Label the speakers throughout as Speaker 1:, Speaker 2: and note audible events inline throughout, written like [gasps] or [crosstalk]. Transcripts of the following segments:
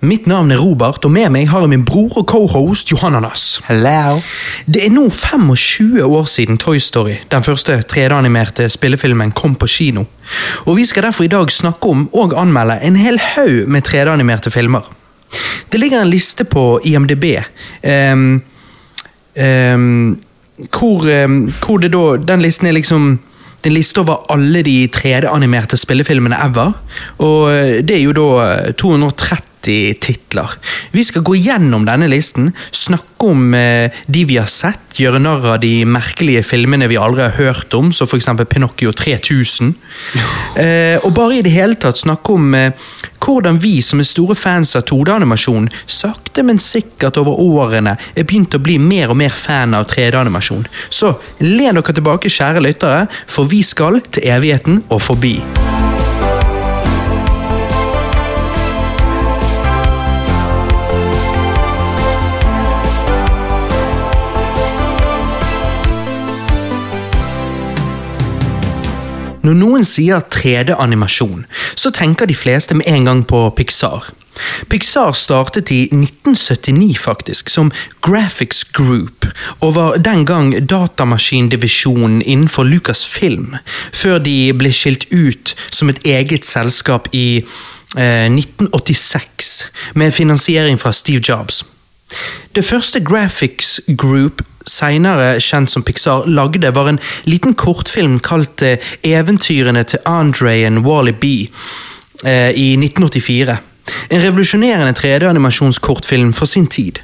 Speaker 1: Mitt navn er Robert, og med meg har jeg min bror og cohost Johanna Nass.
Speaker 2: Hello.
Speaker 1: Det er nå 25 år siden Toy Story, den første 3D-animerte spillefilmen, kom på kino. Og vi skal derfor i dag snakke om og anmelde en hel haug med 3D-animerte filmer. Det ligger en liste på IMDb ehm, ehm, hvor, ehm, hvor det da Den listen er liksom det er en liste over alle de 3D-animerte spillefilmene ever. Og eh, det er jo da eh, 230 titler. Vi skal gå gjennom denne listen, snakke om eh, de vi har sett, gjøre narr av de merkelige filmene vi aldri har hørt om, som f.eks. Pinocchio 3000. Eh, og bare i det hele tatt snakke om eh, hvordan vi som er store fans av 2D-animasjon, sakte, men sikkert over årene er begynt å bli mer og mer fan av 3D-animasjon. Så len dere tilbake, kjære lyttere, for vi skal til evigheten og forbi. Når noen sier 3D-animasjon, så tenker de fleste med en gang på Pixar. Pixar startet i 1979 faktisk, som Graphics Group, og var den gang datamaskindivisjonen innenfor Lucasfilm, før de ble skilt ut som et eget selskap i eh, 1986, med finansiering fra Steve Jobs. Det første Graphics Group, senere kjent som Pixar, lagde var en liten kortfilm kalt eh, Eventyrene til Andre and Wally B eh, i 1984. En revolusjonerende 3D-animasjonskortfilm for sin tid.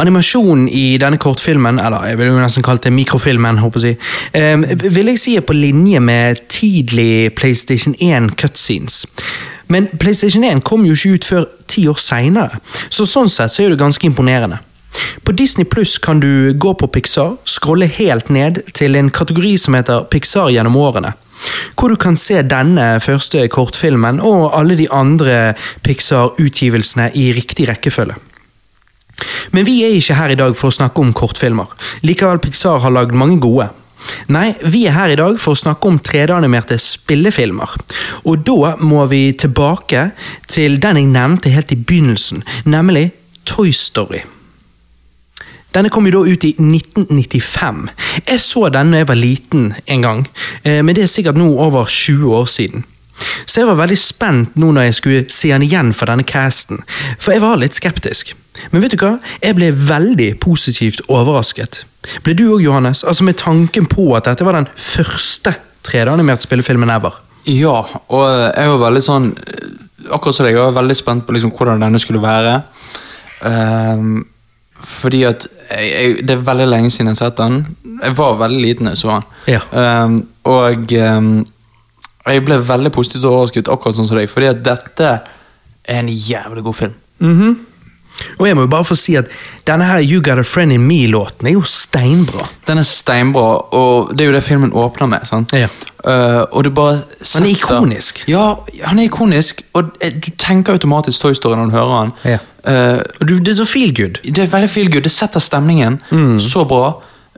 Speaker 1: Animasjonen i denne kortfilmen, eller jeg vil jo nesten kalle det mikrofilmen, håper jeg, å si, eh, vil jeg si er på linje med tidlig PlayStation 1-cutscenes. Men PlayStation 1 kom jo ikke ut før ti år seinere, så sånn sett så er det ganske imponerende. På Disney Pluss kan du gå på Pixar, scrolle helt ned til en kategori som heter Pixar gjennom årene. Hvor du kan se denne første kortfilmen og alle de andre Pixar-utgivelsene i riktig rekkefølge. Men vi er ikke her i dag for å snakke om kortfilmer. Likevel Pixar har lagd mange gode. Nei, vi er her i dag for å snakke om 3D-animerte spillefilmer. Og da må vi tilbake til den jeg nevnte helt i begynnelsen, nemlig Toy Story. Denne kom jo da ut i 1995. Jeg så den da jeg var liten en gang, eh, men det er sikkert nå over 20 år siden. Så jeg var veldig spent nå når jeg skulle se den igjen for denne casten, for jeg var litt skeptisk. Men vet du hva? Jeg ble veldig positivt overrasket. Ble du òg, Johannes? Altså Med tanken på at dette var den første 3D-animerte spillefilmen ever.
Speaker 2: Ja, og jeg var veldig sånn Akkurat som deg, jeg var veldig spent på liksom hvordan denne skulle være. Ehm, fordi at jeg, jeg, Det er veldig lenge siden jeg har sett den. Jeg var veldig liten da jeg så den.
Speaker 1: Ja.
Speaker 2: Ehm, og ehm, jeg ble veldig positivt overrasket, akkurat sånn som deg, fordi at dette er en jævlig god film.
Speaker 1: Og jeg må jo bare få si at denne her You Got A Friend In Me-låten er jo steinbra.
Speaker 2: Den er steinbra, og det er jo det filmen åpner med. sant?
Speaker 1: Ja.
Speaker 2: Eh, og du bare setter...
Speaker 1: ikonisk.
Speaker 2: Ja, han er ikonisk, og eh, du tenker automatisk Toy Story når du hører han.
Speaker 1: Ja.
Speaker 2: Eh,
Speaker 1: Og du, Det er så feel good.
Speaker 2: det er veldig feel good, det setter stemningen
Speaker 1: Mm.
Speaker 2: så bra,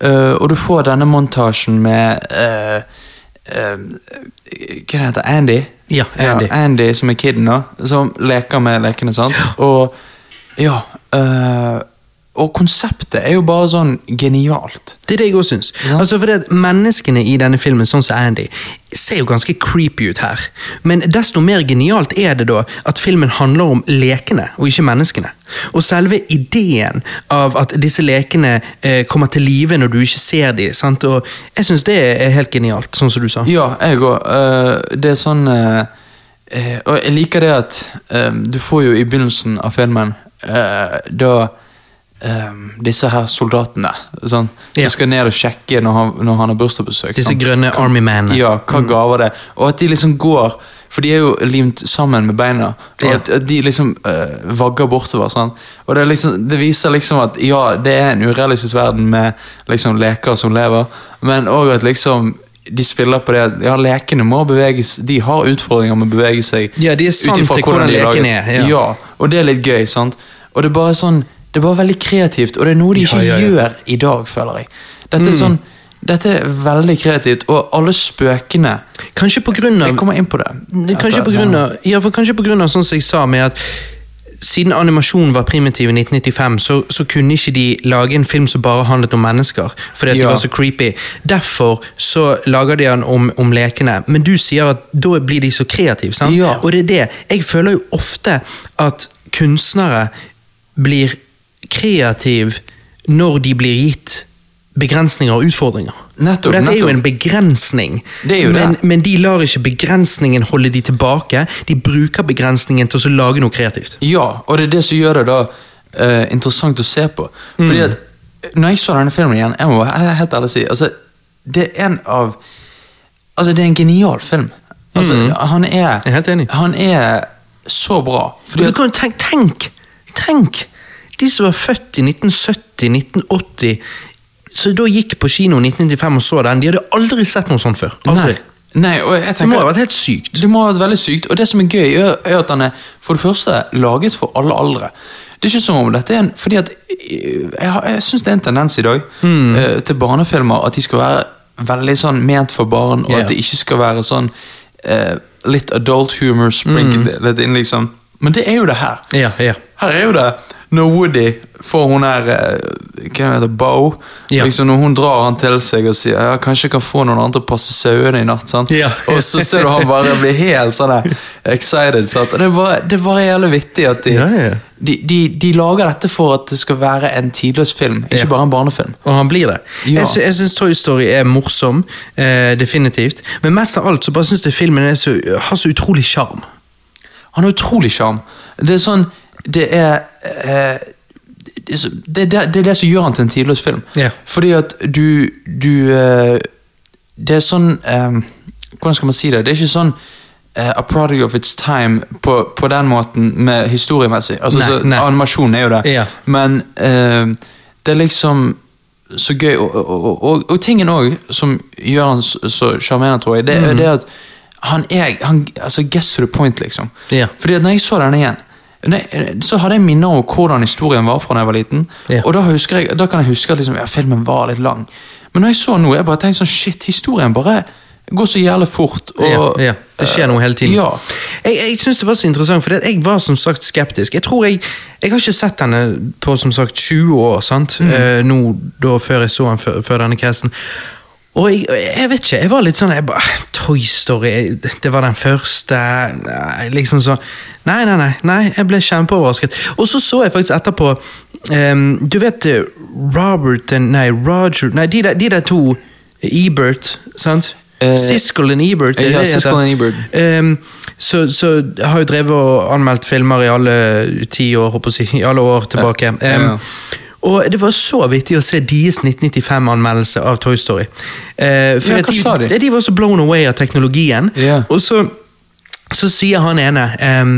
Speaker 2: eh, og du får denne montasjen med eh, eh, Hva heter det? Andy?
Speaker 1: Ja, Andy.
Speaker 2: Andy som er kiden, da, som leker med lekene, sant? Og ja eh, Og konseptet er jo bare sånn genialt.
Speaker 1: Det er det jeg også syns.
Speaker 2: Ja.
Speaker 1: Altså fordi at Menneskene i denne filmen, sånn som Andy, ser jo ganske creepy ut her. Men desto mer genialt er det da at filmen handler om lekene, og ikke menneskene. Og selve ideen av at disse lekene eh, kommer til live når du ikke ser dem, sant? og jeg syns det er helt genialt, sånn som du sa.
Speaker 2: Ja, jeg òg. det er sånn eh, eh, Og jeg liker det at eh, du får jo i begynnelsen av filmen eh, da eh, disse her soldatene sånn,
Speaker 1: Ja.
Speaker 2: Du skal ned og sjekke når han, når han har bursdagsbesøk.
Speaker 1: Disse
Speaker 2: sant?
Speaker 1: grønne Army Man-ene.
Speaker 2: Ja, hva gaver det er. Og at de liksom går For de er jo limt sammen med beina. Og
Speaker 1: Ja.
Speaker 2: at, at de liksom eh, vagger bortover. Sånn. Og det, er liksom, det viser liksom at ja, det er en urealistisk verden med liksom leker som lever, men òg at liksom de spiller på det at ja, lekene må beveges De har utfordringer med å bevege seg.
Speaker 1: Ja, de er sant
Speaker 2: utifra
Speaker 1: til hvordan
Speaker 2: de er
Speaker 1: lekene
Speaker 2: laget.
Speaker 1: er, ja.
Speaker 2: ja, og det er litt gøy, sant? Og det er bare sånn Det er bare veldig kreativt, og det er noe de
Speaker 1: Ja,
Speaker 2: ikke
Speaker 1: ja, Mm. ja.
Speaker 2: gjør i dag, føler jeg. Dette er sånn dette er veldig kreativt, og alle spøkene
Speaker 1: Kanskje på grunn av
Speaker 2: Jeg kommer inn på det.
Speaker 1: sånn Kanskje på grunn av, ja, for kanskje på grunn av sånn som jeg sa med at siden animasjonen var primitiv i 1995, så, så kunne ikke de lage en film som bare handlet om mennesker, fordi at
Speaker 2: Ja.
Speaker 1: de var så creepy. Derfor så lager de den om, om lekene, men du sier at da blir de så kreative, sant?
Speaker 2: Ja.
Speaker 1: Og det er det. Jeg føler jo ofte at kunstnere blir kreative når de blir gitt begrensninger og utfordringer.
Speaker 2: Nettopp,
Speaker 1: og dette er jo
Speaker 2: nettopp.
Speaker 1: en begrensning,
Speaker 2: Det er jo det.
Speaker 1: men, men de lar ikke begrensningen holde de tilbake. De bruker begrensningen til å så lage noe kreativt.
Speaker 2: Ja, og det er det som gjør det da eh, interessant å se på. Fordi
Speaker 1: Mm.
Speaker 2: at når jeg så denne filmen igjen, jeg må være helt ærlig si, altså, det er en av Altså, det er en genial film. Altså, han er
Speaker 1: Mm. er helt enig.
Speaker 2: Han er så bra. Fordi
Speaker 1: Men
Speaker 2: at
Speaker 1: du kan jo tenk, tenk, tenk De som var født i 1970-1980 Så da gikk på kino i 1995 og så den De hadde aldri sett noe sånt før Aldri
Speaker 2: Nei, nei og
Speaker 1: Det må
Speaker 2: jeg
Speaker 1: ha
Speaker 2: tenker
Speaker 1: vært helt sykt
Speaker 2: Det må ha vært veldig sykt, og det som er gøy, er er at den er for det første laget for alle aldre. Det er ikke som om dette er en Fordi at eh, Jeg, har- jeg syns det er en tendens i dag
Speaker 1: Hmm.
Speaker 2: eh, til barnefilmer at de skal være veldig sånn ment for barn, og
Speaker 1: Ja.
Speaker 2: at det ikke skal være sånn eh, litt adult humor sprinkled litt inn, liksom. Men det er jo det her.
Speaker 1: Hmm. Ja, ja
Speaker 2: Her er jo det når Woody får hun der eh, Hva heter det? Bow.
Speaker 1: Ja.
Speaker 2: Liksom når hun drar han til seg og sier ja, 'Kanskje jeg kan få noen andre til å passe sauene i natt'. sant?
Speaker 1: Ja.
Speaker 2: og så ser du han bare bli helt sånn der excited. sant? Og det er bare, det er bare jævlig vittig at de,
Speaker 1: Ja, ja, ja.
Speaker 2: De, de, de lager dette for at det skal være en tidløs film, ikke
Speaker 1: Ja.
Speaker 2: bare en barnefilm.
Speaker 1: Og han blir det.
Speaker 2: Ja.
Speaker 1: Jeg, sy jeg syns Toy Story er morsom, eh, definitivt. Men mest av alt så bare syns jeg filmen er så, har så utrolig sjarm.
Speaker 2: Han har utrolig sjarm. Det er sånn Det er eh, det, er så- det, er det, det er det som gjør han til en tidløs film.
Speaker 1: Ja.
Speaker 2: Fordi at du, du eh, Det er sånn eh, Hvordan skal man si det? Det er ikke sånn eh, A product of its time på, på den måten med historiemessig. Altså,
Speaker 1: Nei,
Speaker 2: så,
Speaker 1: nei.
Speaker 2: Animasjon er jo det.
Speaker 1: Ja.
Speaker 2: Men eh, det er liksom så gøy. Og, og, og, og, og tingen òg som gjør han så- så sjarmerende, tror jeg, det
Speaker 1: Mm.
Speaker 2: er jo det at han er han, altså Guess to the point, liksom.
Speaker 1: Ja.
Speaker 2: Fordi at når jeg så denne igjen, når- så hadde jeg minner om hvordan historien var fra da jeg var liten.
Speaker 1: Ja.
Speaker 2: Og da, husker jeg, da kan jeg huske at liksom, ja, filmen var litt lang. Men når jeg så nå, jeg bare tenkte sånn Shit, historien bare går så jævlig fort. Og,
Speaker 1: ja, ja, det skjer noe hele tiden.
Speaker 2: Ja.
Speaker 1: Jeg, jeg synes det var så interessant, for jeg var som sagt skeptisk. Jeg tror jeg, jeg har ikke sett denne på som sagt 20 år, sant? Eh, nå da, før jeg så den før, før denne casten. Og jeg, jeg vet ikke, jeg var litt sånn jeg bare, Toy Story, jeg- det var den første nei, Liksom sånn Nei, nei, nei, nei, jeg ble kjempeoverrasket. Og så så jeg faktisk etterpå ehm, Du vet eh, Robert and- Nei, Roger Nei, de der, de der to eh, Ebert, sant?
Speaker 2: Eh,
Speaker 1: Siskel og Ebert. er det
Speaker 2: ja,
Speaker 1: det heter?
Speaker 2: Siskel og Ebert.
Speaker 1: Ehm, så, så jeg har jo drevet og anmeldt filmer i alle ti år, håper jeg, å si, i alle år tilbake.
Speaker 2: Ja, ja, ja.
Speaker 1: Ehm, og det var så vittig å se deres 1995-anmeldelse av Toy Story. Eh, for
Speaker 2: Ja,
Speaker 1: at
Speaker 2: hva sa de?
Speaker 1: De var så blown away av teknologien.
Speaker 2: Ja.
Speaker 1: Og så, så sier han ene ehm,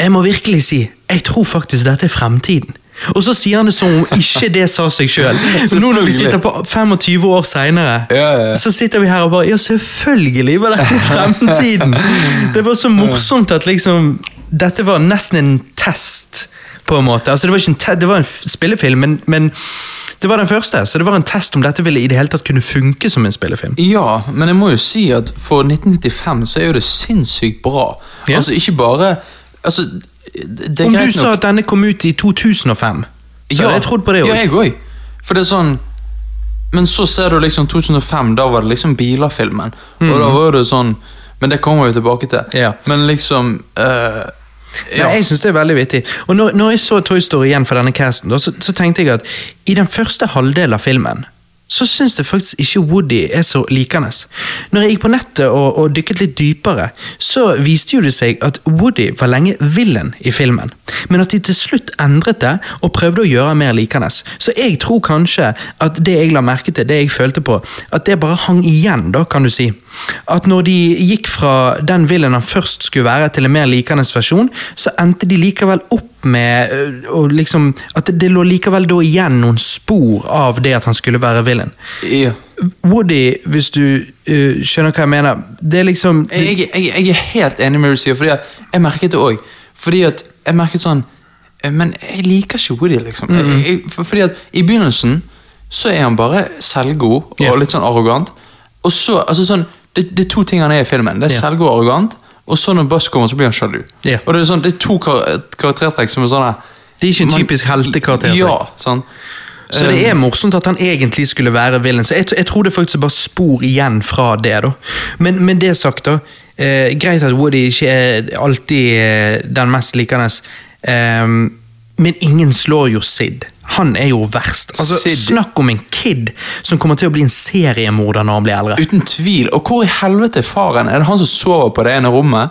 Speaker 1: Jeg må virkelig si jeg tror faktisk dette er fremtiden. Og så sier han det som om ikke det sa seg
Speaker 2: [laughs]
Speaker 1: sjøl. Nå når vi
Speaker 2: Selvfølgelig.
Speaker 1: sitter på 25 år seinere,
Speaker 2: Ja, ja, ja.
Speaker 1: så sitter vi her og bare Ja, selvfølgelig var dette fremtiden! Det var så morsomt at liksom Dette var nesten en test, på en måte. Altså, det var ikke en, te det var en f- spillefilm, men, men det var den første, så det var en test om dette ville i det hele tatt kunne funke som en spillefilm.
Speaker 2: Ja, men jeg må jo si at for 1995 så er jo det sinnssykt bra.
Speaker 1: Ja.
Speaker 2: Altså ikke bare altså, det er
Speaker 1: Om du
Speaker 2: greit
Speaker 1: sa
Speaker 2: nok-
Speaker 1: at denne kom ut i 2005, så hadde jeg trodd på det òg.
Speaker 2: Ja, jeg òg. For det er sånn Men så ser du liksom 2005, da var det liksom Biler-filmen. Og da var det sånn Men det kommer vi jo tilbake til.
Speaker 1: Mm. Ja.
Speaker 2: Men liksom eh, ja.
Speaker 1: Nei, jeg synes det er veldig vittig. Og når, når jeg så Toy Story igjen for denne casten, da, så, så tenkte jeg at i den første halvdelen av filmen så syns jeg faktisk ikke Woody er så likende. Når jeg gikk på nettet og, og dykket litt dypere, så viste jo det seg at Woody var lenge villen i filmen, men at de til slutt endret det og prøvde å gjøre han mer likende. Så jeg tror kanskje at det jeg la merke til, det jeg følte på, at det bare hang igjen, da, kan du si. At når de gikk fra den villen han først skulle være, til en mer likende versjon, så endte de likevel opp med øh, og liksom, At det lå likevel da igjen noen spor av det at han skulle være villen.
Speaker 2: ja.
Speaker 1: Woody, hvis du øh, skjønner hva jeg mener, det er liksom det,
Speaker 2: Jeg, jeg, jeg er helt enig med det du sier, fordi at jeg merket det òg. Fordi at jeg merket sånn eh, Men jeg liker ikke Woody, liksom. Jeg, jeg, for, fordi at i begynnelsen så er han bare selvgod og
Speaker 1: Ja.
Speaker 2: litt sånn arrogant. Og så, altså sånn det, det er to ting han er i filmen. Det er
Speaker 1: Ja.
Speaker 2: selvgod og arrogant, Og så når Buzz kommer, så blir han sjalu.
Speaker 1: Ja.
Speaker 2: Og det er, sånn, det er to kar karaktertrekk som er sånn her
Speaker 1: Det er ikke en
Speaker 2: man-
Speaker 1: typisk heltekaraktertrekk.
Speaker 2: Ja, sånn.
Speaker 1: Så det
Speaker 2: Ehm.
Speaker 1: er morsomt at han egentlig skulle være villain. Så jeg, jeg tror det faktisk er bare spor igjen fra det. da. Men, men det sagt, da. Eh, greit at Woody ikke er alltid eh, den mest likende. Eh, men ingen slår jo Sid. Han er jo verst. Altså,
Speaker 2: Sid-
Speaker 1: Snakk om en kid som kommer til å bli en seriemorder når han blir eldre.
Speaker 2: Uten tvil. Og hvor i helvete er faren? Er det han som sover på det ene rommet?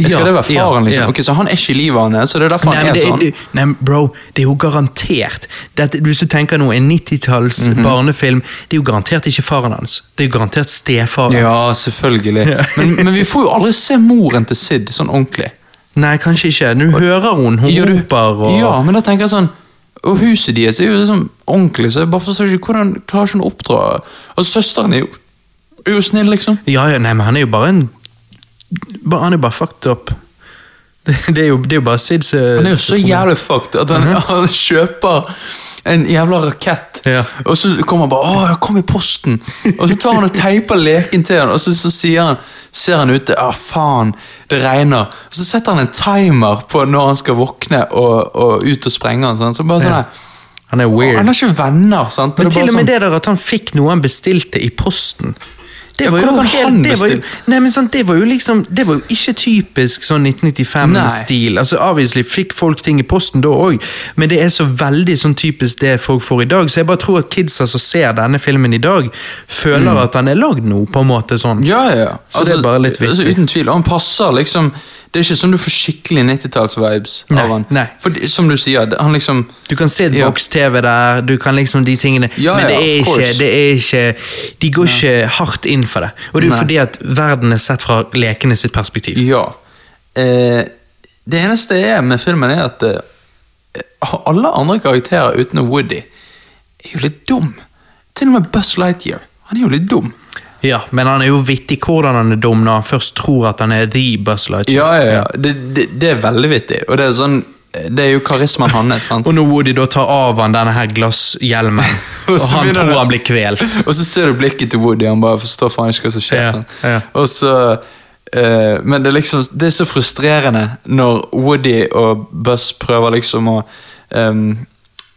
Speaker 2: Skal
Speaker 1: Ja,
Speaker 2: det være faren,
Speaker 1: ja,
Speaker 2: liksom?
Speaker 1: ja.
Speaker 2: Ok, Så han er ikke i livet hans, så det er derfor
Speaker 1: Nei,
Speaker 2: han
Speaker 1: men
Speaker 2: er
Speaker 1: det,
Speaker 2: sånn?
Speaker 1: det- nei, men bro, det er jo garantert Dette, Hvis du tenker nå, en 90-talls
Speaker 2: Mhm.
Speaker 1: barnefilm, det er jo garantert ikke faren hans. Det er jo garantert stefaren.
Speaker 2: Ja, selvfølgelig. Men, men vi får jo aldri se moren til Sid sånn ordentlig.
Speaker 1: Nei, kanskje ikke. Nå hører hun, hun
Speaker 2: Ja, du-
Speaker 1: roper og
Speaker 2: Ja, men da tenker jeg sånn Og huset deres er jo liksom ordentlig, så jeg bare forstår ikke hvordan klarer ikke hun å oppdra Og søsteren er jo, er jo snill, liksom.
Speaker 1: ja, ja, nei, men han er jo bare en ba- Han er bare fucked up. Det, det, er, jo, det er jo bare Sid som
Speaker 2: Han er jo så jævlig fucked at
Speaker 1: Mhm.
Speaker 2: han, han kjøper en jævla rakett,
Speaker 1: Ja.
Speaker 2: og så kommer han bare 'Å, det kom i posten!' Og så tar han og teiper leken til han, og så, så sier han, ser han ute 'Å, faen, det regner'. Og så setter han en timer på når han skal våkne og, og ut og sprenge han. Sånn. Så bare sånn
Speaker 1: Ja.
Speaker 2: her,
Speaker 1: Han er weird.
Speaker 2: Han har ikke venner, sant?
Speaker 1: Men
Speaker 2: Det
Speaker 1: til
Speaker 2: er bare
Speaker 1: og med
Speaker 2: sånn-
Speaker 1: det der at han fikk noe han bestilte i posten. Det
Speaker 2: Ja,
Speaker 1: var, jo
Speaker 2: hvordan kan han
Speaker 1: helt, det, var jo,
Speaker 2: bestille?
Speaker 1: nei, men sant, det var jo liksom Det var jo ikke typisk sånn
Speaker 2: Nei.
Speaker 1: 1995-stil. Altså, Obviously fikk folk ting i posten da òg, men det er så veldig sånn typisk det folk får i dag. Så jeg bare tror at kidsa som ser denne filmen i dag, føler
Speaker 2: Mm.
Speaker 1: at han er lagd nå, på en måte sånn.
Speaker 2: Ja, ja, ja.
Speaker 1: Så det er bare litt
Speaker 2: altså,
Speaker 1: vittig.
Speaker 2: uten tvil. Og han passer liksom Det er ikke sånn du får skikkelig 90-talls-vibes
Speaker 1: Nei,
Speaker 2: av han.
Speaker 1: nei.
Speaker 2: For det- som du sier, det- han liksom
Speaker 1: Du kan se
Speaker 2: Ja.
Speaker 1: boks-TV der, du kan liksom de tingene,
Speaker 2: Ja,
Speaker 1: men det
Speaker 2: ja,
Speaker 1: er,
Speaker 2: of
Speaker 1: ikke,
Speaker 2: course.
Speaker 1: det er ikke De går ikke hardt inn for det. Og det er jo
Speaker 2: Nei.
Speaker 1: fordi at verden er sett fra lekene sitt perspektiv.
Speaker 2: Ja. Eh, det eneste er med filmen, er at eh, alle andre karakterer utenom Woody er jo litt dum. Til og med Buzz Lightyear. Han er jo litt dum.
Speaker 1: Ja, men han er jo vittig hvordan han er dum når han først tror at han er the Buzz Lightyear.
Speaker 2: Ja, ja, ja. Det, det, det er veldig vittig. Og det er sånn Det er jo karismaen hans. sant?
Speaker 1: Og når Woody da tar av han denne her glasshjelmen, og,
Speaker 2: [laughs] Og så
Speaker 1: han
Speaker 2: begynner
Speaker 1: tror
Speaker 2: det-
Speaker 1: han blir kvelt.
Speaker 2: Og så ser du blikket til Woody, han bare forstår faen ikke hva som skjer.
Speaker 1: Ja,
Speaker 2: sånn.
Speaker 1: ja.
Speaker 2: Og så, eh, men det er, liksom, det er så frustrerende når Woody og Buzz prøver liksom å ehm,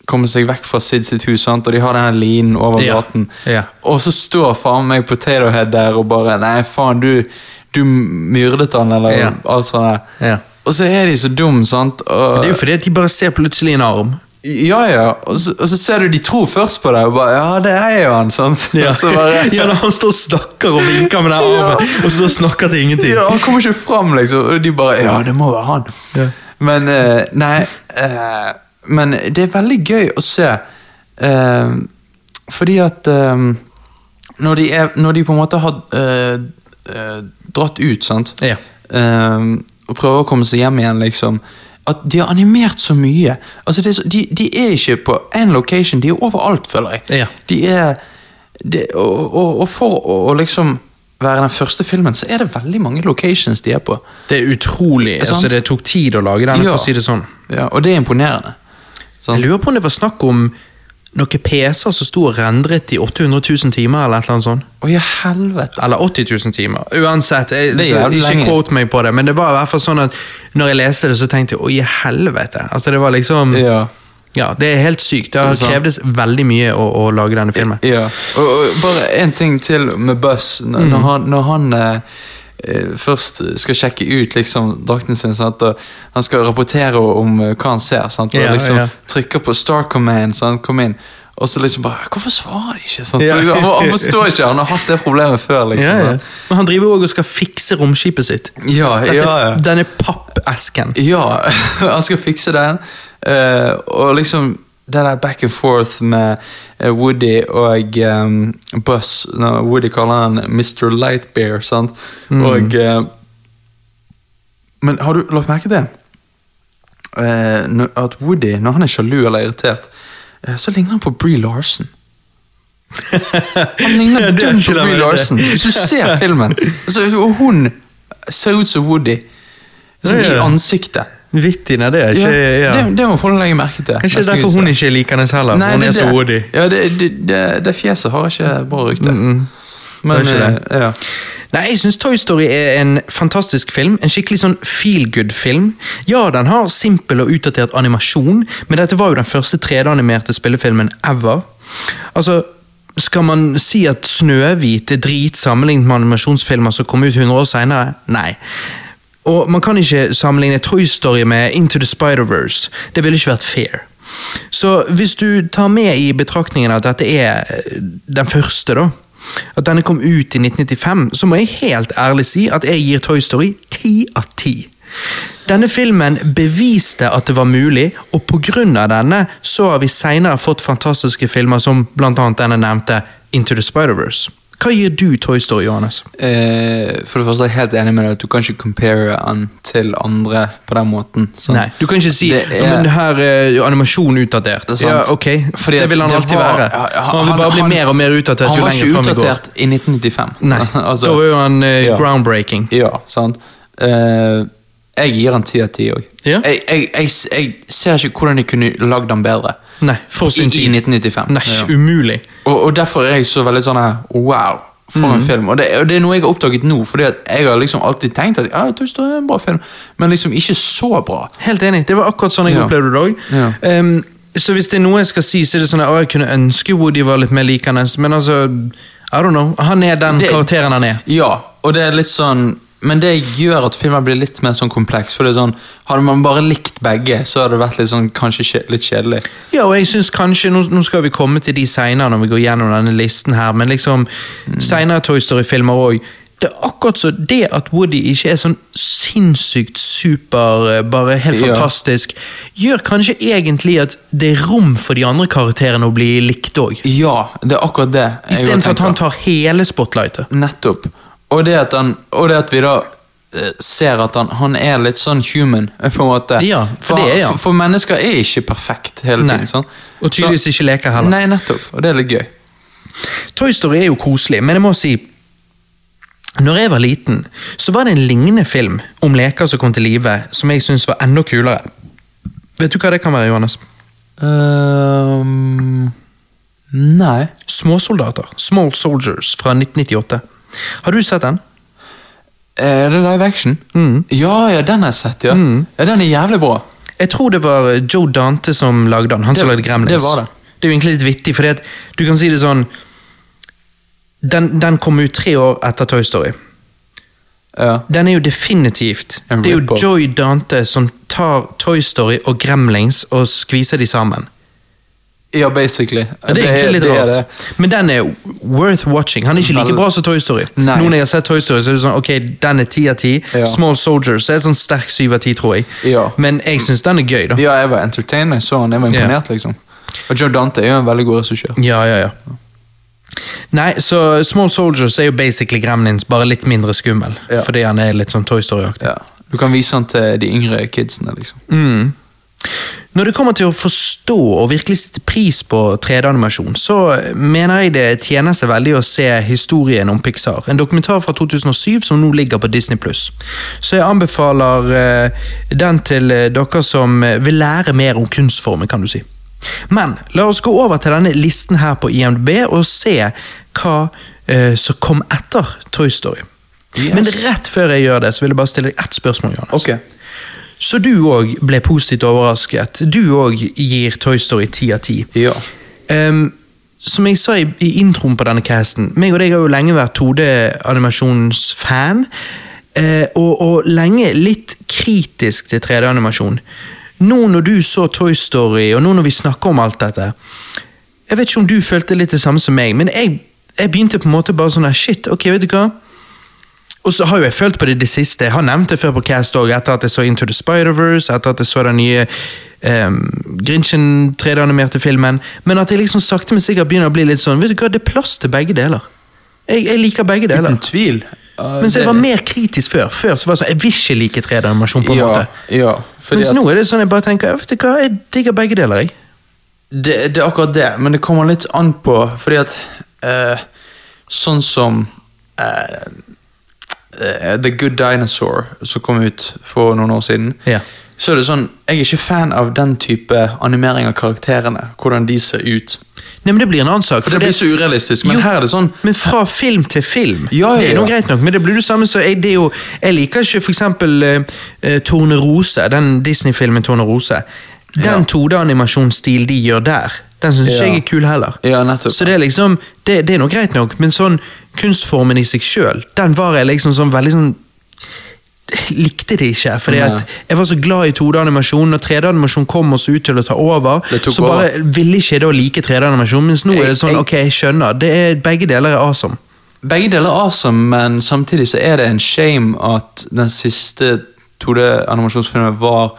Speaker 2: komme seg vekk fra Sid sitt hus, sant? og de har denne linen over
Speaker 1: Ja,
Speaker 2: gaten.
Speaker 1: ja.
Speaker 2: Og så står faen meg Potato Head der og bare Nei, faen, du, du myrdet han, eller
Speaker 1: Ja.
Speaker 2: alt sånt. der.
Speaker 1: Ja.
Speaker 2: Og så er de så dumme, sant. Og,
Speaker 1: Det er jo fordi at de bare ser plutselig en arm.
Speaker 2: ja, ja. Og så, og så ser du de tror først på deg, og bare Ja, det er jo han, sant?
Speaker 1: Ja,
Speaker 2: [laughs] Og så bare,
Speaker 1: [laughs] ja når han står og snakker og vinker med den armen, og så snakker til ingenting.
Speaker 2: Ja, han kommer ikke fram, liksom. Og de bare Ja, det må være han.
Speaker 1: Ja.
Speaker 2: Men eh, Nei. eh, men det er veldig gøy å se. eh, fordi at eh, når, de er, når de på en måte har eh, eh, dratt ut, sant
Speaker 1: Ja.
Speaker 2: Eh, Og prøver å komme seg hjem igjen, liksom at de har animert så mye. Altså det er så, de, de er ikke på én location, de er overalt, føler jeg.
Speaker 1: Ja.
Speaker 2: De er det- og, og, og for å å liksom være den første filmen, så er det veldig mange locations de er på.
Speaker 1: Det er utrolig.
Speaker 2: sant?
Speaker 1: Altså, det tok tid å lage denne, for å si det sånn.
Speaker 2: Ja, og det er imponerende.
Speaker 1: Jeg
Speaker 2: Sånn.
Speaker 1: lurer på om det var snakk om noen PC-er som sto og rendret i 800 000 timer, eller et eller annet sånt.
Speaker 2: Å, ja, helvete.
Speaker 1: Eller 80 000 timer. Uansett, jeg,
Speaker 2: Det er
Speaker 1: så,
Speaker 2: jævlig
Speaker 1: ikke
Speaker 2: lenge.
Speaker 1: quote meg på det, men det var i hvert fall sånn at når jeg leste det, så tenkte jeg å, i helvete. Altså, det var liksom
Speaker 2: Ja.
Speaker 1: Ja, det er helt sykt. Det
Speaker 2: Det er sant.
Speaker 1: krevdes veldig mye å, å lage denne filmen.
Speaker 2: Ja. Og, og bare én ting til med Buzz. Når,
Speaker 1: Mm.
Speaker 2: når han, når han eh, eh, først skal sjekke ut liksom, drakten sin sant? og Han skal rapportere om eh, hva han ser. Sant? Og
Speaker 1: Ja,
Speaker 2: liksom
Speaker 1: ja.
Speaker 2: Trykker på Star Command, så han kom inn. Og så liksom bare Hvorfor svarer de ikke? Sant?
Speaker 1: Ja.
Speaker 2: Han, han forstår ikke, han har hatt det problemet før. liksom
Speaker 1: Ja, ja. Men han driver òg og skal fikse romskipet sitt.
Speaker 2: Ja,
Speaker 1: Dette,
Speaker 2: ja, ja.
Speaker 1: Denne pappesken.
Speaker 2: Ja, [laughs] han skal fikse den. eh, og liksom det der back and forth med eh, Woody og eh, Buzz når Woody kaller han Mr. Lightbear, sant? Og eh, Men har du lagt merke til det? Eh, når- at Woody, når han er sjalu eller irritert, eh, så ligner han på Bree Larson. Han [laughs] ligner
Speaker 1: Ja, det er
Speaker 2: dønn
Speaker 1: ikke
Speaker 2: på
Speaker 1: det,
Speaker 2: Brie
Speaker 1: men det-
Speaker 2: Larson. Hvis du ser filmen, altså, og hun ser ut som Woody. Som
Speaker 1: Ja,
Speaker 2: I
Speaker 1: ja.
Speaker 2: ansiktet.
Speaker 1: Vittig, nei, det er ikke ja.
Speaker 2: Det, det må folk legge merke til.
Speaker 1: Kanskje det
Speaker 2: neste
Speaker 1: er
Speaker 2: gang
Speaker 1: derfor
Speaker 2: de
Speaker 1: hun
Speaker 2: ser.
Speaker 1: ikke er likende heller.
Speaker 2: Nei,
Speaker 1: hun
Speaker 2: det
Speaker 1: er så
Speaker 2: det.
Speaker 1: woody.
Speaker 2: Ja, det, det, det, det fjeset har ikke bra rykte. Men
Speaker 1: Det er ikke
Speaker 2: eh, ja.
Speaker 1: Nei, jeg syns Toy Story er en fantastisk film. En skikkelig sånn feel good-film. Ja, den har simpel og utdatert animasjon, men dette var jo den første 3D-animerte spillefilmen ever. Altså, skal man si at Snøhvit er drit sammenlignet med animasjonsfilmer som kom ut 100 år seinere? Nei. Og man kan ikke sammenligne Toy Story med Into the Spider-Verse. Det ville ikke vært fair. Så hvis du tar med i betraktningen at dette er eh, den første, da. At denne kom ut i 1995, så må jeg helt ærlig si at jeg gir Toy Story 10 av 10. Denne filmen beviste at det var mulig, og pga. denne så har vi seinere fått fantastiske filmer som bl.a. denne nevnte Into the Spider-Verse. Hva gir du Toy Story, Johannes?
Speaker 2: Eh, for det første er jeg helt enig med deg at du kan ikke compare den til andre på den måten. sant?
Speaker 1: Nei, Du kan ikke si
Speaker 2: Det er-
Speaker 1: «Ja, men her er animasjon utdatert.
Speaker 2: Det er sant.
Speaker 1: Ja, ok,
Speaker 2: Fordi
Speaker 1: Det vil han
Speaker 2: det
Speaker 1: alltid
Speaker 2: var-
Speaker 1: være.
Speaker 2: ja, ja,
Speaker 1: Han vil
Speaker 2: han-
Speaker 1: bare bli
Speaker 2: han-
Speaker 1: mer og mer utdatert
Speaker 2: Han
Speaker 1: jo
Speaker 2: var
Speaker 1: lenger
Speaker 2: ikke
Speaker 1: frem vi går.
Speaker 2: utdatert i 1995.
Speaker 1: Nei,
Speaker 2: [laughs]
Speaker 1: [laughs]
Speaker 2: altså,
Speaker 1: Da var jo han eh,
Speaker 2: ja.
Speaker 1: groundbreaking.
Speaker 2: Ja, sant. Eh, jeg gir han 10 av 10 òg.
Speaker 1: Ja.
Speaker 2: Jeg, jeg, jeg, jeg ser ikke hvordan de kunne lagd han bedre.
Speaker 1: Nei, for sin
Speaker 2: I,
Speaker 1: tid.
Speaker 2: I 1995.
Speaker 1: Nei,
Speaker 2: Ja.
Speaker 1: umulig.
Speaker 2: Og, og derfor er jeg så veldig sånn her Wow, for
Speaker 1: Mhm.
Speaker 2: en film. Og det, og det er noe jeg har oppdaget nå, fordi at jeg har liksom alltid tenkt at ja, Toy Story er en bra film, men liksom ikke så bra.
Speaker 1: Helt enig. Det var akkurat sånn jeg
Speaker 2: Ja.
Speaker 1: opplevde det òg.
Speaker 2: Ja.
Speaker 1: så hvis det er noe jeg skal si, så er det sånn at å, jeg kunne ønske Woody var litt mer likende, men altså I don't know. Han er den
Speaker 2: Det-
Speaker 1: karakteren han er.
Speaker 2: Ja, og det er litt sånn men det gjør at filmen blir litt mer sånn kompleks. For det er sånn, Hadde man bare likt begge, så hadde det vært litt sånn, kanskje kje- litt kjedelig.
Speaker 1: Ja, og jeg synes kanskje, nå, nå skal vi komme til de senere når vi går gjennom denne listen her, men liksom,
Speaker 2: Mm.
Speaker 1: senere Toy Story-filmer også, det er akkurat så det at Woody ikke er sånn sinnssykt super, eh, bare helt
Speaker 2: Ja.
Speaker 1: fantastisk, gjør kanskje egentlig at det er rom for de andre karakterene å bli likt også.
Speaker 2: Ja, det er akkurat det.
Speaker 1: I stedet for at han tar hele spotlightet.
Speaker 2: Nettopp. Og det at, han, og det at vi da eh, ser at han, han er litt sånn human, [laughs] på en måte.
Speaker 1: Ja, for det er han.
Speaker 2: For, for mennesker er ikke perfekt hele
Speaker 1: Nei.
Speaker 2: tiden. sant?
Speaker 1: Og tydeligvis
Speaker 2: Så-
Speaker 1: ikke leker heller.
Speaker 2: Nei, nettopp. Og det er litt gøy.
Speaker 1: Toy Story er jo koselig, men jeg må si Når jeg var liten, så var det en lignende film om leker som kom til live, som jeg syntes var enda kulere. Vet du hva det kan være, Johannes?
Speaker 2: Ehm, nei.
Speaker 1: Småsoldater. Small Soldiers fra 1998. Har du sett den?
Speaker 2: Er det live action?
Speaker 1: Mm.
Speaker 2: Ja, ja, den har jeg sett, ja. ja. Den er jævlig bra.
Speaker 1: Jeg tror det var eh, Joe Dante som lagde den. Han som
Speaker 2: Det-
Speaker 1: lagde Gremlins.
Speaker 2: det var det.
Speaker 1: Det er jo egentlig litt vittig, fordi at du kan si det sånn den, den kom ut tre år etter Toy Story.
Speaker 2: Ja.
Speaker 1: Den er jo definitivt
Speaker 2: En
Speaker 1: Det er jo
Speaker 2: rip-off.
Speaker 1: Joy Dante som tar Toy Story og Gremlings og skviser de sammen.
Speaker 2: ja, basically.
Speaker 1: Ja, det er egentlig litt rart. Men den er worth watching. Han er ikke like
Speaker 2: Vel-
Speaker 1: bra som Toy Story.
Speaker 2: Nei.
Speaker 1: Nå når jeg har sett Toy Story, så er det sånn ok, den er 10 av 10.
Speaker 2: Ja.
Speaker 1: Small Soldiers er sånn sterk 7 av 10, tror jeg.
Speaker 2: Ja.
Speaker 1: Men jeg syns den er gøy, da.
Speaker 2: Ja, jeg var entertained da jeg så han. Jeg var
Speaker 1: Ja.
Speaker 2: imponert, liksom. Og Joe Dante er jo en veldig god regissør.
Speaker 1: Ja, ja, ja. Nei, så Small Soldiers er jo basically Gremlins, bare litt mindre skummel.
Speaker 2: Ja.
Speaker 1: Fordi han er litt sånn Toy Story-aktig.
Speaker 2: Ja. Du kan vise han til de yngre kidsene, liksom.
Speaker 1: Mm. Når det kommer til å forstå og virkelig sette pris på 3D-animasjon, så mener jeg det tjener seg veldig å se historien om Pixar. En dokumentar fra 2007 som nå ligger på Disney+. Så jeg anbefaler eh, den til eh, dere som eh, vil lære mer om kunstformen, kan du si. Men la oss gå over til denne listen her på IMDb og se hva eh, som kom etter Toy Story.
Speaker 2: Yes.
Speaker 1: Men rett før jeg gjør det, så vil jeg bare stille deg ett spørsmål. Johannes.
Speaker 2: Ok.
Speaker 1: Så du òg ble positivt overrasket. Du òg gir Toy Story 10 av 10.
Speaker 2: Ja.
Speaker 1: Ehm, som jeg sa i, i introen på denne casten, meg og deg har jo lenge vært 2D-animasjonsfan. eh, og, og lenge litt kritisk til 3D-animasjon. Nå når du så Toy Story, og nå når vi snakker om alt dette Jeg vet ikke om du følte litt det samme som meg, men jeg, jeg begynte på en måte bare sånn her Shit, ok, vet du hva? Og så har jo jeg følt på det i det siste. Jeg har nevnt det før på Cast òg, etter at jeg så Into the Spider-Verse, etter at jeg så den nye um, Grinchen 3D-animerte filmen. Men at jeg liksom sakte, men sikkert begynner å bli litt sånn Vet du hva, det er plass til begge deler. Jeg, jeg liker begge deler.
Speaker 2: Uten tvil. Uh,
Speaker 1: Mens jeg var mer kritisk før. Før så var det sånn Jeg vil ikke like 3D-animasjon, på en
Speaker 2: ja,
Speaker 1: måte.
Speaker 2: Ja, fordi
Speaker 1: Mens
Speaker 2: at,
Speaker 1: nå er det sånn jeg bare tenker Vet du hva, jeg digger begge deler, jeg.
Speaker 2: det, det er akkurat det, men det kommer litt an på Fordi at eh, Sånn som eh, eh, The Good Dinosaur, som kom ut for noen år siden,
Speaker 1: Ja.
Speaker 2: så er det sånn Jeg er ikke fan av den type animering av karakterene. Hvordan de ser ut.
Speaker 1: Nei, men Det blir en annen sak.
Speaker 2: For det blir så urealistisk, men
Speaker 1: Jo,
Speaker 2: her er det sånn
Speaker 1: Men fra film til film.
Speaker 2: Ja, ja,
Speaker 1: Det er noe
Speaker 2: ja.
Speaker 1: greit nok, men det blir det samme som jeg, det er jo, jeg liker ikke for eksempel eh, Torne Rose, den Disney-filmen Torne Rose.
Speaker 2: Ja.
Speaker 1: Den 2D-animasjonsstil de gjør der, den syns ikke
Speaker 2: Ja.
Speaker 1: jeg er kul heller.
Speaker 2: Ja, nettopp.
Speaker 1: Så det er liksom, det, det er noe greit nok, men sånn kunstformen i seg sjøl, den var jeg liksom sånn veldig sånn likte det ikke, fordi
Speaker 2: Nei.
Speaker 1: at jeg var så glad i 2D-animasjon, når 3D-animasjon kom oss ut til å ta over,
Speaker 2: Det tok
Speaker 1: så bare ville ikke jeg da like 3D-animasjon, mens nå nå er det
Speaker 2: Jeg-
Speaker 1: sånn,
Speaker 2: jeg-
Speaker 1: ok, jeg skjønner. Det er begge deler er awesome.
Speaker 2: Begge deler er awesome, men samtidig så er det en shame at den siste 2D-animasjonsfilmen var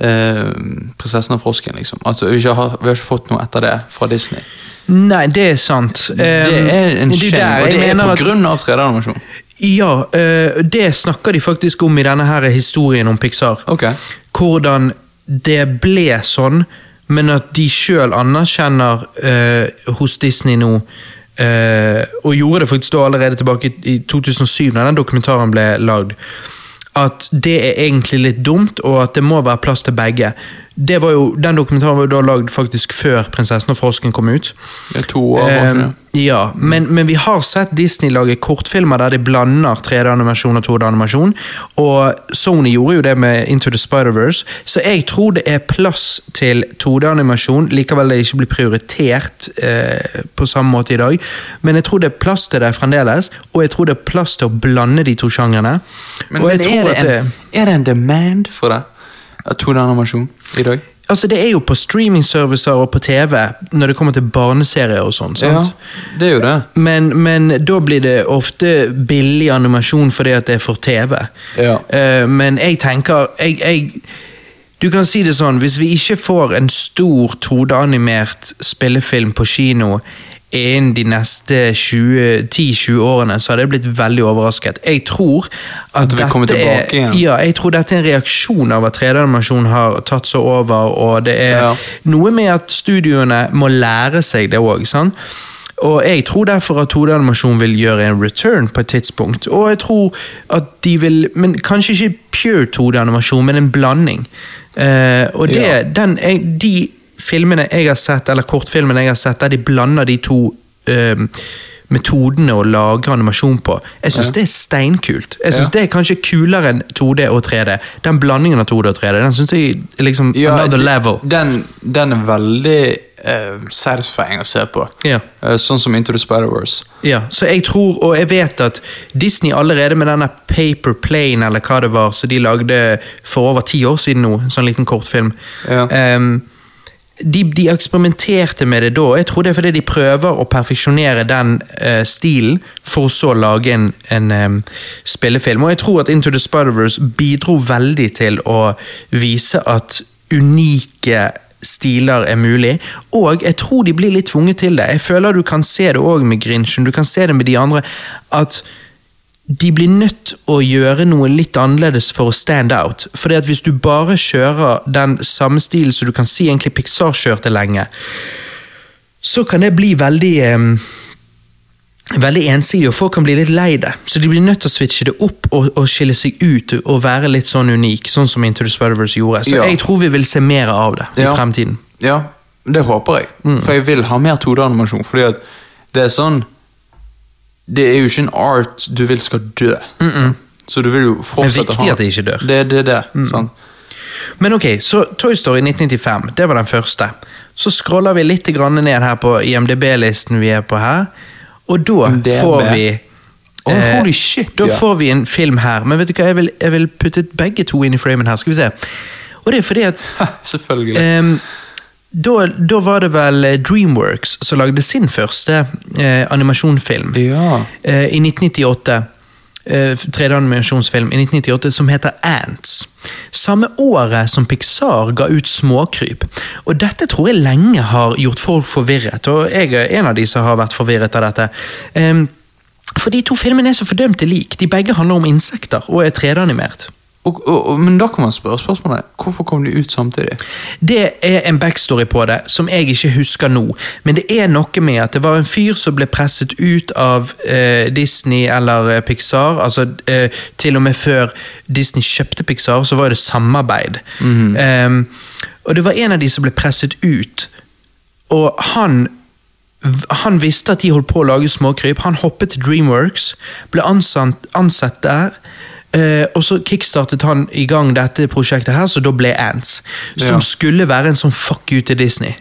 Speaker 2: eh, 'Prinsessen og frosken'. liksom. Altså, vi, ikke har, vi har ikke fått noe etter det fra Disney.
Speaker 1: Nei, det er sant.
Speaker 2: Um, det er en shame, og det er på
Speaker 1: grunn
Speaker 2: grunn av 3D-animasjon.
Speaker 1: Ja, eh, det snakker de faktisk om i denne her historien om Pixar.
Speaker 2: Ok.
Speaker 1: Hvordan det ble sånn, men at de sjøl anerkjenner eh, hos Disney nå eh, Og gjorde det faktisk da allerede tilbake i- i 2007, da den dokumentaren ble lagd. At det er egentlig litt dumt, og at det må være plass til begge. Det var jo, den dokumentaren var jo da lagd faktisk før 'Prinsessen og frosken' kom ut.
Speaker 2: Det er to år bak
Speaker 1: Ehm,
Speaker 2: det.
Speaker 1: ja, men, men vi har sett Disney lage kortfilmer der de blander 3D-animasjon og 2D-animasjon. Og Sony gjorde jo det med Into the Spider-Verse, så jeg tror det er plass til 2D-animasjon. Likevel det ikke blir prioritert eh, på samme måte i dag. Men jeg tror det er plass til det fremdeles, og jeg tror det er plass til å blande de to sjangrene.
Speaker 2: Men,
Speaker 1: og jeg
Speaker 2: men
Speaker 1: tror
Speaker 2: er,
Speaker 1: at
Speaker 2: det en, er det en demand for det? Av 2D-animasjon i dag?
Speaker 1: Altså, det er jo på streamingservicer og på TV når det kommer til barneserier og sånn. sant?
Speaker 2: Ja, det er jo det.
Speaker 1: Men, men da blir det ofte billig animasjon fordi at det er for TV.
Speaker 2: Ja.
Speaker 1: Eh, men jeg tenker jeg, jeg, Du kan si det sånn, hvis vi ikke får en stor 2D-animert spillefilm på kino innen de neste 20 10-20 årene, så hadde jeg blitt veldig overrasket. Jeg tror at,
Speaker 2: At vi kommer
Speaker 1: dette er,
Speaker 2: tilbake igjen.
Speaker 1: Ja, jeg tror dette er en reaksjon av at 3D-animasjon har tatt seg over, og det er
Speaker 2: Ja.
Speaker 1: noe med at studioene må lære seg det òg. Og jeg tror derfor at 2D-animasjon vil gjøre en return på et tidspunkt. Og jeg tror at de vil Men kanskje ikke pure 2D-animasjon, men en blanding. Eh, og det,
Speaker 2: Ja.
Speaker 1: den, jeg, de filmene jeg har sett, eller kortfilmene jeg har sett, der de blander de to eh, metodene å lage animasjon på, jeg syns det er steinkult. Jeg synes
Speaker 2: Ja.
Speaker 1: Det er kanskje kulere enn 2D og 3D. Den blandingen av 2D og 3D, den syns jeg er liksom another
Speaker 2: de-
Speaker 1: level.
Speaker 2: Den, den er veldig eh, satisfying å se på.
Speaker 1: Ja.
Speaker 2: Eh, sånn som Into the Spider-Wars.
Speaker 1: Ja, så jeg tror, og jeg vet at Disney allerede med denne Paper Plane, eller hva det var, som de lagde for over ti år siden nå, en sånn liten kortfilm
Speaker 2: Ja.
Speaker 1: ehm, de, de eksperimenterte med det da, og jeg tror det er fordi de prøver å perfeksjonere den eh, stilen, for så å lage en, en ehm, spillefilm. Og jeg tror at Into the Spider-Verse bidro veldig til å vise at unike stiler er mulig, og jeg tror de blir litt tvunget til det. Jeg føler du kan se det òg med Grinchen, du kan se det med de andre, at de blir nødt å gjøre noe litt annerledes for å stand out. Fordi at hvis du bare kjører den samme stilen som du kan si egentlig Pixar kjørte lenge, så kan det bli veldig em, Veldig ensidig, og folk kan bli litt lei det. Så de blir nødt til å switche det opp og, og skille seg ut og være litt sånn unik, sånn som Into the Spider-Verse gjorde. Så
Speaker 2: Ja.
Speaker 1: jeg tror vi vil se mer av det i
Speaker 2: Ja.
Speaker 1: fremtiden. Mm.
Speaker 2: Ja, det håper jeg. For jeg vil ha mer 2D-animasjon. Fordi at det er sånn Det er jo ikke en art du vil skal dø. Så du vil jo fortsette
Speaker 1: viktig at det ikke dør. Mm.
Speaker 2: Det er det. det sant? [laughs]
Speaker 1: Men ok, så Toy Story 1995, det var den første. Så scroller vi litt grann ned her på IMDb-listen vi er på her, og da
Speaker 2: IMDb.
Speaker 1: får vi eh,
Speaker 2: Oh, holy shit,
Speaker 1: Da
Speaker 2: ja.
Speaker 1: får vi en film her, men vet du hva, jeg vil, jeg vil putte begge to inn i framen her, skal vi se. Og det er fordi at
Speaker 2: Selvfølgelig.
Speaker 1: Ehm, da, da var det vel eh, Dreamworks som lagde sin første eh, animasjonfilm.
Speaker 2: Ja.
Speaker 1: Eh, I 1998. Eh, tredje animasjonsfilm i 1998 som heter Ants. Samme året som Pixar ga ut Småkryp. Og dette tror jeg lenge har gjort folk forvirret, og jeg er en av de som har vært forvirret av dette. Ehm, for de to filmene er så fordømte lik. De begge handler om insekter og er 3D-animert.
Speaker 2: Og, og, og, men da kan man spørre spørsmålet hvorfor kom de ut samtidig.
Speaker 1: Det er en backstory på det som jeg ikke husker nå, men det er noe med at det var en fyr som ble presset ut av eh, Disney eller eh, Pixar. Altså eh, til og med før Disney kjøpte Pixar, så var det samarbeid. Ehm, og det var en av de som ble presset ut, og han han visste at de holdt på å lage småkryp. Han hoppet til Dreamworks, ble ansatt, ansatt der. eh, og så kickstartet han i gang dette prosjektet her, så da ble Ants. Som
Speaker 2: Ja.
Speaker 1: skulle være en sånn fuck you til Disney.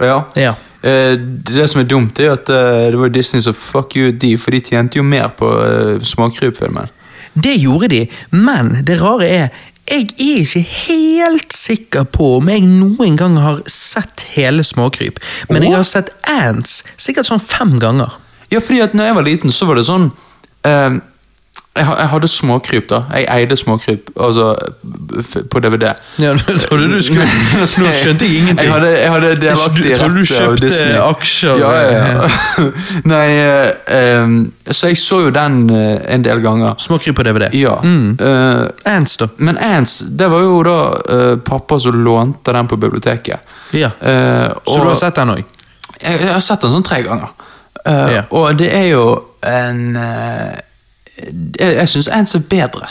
Speaker 2: Ja.
Speaker 1: Ja.
Speaker 2: Eh, det som er dumt, er at eh, det var Disney som fuck you de, for de tjente jo mer på eh, småkrypfilmen.
Speaker 1: Det gjorde de, men det rare er jeg er ikke helt sikker på om jeg noen gang har sett hele Småkryp, men jeg har sett Ants sikkert sånn fem ganger.
Speaker 2: Ja, fordi at når jeg var liten, så var det sånn eh, jeg, ha- jeg hadde småkryp, da. Jeg eide småkryp altså, f- på DVD.
Speaker 1: Ja, nå [laughs] trodde du
Speaker 2: [laughs]
Speaker 1: skulle- nå skjønte jeg ingenting.
Speaker 2: Jeg hadde, jeg hadde delaktig
Speaker 1: Jeg trodde du
Speaker 2: rett eh, av
Speaker 1: kjøpte
Speaker 2: Disney.
Speaker 1: aksjer.
Speaker 2: Ja, ja, ja. [laughs] Nei, eh, eh, så jeg så jo den eh, en del ganger.
Speaker 1: Småkryp på DVD.
Speaker 2: Ja.
Speaker 1: Mm.
Speaker 2: eh,
Speaker 1: Ants, da.
Speaker 2: men Ants, det var jo da eh, pappa som lånte den på biblioteket.
Speaker 1: Ja.
Speaker 2: Eh,
Speaker 1: Så
Speaker 2: og-
Speaker 1: du har sett den òg?
Speaker 2: jeg, jeg har sett den sånn tre ganger. Eh,
Speaker 1: Ja.
Speaker 2: Og det er jo en eh, Jeg, jeg syns Ants er bedre.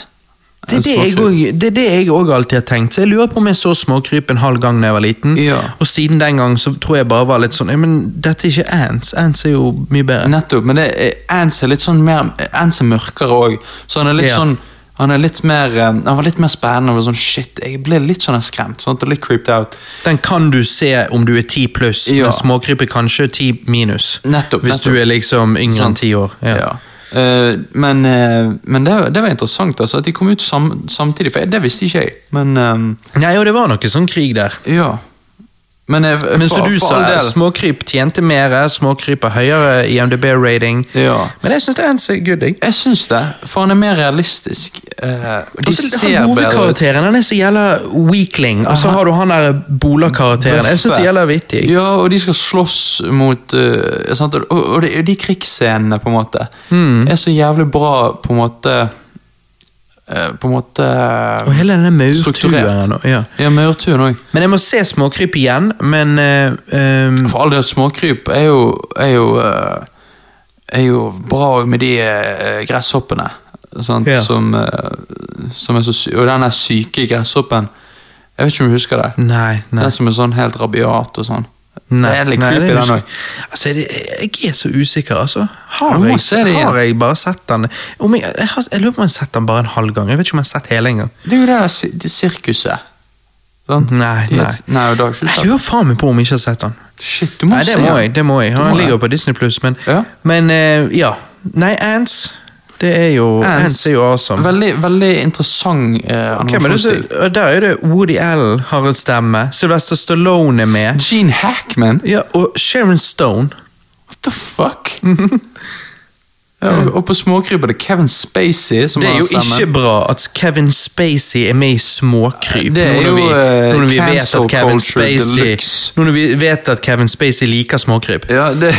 Speaker 1: Det er
Speaker 2: enn
Speaker 1: det, jeg
Speaker 2: Småkryp.
Speaker 1: også, det er det jeg òg alltid har tenkt. Så Jeg lurer på om jeg så Småkryp en halv gang da jeg var liten.
Speaker 2: Ja.
Speaker 1: Og siden den gang så tror jeg bare var litt sånn «Ja, Men dette er ikke Ants. Ants er jo mye bedre.
Speaker 2: Nettopp, men det, er- Ants er litt sånn mer Ants er mørkere òg, så han er litt
Speaker 1: Ja.
Speaker 2: sånn han er litt mer, eh, han var litt mer spennende. og sånn, shit, Jeg ble litt sånn skremt. Sant? og Litt creeped out.
Speaker 1: Den kan du se om du er ti pluss,
Speaker 2: Ja.
Speaker 1: men Småkryp er kanskje ti minus.
Speaker 2: Nettopp,
Speaker 1: Hvis
Speaker 2: nettopp.
Speaker 1: du er liksom yngre enn
Speaker 2: Sant.
Speaker 1: ti år. Ja.
Speaker 2: Ja. Eh, men eh, men det, det var interessant altså, at de kom ut sam, samtidig, for det visste ikke jeg. Men eh,
Speaker 1: Nei, og det var noe sånn krig der.
Speaker 2: ja. Men, eh,
Speaker 1: Men
Speaker 2: for-
Speaker 1: som du
Speaker 2: for all
Speaker 1: sa,
Speaker 2: del-
Speaker 1: Småkryp tjente mer, Småkryp har høyere IMDb-rating.
Speaker 2: Ja.
Speaker 1: Men jeg syns Ants er good, jeg.
Speaker 2: Jeg syns det, for han er mer realistisk. Eh, de
Speaker 1: Og så
Speaker 2: ser
Speaker 1: han
Speaker 2: bedre ut.
Speaker 1: Altså, Hovedkarakteren han er så jævla weakling, og så har du han der Bola-karakteren. Jeg synes det gjelder vittig.
Speaker 2: Ja, og de skal slåss mot eh, sant? Og, og de, de krigsscenene, på en måte,
Speaker 1: Hmm.
Speaker 2: er så jævlig bra, på en måte eh, På en måte
Speaker 1: Og hele denne maurtuen.
Speaker 2: Strukturert.
Speaker 1: Ja.
Speaker 2: Ja, Maurtuen òg.
Speaker 1: Men jeg må se Småkryp igjen, men eh, ehm,
Speaker 2: For all del, småkryp er jo Er jo, eh, er jo bra med de eh, gresshoppene. Sant?
Speaker 1: Ja.
Speaker 2: Som, eh, som er så sy og den der syke gresshoppen. Jeg vet ikke om du husker det?
Speaker 1: Nei, nei.
Speaker 2: Den som er sånn helt rabiat og sånn.
Speaker 1: nei,
Speaker 2: det er litt
Speaker 1: nei,
Speaker 2: creepy,
Speaker 1: det
Speaker 2: den
Speaker 1: husker-
Speaker 2: òg.
Speaker 1: Altså, jeg, jeg er så usikker, altså.
Speaker 2: Ja,
Speaker 1: Har
Speaker 2: du må
Speaker 1: jeg,
Speaker 2: se det igjen.
Speaker 1: har jeg bare sett den om jeg, jeg, har, jeg lurer på om jeg har sett den bare en halv gang. Jeg vet ikke om jeg har sett hele engang.
Speaker 2: Det er jo det der si- det sirkuset. Sant?
Speaker 1: Nei,
Speaker 2: De-
Speaker 1: nei.
Speaker 2: nei og da har du ikke
Speaker 1: Jeg
Speaker 2: sett
Speaker 1: lurer faen meg på om jeg ikke har sett den.
Speaker 2: Shit, du må
Speaker 1: Nei,
Speaker 2: se
Speaker 1: det må
Speaker 2: den.
Speaker 1: jeg. det må jeg. Han
Speaker 2: må
Speaker 1: ligger
Speaker 2: det.
Speaker 1: på Disney Pluss, men,
Speaker 2: Ja.
Speaker 1: men eh, ja. Nei, Ants det er jo Ants, er jo awesome.
Speaker 2: Veldig, veldig interessant eh,
Speaker 1: Ok, men du, ser-
Speaker 2: animasjonsstil.
Speaker 1: og der er det Woody Allen har en stemme. Sylvester Stallone er med.
Speaker 2: Gene Hackman?
Speaker 1: Ja, og Sharon Stone.
Speaker 2: What
Speaker 1: [laughs]
Speaker 2: the fuck? ja, og, og på småkryp er det Kevin Spacey som
Speaker 1: Det er
Speaker 2: har
Speaker 1: jo
Speaker 2: stemmen.
Speaker 1: ikke bra at Kevin Spacey er med i Småkryp.
Speaker 2: Det er
Speaker 1: nå når
Speaker 2: jo,
Speaker 1: vi,
Speaker 2: eh,
Speaker 1: nå når vi vet
Speaker 2: cancel
Speaker 1: at Kevin
Speaker 2: culture
Speaker 1: Spacey
Speaker 2: deluxe.
Speaker 1: Nå når vi vet at Kevin Spacey liker Småkryp,
Speaker 2: Ja, det...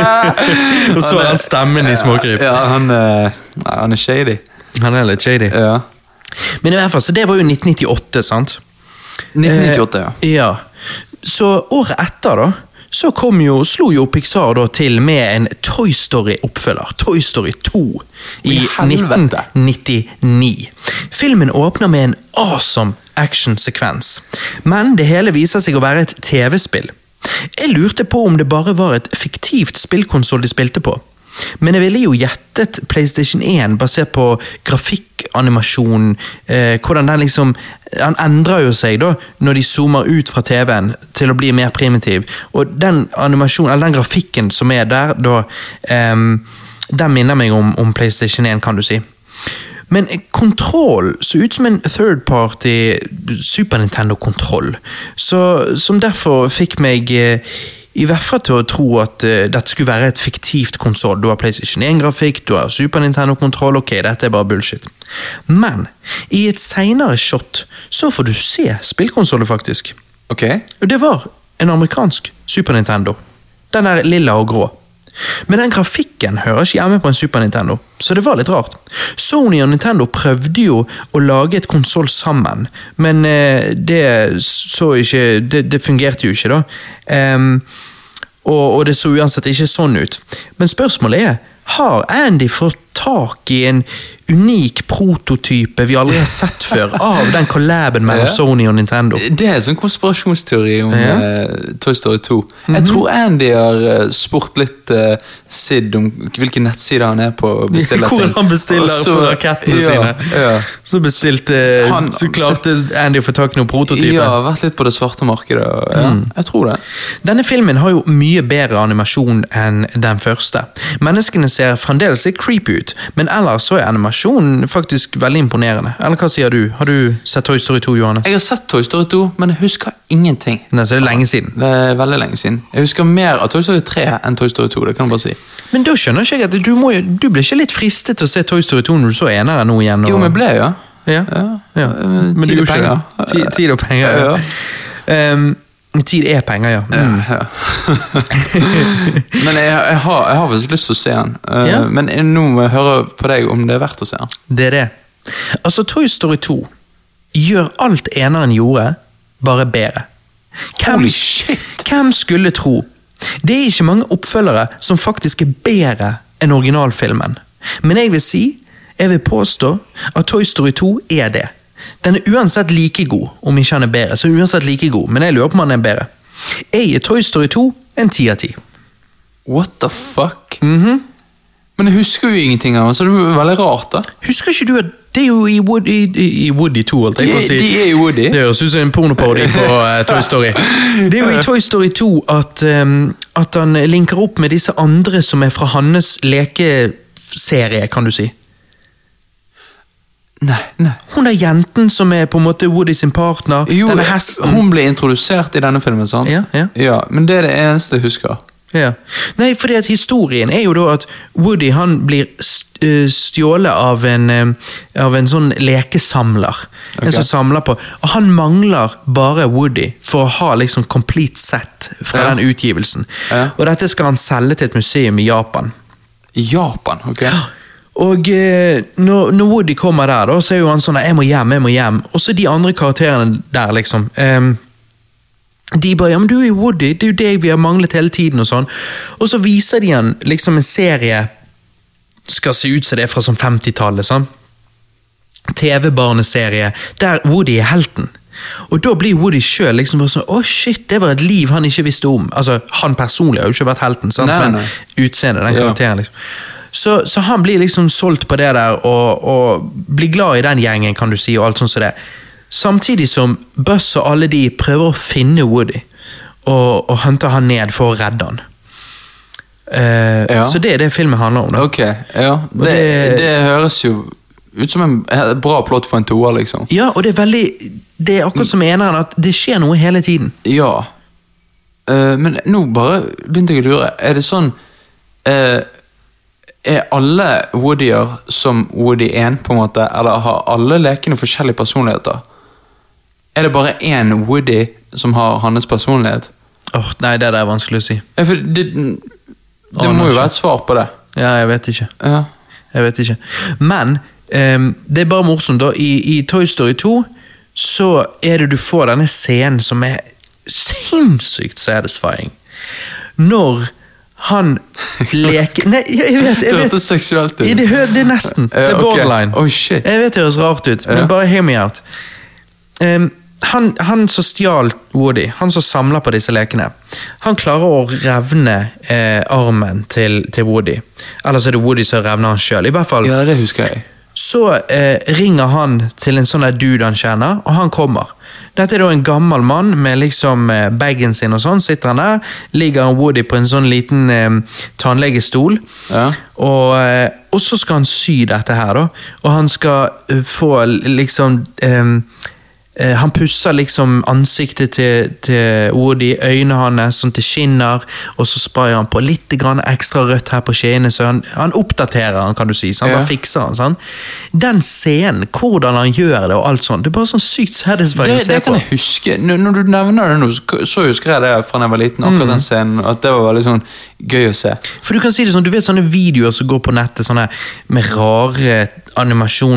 Speaker 1: [laughs] og så
Speaker 2: Han
Speaker 1: har
Speaker 2: er-
Speaker 1: han stemmen i Småkryp.
Speaker 2: Ja, han, eh, nei, han er shady.
Speaker 1: Han er litt shady.
Speaker 2: Ja.
Speaker 1: Men i hvert fall, så det var jo 1998, sant?
Speaker 2: 1998, ja.
Speaker 1: Eh, ja. Så året etter, da, så kom jo, slo jo Pixar da til med en Toy Story-oppfølger. Toy Story 2 i
Speaker 2: I helvete.
Speaker 1: 1999. Filmen åpner med en awesome actionsekvens, men det hele viser seg å være et TV-spill. Jeg lurte på om det bare var et fiktivt spillkonsoll de spilte på. Men jeg ville jo gjettet PlayStation 1 basert på grafikkanimasjon. Eh, hvordan den liksom Den endrer jo seg da når de zoomer ut fra TV-en til å bli mer primitiv. Og den animasjonen, eller den grafikken som er der, da ehm, Den minner meg om, om PlayStation 1, kan du si. Men kontroll så ut som en third party Super Nintendo-kontroll. Så- Som derfor fikk meg eh, i hvert fall til å tro at eh, dette skulle være et fiktivt konsoll. Du har PlayStation 1-grafikk, du har Super Nintendo-kontroll. Ok, dette er bare bullshit. Men i et seinere shot så får du se spillkonsollet, faktisk.
Speaker 2: Ok.
Speaker 1: Og det var en amerikansk Super Nintendo. Den er lilla og grå. Men den grafikken hører ikke hjemme på en Super Nintendo, så det var litt rart. Sony og Nintendo prøvde jo å lage et konsoll sammen, men eh, det så ikke Det, det fungerte jo ikke, da. Ehm, og, og det så uansett ikke sånn ut. Men spørsmålet er, har Andy fått tak i en unik prototype vi aldri har sett før, av den collaben mellom
Speaker 2: Ja.
Speaker 1: Sony og Nintendo?
Speaker 2: Det er en sånn konspirasjonsteori om
Speaker 1: Ja. Mhm.
Speaker 2: eh, Toy Story 2. Jeg tror Andy har eh, spurt litt eh, Sid om hvilken nettside han er på
Speaker 1: [laughs]
Speaker 2: å bestille
Speaker 1: Hvordan han bestiller
Speaker 2: Og så-
Speaker 1: for rakettene
Speaker 2: ja,
Speaker 1: sine.
Speaker 2: Ja.
Speaker 1: Så bestilte
Speaker 2: Han-
Speaker 1: Så klarte Andy å få tak i noen prototyper.
Speaker 2: ja, vært litt på det svarte markedet. og- Ja,
Speaker 1: Mhm.
Speaker 2: Jeg tror det.
Speaker 1: Denne filmen har jo mye bedre animasjon enn den første. Menneskene ser fremdeles litt creepy ut, men ellers så er animasjonen faktisk veldig imponerende. Eller hva sier du? Har du sett Toy Story 2, Johanne?
Speaker 2: Jeg har sett Toy Story 2, men jeg husker ingenting.
Speaker 1: Nei, så det er lenge siden.
Speaker 2: Det er veldig lenge siden. Jeg husker mer av Toy Story 3 enn Toy Story 2. det kan jeg bare si.
Speaker 1: Men da skjønner ikke jeg at du, må, jo- du blir ikke litt fristet til å se Toy Story 2 når du så enere nå igjen? og-
Speaker 2: Jo, men ble ja.
Speaker 1: Ja.
Speaker 2: Ja.
Speaker 1: ja.
Speaker 2: Eh,
Speaker 1: Men
Speaker 2: tid
Speaker 1: du
Speaker 2: og
Speaker 1: gjorde ikke det.
Speaker 2: penger.
Speaker 1: Ti- Tid og penger, ja. Ehm, tid er penger, ja. Mm.
Speaker 2: Ja. [laughs] men jeg, jeg, har, jeg har faktisk lyst til å se den. Eh,
Speaker 1: Ja.
Speaker 2: Men jeg- nå må jeg høre på deg om det er verdt å se den.
Speaker 1: Det er det. Altså, Toy Story 2 gjør alt eneren gjorde, bare bedre.
Speaker 2: Holy shit!
Speaker 1: hvem skulle tro? Det er ikke mange oppfølgere som faktisk er bedre enn originalfilmen. Men jeg vil si, jeg vil påstå, at Toy Story 2 er det. Den er uansett like god, om ikke han er bedre. Så uansett like god, men jeg lurer på om han er bedre. Jeg gir Toy Story 2 en ti av ti.
Speaker 2: What the fuck? Mhm. Men jeg husker jo ingenting av den, så det er veldig rart. da
Speaker 1: Husker ikke du at det er jo i Woody, i, i Woody 2, holdt jeg på å si.
Speaker 2: De- de er i Woody.
Speaker 1: Det høres ut som en pornoparodi
Speaker 2: [laughs]
Speaker 1: på eh, Toy Story. Det er jo i Toy Story 2 at, eh, at han linker opp med disse andre som er fra hans lekeserie, kan du si.
Speaker 2: Nei, nei.
Speaker 1: Hun der jenten som er på en måte Woody sin partner,
Speaker 2: Jo,
Speaker 1: denne hesten.
Speaker 2: hun ble introdusert i denne filmen, sant?
Speaker 1: Ja, ja.
Speaker 2: Men det er det eneste jeg husker.
Speaker 1: Ja. Nei, fordi at historien er jo da at Woody han blir st- eh, stjålet av en, eh, av en sånn lekesamler. En
Speaker 2: Ok.
Speaker 1: som samler på. Og han mangler bare Woody for å ha liksom complete set fra
Speaker 2: Ja.
Speaker 1: den utgivelsen.
Speaker 2: Ja.
Speaker 1: Og dette skal han selge til et museum i Japan.
Speaker 2: I Japan, ok?
Speaker 1: Og eh, når, når Woody kommer der, da, så er jo han sånn 'jeg må hjem', 'jeg må hjem'. Og så de andre karakterene der, liksom. ehm, de bare 'ja, men du er jo Woody, det er jo deg vi har manglet hele tiden', og sånn. Og så viser de han liksom en serie skal se ut som det er fra sånn 50-tallet, sånn. TV-barneserie, der Woody er helten. Og da blir Woody sjøl liksom bare sånn Å, shit, det var et liv han ikke visste om. Altså, han personlig har jo ikke vært helten, sant?
Speaker 2: Nei, nei, nei.
Speaker 1: men utseendet, den
Speaker 2: Ja.
Speaker 1: karakteren, liksom. Så, så han blir liksom solgt på det der, og, og blir glad i den gjengen, kan du si, og alt sånt som det. Samtidig som Buzz og alle de prøver å finne Woody, og, og hunter han ned for å redde han. Eh,
Speaker 2: Ja.
Speaker 1: Så det er det filmen handler om. da.
Speaker 2: Ok, ja. Det,
Speaker 1: det-
Speaker 2: det høres jo ut som en he- bra plott for en toer, liksom.
Speaker 1: Ja, og det er veldig Det er akkurat som eneren, at det skjer noe hele tiden.
Speaker 2: Ja. Eh, men nå bare begynte jeg å lure. Er det sånn eh, Er alle Woodyer som Woody 1, på en måte? Eller har alle lekene forskjellige personligheter? Er det bare én Woody som har hans personlighet?
Speaker 1: Åh, Nei, det der er vanskelig å si.
Speaker 2: Ja, for det, det
Speaker 1: Aner
Speaker 2: må jo
Speaker 1: ikke.
Speaker 2: være et svar på det.
Speaker 1: Ja, jeg vet ikke.
Speaker 2: [laughs] Ja.
Speaker 1: Jeg vet ikke. Men ehm, det er bare morsomt, da. I, I Toy Story 2 så er det du får denne scenen som er sinnssykt satisfying. Når
Speaker 2: [laughs]
Speaker 1: han leker Nei, jeg jeg vet, jeg
Speaker 2: Det
Speaker 1: vet.
Speaker 2: hørtes seksuelt ut.
Speaker 1: Ja, Det, hø- det er nesten. Det
Speaker 2: Ja,
Speaker 1: er
Speaker 2: ok.
Speaker 1: borderline.
Speaker 2: Oh, shit.
Speaker 1: Jeg vet det høres rart ut, men
Speaker 2: Ja.
Speaker 1: bare hear me out. Ehm, han, han som stjal Woody, han som samler på disse lekene, han klarer å revne eh, armen til, til Woody. Eller så er det Woody som revner han sjøl. I hvert fall
Speaker 2: ja, det husker jeg.
Speaker 1: så eh, ringer han til en sånn der dude han kjenner, og han kommer. Dette er da en gammel mann med liksom eh, bagen sin og sånn. Sitter han der, ligger han Woody på en sånn liten eh, tannlegestol.
Speaker 2: Ja.
Speaker 1: Og, eh, og så skal han sy dette her, da. Og han skal eh, få liksom eh, Eh, han pusser liksom ansiktet til, til Woody, øynene hans, sånn til skinner, og så sprayer han på litt grann ekstra rødt her på skjeene, så han, han oppdaterer han, kan du si. Sant?
Speaker 2: Ja.
Speaker 1: Han fikser han, sant? Den scenen, hvordan han gjør det og alt sånt, det er bare sånn sykt satisfying
Speaker 2: Det,
Speaker 1: å se
Speaker 2: det kan
Speaker 1: på.
Speaker 2: jeg huske. Når, når du nevner det nå, så- så husker jeg det fra da jeg var liten. akkurat den scenen, At det var veldig sånn gøy å se.
Speaker 1: For du kan si det sånn, du vet sånne videoer som går på nettet, sånne med rare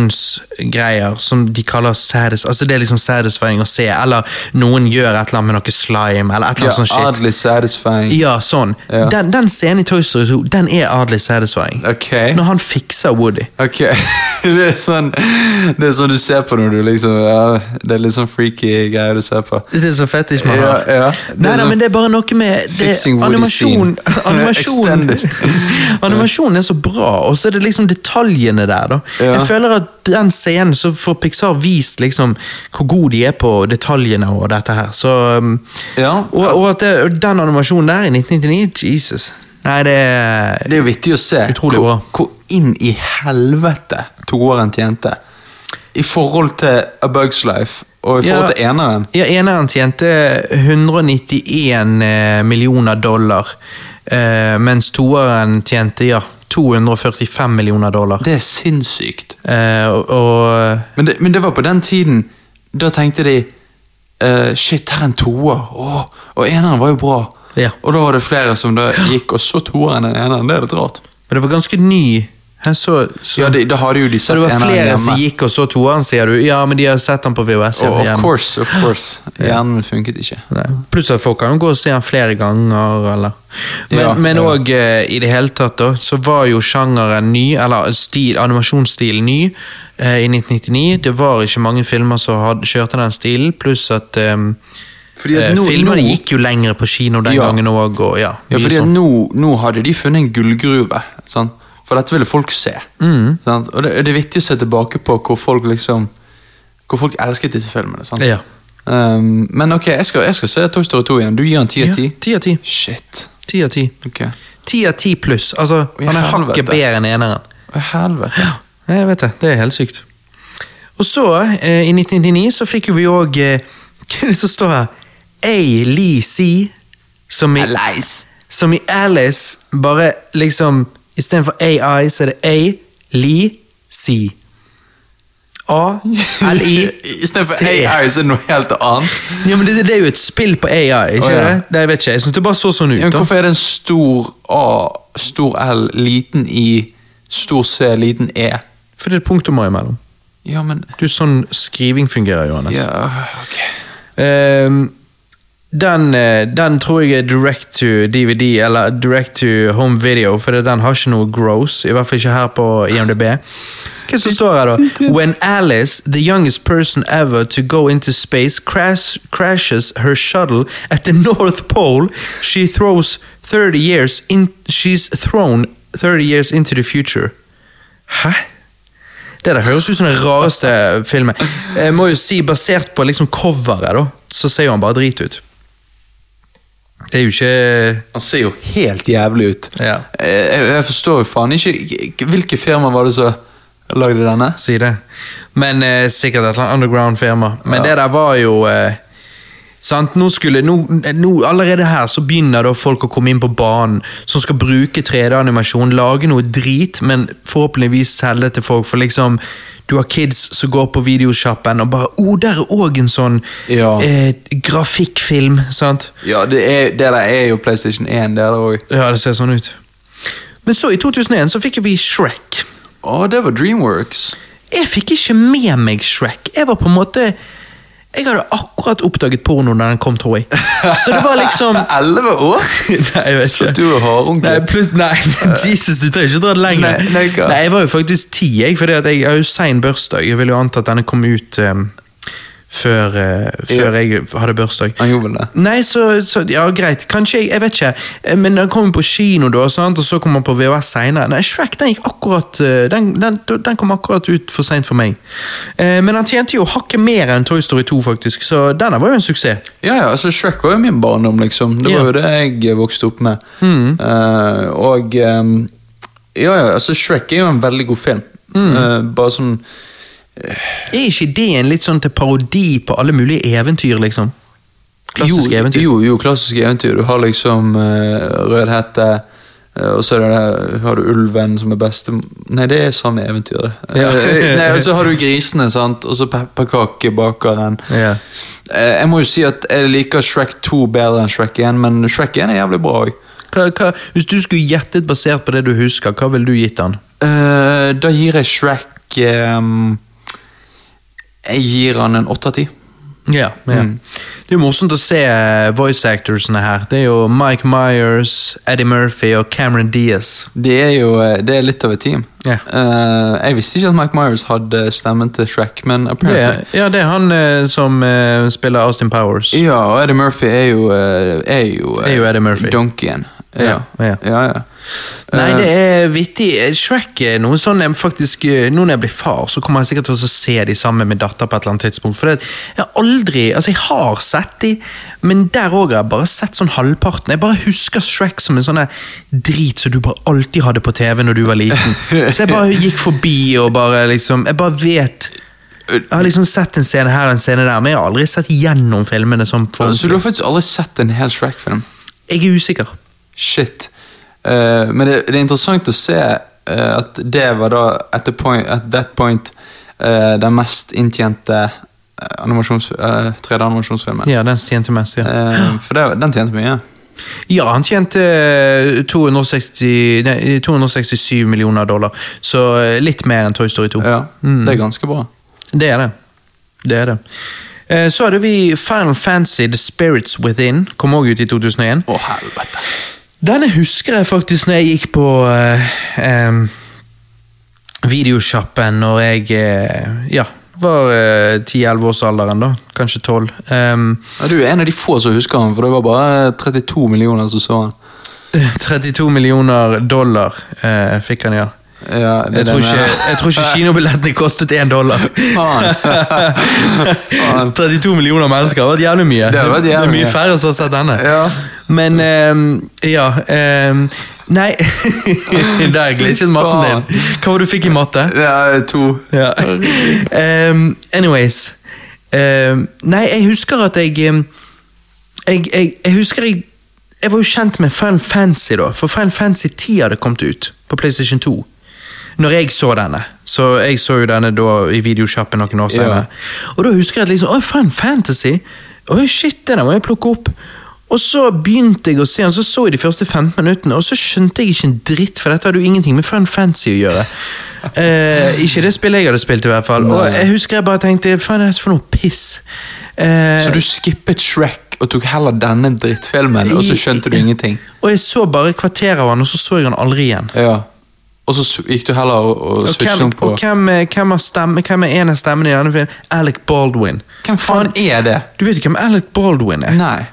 Speaker 1: animasjonsgreier som de kaller satis... Altså det er liksom satisfying å se, eller noen gjør et eller annet med noe slime, eller et eller
Speaker 2: Ja,
Speaker 1: annet sånt shit.
Speaker 2: Oddly satisfying.
Speaker 1: Ja, sånn.
Speaker 2: Ja.
Speaker 1: Den, den scenen i Toy Story 2, den er adelig satisfying.
Speaker 2: Ok.
Speaker 1: Når han fikser Woody.
Speaker 2: Ok, [laughs] det er, sånn, det er sånn du ser på når du liksom ja, Det er litt sånn freaky greier du ser på.
Speaker 1: Det er så fetisj man
Speaker 2: Ja,
Speaker 1: har.
Speaker 2: ja.
Speaker 1: Nei,
Speaker 2: Det er
Speaker 1: nei,
Speaker 2: sånn
Speaker 1: men det er bare noe med det,
Speaker 2: fixing Woody [laughs]
Speaker 1: animasjon,
Speaker 2: scene.
Speaker 1: animasjon,
Speaker 2: Extended.
Speaker 1: [laughs] animasjon er så bra, og så er det liksom detaljene der. da.
Speaker 2: Ja.
Speaker 1: Jeg føler at den scenen så får Pixar vist liksom hvor gode de er på detaljene og dette her. Så, um,
Speaker 2: Ja.
Speaker 1: og, og at det, og den animasjonen der i 1999, Jesus. Nei, det er
Speaker 2: Det er jo vittig å se
Speaker 1: Utrolig
Speaker 2: hvor,
Speaker 1: bra.
Speaker 2: hvor inn i helvete toeren tjente. I forhold til A Bugs Life og i
Speaker 1: Ja.
Speaker 2: forhold til eneren.
Speaker 1: Ja, eneren tjente 191 eh, millioner dollar, eh, mens toeren tjente ja, 245 millioner dollar.
Speaker 2: Det er sinnssykt.
Speaker 1: Eh, og, og
Speaker 2: Men det, men det var på den tiden Da tenkte de eh, Shit, her er en toer. Åh, Og eneren var jo bra.
Speaker 1: Ja.
Speaker 2: Og da var det flere som da gikk og så toeren enn eneren. Det er litt rart.
Speaker 1: Men det var ganske ny. Jeg så, så,
Speaker 2: Ja, det, da hadde jo de
Speaker 1: så
Speaker 2: sett
Speaker 1: det var
Speaker 2: eneren
Speaker 1: flere
Speaker 2: hjemme.
Speaker 1: som gikk og så toeren, sier du? Ja, men de har sett den på VHS. ja,
Speaker 2: Og of
Speaker 1: hjemme.
Speaker 2: course, of course. Hjernen min funket ikke.
Speaker 1: Nei. Pluss at folk kan jo gå og se den flere ganger, eller
Speaker 2: Ja,
Speaker 1: Men
Speaker 2: ja.
Speaker 1: òg i det hele tatt, da, så var jo sjangeren ny, eller stil, animasjonsstilen ny eh, i 1999. Det var ikke mange filmer som hadde, kjørte den stilen, pluss at, um,
Speaker 2: Fordi at
Speaker 1: eh,
Speaker 2: nå-
Speaker 1: filmene
Speaker 2: nå-
Speaker 1: gikk jo lengre på kino den
Speaker 2: Ja.
Speaker 1: gangen òg, og ja.
Speaker 2: Ja,
Speaker 1: mye
Speaker 2: fordi at
Speaker 1: sånn.
Speaker 2: nå, nå hadde de funnet en gullgruve. sant? For dette ville folk se.
Speaker 1: Mm.
Speaker 2: sant? Og det, det er viktig å se tilbake på hvor folk liksom Hvor folk elsket disse filmene. sant?
Speaker 1: Ja.
Speaker 2: Um, men ok, jeg skal, jeg skal se Toy Story 2 igjen. Du gir han 10 av 10?
Speaker 1: Ja, Ti av ti.
Speaker 2: Shit.
Speaker 1: Ti av ti.
Speaker 2: Ok.
Speaker 1: Ti av ti pluss. Altså,
Speaker 2: i
Speaker 1: han er hakket
Speaker 2: helvete.
Speaker 1: bedre enn eneren.
Speaker 2: Å,
Speaker 1: [gasps]
Speaker 2: helvete.
Speaker 1: Ja, jeg vet det. Det er helt sykt. Og så, eh, i 1999, så fikk jo vi òg eh, [laughs] Hva er det som står her? A-Lee-C, som, i-
Speaker 2: Leis.
Speaker 1: som i Alice, bare liksom Istedenfor AI, så er det A-Lee-C.
Speaker 2: [laughs] Istedenfor
Speaker 1: A-L-I-C.
Speaker 2: AI, så er det noe helt annet.
Speaker 1: Ja, men det, det er jo et spill på AI, ikke
Speaker 2: Å, ja.
Speaker 1: det? Nei, jeg vet ikke. Jeg syns det bare så sånn ut.
Speaker 2: Ja, men
Speaker 1: da.
Speaker 2: hvorfor er det en stor A, stor L, liten I, stor C, liten E?
Speaker 1: For det er punktummer imellom.
Speaker 2: Ja, men
Speaker 1: Du, sånn skriving fungerer, Johannes.
Speaker 2: Ja, ok.
Speaker 1: Ehm, den, eh, den tror jeg er direct to DVD, eller direct to home video, for den har ikke noe gross, i hvert fall ikke her på IMDb. Hva som står her da? When Alice, the youngest person ever to go into space, crash, crashes her shuttle at the North Pole, she throws 30 years in, she's thrown 30 years into the future. Hæ? Det der høres ut som den rareste filmen. Jeg må jo si, basert på liksom coveret, da, så ser jo han bare drit ut. Det er jo ikke
Speaker 2: Han ser jo helt jævlig ut.
Speaker 1: Ja.
Speaker 2: Eh, Jeg, jeg forstår jo faen ikke Hvilke firma var det som lagde denne?
Speaker 1: Si det. Men eh, sikkert et eller annet underground-firma. Men
Speaker 2: Ja.
Speaker 1: det der var jo eh, Sant? Nå skulle, nå, eh, nå, allerede her så begynner da folk å komme inn på banen som skal bruke 3D-animasjon, lage noe drit, men forhåpentligvis selge til folk. For liksom, du har kids som går på videosjappen og bare 'Å, oh, der er òg en sånn
Speaker 2: Ja.
Speaker 1: eh, grafikkfilm'. sant?
Speaker 2: Ja, det, er, det der er jo PlayStation 1, det der òg.
Speaker 1: Ja, det ser sånn ut. Men så, i 2001, så fikk vi Shrek.
Speaker 2: Å, det var Dreamworks.
Speaker 1: Jeg fikk ikke med meg Shrek. Jeg var på en måte Jeg hadde akkurat oppdaget porno da den kom, tror jeg. Så det var liksom
Speaker 2: Sånn. Elleve år?!
Speaker 1: [laughs]
Speaker 2: [laughs]
Speaker 1: Nei, jeg vet
Speaker 2: Så
Speaker 1: ikke.
Speaker 2: du er hardunkel.
Speaker 1: Nei, pluss, nei, [laughs] Jesus, du trenger ikke dra det lenger.
Speaker 2: Nei, nei, hva?
Speaker 1: jeg var jo faktisk ti, jeg, fordi at jeg har jo sein bursdag. Jeg ville jo anta at denne kom ut ehm, før, eh, før jeg hadde bursdag.
Speaker 2: Han gjorde vel det.
Speaker 1: Nei, så, så Ja, greit. Kanskje, jeg, jeg vet ikke. Eh, Men den kom på kino, da, sant? og så kom den på VHS senere. Nei, Shrek den gikk akkurat eh, Den, den, den kom akkurat ut for seint for meg. Eh, Men han tjente jo hakket mer enn Toy Story 2, faktisk, så denne var jo en suksess.
Speaker 2: Ja, ja, altså Shrek var jo min barndom, liksom. Det
Speaker 1: Ja. Mm.
Speaker 2: var jo det jeg vokste opp med. Eh, og
Speaker 1: Mm.
Speaker 2: eh, Ja, ja, altså Shrek er jo en veldig god film. Eh, bare sånn
Speaker 1: Er ikke det en litt sånn til parodi på alle mulige eventyr, liksom? Klassiske
Speaker 2: jo,
Speaker 1: eventyr.
Speaker 2: Jo, jo, klassiske eventyr. Du har liksom eh, Rødhette, eh, og så er det der, har du ulven som er beste Nei, det er samme eventyr, det. Eh, nei, og så har du grisene, sant, og så pepperkakebakeren.
Speaker 1: Ja.
Speaker 2: Eh, jeg må jo si at jeg liker Shrek 2 bedre enn Shrek 1, men Shrek 1 er jævlig bra òg.
Speaker 1: Hva, hva, hvis du skulle gjettet basert på det du husker, hva ville du gitt han?
Speaker 2: Eh, da gir jeg Shrek ehm, Jeg gir han en åtte av ti.
Speaker 1: Ja, ja. Det er jo morsomt å se eh, voice actorsene her. Det er jo Mike Myers, Eddie Murphy og Cameron Diaz.
Speaker 2: Det er jo eh, det er litt av et team.
Speaker 1: Ja.
Speaker 2: Eh, jeg visste ikke at Mike Myers hadde stemmen til Shrek, men
Speaker 1: Det
Speaker 2: apparently
Speaker 1: er, ja, det er han eh, som eh, spiller Austin Powers.
Speaker 2: Ja, og Eddie Murphy er jo eh, Er jo, eh,
Speaker 1: Er jo Eddie Murphy.
Speaker 2: donkeyen. Ja.
Speaker 1: Ja, ja.
Speaker 2: ja, ja.
Speaker 1: Nei,
Speaker 2: Eh,
Speaker 1: det er vittig. Eh, Shrek er noe sånn jeg faktisk eh, Nå når jeg blir far, så kommer jeg sikkert til å se de sammen med datter på et eller annet tidspunkt. For det, jeg har aldri Altså, jeg har sett de, men der òg har jeg bare sett sånn halvparten. Jeg bare husker Shrek som en sånn der drit som du bare alltid hadde på TV når du var
Speaker 2: [laughs]
Speaker 1: liten. Så jeg bare gikk forbi og bare liksom Jeg bare vet Jeg har liksom sett en scene her og en scene der, men jeg har aldri sett gjennom filmene sånn på
Speaker 2: Eh, Så
Speaker 1: ordentlig.
Speaker 2: du har faktisk aldri sett en hel Shrek-film?
Speaker 1: Jeg er usikker.
Speaker 2: Shit. Eh, men det, det er interessant å se eh, at det var da at, the point, at that point eh, den mest inntjente eh, animasjons, eh, 3D-animasjonsfilmen.
Speaker 1: Ja, den tjente mest, ja.
Speaker 2: Eh, for det, den tjente mye.
Speaker 1: Ja, han tjente eh, 260, nei, 267 millioner dollar, så eh, litt mer enn Toy Story 2.
Speaker 2: Ja,
Speaker 1: Mm.
Speaker 2: Det er ganske bra.
Speaker 1: Det er det. Det er det. Eh, Så hadde vi Final Fantasy The Spirits Within, kom også ut i 2001.
Speaker 2: Å, helvete.
Speaker 1: Denne husker jeg faktisk når jeg gikk på eh, em, videosjappen når jeg eh, ja, var eh, 10-11 års alderen da, kanskje 12. Em, [laughs]
Speaker 2: Ja, du er en av de få som husker han, for det var bare 32 millioner som så han.
Speaker 1: 32 millioner dollar eh, fikk han, ja.
Speaker 2: Ja, det
Speaker 1: Jeg tror,
Speaker 2: er den,
Speaker 1: ikke,
Speaker 2: eh,
Speaker 1: jeg tror ikke kinobillettene kostet én dollar.
Speaker 2: Faen. [laughs]
Speaker 1: [laughs]
Speaker 2: Faen.
Speaker 1: 32 millioner mennesker, det har vært jævlig mye.
Speaker 2: Det har vært jævlig
Speaker 1: det er mye
Speaker 2: mye.
Speaker 1: færre som har sett denne.
Speaker 2: Ja.
Speaker 1: Men ehm, ja ehm, Nei, [laughs] der glitchet matten din. Hva var det du fikk i matte?
Speaker 2: Ja, to.
Speaker 1: Ja. Ehm, anyways. Ehm, nei, jeg husker at jeg ehm, Jeg, jeg, jeg husker jeg Jeg var jo kjent med Final Fantasy, da. For Final Fantasy 10 hadde kommet ut på PlayStation 2. Når jeg så denne. Så jeg så jo denne da i videosjappen noen år senere. Og da husker jeg at liksom Å, Final Fantasy! Oi, shit, det der må jeg plukke opp. Og så begynte jeg å se den, så så jeg de første 15 minuttene, og så skjønte jeg ikke en dritt, for dette hadde jo ingenting med Final Fantasy å
Speaker 2: [laughs]
Speaker 1: gjøre. Eh, ikke det spillet jeg hadde spilt, i hvert fall. Og jeg husker jeg bare tenkte faen, er dette for noe piss? Eh,
Speaker 2: Så du skippet Shrek og tok heller denne drittfilmen, og så skjønte
Speaker 1: Eh.
Speaker 2: du ingenting?
Speaker 1: og jeg så bare kvarteret av han, og så så jeg han aldri igjen.
Speaker 2: Ja. Og så s- gikk du heller og, og
Speaker 1: Og
Speaker 2: switchet
Speaker 1: hvem,
Speaker 2: om på
Speaker 1: og hvem, eh, hvem, er stemme, hvem er en av stemmene i denne filmen? Alec Baldwin.
Speaker 2: Hvem faen er det?
Speaker 1: Du vet jo hvem Alec Baldwin er?
Speaker 2: Nei.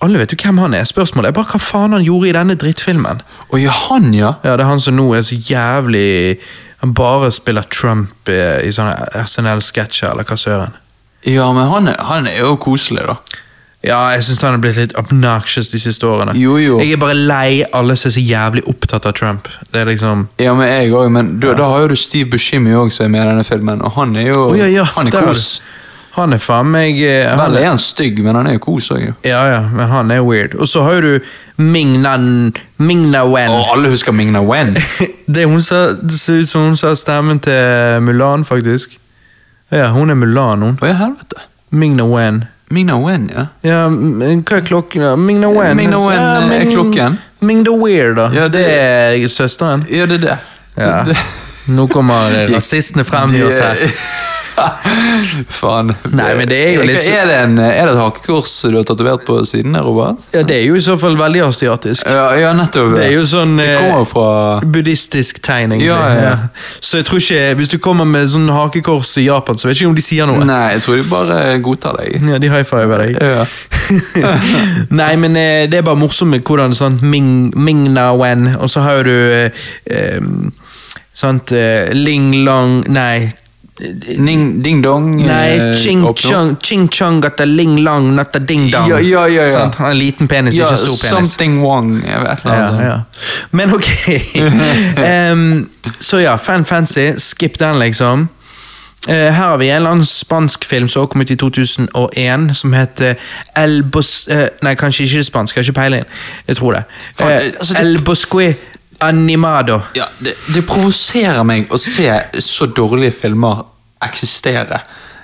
Speaker 1: Alle vet jo hvem han er. Spørsmålet er bare hva faen han gjorde i denne drittfilmen.
Speaker 2: Å ja, han, ja.
Speaker 1: Ja, Det er han som nå er så jævlig Han bare spiller Trump eh, i sånne SNL-sketsjer, eller hva søren.
Speaker 2: Ja, men han er, han er jo koselig, da.
Speaker 1: Ja, jeg syns han er blitt litt obnoxious de siste årene.
Speaker 2: Jo, jo.
Speaker 1: Jeg er bare lei alle som er så jævlig opptatt av Trump. Det er liksom
Speaker 2: Ja, men jeg òg, men du, da har jo du Steve Buscemi òg som er med i denne filmen, og han er jo
Speaker 1: Å, ja, ja,
Speaker 2: Han er
Speaker 1: der har
Speaker 2: kos.
Speaker 1: du- Han er faen meg eh, han
Speaker 2: Vel
Speaker 1: er,
Speaker 2: er han stygg, men han er jo kos òg, jo.
Speaker 1: Ja, ja, men han er weird. Og så har jo du Mingnan Mingnawen.
Speaker 2: Og alle husker Mingna
Speaker 1: [laughs]
Speaker 2: Wen.
Speaker 1: Det, er hun som- det ser ut som hun sa stemmen til Mulan, faktisk. Ja, hun er Mulan, hun.
Speaker 2: Å ja, helvete.
Speaker 1: Mingna Wen.
Speaker 2: Mingna Wen, ja.
Speaker 1: Ja, men hva er klokken? da? Mingna Wen.
Speaker 2: Mingna Wen,
Speaker 1: Ja,
Speaker 2: eh, er
Speaker 1: Ming-
Speaker 2: klokken.
Speaker 1: Mingna Weir, da.
Speaker 2: Ja, det
Speaker 1: er søsteren.
Speaker 2: Ja, det er det.
Speaker 1: Ja.
Speaker 2: [laughs] det.
Speaker 1: Nå kommer
Speaker 2: [laughs]
Speaker 1: rasistene frem i oss her.
Speaker 2: Faen.
Speaker 1: Nei, men det er jo litt så-
Speaker 2: Er det, en, er det et hakekors du har tatovert på siden der, Robert?
Speaker 1: Ja, det er jo i så fall veldig asiatisk.
Speaker 2: Ja, ja nettopp.
Speaker 1: Det er jo sånn
Speaker 2: Det
Speaker 1: eh,
Speaker 2: kommer fra
Speaker 1: buddhistisk tegn, egentlig.
Speaker 2: Ja, ja.
Speaker 1: Så jeg tror ikke, hvis du kommer med sånn hakekors i Japan, så vet jeg ikke om de sier noe.
Speaker 2: Nei, jeg tror de bare godtar deg.
Speaker 1: Ja, de high-fiver deg.
Speaker 2: Ja.
Speaker 1: [laughs] Nei, men eh, det er bare morsomt med hvordan sånn Ming, Ming Na Wen, og så har jo du eh, eh, sånt eh, Ling Long Nei.
Speaker 2: Eh, Ning, ding dong.
Speaker 1: Nei,
Speaker 2: eh,
Speaker 1: ching
Speaker 2: åpner.
Speaker 1: chong, ching chong at the ling long, not the ding dong.
Speaker 2: Ja, ja, ja, ja.
Speaker 1: Sant? Han har en liten penis,
Speaker 2: Ja,
Speaker 1: ikke en stor penis.
Speaker 2: something wong. Jeg vet, et eller annet.
Speaker 1: Ja, ja. Men
Speaker 2: [laughs]
Speaker 1: ok. Em, så ja, Fan Fancy. Skip den, liksom. Eh, her har vi en eller annen spansk film som også kom ut i 2001, som heter El Bos... eh, nei, kanskje ikke det er spansk, jeg har ikke peiling. Jeg tror det.
Speaker 2: Faen,
Speaker 1: Eh,
Speaker 2: eh, altså, det-
Speaker 1: El Bosque Animado.
Speaker 2: Ja, det, det provoserer meg å se så dårlige filmer eksistere.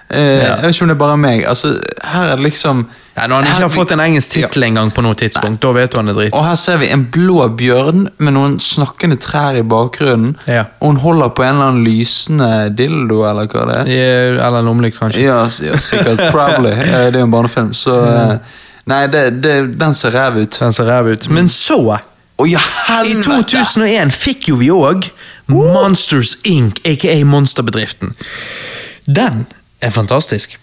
Speaker 2: Eh, Jeg vet ikke om det er bare meg. Altså, her er det liksom
Speaker 1: Ja, når han ikke
Speaker 2: her-
Speaker 1: har fått en engelsk tittel engang, på noe tidspunkt, da vet du han er drit.
Speaker 2: Og her ser vi en blå bjørn med noen snakkende trær i bakgrunnen.
Speaker 1: Ja.
Speaker 2: Og hun holder på en eller annen lysende dildo, eller hva det er.
Speaker 1: Eh, Eller en lommelykt, kanskje.
Speaker 2: Ja, s- ja sikkert.
Speaker 1: [laughs]
Speaker 2: Probably. Eh, Det er jo en barnefilm, så eh, Nei, det, det, den ser ræv ut.
Speaker 1: Den ser ræv ut. Men så
Speaker 2: Å, ja,
Speaker 1: I
Speaker 2: helvete!
Speaker 1: 2001 fikk jo vi òg Monsters Inc., aka Monsterbedriften. Den er fantastisk.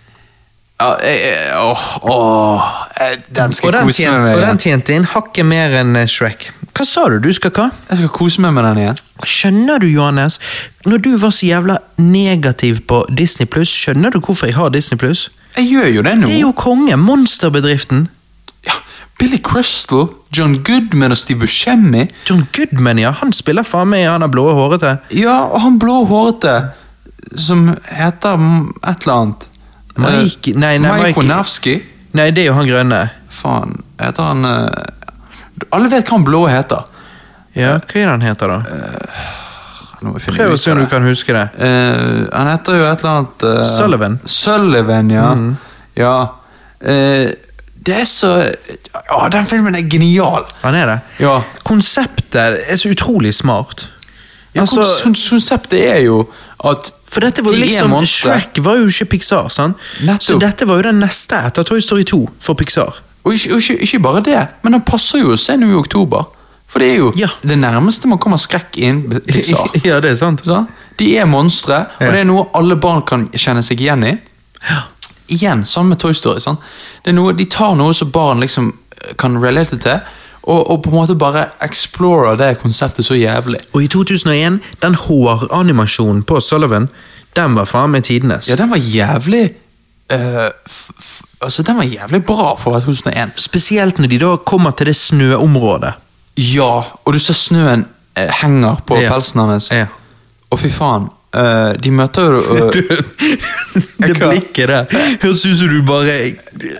Speaker 2: Ja, jeg- jeg- åh, åh, jeg- den
Speaker 1: Og
Speaker 2: skal jeg
Speaker 1: den,
Speaker 2: kose meg
Speaker 1: tjente,
Speaker 2: med.
Speaker 1: og
Speaker 2: igjen.
Speaker 1: den tjente inn hakket mer enn eh, Shrek. Hva sa du? Du skal hva?
Speaker 2: Jeg skal kose meg med den igjen.
Speaker 1: Skjønner du, Johannes, når du var så jævla negativ på Disney Pluss, skjønner du hvorfor jeg har Disney Pluss?
Speaker 2: Jeg gjør jo det nå.
Speaker 1: Det er jo konge! Monsterbedriften.
Speaker 2: ja, Billy Crystal, John Goodman og Steve Buscemi.
Speaker 1: John Goodman, ja. Han spiller faen meg han har blå hårete.
Speaker 2: Ja, og han blåhårete som heter m- et eller annet.
Speaker 1: Mike-
Speaker 2: Eh,
Speaker 1: nei, nei,
Speaker 2: Mike
Speaker 1: Mike-
Speaker 2: Konevski.
Speaker 1: Nei, det er jo han grønne.
Speaker 2: Faen, heter han eh, Alle vet hva han blå heter.
Speaker 1: Ja, Hva er det han heter,
Speaker 2: Eh,
Speaker 1: da?
Speaker 2: Nå må jeg finne
Speaker 1: Prøv
Speaker 2: ut
Speaker 1: å se
Speaker 2: av
Speaker 1: om du
Speaker 2: det.
Speaker 1: kan huske det.
Speaker 2: Eh, han heter jo et eller annet eh,
Speaker 1: Sullivan. Mm.
Speaker 2: Sullivan, ja. ja. Eh, det er så Ja, den filmen er genial!
Speaker 1: Han er det.
Speaker 2: Ja.
Speaker 1: Konseptet er så utrolig smart.
Speaker 2: Ja,
Speaker 1: Altså-
Speaker 2: kon- konseptet er jo at
Speaker 1: For dette var jo
Speaker 2: de er
Speaker 1: liksom
Speaker 2: monstre.
Speaker 1: Shrek var jo ikke Pixar, sant?
Speaker 2: Nettopp.
Speaker 1: Så dette var jo den neste etter Toy Story 2 for Pixar.
Speaker 2: Og ikke, og ikke, ikke bare det, men han passer jo å se nå i oktober. For det er jo
Speaker 1: Ja.
Speaker 2: det nærmeste man kommer skrekk inn
Speaker 1: [laughs]
Speaker 2: Pixar.
Speaker 1: [laughs] ja, det er sant.
Speaker 2: Sant? De er monstre, og
Speaker 1: Ja.
Speaker 2: det er noe alle barn kan kjenne seg igjen i.
Speaker 1: Ja.
Speaker 2: Igjen, sammen med Toy Story. sant? Det er noe, de tar noe som barn liksom kan relate til, og, og på en måte bare explorer det konseptet så jævlig.
Speaker 1: Og i 2001, den håranimasjonen på Sullivan, den var faen meg tidenes.
Speaker 2: Ja, den var jævlig eh, f, f, Altså, den var jævlig bra for å være 2001.
Speaker 1: Spesielt når de da kommer til det snøområdet.
Speaker 2: Ja, og du ser snøen eh, henger på
Speaker 1: Ja.
Speaker 2: pelsen hans.
Speaker 1: [laughs] Ja.
Speaker 2: Og fy faen, eh, de møter jo
Speaker 1: [laughs]
Speaker 2: eh,
Speaker 1: det
Speaker 2: Hva?
Speaker 1: blikket der høres ut som du bare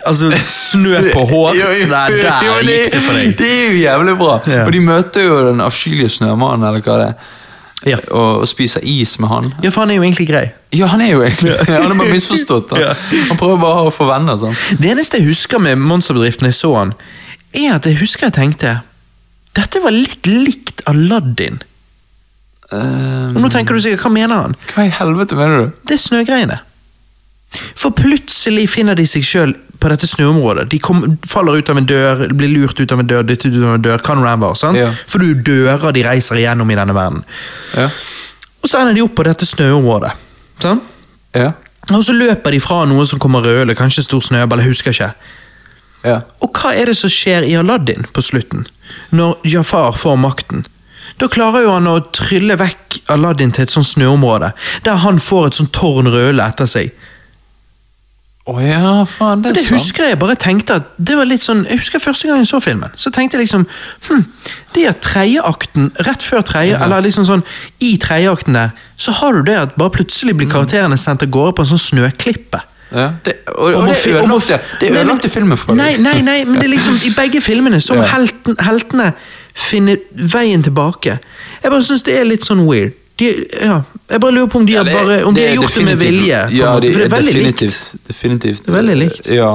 Speaker 1: Altså, snø på [laughs] hår.
Speaker 2: [laughs] Jo, jo,
Speaker 1: Nei,
Speaker 2: jo,
Speaker 1: der gikk det for deg.
Speaker 2: Det er jo jævlig bra.
Speaker 1: Ja.
Speaker 2: Og de møter jo den avskyelige snømannen, eller hva det er.
Speaker 1: Ja.
Speaker 2: Og, og spiser is med han.
Speaker 1: Ja, for han er jo egentlig grei.
Speaker 2: [laughs] Ja, han er jo egentlig Han er bare misforstått. Han,
Speaker 1: Ja.
Speaker 2: han prøver bare å få venner. Sånn.
Speaker 1: Det eneste jeg husker med Monsterbedriften jeg så han, er at jeg husker jeg tenkte Dette var litt likt Aladdin.
Speaker 2: Eh,
Speaker 1: Og nå tenker du sikkert, hva mener han?
Speaker 2: hva i helvete mener du?
Speaker 1: Det er snøgreiene. For plutselig finner de seg sjøl på dette snøområdet. De kom, faller ut av en dør, blir lurt ut av en dør, dyttet ut av en dør, kan ramver, sant?
Speaker 2: Ja.
Speaker 1: For du dører de reiser igjennom i denne verden.
Speaker 2: Ja.
Speaker 1: Og så ender de opp på dette snøområdet.
Speaker 2: Sånn?
Speaker 1: Sant?
Speaker 2: Ja.
Speaker 1: Og så løper de fra noe som kommer rødlig, kanskje en stor snøball, jeg husker ikke.
Speaker 2: ja.
Speaker 1: Og hva er det som skjer i Aladdin på slutten, når Jafar får makten? Da klarer jo han å trylle vekk Aladdin til et sånt snøområde, der han får et sånt tårn rødle etter seg.
Speaker 2: Å ja, faen, det
Speaker 1: Og
Speaker 2: er
Speaker 1: det
Speaker 2: sant.
Speaker 1: husker jeg bare tenkte at det var litt sånn, Jeg husker første gang jeg så filmen, så tenkte jeg liksom hm, Det at tredjeakten, rett før tredje, eller liksom sånn i tredjeakten der, så har du det at bare plutselig blir karakterene sendt av gårde på en sånn snøklippe.
Speaker 2: Mm. Ja. Det, og, og
Speaker 1: Om å
Speaker 2: det
Speaker 1: fi- om å
Speaker 2: ødelagte
Speaker 1: f-
Speaker 2: det
Speaker 1: Nei, men-
Speaker 2: ødelagte filmen for
Speaker 1: Nei, nei, nei, men det er liksom
Speaker 2: [laughs]
Speaker 1: i begge filmene som
Speaker 2: Ja.
Speaker 1: helten, heltene finner veien tilbake. Jeg bare syns det er litt sånn weird. De, ja, jeg bare lurer på om de har,
Speaker 2: Ja, det-
Speaker 1: bare, om de
Speaker 2: det
Speaker 1: har
Speaker 2: er
Speaker 1: gjort det med
Speaker 2: definitivt-
Speaker 1: vilje. på en
Speaker 2: Ja,
Speaker 1: måte,
Speaker 2: det,
Speaker 1: for det er veldig
Speaker 2: definitivt,
Speaker 1: likt.
Speaker 2: Definitivt.
Speaker 1: Det er veldig likt.
Speaker 2: Ja.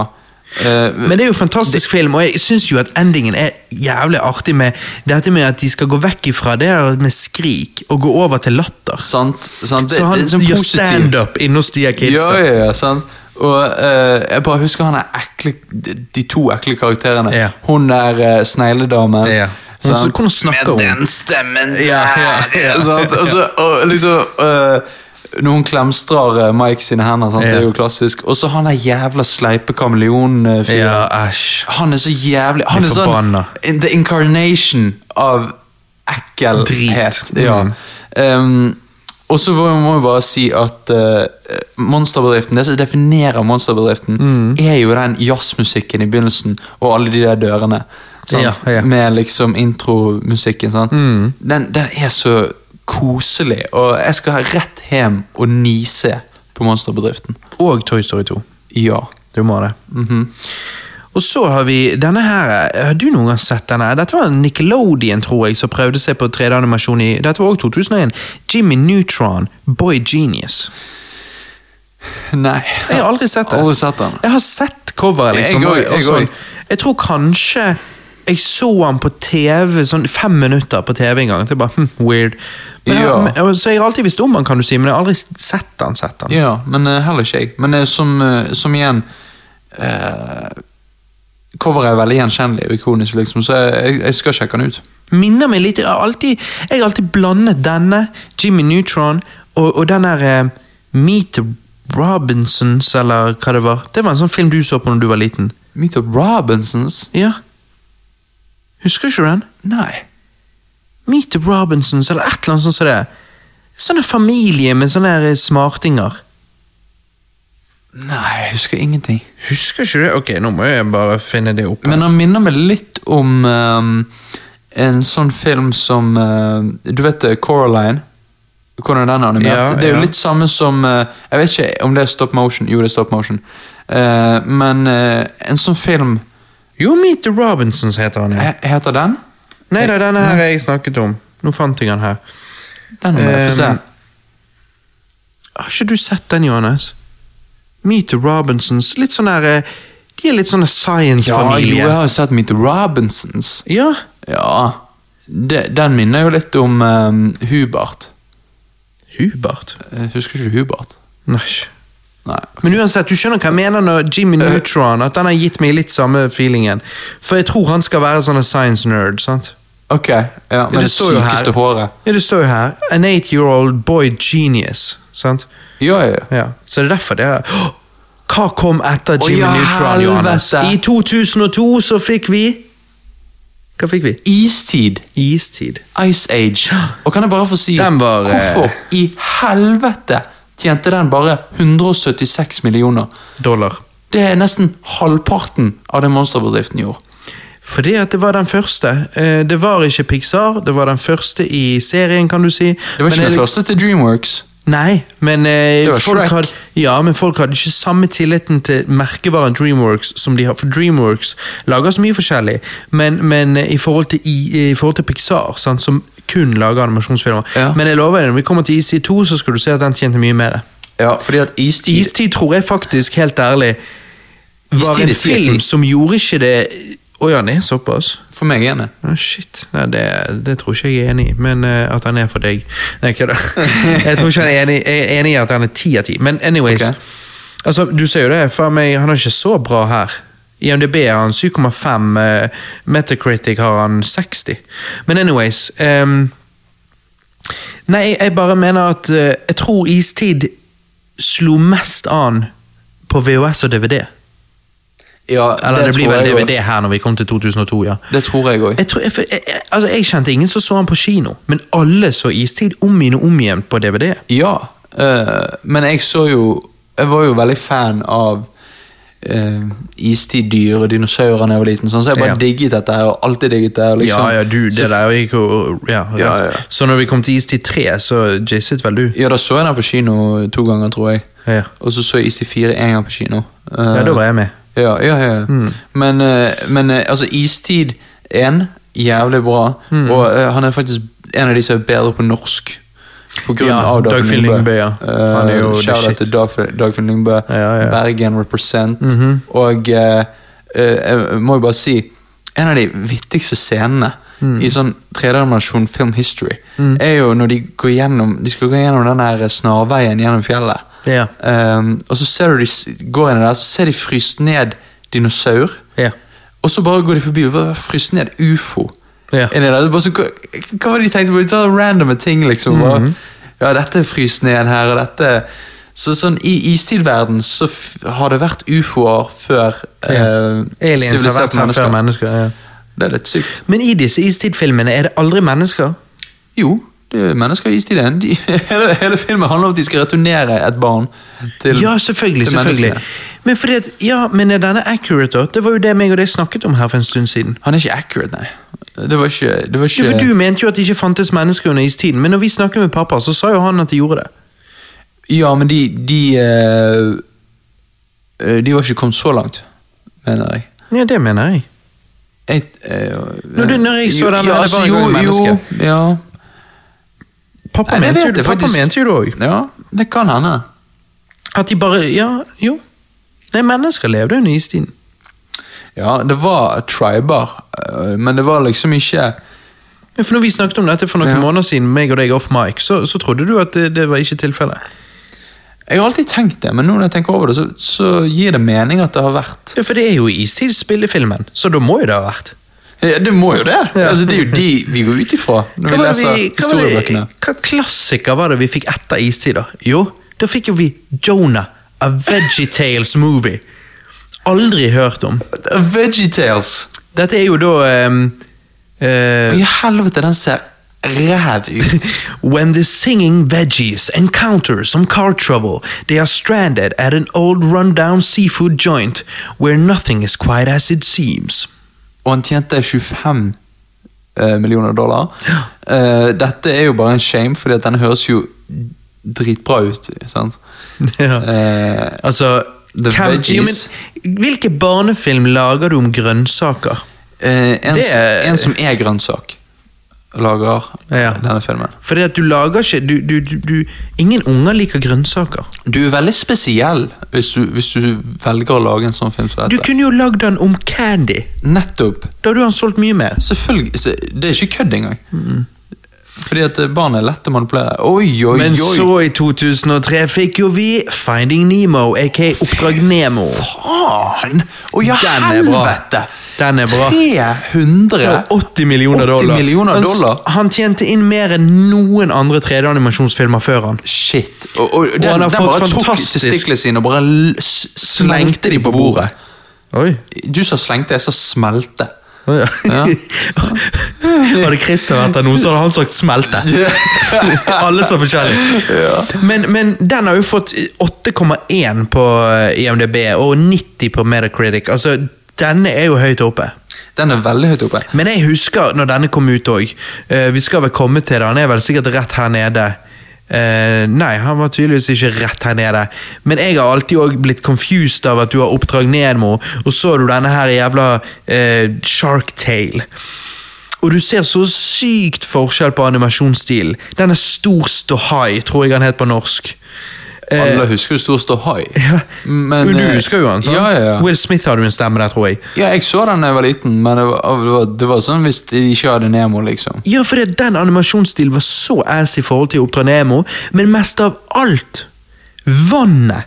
Speaker 2: Eh,
Speaker 1: Men det er jo en fantastisk film, og jeg syns jo at endingen er jævlig artig med dette med at de skal gå vekk ifra det der med skrik og gå over til latter.
Speaker 2: sant, sant. Det,
Speaker 1: Så han
Speaker 2: det er sånn
Speaker 1: gjør
Speaker 2: positiv-
Speaker 1: standup inne hos de her
Speaker 2: Ja,
Speaker 1: kidsa.
Speaker 2: ja, ja, sant. Og eh, jeg bare husker han er ekle, de, de to ekle karakterene.
Speaker 1: Ja.
Speaker 2: Hun der eh, snegledamen.
Speaker 1: Ja. Hun
Speaker 2: sant?
Speaker 1: som- hvordan snakker hun?
Speaker 2: Med den stemmen der!
Speaker 1: Ja, ja, ja.
Speaker 2: sant? Og så, og liksom eh, Når hun klemstrer eh, Mike sine hender, sant? det
Speaker 1: Ja.
Speaker 2: er jo klassisk. Og så han der jævla sleipe kameleonfyren.
Speaker 1: Ja, æsj.
Speaker 2: Han er så jævlig Han
Speaker 1: Jeg
Speaker 2: er
Speaker 1: er
Speaker 2: sånn
Speaker 1: forbanna.
Speaker 2: in The incarnation av ekkelhet.
Speaker 1: Drit.
Speaker 2: Ja.
Speaker 1: Mm.
Speaker 2: Ehm, og så må må vi bare si at eh, monsterbedriften, det som definerer monsterbedriften,
Speaker 1: Mm.
Speaker 2: er jo den jazzmusikken i begynnelsen, og alle de der dørene. Sant?
Speaker 1: Ja, Mm. ja.
Speaker 2: Med liksom intromusikken. Sant? Den, den er så koselig, og jeg skal rett hjem og nise på monsterbedriften.
Speaker 1: Og Toy Story 2.
Speaker 2: Ja.
Speaker 1: Du må det.
Speaker 2: Mhm.
Speaker 1: Og så har vi denne her. Har du noen gang sett denne? Dette var Nickelodeon, tror jeg, som prøvde seg på 3D-animasjon i Dette var også 2001. Jimmy Neutron, Boy Genius.
Speaker 2: Nei.
Speaker 1: Jeg har aldri sett det.
Speaker 2: Aldri sett den.
Speaker 1: Jeg har sett coveret, liksom.
Speaker 2: Jeg
Speaker 1: og-
Speaker 2: også,
Speaker 1: og
Speaker 2: jeg
Speaker 1: sånn.
Speaker 2: også.
Speaker 1: Jeg tror kanskje jeg så han på TV, sånn fem minutter på TV en gang. Det er bare hm, weird. Men
Speaker 2: Ja.
Speaker 1: jeg, men- så jeg har alltid visst om han, kan du si, men jeg har aldri sett han, sett han.
Speaker 2: Ja, men eh, heller ikke jeg. Men eh, som, eh, som igjen eh, Coveret er veldig gjenkjennelig og ikonisk, liksom, så jeg, jeg, jeg skal sjekke den ut.
Speaker 1: minner meg litt Jeg har alltid, jeg har alltid blandet denne, Jimmy Neutron, og, og den der eh, Meet Robinsons, eller hva det var. Det var en sånn film du så på når du var liten.
Speaker 2: Meet of Robinsons?
Speaker 1: Ja. Husker ikke du den?
Speaker 2: Nei.
Speaker 1: Meet the Robinsons, eller et eller annet sånt som det. Sånn en familie med sånne her, eh, smartinger.
Speaker 2: Nei, jeg husker ingenting.
Speaker 1: Husker ikke du det? Ok, nå må jeg bare finne det opp.
Speaker 2: Men han minner meg litt om eh, en sånn film som eh, Du vet eh, Coraline? Hvordan den er animert?
Speaker 1: Ja,
Speaker 2: det er jo
Speaker 1: ja.
Speaker 2: litt samme som eh, Jeg vet ikke om det er stop motion. Jo, det er stop motion. Eh, men eh, en sånn film
Speaker 1: Jo, Meet the Robinsons heter han, ja.
Speaker 2: he- Heter den?
Speaker 1: Nei, det er denne her jeg snakket om. Nå fant jeg han her.
Speaker 2: Den må jeg få se.
Speaker 1: Ehm, Har ikke du sett den, Johannes? Meet the Robinsons. Litt sånn der eh, De er litt sånn
Speaker 2: Ja, jo, jeg
Speaker 1: science-familie.
Speaker 2: har jo sett Meet the Robinsons.
Speaker 1: Ja.
Speaker 2: Ja, det, Den minner jo litt om eh, Hubert.
Speaker 1: Hubert.
Speaker 2: Jeg husker ikke du Hubert?
Speaker 1: Næsj.
Speaker 2: Nei.
Speaker 1: Men uansett, du skjønner hva jeg mener når Jimmy Neutron At den har gitt meg litt samme feelingen. For jeg tror han skal være sånn en science-nerd. sant?
Speaker 2: Ok, ja, men det,
Speaker 1: står jo her.
Speaker 2: sykeste håret.
Speaker 1: Ja, Det står jo her An eight-year-old boy genius. sant?
Speaker 2: Ja, ja, ja.
Speaker 1: Ja, Så det er derfor det er Åh! Hva kom etter
Speaker 2: Å,
Speaker 1: Jimmy
Speaker 2: ja,
Speaker 1: Neutron, Johannes?
Speaker 2: helvete!
Speaker 1: I 2002 så fikk vi Hva fikk vi?
Speaker 2: Istid.
Speaker 1: Istid.
Speaker 2: Ice Age. Og kan jeg bare få si
Speaker 1: Den var, eh,
Speaker 2: Hvorfor i helvete tjente den bare 176 millioner?
Speaker 1: dollar.
Speaker 2: Det er nesten halvparten av det monsterbedriften gjorde.
Speaker 1: Fordi at det var den første. Eh, Det var ikke Pixar, det var den første i serien, kan du si.
Speaker 2: Det var ikke den første til Dreamworks.
Speaker 1: Nei, men, eh,
Speaker 2: Det var
Speaker 1: folk
Speaker 2: Shrek.
Speaker 1: hadde, ja, men folk hadde ikke samme tilliten til merkevaren Dreamworks som de har. For Dreamworks lager så mye forskjellig, men, men eh, i, forhold til, i, i forhold til Pixar, sant, som kun lager animasjonsfilmer
Speaker 2: Ja.
Speaker 1: Men jeg lover deg, når vi kommer til Istid 2, så skal du se at den tjente mye mer.
Speaker 2: Ja, fordi at Istid
Speaker 1: Istid tror jeg faktisk, helt ærlig, var
Speaker 2: Istid er
Speaker 1: en
Speaker 2: ti av ti.
Speaker 1: film som gjorde ikke det Å ja, den er såpass?
Speaker 2: For meg er det.
Speaker 1: Ah, Shit, Nei, det, det tror ikke jeg er enig i, men eh, at han er for deg. Nei, kødda.
Speaker 2: [laughs]
Speaker 1: Jeg tror ikke han er enig, jeg er enig i at han er ti av ti, men anyways.
Speaker 2: Ok.
Speaker 1: Altså, du ser jo det, for meg, han er ikke så bra her. I MDB er han 7,5, eh, Metacritic har han 60. Men anyways ehm, Nei, jeg bare mener at eh, jeg tror Istid slo mest an på VHS og DVD.
Speaker 2: Ja,
Speaker 1: Eller det, blir
Speaker 2: tror
Speaker 1: vel
Speaker 2: jeg
Speaker 1: DVD her når vi kom til 2002, ja.
Speaker 2: også. Det tror jeg òg.
Speaker 1: Jeg, tror, jeg, for- jeg, jeg, altså jeg kjente ingen som så han på kino, men alle så Istid om igjen og om igjen på DVD.
Speaker 2: Ja, eh, men jeg så jo Jeg var jo veldig fan av uh, istiddyr og dinosaurer da jeg var liten, sånn, så jeg bare
Speaker 1: Ja.
Speaker 2: digget dette her og alltid digget det. og Liksom.
Speaker 1: Ja, ja, du,
Speaker 2: Så-
Speaker 1: det der gikk jo ja, rett.
Speaker 2: Ja, ja.
Speaker 1: Så når vi kom til Istid 3, så jizzet vel du?
Speaker 2: Ja, da så jeg den på kino to ganger, tror jeg.
Speaker 1: Ja.
Speaker 2: Og så så jeg Istid 4 én gang på kino. Eh,
Speaker 1: Ja, da var jeg med.
Speaker 2: Ja, ja, ja.
Speaker 1: Mm.
Speaker 2: Men, eh, men eh, altså, Istid 1, jævlig bra.
Speaker 1: Mm.
Speaker 2: Og eh, han er faktisk en av de som er bedre på norsk. På grunn
Speaker 1: Ja,
Speaker 2: av
Speaker 1: Dagfinn
Speaker 2: Dagfinn Lyngbø.
Speaker 1: Lyngbø, ja. Han er jo
Speaker 2: Eh,
Speaker 1: the
Speaker 2: Shout out
Speaker 1: shit.
Speaker 2: til Dagf- Dagfinn Lyngbø.
Speaker 1: ja, Mhm. ja.
Speaker 2: Bergen represent. Og eh, eh, jeg må jo bare si En av de vittigste scenene
Speaker 1: Mm.
Speaker 2: i sånn tredimensjon film history er jo når de går gjennom De skal gå gjennom den der snarveien gjennom fjellet.
Speaker 1: Ja.
Speaker 2: Ehm, og så ser du de s- går inn der, så ser de fryst ned dinosaur.
Speaker 1: Ja.
Speaker 2: Og så bare går de forbi og bare fryst ned ufo.
Speaker 1: Ja.
Speaker 2: Inni der. Det er Bare så, hva, hva var det de tenkte på? De tar randome ting, liksom. Bare,
Speaker 1: Mhm.
Speaker 2: Ja, dette er fryst ned her, og dette så sånn, I istidverden så f har det vært ufoer før eh,
Speaker 1: Aliens har
Speaker 2: siviliserte
Speaker 1: vært her før mennesker. Ja.
Speaker 2: Det er litt sykt.
Speaker 1: Men i disse Istid-filmene er det aldri mennesker.
Speaker 2: Jo, det er mennesker i istiden. De, [laughs] hele, hele filmen handler om at de skal returnere et barn til
Speaker 1: Ja, selvfølgelig.
Speaker 2: til
Speaker 1: selvfølgelig.
Speaker 2: menneskene.
Speaker 1: Men, fordi at, ja, men er denne accurate, da? Det var jo det meg og deg snakket om her for en stund siden.
Speaker 2: Han er ikke accurate, nei. Det var ikke, det var ikke
Speaker 1: Ja, for Du mente jo at det ikke fantes mennesker under istiden, men når vi snakket med pappa, så sa jo han at de gjorde det.
Speaker 2: Ja, men de De, eh, eh, de var ikke kommet så langt, mener jeg.
Speaker 1: Ja, det mener jeg.
Speaker 2: jeg eh, altså,
Speaker 1: Når du- når jeg så den, var det bare en gang i
Speaker 2: jo,
Speaker 1: mennesket.
Speaker 2: ja.
Speaker 1: Pappa
Speaker 2: Nei, det
Speaker 1: mente jo
Speaker 2: vet
Speaker 1: det,
Speaker 2: jeg
Speaker 1: pappa
Speaker 2: faktisk.
Speaker 1: mente jo det òg.
Speaker 2: ja, det kan hende.
Speaker 1: At de bare Ja, jo. Nei, mennesker levde under istiden.
Speaker 2: Ja, det var triber, eh, men det var liksom ikke
Speaker 1: Ja, For når vi snakket om dette for noen
Speaker 2: Ja.
Speaker 1: måneder siden, meg og deg off mic, så, så trodde du at det, det var ikke tilfellet.
Speaker 2: Jeg har alltid tenkt det, men nå når jeg tenker over det, så, så gir det mening at det har vært
Speaker 1: Ja, for det er jo istidsspillefilmen, så da må jo det ha vært.
Speaker 2: Ja, Det må jo det! Altså, det er jo de vi går ut ifra når vi
Speaker 1: var det
Speaker 2: leser
Speaker 1: hva, var det-
Speaker 2: historiebøkene.
Speaker 1: hva klassiker var det vi fikk etter istider? Jo, da fikk jo vi Jonah, A Veggie Tales Movie. Aldri hørt om.
Speaker 2: VeggieTales!
Speaker 1: Dette er jo da ehm, eh,
Speaker 2: I helvete, den ser ræv ut.
Speaker 1: When the singing veggies encounter some car trouble, they are stranded at an old rundown seafood joint where nothing is quite as it seems.
Speaker 2: Og han tjente 25 eh, millioner dollar. Eh, dette er jo bare en shame, fordi at den høres jo dritbra ut. sant?
Speaker 1: Ja.
Speaker 2: Eh,
Speaker 1: Altså,
Speaker 2: The veggies.
Speaker 1: Jo, men, hvilke barnefilm lager du om grønnsaker?
Speaker 2: Eh, en,
Speaker 1: Det er-
Speaker 2: en som er grønnsak, lager
Speaker 1: Ja.
Speaker 2: denne filmen.
Speaker 1: Fordi at du lager ikke du, du, du, du, Ingen unger liker grønnsaker.
Speaker 2: Du er veldig spesiell hvis du, hvis du velger å lage en sånn film som
Speaker 1: Du
Speaker 2: dette.
Speaker 1: kunne jo lagd den om candy.
Speaker 2: Nettopp.
Speaker 1: Da hadde han solgt mye mer.
Speaker 2: Selvfølgelig. se- Det er ikke kødd engang. Fordi at barn er lett å manipulere. Oi, oi,
Speaker 1: Men
Speaker 2: oi!
Speaker 1: så, i 2003, fikk jo vi Finding Nemo, aka Oppdrag Nemo.
Speaker 2: Faen! Å ja,
Speaker 1: Den er bra.
Speaker 2: helvete!
Speaker 1: Den er bra.
Speaker 2: 300
Speaker 1: 80 millioner
Speaker 2: 80
Speaker 1: dollar.
Speaker 2: millioner
Speaker 1: Han s-
Speaker 2: dollar.
Speaker 1: Han tjente inn mer enn noen andre 3D-animasjonsfilmer før han.
Speaker 2: Shit. Og, og, den,
Speaker 1: han har
Speaker 2: den
Speaker 1: fått
Speaker 2: bare tok
Speaker 1: fantastisk-
Speaker 2: testiklene sine og bare l- s- slengte de på bordet.
Speaker 1: Oi.
Speaker 2: Du sa slengte, jeg sa smelte.
Speaker 1: Ja. [laughs] hadde Christer vært der nå, så hadde han sagt 'smelte'. Alle så forskjellige. Men, men den har jo fått 8,1 på eh, IMDb og 90 på Metacritic. Altså, denne er jo høyt oppe.
Speaker 2: Den er veldig høyt oppe.
Speaker 1: Men jeg husker når denne kom ut òg. vi skal vel komme til det, han er vel sikkert rett her nede. Eh, nei, han var tydeligvis ikke rett her nede. Men jeg har alltid også blitt confused av at du har Oppdrag Nemo, og så har du denne her jævla eh, Shark Tale. Og du ser så sykt forskjell på animasjonsstilen. Den er stor ståhai, tror jeg han het på norsk.
Speaker 2: Alle husker jo Stor ståhai.
Speaker 1: Eh, Ja.
Speaker 2: Men,
Speaker 1: du
Speaker 2: eh,
Speaker 1: husker jo han, sant?
Speaker 2: Ja, ja, ja.
Speaker 1: Will Smith hadde jo en stemme der, tror jeg.
Speaker 2: Ja, jeg så den da jeg var liten, men det var, det var, det var sånn hvis de ikke hadde Nemo, liksom.
Speaker 1: Ja, for det, den animasjonsstilen var så ass i forhold til Oppdrag Nemo, men mest av alt Vannet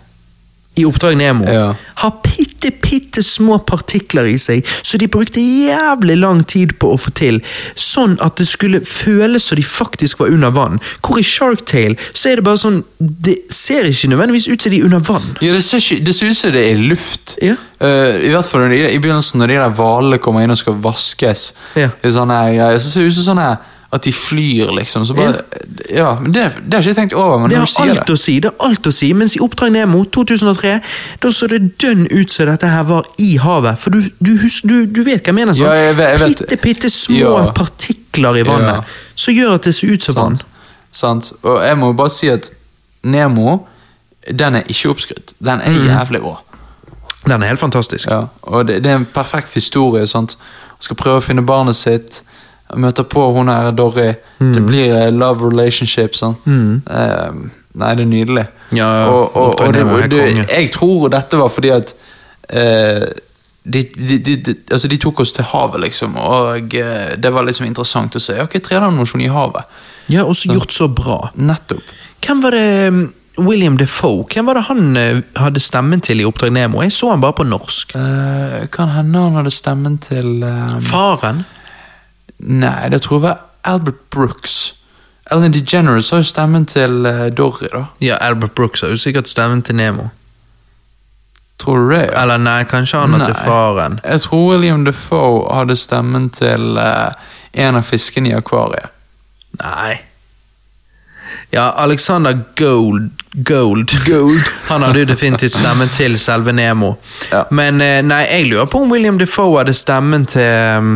Speaker 1: i Oppdrag Nemo
Speaker 2: Ja.
Speaker 1: har bitte, bitte små partikler i seg, så de brukte jævlig lang tid på å få til, sånn at det skulle føles som de faktisk var under vann. Hvor i Shark Tale så er det bare sånn Det ser ikke nødvendigvis ut som de er under vann.
Speaker 2: Ja, det ser, ikke- det ser ut som det er luft.
Speaker 1: Ja.
Speaker 2: Eh, I hvert fall når de- i begynnelsen, når de der hvalene kommer inn og skal vaskes.
Speaker 1: Ja.
Speaker 2: Det er sånn her greier, så ser det ut som sånn her at de flyr, liksom. Så bare, ja. men det, det har ikke jeg tenkt over, men
Speaker 1: Det
Speaker 2: når
Speaker 1: har
Speaker 2: du sier
Speaker 1: alt
Speaker 2: det
Speaker 1: å si, det har alt å si, mens i Oppdrag Nemo 2003, da så det dønn ut som dette her var i havet. For du, du, husk, du, du vet hva jeg mener? Sånn.
Speaker 2: Ja, jeg vet- jeg vet.
Speaker 1: Pitte, pitte små
Speaker 2: Ja.
Speaker 1: partikler i vannet
Speaker 2: Ja.
Speaker 1: som gjør at det ser ut som vann.
Speaker 2: sant. sant. Og jeg må bare si at Nemo, den er ikke oppskrytt. Den
Speaker 1: Mm.
Speaker 2: er jævlig rå.
Speaker 1: Den er helt fantastisk.
Speaker 2: Ja, og det, det er en perfekt historie. sant? Han skal prøve å finne barnet sitt, møter på hun her Dorry.
Speaker 1: Mm.
Speaker 2: Det blir eh, love relationship. sant? Eh, nei, det er nydelig.
Speaker 1: Ja,
Speaker 2: og, og, og,
Speaker 1: Oppdrag
Speaker 2: det,
Speaker 1: Nemo er
Speaker 2: det,
Speaker 1: konge.
Speaker 2: jeg tror dette var fordi at eh, de, de, de, de, altså de tok oss til havet, liksom, og eh, det var liksom interessant å se. Ok, 3D-animasjon i havet.
Speaker 1: Ja, og så gjort så bra.
Speaker 2: Nettopp.
Speaker 1: Hvem var det um, William Defoe, hvem var det han eh, hadde stemmen til i Oppdrag Nemo? Jeg så han bare på norsk.
Speaker 2: Eh, kan hende han hadde stemmen til eh,
Speaker 1: Faren?
Speaker 2: Nei, det tror jeg var Albert Brooks. Ellen DeGeneres har jo stemmen til eh, Dory, da.
Speaker 1: Ja, Albert Brooks har jo sikkert stemmen til Nemo.
Speaker 2: Tror du det?
Speaker 1: Eller nei, kanskje han har til
Speaker 2: Nei.
Speaker 1: faren.
Speaker 2: Jeg tror William Defoe hadde stemmen til eh, en av fiskene i akvariet.
Speaker 1: Nei. Ja, Alexander Gold, Gold. [laughs] Han hadde jo definitivt stemmen til selve Nemo.
Speaker 2: Ja.
Speaker 1: Men eh, nei, jeg lurer på om William Defoe hadde stemmen til um,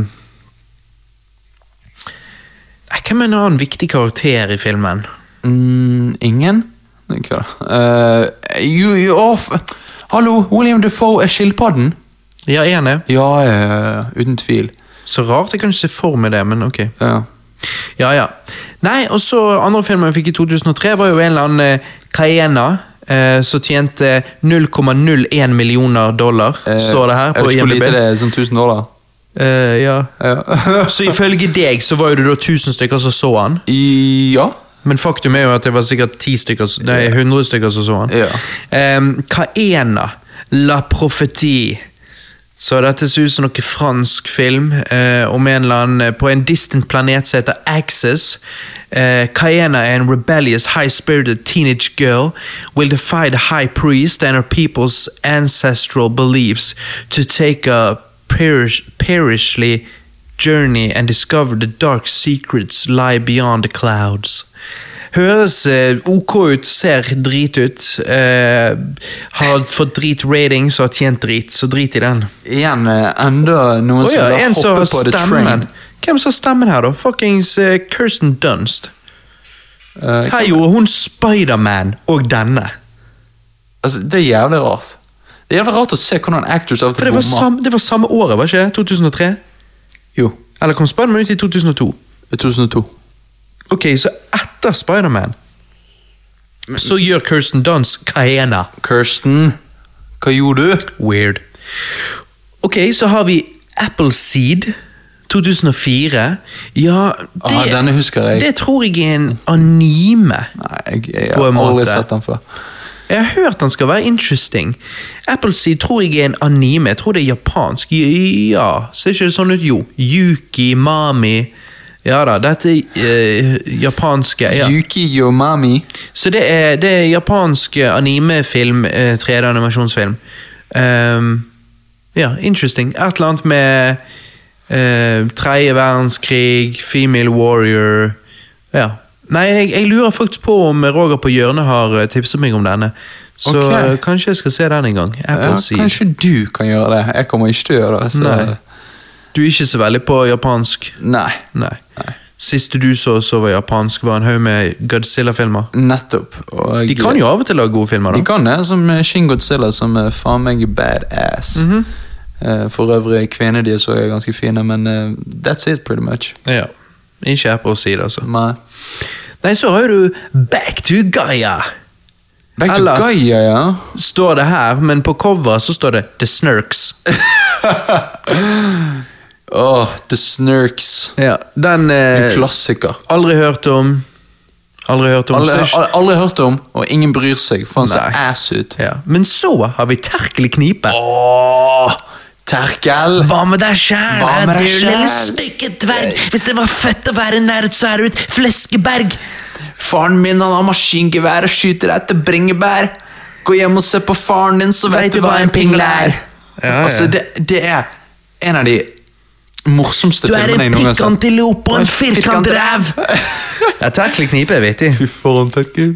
Speaker 1: Nei, Hvem er en annen viktig karakter i filmen?
Speaker 2: Mm, ingen? Nei, Hva da? Eh, you, you off. Hallo, William Defoe er skilpadden?
Speaker 1: Ja, er han det?
Speaker 2: Ja, ja, ja, uten tvil.
Speaker 1: Så rart jeg kan ikke se for meg det, men ok.
Speaker 2: Ja.
Speaker 1: Ja, ja. Nei, og så andre filmen jeg fikk i 2003 var jo en eller annen eh, Cayenne eh, som tjente 0,01 millioner dollar,
Speaker 2: Eh,
Speaker 1: står det her
Speaker 2: Jeg
Speaker 1: på
Speaker 2: vet ikke hvor
Speaker 1: IMDb.
Speaker 2: lite det er, sånn 1000 dollar?
Speaker 1: Eh, ja.
Speaker 2: Ja. [laughs]
Speaker 1: Så ifølge deg så var jo det da 1000 stykker som så han,
Speaker 2: I, ja.
Speaker 1: men faktum er jo at det var sikkert 10 stykker, som- nei, 100 stykker som så han.
Speaker 2: Ja.
Speaker 1: Em, Cayenne, er La Prophétie. Så dette ser ut som noe fransk film eh, om en eller annen eh, på en distant planet som heter Axis. Eh, Cayenne er en rebellious, high-spirited teenage girl will defy the high priest and her people's ancestral beliefs to take a perish, perishly journey and discover the dark secrets lie beyond the clouds. Høres eh, ok ut, ser drit ut. Eh, har fått drit ratings og har tjent drit, så drit i den.
Speaker 2: Igjen eh, enda
Speaker 1: Å
Speaker 2: noen
Speaker 1: ja,
Speaker 2: som vil
Speaker 1: en som
Speaker 2: hoppe
Speaker 1: har
Speaker 2: på the
Speaker 1: stemmen.
Speaker 2: train.
Speaker 1: Hvem som har stemmen her, da? Fuckings eh, Kirsten Dunst.
Speaker 2: Eh,
Speaker 1: Her gjorde hun Spiderman og denne.
Speaker 2: altså, det er jævlig rart. Det er jævlig rart å se hvordan actors av og
Speaker 1: For
Speaker 2: til
Speaker 1: det var,
Speaker 2: bommer.
Speaker 1: samme, det var samme året, var ikke det? 2003?
Speaker 2: Jo,
Speaker 1: Eller kom Spiderman ut i 2002?
Speaker 2: 2002.
Speaker 1: Ok, så etter Spiderman så gjør Kirsten Dunst Kaena.
Speaker 2: Kirsten, hva gjorde du?
Speaker 1: Weird. Ok, så har vi Appleseed 2004. Ja, det,
Speaker 2: Ah, denne husker jeg.
Speaker 1: det tror jeg er en anime.
Speaker 2: Nei, jeg, jeg
Speaker 1: På
Speaker 2: har
Speaker 1: en
Speaker 2: aldri
Speaker 1: måte.
Speaker 2: sett den før.
Speaker 1: Jeg har hørt den skal være interesting. Appleseed tror jeg er en anime. Jeg tror det er japansk. Ja, ser ikke det sånn ut? Jo. Yuki, Mami. Ja da, dette er eh, japanske. Ja.
Speaker 2: Yuki Yomami.
Speaker 1: Så det er, det er japansk eh, animefilm, eh, 3D-animasjonsfilm. Ehm, ja, interesting. Et eller annet med eh, tredje verdenskrig, female warrior Ja. Nei, jeg, jeg lurer faktisk på om Roger på hjørnet har eh, tipset meg om denne. Så
Speaker 2: Ok.
Speaker 1: eh, kanskje jeg skal se den en gang.
Speaker 2: Ja,
Speaker 1: Appleseed.
Speaker 2: kanskje du kan gjøre det. Jeg kommer ikke til å gjøre det. Så.
Speaker 1: Nei. Du er ikke så veldig på japansk?
Speaker 2: Nei.
Speaker 1: Nei. Siste du så så var japansk, var en haug med Godzilla-filmer.
Speaker 2: Nettopp. Og
Speaker 1: De kan jo av og til lage gode filmer,
Speaker 2: De
Speaker 1: da.
Speaker 2: kan det, som eh, Shin Godzilla, som er faen meg badass.
Speaker 1: Mhm.
Speaker 2: Eh, For øvrig, kvinnene de så er ganske fine, men eh, that's it, pretty much.
Speaker 1: Ja. Ikke Appleseed, altså.
Speaker 2: Men,
Speaker 1: Nei, så har du Back to Gaia.
Speaker 2: back to
Speaker 1: Eller-
Speaker 2: Gaia, ja.
Speaker 1: Står det her, men på coveret så står det The Snurks.
Speaker 2: Åh, The Snurks.
Speaker 1: Ja, Den
Speaker 2: En
Speaker 1: eh,
Speaker 2: klassiker.
Speaker 1: aldri hørt om. Aldri hørt om.
Speaker 2: Alle,
Speaker 1: så ikke-
Speaker 2: al- aldri hørt om, og ingen bryr seg, for han ser
Speaker 1: Nei.
Speaker 2: ass ut.
Speaker 1: ja. Men så har vi Terkel i knipe.
Speaker 2: Åh, Terkel!
Speaker 1: Hva med deg sjæl,
Speaker 2: Hva med deg sjæl?
Speaker 1: stygge dverg? Hvis det var fett å være nerd, så er du et fleskeberg.
Speaker 2: Faren min han har maskingevær og skyter deg etter bringebær. Gå hjem og se på faren din, så vet du hva en pingle er.
Speaker 1: Ja, ja.
Speaker 2: Altså, det, det er en av de morsomste filmene jeg noen gang har sett.
Speaker 1: pikkantilope
Speaker 2: Og en firkantrev. [laughs]
Speaker 1: ja, Terkel i knipe er vittig.
Speaker 2: Fy faen, tenker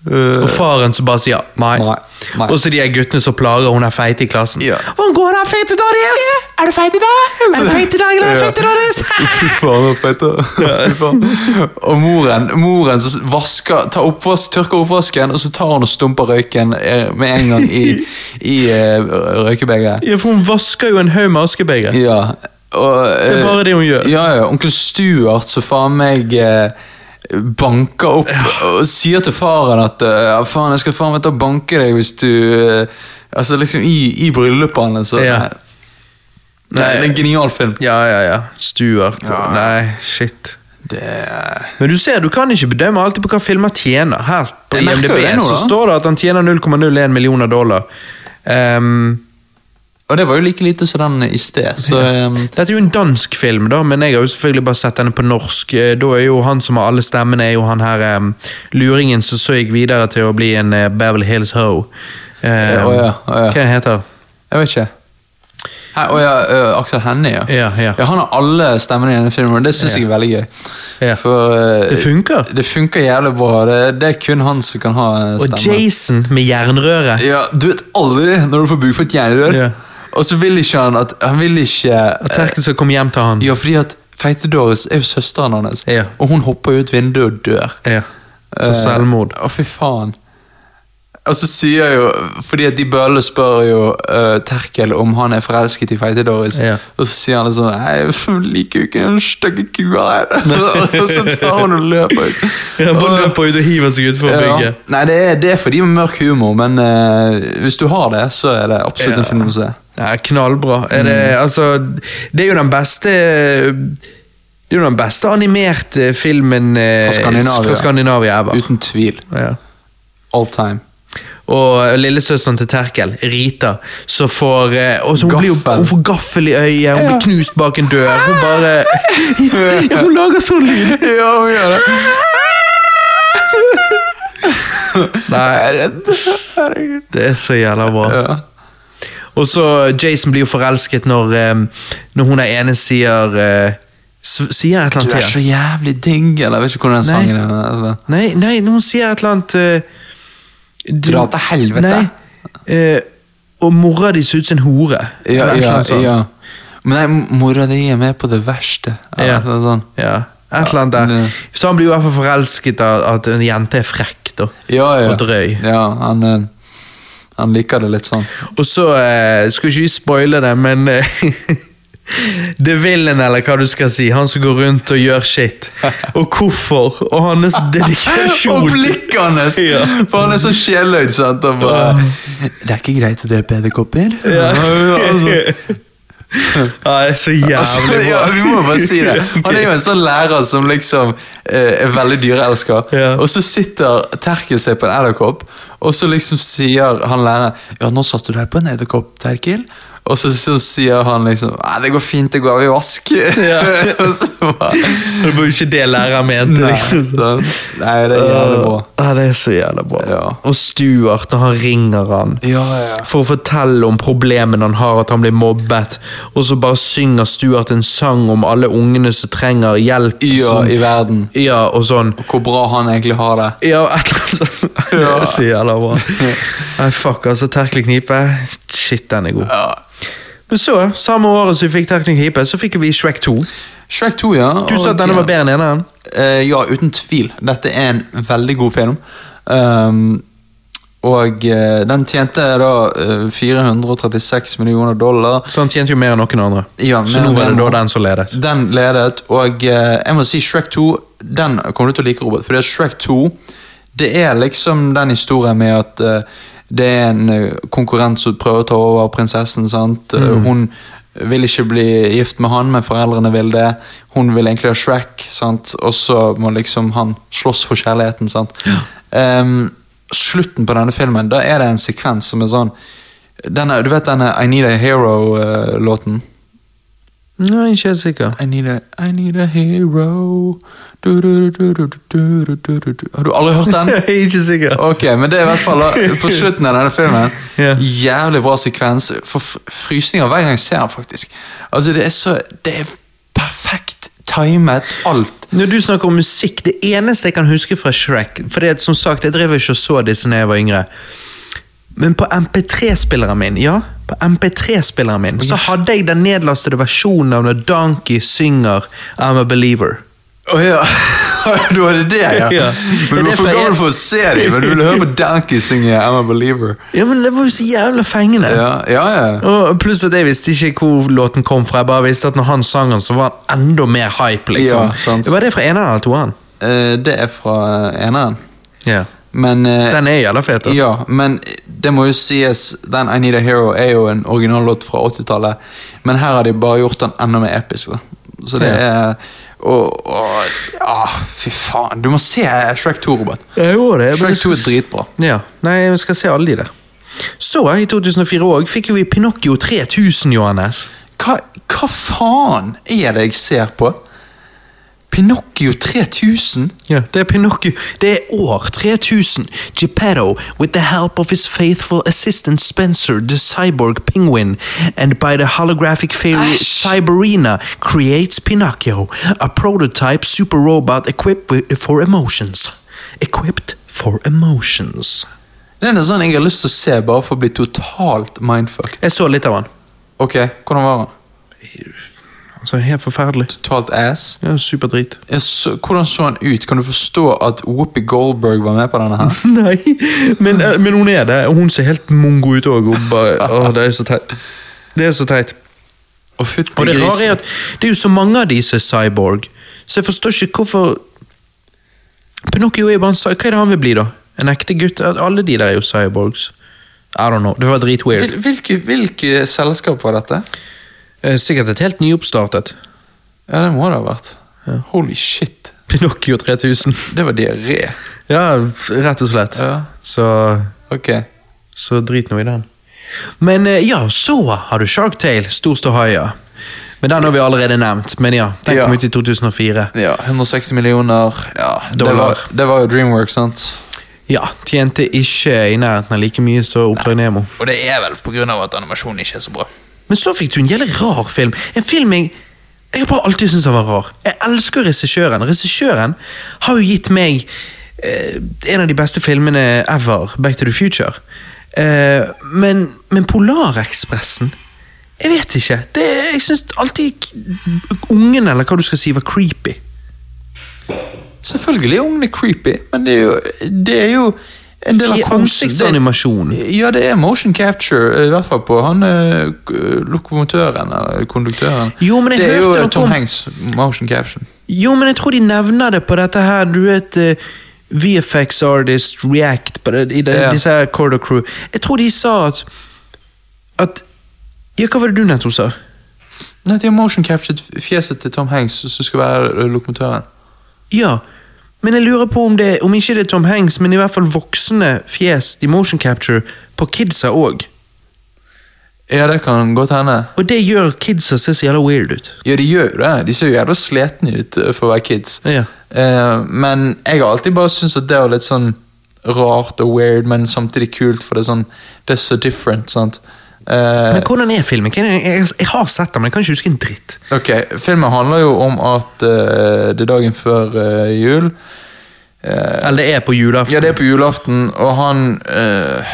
Speaker 1: Og faren som bare sier nei.
Speaker 2: Nei, nei.
Speaker 1: Og så de her guttene som plager hun er feit i klassen.
Speaker 2: Ja.
Speaker 1: Hvordan går det, feit i dag, Darius? Er du feit i dag? Er du feit i dag, eller er du feit i dag, Darius?
Speaker 2: [laughs] Fy faen, så fett. da. [laughs] Fy faen. Og moren, moren så vasker, tar oppvask, tørker oppvasken, og så tar hun og stumper røyken eh, med en gang i, i eh, røykebegeret.
Speaker 1: Ja, for hun vasker jo en haug med askebeger.
Speaker 2: Ja. Og, eh,
Speaker 1: Det er bare det hun gjør.
Speaker 2: Ja, ja. Onkel Stuart så faen meg eh, banker opp og sier til faren at eh, ja, faen, jeg skal faen meg ta og banke deg hvis du eh, Altså liksom i, i bryllupet hans. så-
Speaker 1: Ja.
Speaker 2: Nei, Det er en genial film.
Speaker 1: Ja, ja, ja. Stuart.
Speaker 2: Ja.
Speaker 1: Nei, shit.
Speaker 2: Det er
Speaker 1: Men du ser, du kan ikke bedømme alltid på hva filmer tjener. Her på
Speaker 2: Jeg merker jo
Speaker 1: IMDb
Speaker 2: det nå,
Speaker 1: så
Speaker 2: da.
Speaker 1: står det at han tjener 0,01 millioner dollar. Ehm,
Speaker 2: Og det var jo like lite som den i sted, så ehm,
Speaker 1: dette er jo en dansk film, da, men jeg har jo selvfølgelig bare sett denne på norsk. Eh, Da er jo han som har alle stemmene, er jo han her em, luringen som så gikk videre til å bli en eh, Beverly Hills Ho. Em,
Speaker 2: Eh, å ja, å ja.
Speaker 1: Hva den heter
Speaker 2: Jeg vet ikke. Hæ, å ja, ø, Aksel Hennie, ja.
Speaker 1: Ja, ja.
Speaker 2: Han har alle stemmene i denne filmen, og det syns jeg er veldig gøy.
Speaker 1: Ja.
Speaker 2: For eh, ø,
Speaker 1: Det funker.
Speaker 2: Det funker jævlig bra. Det, det er kun han som kan ha ø,
Speaker 1: Og
Speaker 2: stemme.
Speaker 1: Jason med jernrøret.
Speaker 2: Ja, du vet aldri når du får bruk for et hjernedør.
Speaker 1: Ja.
Speaker 2: Og så vil ikke han at Han vil ikke eh,
Speaker 1: At Terkel skal komme hjem til han.
Speaker 2: Ja, fordi at Feite Doris er jo søsteren hans,
Speaker 1: Ja.
Speaker 2: og hun hopper jo ut vinduet og dør.
Speaker 1: Ja. Til
Speaker 2: Eh,
Speaker 1: selvmord.
Speaker 2: Å, fy faen. Og så sier jo Fordi at de bøllene spør jo eh, Terkel om han er forelsket i Feite-Doris.
Speaker 1: Ja.
Speaker 2: Og så sier han det sånn Nei, jeg liker jo ikke den stygge kua her. [laughs] og så tar hun og løper ut.
Speaker 1: [laughs] Ja,
Speaker 2: Og-
Speaker 1: bare løper ut og hiver seg utfor
Speaker 2: Ja.
Speaker 1: bygget.
Speaker 2: Nei, det er, det er for de med mørk humor, men eh, hvis du har det, så er det absolutt en
Speaker 1: Ja.
Speaker 2: film å se.
Speaker 1: Ja, knallbra. Er det,
Speaker 2: Mm.
Speaker 1: altså, det er jo den beste Det er jo den beste animerte filmen eh,
Speaker 2: Fra Skandinavia.
Speaker 1: fra Skandinavia ever.
Speaker 2: Uten tvil.
Speaker 1: Ja. [laughs]
Speaker 2: All time.
Speaker 1: Og eh, lillesøsteren til Terkel, Rita, så får eh, og så hun, blir, jo-
Speaker 2: Gaffel.
Speaker 1: hun får gaffel i øyet, hun blir knust bak en dør. Hun bare
Speaker 2: [laughs]
Speaker 1: ja, Hun lager sånn lyd.
Speaker 2: Ja, hun gjør det.
Speaker 1: Nei, det er så jævla bra.
Speaker 2: Ja.
Speaker 1: Og så Jason blir jo forelsket når, eh, når hun der ene sier eh, s- Sier et eller
Speaker 2: Du
Speaker 1: annet
Speaker 2: er
Speaker 1: til
Speaker 2: så
Speaker 1: ham.
Speaker 2: jævlig digg, eller jeg vet ikke hvordan den
Speaker 1: Nei.
Speaker 2: sangen er. altså. eller-
Speaker 1: Nei, nei, når hun sier et eller annet eh, du-
Speaker 2: Dra til helvete.
Speaker 1: Nei, eh, og mora di ser ut som en hore.
Speaker 2: Ja,
Speaker 1: Eller et eller
Speaker 2: ja,
Speaker 1: annet sånt.
Speaker 2: ja. Men nei, mora di er med på det verste. eller
Speaker 1: Ja.
Speaker 2: et eller annet sånt.
Speaker 1: Ja, et eller annet der.
Speaker 2: Ja.
Speaker 1: Så han blir jo i hvert fall forelsket av at en jente er frekk, da.
Speaker 2: Ja, ja.
Speaker 1: Og drøy.
Speaker 2: Ja, han, eh, han liker det litt sånn.
Speaker 1: Og så eh, Skal ikke vi spoile det, men eh, [laughs] The Villain, eller hva du skal si. Han som går rundt og gjør shit. Og hvorfor? Og hans dedikasjon.
Speaker 2: [laughs] Og blikket hans!
Speaker 1: Ja.
Speaker 2: For han er så sjeløyd, sant. Han bare Det er ikke greit å drepe edderkopper.
Speaker 1: [laughs] Ja.
Speaker 2: Ja, [laughs] altså.
Speaker 1: Ja, det er så
Speaker 2: Altså,
Speaker 1: jævlig
Speaker 2: ja,
Speaker 1: bra.
Speaker 2: vi må bare si
Speaker 1: [laughs]
Speaker 2: det. Han er jo en sånn lærer som liksom eh, er veldig dyreelsker.
Speaker 1: Ja.
Speaker 2: Og så sitter Terkel seg på en edderkopp, og så liksom sier han læreren Ja, nå satte du deg på en edderkopp, Terkel. Og så, så sier han liksom Nei, det går fint, det går av i vask. [laughs] og så bare
Speaker 1: Det var jo ikke det læreren mente.
Speaker 2: Nei,
Speaker 1: liksom.
Speaker 2: sånn. nei, det er jævlig bra.
Speaker 1: Ja, det er så jævlig bra.
Speaker 2: Ja.
Speaker 1: Og Stuart, når han ringer han
Speaker 2: Ja, ja.
Speaker 1: for å fortelle om problemene han har, at han blir mobbet, og så bare synger Stuart en sang om alle ungene som trenger hjelp.
Speaker 2: Ja,
Speaker 1: sånn.
Speaker 2: i verden.
Speaker 1: ja og sånn.
Speaker 2: Hvor bra han egentlig har det.
Speaker 1: Ja, et eller annet
Speaker 2: [laughs]
Speaker 1: sånt.
Speaker 2: Ja.
Speaker 1: Det er så jævla
Speaker 2: [laughs]
Speaker 1: bra. Nei, fuck, altså. Terkel knipe. Shit, den er god.
Speaker 2: Ja.
Speaker 1: Men så, samme året som vi fikk Terkel knipe, så fikk jo vi Shrek 2.
Speaker 2: Shrek 2, ja.
Speaker 1: Du sa
Speaker 2: og-
Speaker 1: at denne var bedre enn eneren.
Speaker 2: Eh, ja, uten tvil. Dette er en veldig god film. Ehm, og eh, den tjente da eh, 436 millioner dollar.
Speaker 1: Så han tjente jo mer enn noen andre.
Speaker 2: Ja,
Speaker 1: så
Speaker 2: mer
Speaker 1: nå
Speaker 2: enn
Speaker 1: var det
Speaker 2: eneren.
Speaker 1: da den som ledet.
Speaker 2: Den ledet, og eh, jeg må si Shrek 2 Den kommer du til å like, Robert. Fordi at Shrek 2 det er liksom den historien med at eh, det er en eh, konkurrent som prøver å ta over prinsessen. sant? Eh, Hun vil ikke bli gift med han, men foreldrene vil det. Hun vil egentlig ha Shrek, sant? og så må liksom han slåss for kjærligheten. sant? Ehm, slutten på denne filmen, da er det en sekvens som er sånn denne, Du vet denne I Need A eh, Hero-låten?
Speaker 1: Nei, ikke helt
Speaker 2: [laughs]
Speaker 1: sikker.
Speaker 2: I need a, I need a hero du, du, du, du, du, du, du, du, du, du. Har du aldri hørt
Speaker 1: [laughs]
Speaker 2: den?
Speaker 1: ikke sikker.
Speaker 2: Ok, men det er i hvert fall da, på slutten av denne filmen.
Speaker 1: Ja.
Speaker 2: Jævlig bra sekvens. For f- frysninger hver gang jeg ser den, faktisk. Altså, det er så Det er perfekt timet, alt.
Speaker 1: Når du snakker om musikk, det eneste jeg kan huske fra Shrek For det er som sagt, jeg drev ikke og så disse da jeg var yngre. Men på MP3-spilleren min, ja, på MP3-spilleren min, så hadde jeg den nedlastede versjonen av når Donkey synger I'm a Believer.
Speaker 2: Å ja. [laughs] Du hadde det, ja?
Speaker 1: Ja. Ja, det er
Speaker 2: Men Du var for
Speaker 1: for-
Speaker 2: gammel for å se dem, men du ville høre på Donkey synge I'm a Believer.
Speaker 1: Ja, men det var jo så jævla fengende.
Speaker 2: Ja, ja. ja.
Speaker 1: Og pluss at jeg visste ikke hvor låten kom fra. Jeg bare visste at når han sang den, så var han enda mer hype, liksom.
Speaker 2: Ja, sant.
Speaker 1: Var det fra eneren eller toeren?
Speaker 2: Eh, Det er fra eh, eneren.
Speaker 1: Ja.
Speaker 2: Men eh,
Speaker 1: Den er jævla fet, altså. da.
Speaker 2: Ja, men det må jo sies Den I Need A Hero er jo en originallåt fra 80-tallet, men her har de bare gjort den enda mer episk. da. Så det
Speaker 1: Ja.
Speaker 2: er og, og, ah, Fy faen, du må se Shrek 2, Robert.
Speaker 1: Ja, jo, det er
Speaker 2: Shrek 2 er dritbra.
Speaker 1: Ja, nei, vi skal se alle de der. Så, eh, i 2004 òg, fikk jo vi Pinocchio 3000, Johannes.
Speaker 2: Hva, hva faen er det jeg ser på? Pinocchio 3000?
Speaker 1: Ja, Det er Pinocchio. Det er år 3000. Geppetto, with the help of his faithful assistant Spencer, the cyborg penguin, and by the holographic fairy
Speaker 2: Æsj!
Speaker 1: Cyberina, creates Pinocchio, a prototype super robot equipped with, for emotions. Equipped for emotions.
Speaker 2: Det er noe sånn jeg har lyst til å se bare for å bli totalt mindfucked.
Speaker 1: Jeg så litt av han.
Speaker 2: Ok, hvordan var han?
Speaker 1: Altså, helt forferdelig.
Speaker 2: Totalt ass.
Speaker 1: Ja, Superdrit.
Speaker 2: Jeg så, hvordan så han ut? Kan du forstå at Whoopi Goldberg var med på denne her?
Speaker 1: [laughs] Nei, men, eh, men hun er det. og Hun ser helt mongo ut òg. Det er så teit. Det er så teit.
Speaker 2: Og fytti
Speaker 1: Og det rare er
Speaker 2: grisen.
Speaker 1: at det er jo så mange av de som er cyborg, så jeg forstår ikke hvorfor Pinocchio er jo bare en cy- Hva er det han vil bli, da? En ekte gutt? Alle de der er jo cyborgs. I don't know. Det var dritweird.
Speaker 2: Hvil, hvilke, hvilke selskap var dette?
Speaker 1: Eh, Sikkert et helt nyoppstartet.
Speaker 2: Ja, det må det ha vært. Holy shit.
Speaker 1: Pinocchio 3000.
Speaker 2: Det var diaré.
Speaker 1: Ja, rett og slett.
Speaker 2: Ja.
Speaker 1: Så
Speaker 2: Ok.
Speaker 1: Så drit nå i den. Men eh, ja, så har du Shark Tale, Stor ståhaia. Men den har vi allerede nevnt. Men ja, den
Speaker 2: Ja.
Speaker 1: kom ut i 2004.
Speaker 2: Ja, 160 millioner ja, Det,
Speaker 1: Dollar.
Speaker 2: var, det var jo Dreamworks, sant?
Speaker 1: Ja, tjente ikke i nærheten av like mye som Oppdrag Nemo.
Speaker 2: Og det er vel pga. at animasjonen ikke er så bra.
Speaker 1: Men så fikk du en jævlig rar film. En film jeg jeg har bare alltid syntes han var rar. Jeg elsker regissøren. Regissøren har jo gitt meg eh, en av de beste filmene ever, Back to the Future. Eh, men, men Polarekspressen Jeg vet ikke. Det, jeg syns alltid k- ungen, eller hva du skal si, var creepy.
Speaker 2: Selvfølgelig er ungene creepy, men det er jo, det er jo en del av
Speaker 1: I
Speaker 2: kunsten. Det-
Speaker 1: ansiktsanimasjon.
Speaker 2: Ja, det er motion capture, i hvert fall på han eh, k- lokomotøren, eller konduktøren.
Speaker 1: Jo, men jeg
Speaker 2: det er jo
Speaker 1: hørte
Speaker 2: eh,
Speaker 1: noe
Speaker 2: Tom
Speaker 1: om-
Speaker 2: Hanks motion caption.
Speaker 1: Jo, men jeg tror de nevner det på dette her, du vet eh, VFX Artist React på det, i det,
Speaker 2: Ja.
Speaker 1: disse her Corridor Crew. Jeg tror de sa at at Ja, hva var det du nettopp sa?
Speaker 2: Nei, de har motion captured fjeset til Tom Hanks, som skal være eh, lokomotøren.
Speaker 1: Ja, men jeg lurer på om det om ikke det er Tom Hanks, men i hvert fall voksne fjes i motion capture på kidsa òg.
Speaker 2: Ja, det kan godt hende.
Speaker 1: Og det gjør kidsa se så jævla weird ut.
Speaker 2: Ja, de gjør jo det. De ser jo jævla sletne ut eh, for å være kids.
Speaker 1: Ja.
Speaker 2: Eh, men jeg har alltid bare syntes at det var litt sånn rart og weird, men samtidig kult, for det er sånn Det er så different, sant. Eh,
Speaker 1: Men hvordan er filmen? Hva er det- Jeg, jeg har sett den, men jeg kan ikke huske en dritt.
Speaker 2: Ok, filmen handler jo om at eh, det er dagen før eh, jul. Eh,
Speaker 1: Eller det er på julaften.
Speaker 2: ja, det er på julaften, og han eh,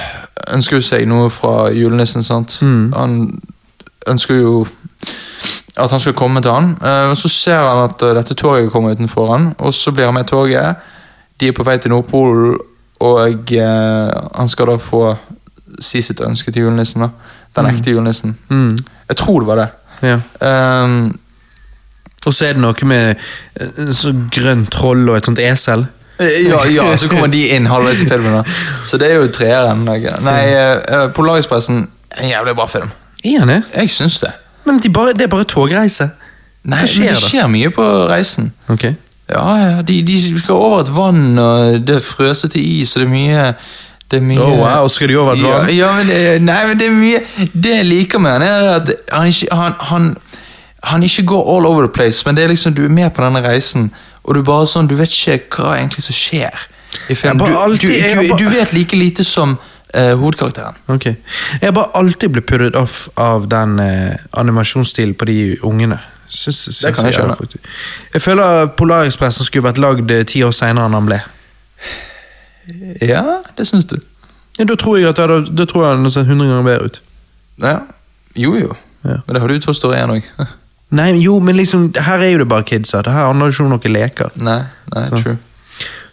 Speaker 2: ønsker jo seg noe fra julenissen, sant? Han ønsker jo at han skal komme til han. Eh, og så ser han at eh, dette toget kommer utenfor han, og så blir han med toget. De er på vei til Nordpolen, og eh, han skal da få si sitt ønske til julenissen, da. Den ekte julenissen.
Speaker 1: Mm.
Speaker 2: Jeg tror det var det.
Speaker 1: Ja.
Speaker 2: Um,
Speaker 1: Og så er det noe med eh, så grønt troll og et sånt esel.
Speaker 2: Eh, Ja, ja, så kommer de inn halvveis i filmen. da Så det er jo treeren. da, ikke? Nei, uh, Polarispressen En jævlig bra film.
Speaker 1: [laughs] Er han det?
Speaker 2: Jeg syns det.
Speaker 1: Men de bare, det er bare togreise.
Speaker 2: Nei,
Speaker 1: Hva skjer
Speaker 2: men det
Speaker 1: da?
Speaker 2: skjer mye på reisen.
Speaker 1: Ok.
Speaker 2: Ja, ja, de, de skal over et vann, og det er frøsete is, og det er mye det er mye
Speaker 1: Å, Oh, wow, skal de over et vann?
Speaker 2: Ja, ja men, det, nei, men det er mye Det jeg liker med han, er at han ikke han, han, han ikke går all over the place, men det er liksom, du er med på denne reisen, og du bare sånn, du vet ikke hva egentlig som skjer. i filmen.
Speaker 1: Jeg bare
Speaker 2: Du,
Speaker 1: alltid- jeg
Speaker 2: du,
Speaker 1: bare-
Speaker 2: du, du vet like lite som eh, hovedkarakteren.
Speaker 1: Ok. Jeg har bare alltid blitt puttet off av den eh, animasjonsstilen på de ungene. Syns, syns
Speaker 2: Det kan jeg skjønne.
Speaker 1: er faktisk- Jeg føler Polarekspressen skulle vært lagd eh, ti år seinere enn han ble.
Speaker 2: Ja, det syns du.
Speaker 1: Ja, da tror jeg at det hadde- da tror jeg han hadde sett 100 ganger bedre ut.
Speaker 2: Ja. Jo, jo.
Speaker 1: Ja.
Speaker 2: Men det har du i Toy Story 1 òg.
Speaker 1: Nei, men jo, men liksom, her er jo det bare kidsa. Det her handler jo ikke om noen leker.
Speaker 2: [laughs] nei, nei, true.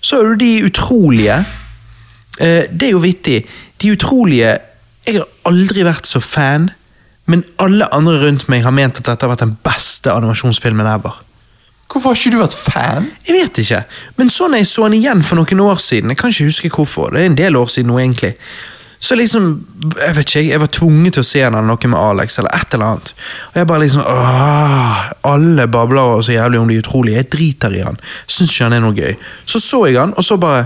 Speaker 1: Så er det de utrolige. Eh, det er jo vittig. De utrolige Jeg har aldri vært så fan, men alle andre rundt meg har ment at dette har vært den beste animasjonsfilmen ever.
Speaker 2: Hvorfor har ikke du vært fan?
Speaker 1: Jeg vet ikke, men så når jeg så den igjen for noen år siden Jeg kan ikke huske hvorfor, det er en del år siden nå egentlig. Så liksom, jeg vet ikke, jeg var tvunget til å se den eller noe med Alex eller et eller annet. Og jeg bare liksom, åh, alle babler så jævlig om de utrolige, jeg driter i han. Syns ikke han er noe gøy. Så så jeg han, og så bare,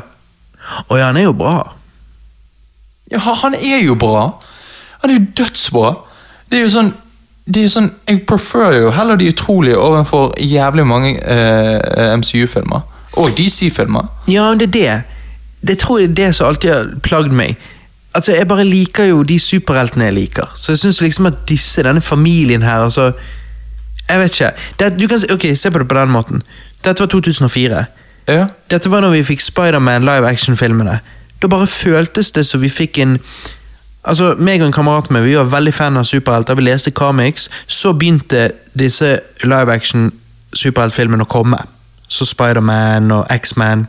Speaker 1: å ja, han er jo bra.
Speaker 2: Ja, han han er jo bra. Han er jo dødsbra. Det er jo sånn, det er jo sånn Jeg preferer jo heller de utrolige overfor jævlig mange eh, MCU-filmer. Og DC-filmer.
Speaker 1: Ja, men det er det. Det tror jeg er det som alltid har plagd meg. Altså, Jeg bare liker jo de superheltene jeg liker. Så jeg syns liksom at disse, denne familien her, altså Jeg vet ikke. Det, du kan, si- ok, Se på det på den måten. Dette var 2004.
Speaker 2: Ja.
Speaker 1: Dette var når vi fikk Spiderman live action-filmene. Da bare føltes det som vi fikk en Altså, meg og en kamerat med, vi var veldig fan av superhelter, vi leste comics. Så begynte disse live action superheltfilmene å komme. Så Spiderman og X-Man.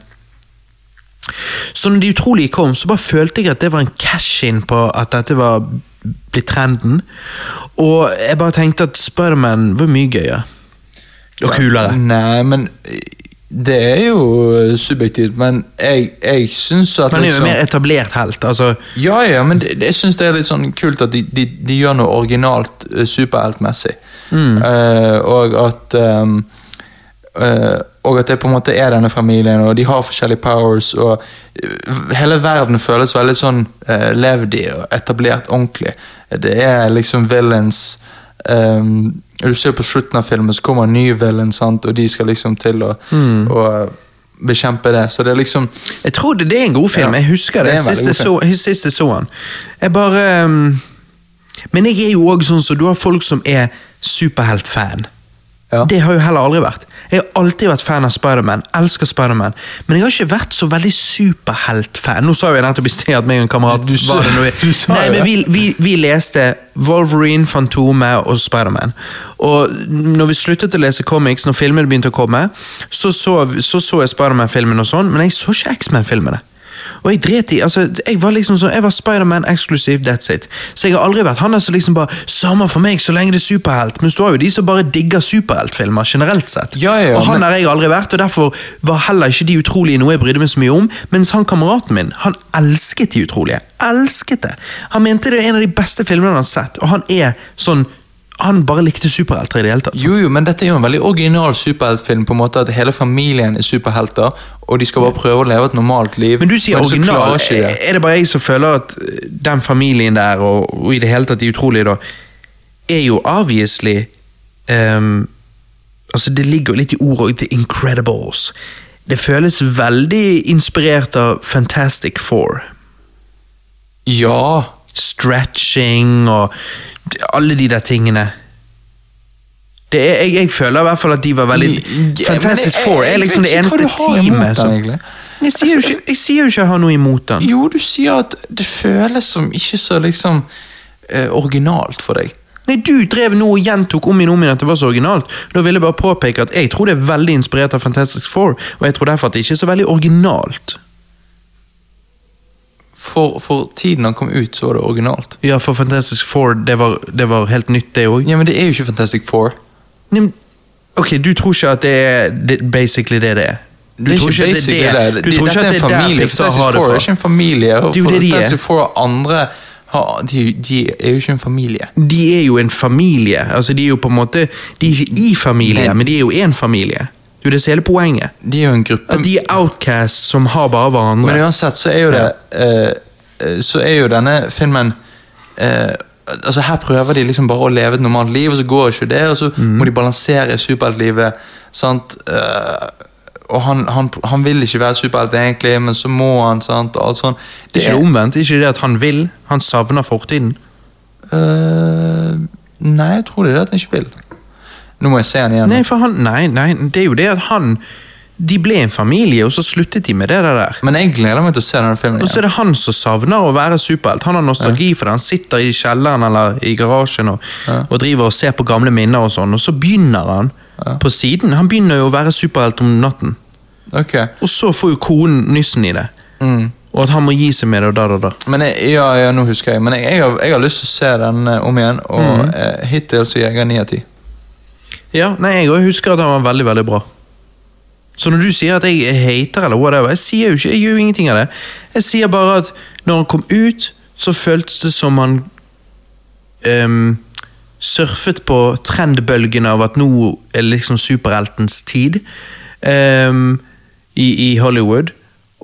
Speaker 1: Så når de utrolige kom, så bare følte jeg at det var en cash-in på at dette var blitt trenden. Og jeg bare tenkte at Spiderman var mye gøyere. Og kulere.
Speaker 2: Nei, men eh, det er jo eh, subjektivt, men jeg, jeg syns at liksom-
Speaker 1: Han er jo en mer etablert helt. altså...
Speaker 2: Ja, ja, men det, jeg syns det er litt sånn kult at de, de, de gjør noe originalt eh, superheltmessig. Eh, og at ehm, eh, Og at det på en måte er denne familien, og de har forskjellige powers, og eh, hele verden føles veldig sånn eh, levd i og etablert ordentlig. Det er liksom villains ehm, Du ser på slutten av filmen, så kommer en ny villain, sant, og de skal liksom til å å bekjempe det. Så det er liksom
Speaker 1: Jeg tror det, det er en god film.
Speaker 2: Ja,
Speaker 1: Jeg husker
Speaker 2: det
Speaker 1: det,
Speaker 2: er en
Speaker 1: sist,
Speaker 2: veldig
Speaker 1: jeg så,
Speaker 2: god
Speaker 1: sist jeg så den. Jeg bare um, Men jeg er jo òg sånn som du har folk som er superheltfan.
Speaker 2: Ja.
Speaker 1: Det har jeg jo heller aldri vært. Jeg har alltid vært fan av Spiderman. Elsker Spiderman. Men jeg har ikke vært så veldig superheltfan. Nå sa jo jeg nettopp i sted at meg og en kamerat
Speaker 2: Du sa-
Speaker 1: var det noe
Speaker 2: du sa
Speaker 1: Nei,
Speaker 2: jo
Speaker 1: men
Speaker 2: det.
Speaker 1: vi, vi, vi leste Wolverine, Fantomet og Spiderman. Og når vi sluttet å lese comics, når filmene begynte å komme, så så, så, så jeg Spiderman-filmen og sånn, men jeg så ikke X-Man-filmene. Og jeg dret i, altså, jeg var liksom sånn, jeg var Spiderman eksklusiv, that's it. Så jeg har aldri vært han der som liksom bare Samme for meg, så lenge det er superhelt. Mens du har jo de som bare digger superheltfilmer generelt sett.
Speaker 2: Ja, ja, ja,
Speaker 1: og han
Speaker 2: men-
Speaker 1: har jeg aldri vært, og derfor var heller ikke De utrolige noe jeg brydde meg så mye om. Mens han kameraten min, han elsket De utrolige. Elsket det. Han mente det er en av de beste filmene han har sett, og han er sånn Han bare likte superhelter i det hele tatt.
Speaker 2: Jo, jo, men dette er jo en veldig original superheltfilm. på en måte At hele familien er superhelter, og de skal bare prøve å leve et normalt liv.
Speaker 1: Men du sier
Speaker 2: så
Speaker 1: original.
Speaker 2: klarer ikke det.
Speaker 1: Er det bare jeg som føler at eh, den familien der, og, og i det hele tatt de utrolige, da, er jo obviously ehm, Altså, det ligger jo litt i ordet òg, The Incredibles. Det føles veldig inspirert av Fantastic Four.
Speaker 2: Ja,
Speaker 1: Stretching og d- alle de der tingene. Det er, jeg, jeg føler i hvert fall at de var veldig
Speaker 2: Ja,
Speaker 1: Fantastic
Speaker 2: men jeg-
Speaker 1: Four
Speaker 2: jeg-
Speaker 1: er
Speaker 2: jeg
Speaker 1: liksom
Speaker 2: vet
Speaker 1: det
Speaker 2: ikke hva du
Speaker 1: eneste
Speaker 2: har imot den,
Speaker 1: teamet som
Speaker 2: egentlig.
Speaker 1: Jeg sier jo ikke, jeg sier jo ikke jeg har noe imot den.
Speaker 2: Jo, du sier at det føles som ikke så liksom eh, originalt for deg.
Speaker 1: Nei, du drev nå og gjentok om igjen og om igjen at det var så originalt. Da vil jeg bare påpeke at jeg tror det er veldig inspirert av Fantastic Four, og jeg tror derfor at det ikke er så veldig originalt.
Speaker 2: For, for tiden han kom ut, så var det originalt.
Speaker 1: Ja, for Fantastic Four, det var, det var helt nytt, det òg.
Speaker 2: Ja, Men det er jo ikke Fantastic Four.
Speaker 1: Ok, du tror ikke at det er det, basically det det er? Du
Speaker 2: det er
Speaker 1: tror ikke
Speaker 2: ikke
Speaker 1: at det
Speaker 2: basically
Speaker 1: er det.
Speaker 2: det.
Speaker 1: Du
Speaker 2: Det-
Speaker 1: tror ikke
Speaker 2: dette
Speaker 1: at det
Speaker 2: er en
Speaker 1: er der
Speaker 2: familie.
Speaker 1: Pixar
Speaker 2: Fantastic
Speaker 1: har det
Speaker 2: Four er
Speaker 1: fra?
Speaker 2: ikke en familie. og
Speaker 1: Det er jo det de er.
Speaker 2: Fantastic Four og andre har, de, de er jo ikke en familie.
Speaker 1: De er jo en familie. Altså, de er jo på en måte De er ikke i familie,
Speaker 2: Nei.
Speaker 1: men de er jo én familie. Det er jo det som er hele poenget.
Speaker 2: De er jo en gruppe
Speaker 1: At de er outcasts som har bare hverandre.
Speaker 2: Men uansett så er jo det eh, eh, Så er jo denne filmen eh, Altså Her prøver de liksom bare å leve et normalt liv, og så går ikke det. Og så
Speaker 1: Mhm.
Speaker 2: må de balansere superheltlivet. sant? Eh, og han, han, han vil ikke være superhelt, egentlig, men så må han. sant? Og alt sånn.
Speaker 1: Det er ikke det omvendt. Det er ikke det at han vil. Han savner fortiden.
Speaker 2: Eh, Nei, jeg tror det er det at han ikke vil. Nå må jeg se han igjen.
Speaker 1: Nei, for han, nei, nei, det er jo det at han De ble en familie, og så sluttet de med det der.
Speaker 2: Men jeg gleder meg til å se denne filmen
Speaker 1: Og så
Speaker 2: igjen.
Speaker 1: er det han som savner å være superhelt. Han har nostalgi for det. Han sitter i kjelleren eller i garasjen og, og driver og ser på gamle minner og sånn, og så begynner han på siden. Han begynner jo å være superhelt om natten.
Speaker 2: Ok.
Speaker 1: Og så får jo konen nyssen i det.
Speaker 2: Mm.
Speaker 1: Og at han må gi seg med det og da, da, da.
Speaker 2: Men jeg, ja, ja, nå husker jeg. Men jeg, jeg, har, jeg har lyst til å se den eh, om igjen, og
Speaker 1: Mm.
Speaker 2: eh, hittil så jeger jeg 9 av 10.
Speaker 1: Ja, nei, jeg også husker at han var veldig, veldig bra. Så når du sier at jeg hater eller whatever, jeg sier jo ikke, jeg gjør jo ingenting av det. Jeg sier bare at når han kom ut, så føltes det som han ehm, surfet på trendbølgen av at nå er liksom superheltens tid ehm, i, i Hollywood.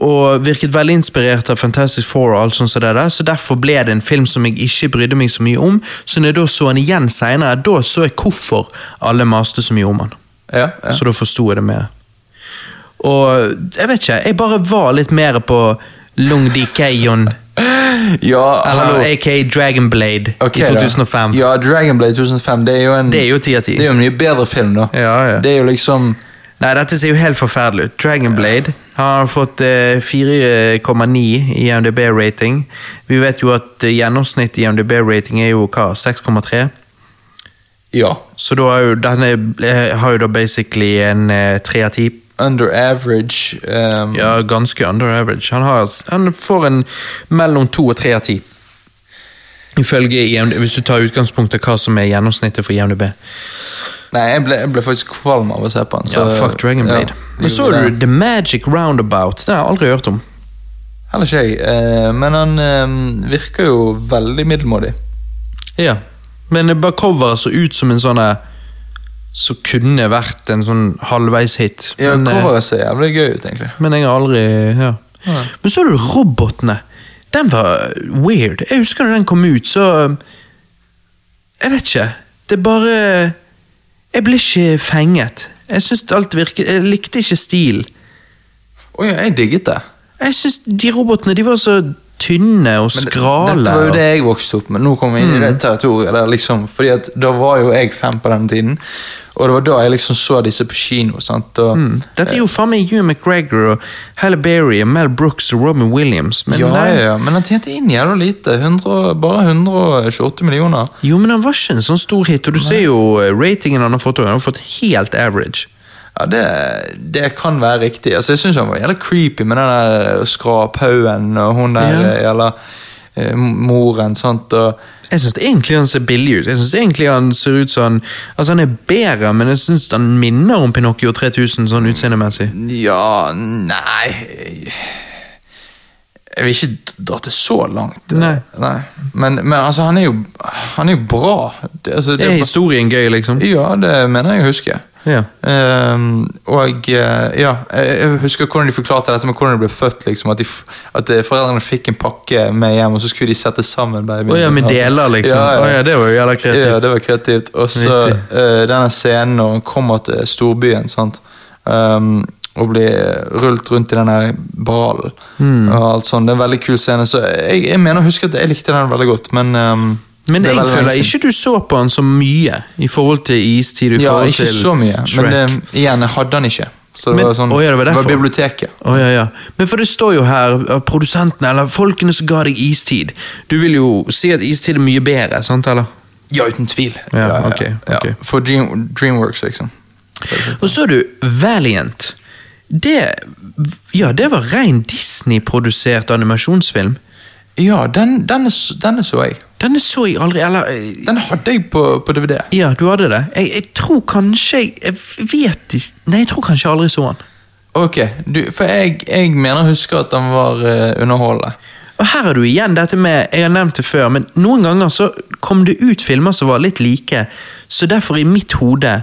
Speaker 1: Og virket veldig inspirert av Fantastic Four, og alt sånt som det der, så derfor ble det en film som jeg ikke brydde meg så mye om. Så når jeg da så den igjen senere, da så jeg hvorfor alle maste så mye om den.
Speaker 2: Ja, ja.
Speaker 1: Så da forsto jeg det mer. Og jeg vet ikke, jeg bare var litt mer på Lung Dikayon,
Speaker 2: ja hallo.
Speaker 1: eller aka Dragonblade,
Speaker 2: Ok,
Speaker 1: i
Speaker 2: da.
Speaker 1: 2005.
Speaker 2: Ja, Dragonblade 2005, det er jo en
Speaker 1: Det er jo 10 av 10.
Speaker 2: det er jo en mye bedre film, da.
Speaker 1: Ja, ja.
Speaker 2: Det er jo liksom
Speaker 1: Nei, dette ser jo helt forferdelig ut. Dragonblade Har fått eh, 4,9 i MDB-rating. Vi vet jo at eh, gjennomsnitt i MDB-rating er jo hva, 6,3?
Speaker 2: Ja.
Speaker 1: Så da har jo denne eh, har jo da basically en eh, 3 av 10.
Speaker 2: Under average ehm,
Speaker 1: Ja, ganske under average. Han, har, han får en mellom 2 og 3 av 10. Ifølge IMD, hvis du tar utgangspunkt i hva som er gjennomsnittet for IMDb.
Speaker 2: Nei, jeg ble, jeg ble faktisk kvalm av å se på den.
Speaker 1: Ja, fuck Dragon Blade. Men så
Speaker 2: gjorde
Speaker 1: har
Speaker 2: det.
Speaker 1: du The Magic Roundabout. Den har jeg aldri hørt om.
Speaker 2: Heller ikke jeg. eh, men han ehm, virker jo veldig middelmådig.
Speaker 1: Ja. Men det bare coveret så ut som en sånn eh, Som kunne vært en sånn halvveis-hit.
Speaker 2: Ja,
Speaker 1: men, eh,
Speaker 2: Coveret ser jævlig gøy ut, egentlig.
Speaker 1: men jeg har aldri ja.
Speaker 2: Nei.
Speaker 1: Men så har du robotene. Den var weird. Jeg husker da den kom ut, så eh, Jeg vet ikke. Det bare Jeg ble ikke fenget. Jeg synes alt virket Jeg likte ikke stilen.
Speaker 2: Å ja, jeg digget det.
Speaker 1: Jeg synes de robotene de var så tynne og
Speaker 2: Men det-
Speaker 1: skrale.
Speaker 2: Dette var jo
Speaker 1: og-
Speaker 2: det jeg vokste opp med. Nå kommer vi inn i det territoriet. Der, liksom, fordi at da var jo jeg fem på den tiden, og det var da jeg liksom så disse på kino. sant? Og,
Speaker 1: Dette er jo faen meg Hugh McGregor og Halle Berry og Mel Brooks og Robin Williams. Men
Speaker 2: ja,
Speaker 1: nei.
Speaker 2: ja, ja, men han tjente inn jævla lite. 100, bare 128 millioner.
Speaker 1: Jo, men han var ikke en sånn stor hit, og du ser jo eh, ratingen han har fått. og Han har fått helt average.
Speaker 2: Ja, Det, det kan være riktig. Altså, Jeg syns han var jævla creepy med den der skraphaugen og hun der
Speaker 1: Ja.
Speaker 2: eh, jævla eh, moren. sant? Og,
Speaker 1: Jeg syns egentlig han ser billig ut. Jeg synes egentlig Han ser ut som han, altså han er bedre, men jeg syns han minner om Pinocchio 3000 sånn utseendemessig.
Speaker 2: ja, nei Jeg vil ikke dra til så langt.
Speaker 1: Nei.
Speaker 2: Men, men altså, han er jo, han er jo bra. Det, altså, det
Speaker 1: Er
Speaker 2: er bare-
Speaker 1: historien gøy, liksom?
Speaker 2: ja, det mener jeg å huske.
Speaker 1: Ja.
Speaker 2: Ehm, og eh, ja, jeg jeg husker hvordan de forklarte dette med hvordan de ble født. liksom, At, de, f- at eh, foreldrene fikk en pakke med hjem, og så skulle de sette sammen babyen.
Speaker 1: Å ja, med deler, liksom.
Speaker 2: Ja, ja.
Speaker 1: Å ja, det var jo jævla
Speaker 2: Ja,
Speaker 1: kreativt.
Speaker 2: det var kreativt. Og så
Speaker 1: Vittig.
Speaker 2: eh, denne scenen når han kommer til storbyen sant? Ehm, og blir rullet rundt i denne ballen.
Speaker 1: Mm.
Speaker 2: og alt sånt. Det er en veldig kul scene. Så jeg, jeg mener å huske at jeg likte den veldig godt, men ehm,
Speaker 1: Men
Speaker 2: det er
Speaker 1: jeg
Speaker 2: veldig lenge
Speaker 1: føler
Speaker 2: siden.
Speaker 1: ikke du så på han så mye i forhold til istid. i
Speaker 2: Ja,
Speaker 1: forhold
Speaker 2: ikke
Speaker 1: til
Speaker 2: så mye.
Speaker 1: Shrek.
Speaker 2: Men eh, igjen, jeg hadde den ikke. Så det
Speaker 1: Men-
Speaker 2: var sånn,
Speaker 1: Å, ja, det var derfor.
Speaker 2: biblioteket.
Speaker 1: Å, ja, ja. Men for det står jo her, eh, produsentene, eller folkene som ga deg istid. Du vil jo si at istid er mye bedre, sant, eller?
Speaker 2: Ja, uten tvil.
Speaker 1: Ja, ok, ok.
Speaker 2: For Dream, Dreamworks, liksom.
Speaker 1: Og så er du Valiant. Det, ja, det var ren Disney-produsert animasjonsfilm.
Speaker 2: Ja, den, denne, s- denne så jeg.
Speaker 1: Denne så jeg aldri, eller eh,
Speaker 2: Den hadde jeg på, på DVD.
Speaker 1: Ja, du hadde det? Jeg, jeg tror kanskje jeg, jeg vet ikke Nei, jeg tror kanskje jeg aldri så den.
Speaker 2: Ok, du, for jeg, jeg mener å huske at den var eh, underholdende.
Speaker 1: Og her er du igjen dette med Jeg har nevnt det før, men noen ganger så kom det ut filmer som var litt like, så derfor i mitt hode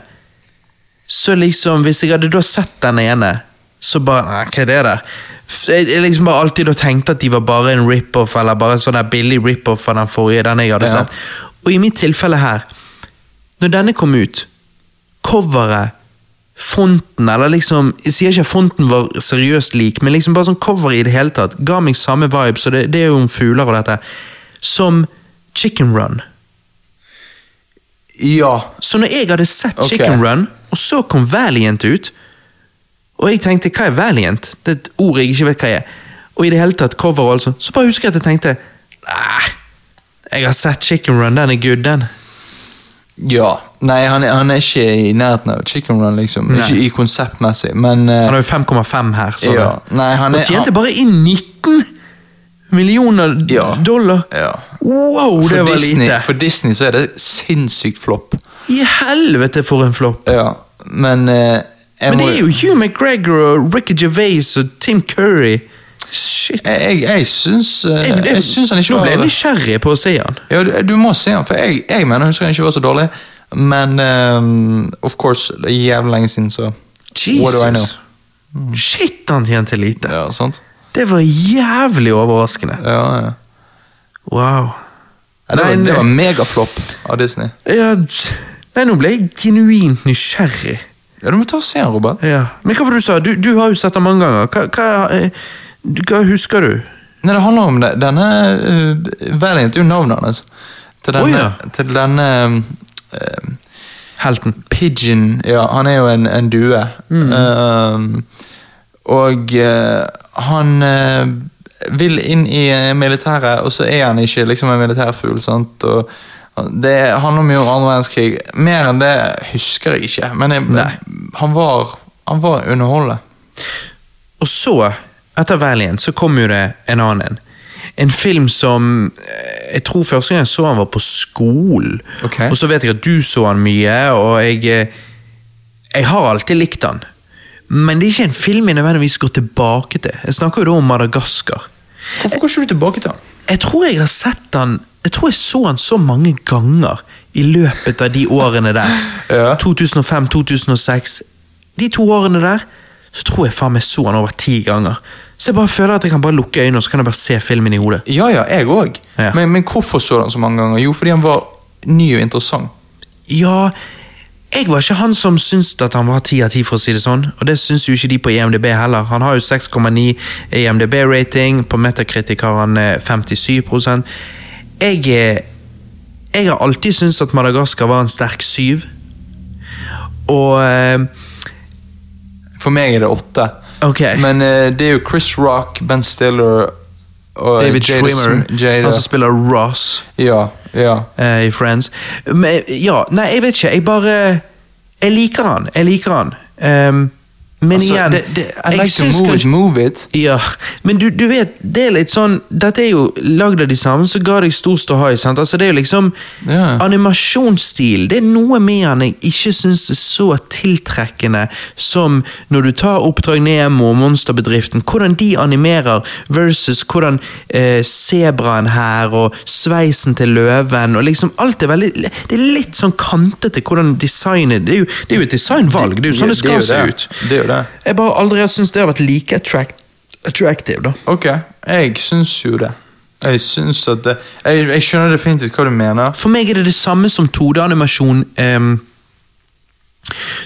Speaker 1: Så liksom, hvis jeg hadde da sett den ene, så bare Nei, hva er det der? F- Jeg jeg liksom bare alltid da tenkte at de var bare en rip-off, eller bare en sånn der billig rip-off av den forrige, den jeg hadde
Speaker 2: Ja.
Speaker 1: sett. Og i mitt tilfelle her, når denne kom ut, coveret Fonten, eller liksom Jeg sier ikke at fonten var seriøst lik, men liksom bare sånn coveret i det hele tatt ga meg samme vibe, så det, det er jo om fugler og dette, som Chicken Run.
Speaker 2: Ja.
Speaker 1: Så når jeg hadde sett
Speaker 2: Ok.
Speaker 1: Chicken Run, og så kom Valiant ut, og jeg tenkte 'hva er Valiant'? Det er et ord jeg ikke vet hva er. Og i det hele tatt cover, og alt sånt, Så bare husker jeg at jeg tenkte Nei, jeg har sett Chicken Run, den er good, den.
Speaker 2: Ja. Nei, han, er- han er ikke i nærheten av Chicken Run, liksom.
Speaker 1: Nei.
Speaker 2: Ikke i konseptmessig, men eh,
Speaker 1: Han har jo 5,5 her. Så
Speaker 2: Ja. Nei, han
Speaker 1: og
Speaker 2: er-
Speaker 1: tjente
Speaker 2: han-
Speaker 1: bare inn 19 millioner
Speaker 2: Ja.
Speaker 1: dollar.
Speaker 2: Ja.
Speaker 1: Wow, det
Speaker 2: for,
Speaker 1: var
Speaker 2: Disney,
Speaker 1: lite!
Speaker 2: for Disney så er det sinnssykt flopp.
Speaker 1: I helvete, for en flopp!
Speaker 2: Ja, men eh, jeg
Speaker 1: Men
Speaker 2: må-
Speaker 1: det er jo Hugh McGregor og Ricky Gervais og Tim Curry. Shit.
Speaker 2: Jeg, jeg, jeg syns eh,
Speaker 1: Jeg, det,
Speaker 2: jeg syns han ikke
Speaker 1: nå
Speaker 2: var
Speaker 1: ble jeg nysgjerrig på å se han.
Speaker 2: ja, du, du må se han, for jeg, jeg mener husker han ikke var så dårlig. Men eh, of course, det er jævlig lenge siden, så What do I know? Mm.
Speaker 1: Jesus. Shit, han tjente lite.
Speaker 2: Ja, sant?
Speaker 1: Det var jævlig overraskende.
Speaker 2: Ja, ja.
Speaker 1: Wow.
Speaker 2: Ja, det, var,
Speaker 1: Nei,
Speaker 2: det var megaflopp av Disney.
Speaker 1: Ja, t- nei, nå ble jeg genuint nysgjerrig.
Speaker 2: Ja, Du må ta og se han, Robert.
Speaker 1: Ja. Men hva var det du sa? Du, du har jo sett den mange ganger. Hva, hva, eh, du- hva husker du?
Speaker 2: Nei, Det handler om det. denne uh, Valiant er jo navnet hans. Til denne,
Speaker 1: Å, ja.
Speaker 2: til denne eh,
Speaker 1: Helten.
Speaker 2: Mm. Pigeon Ja, han er jo en, en due. Um, Eh, Og eh, han eh, vil inn i eh, militæret, og så er han ikke liksom en militærfugl. sant? Og han- det handler mye om andre verdenskrig. Mer enn det husker jeg ikke. Men jeg, han var, han var underholdende.
Speaker 1: Og så, etter Valiant, så kom jo det en annen en. En film som eh, Jeg tror første gang jeg så han var på skolen.
Speaker 2: Ok.
Speaker 1: Og så vet jeg at du så han mye, og jeg eh, Jeg har alltid likt han. Men det er ikke en film jeg nødvendigvis går tilbake til. Jeg snakker jo da om Madagaskar.
Speaker 2: Hvorfor går ikke du tilbake til han?
Speaker 1: Jeg tror jeg har sett han Jeg tror jeg så han så mange ganger i løpet av de årene der.
Speaker 2: Ja.
Speaker 1: 2005-2006. De to årene der så tror jeg faen meg så han over ti ganger. Så jeg bare føler at jeg kan bare lukke øynene og så kan jeg bare se filmen i hodet.
Speaker 2: Ja, ja, jeg òg.
Speaker 1: Ja.
Speaker 2: Men, men hvorfor så du han så mange ganger? Jo, fordi han var ny og interessant.
Speaker 1: Ja, jeg var ikke han som syntes at han var 10 av 10, for å si det sånn. Og det syns jo ikke de på E IMDb heller. Han har jo 6,9 IMDb-rating, på Metacritic har han eh, 57 Jeg, eh, jeg har alltid syntes at Madagaskar var en sterk syv. Og eh,
Speaker 2: For meg er det åtte.
Speaker 1: Ok.
Speaker 2: Men eh, det er jo Chris Rock, Ben Stiller og
Speaker 1: David
Speaker 2: Jada
Speaker 1: Schwimmer,
Speaker 2: Sm- Jada.
Speaker 1: han som spiller Ross
Speaker 2: Ja, ja.
Speaker 1: eh, i Friends. Men, ja, nei, jeg vet ikke. Jeg bare Jeg liker han. Jeg liker han. Ehm, men
Speaker 2: Altså,
Speaker 1: igjen
Speaker 2: det, det, I
Speaker 1: jeg
Speaker 2: like to
Speaker 1: syns
Speaker 2: move it,
Speaker 1: kanskje-
Speaker 2: move it.
Speaker 1: Ja, men du, du vet, det er litt sånn Dette er jo lagd av de samme som ga deg stor ståhai. sant? Altså, det er jo liksom
Speaker 2: Ja.
Speaker 1: Animasjonsstil. Det er noe med han jeg ikke syns er så tiltrekkende som når du tar Oppdrag Nemo og Monsterbedriften. Hvordan de animerer versus hvordan eh, sebraen her og sveisen til løven og liksom Alt er veldig Det er litt sånn kantete hvordan designet Det er jo, det er jo et designvalg. Det er jo sånn det
Speaker 2: er
Speaker 1: skal
Speaker 2: jo
Speaker 1: se
Speaker 2: det.
Speaker 1: ut.
Speaker 2: Det er jo det.
Speaker 1: Jeg bare aldri har syntes det har vært like attract attractive, da.
Speaker 2: Ok, jeg syns jo det. Jeg syns at det jeg, jeg skjønner definitivt hva du mener.
Speaker 1: For meg er det det samme som 2D-animasjon. ehm,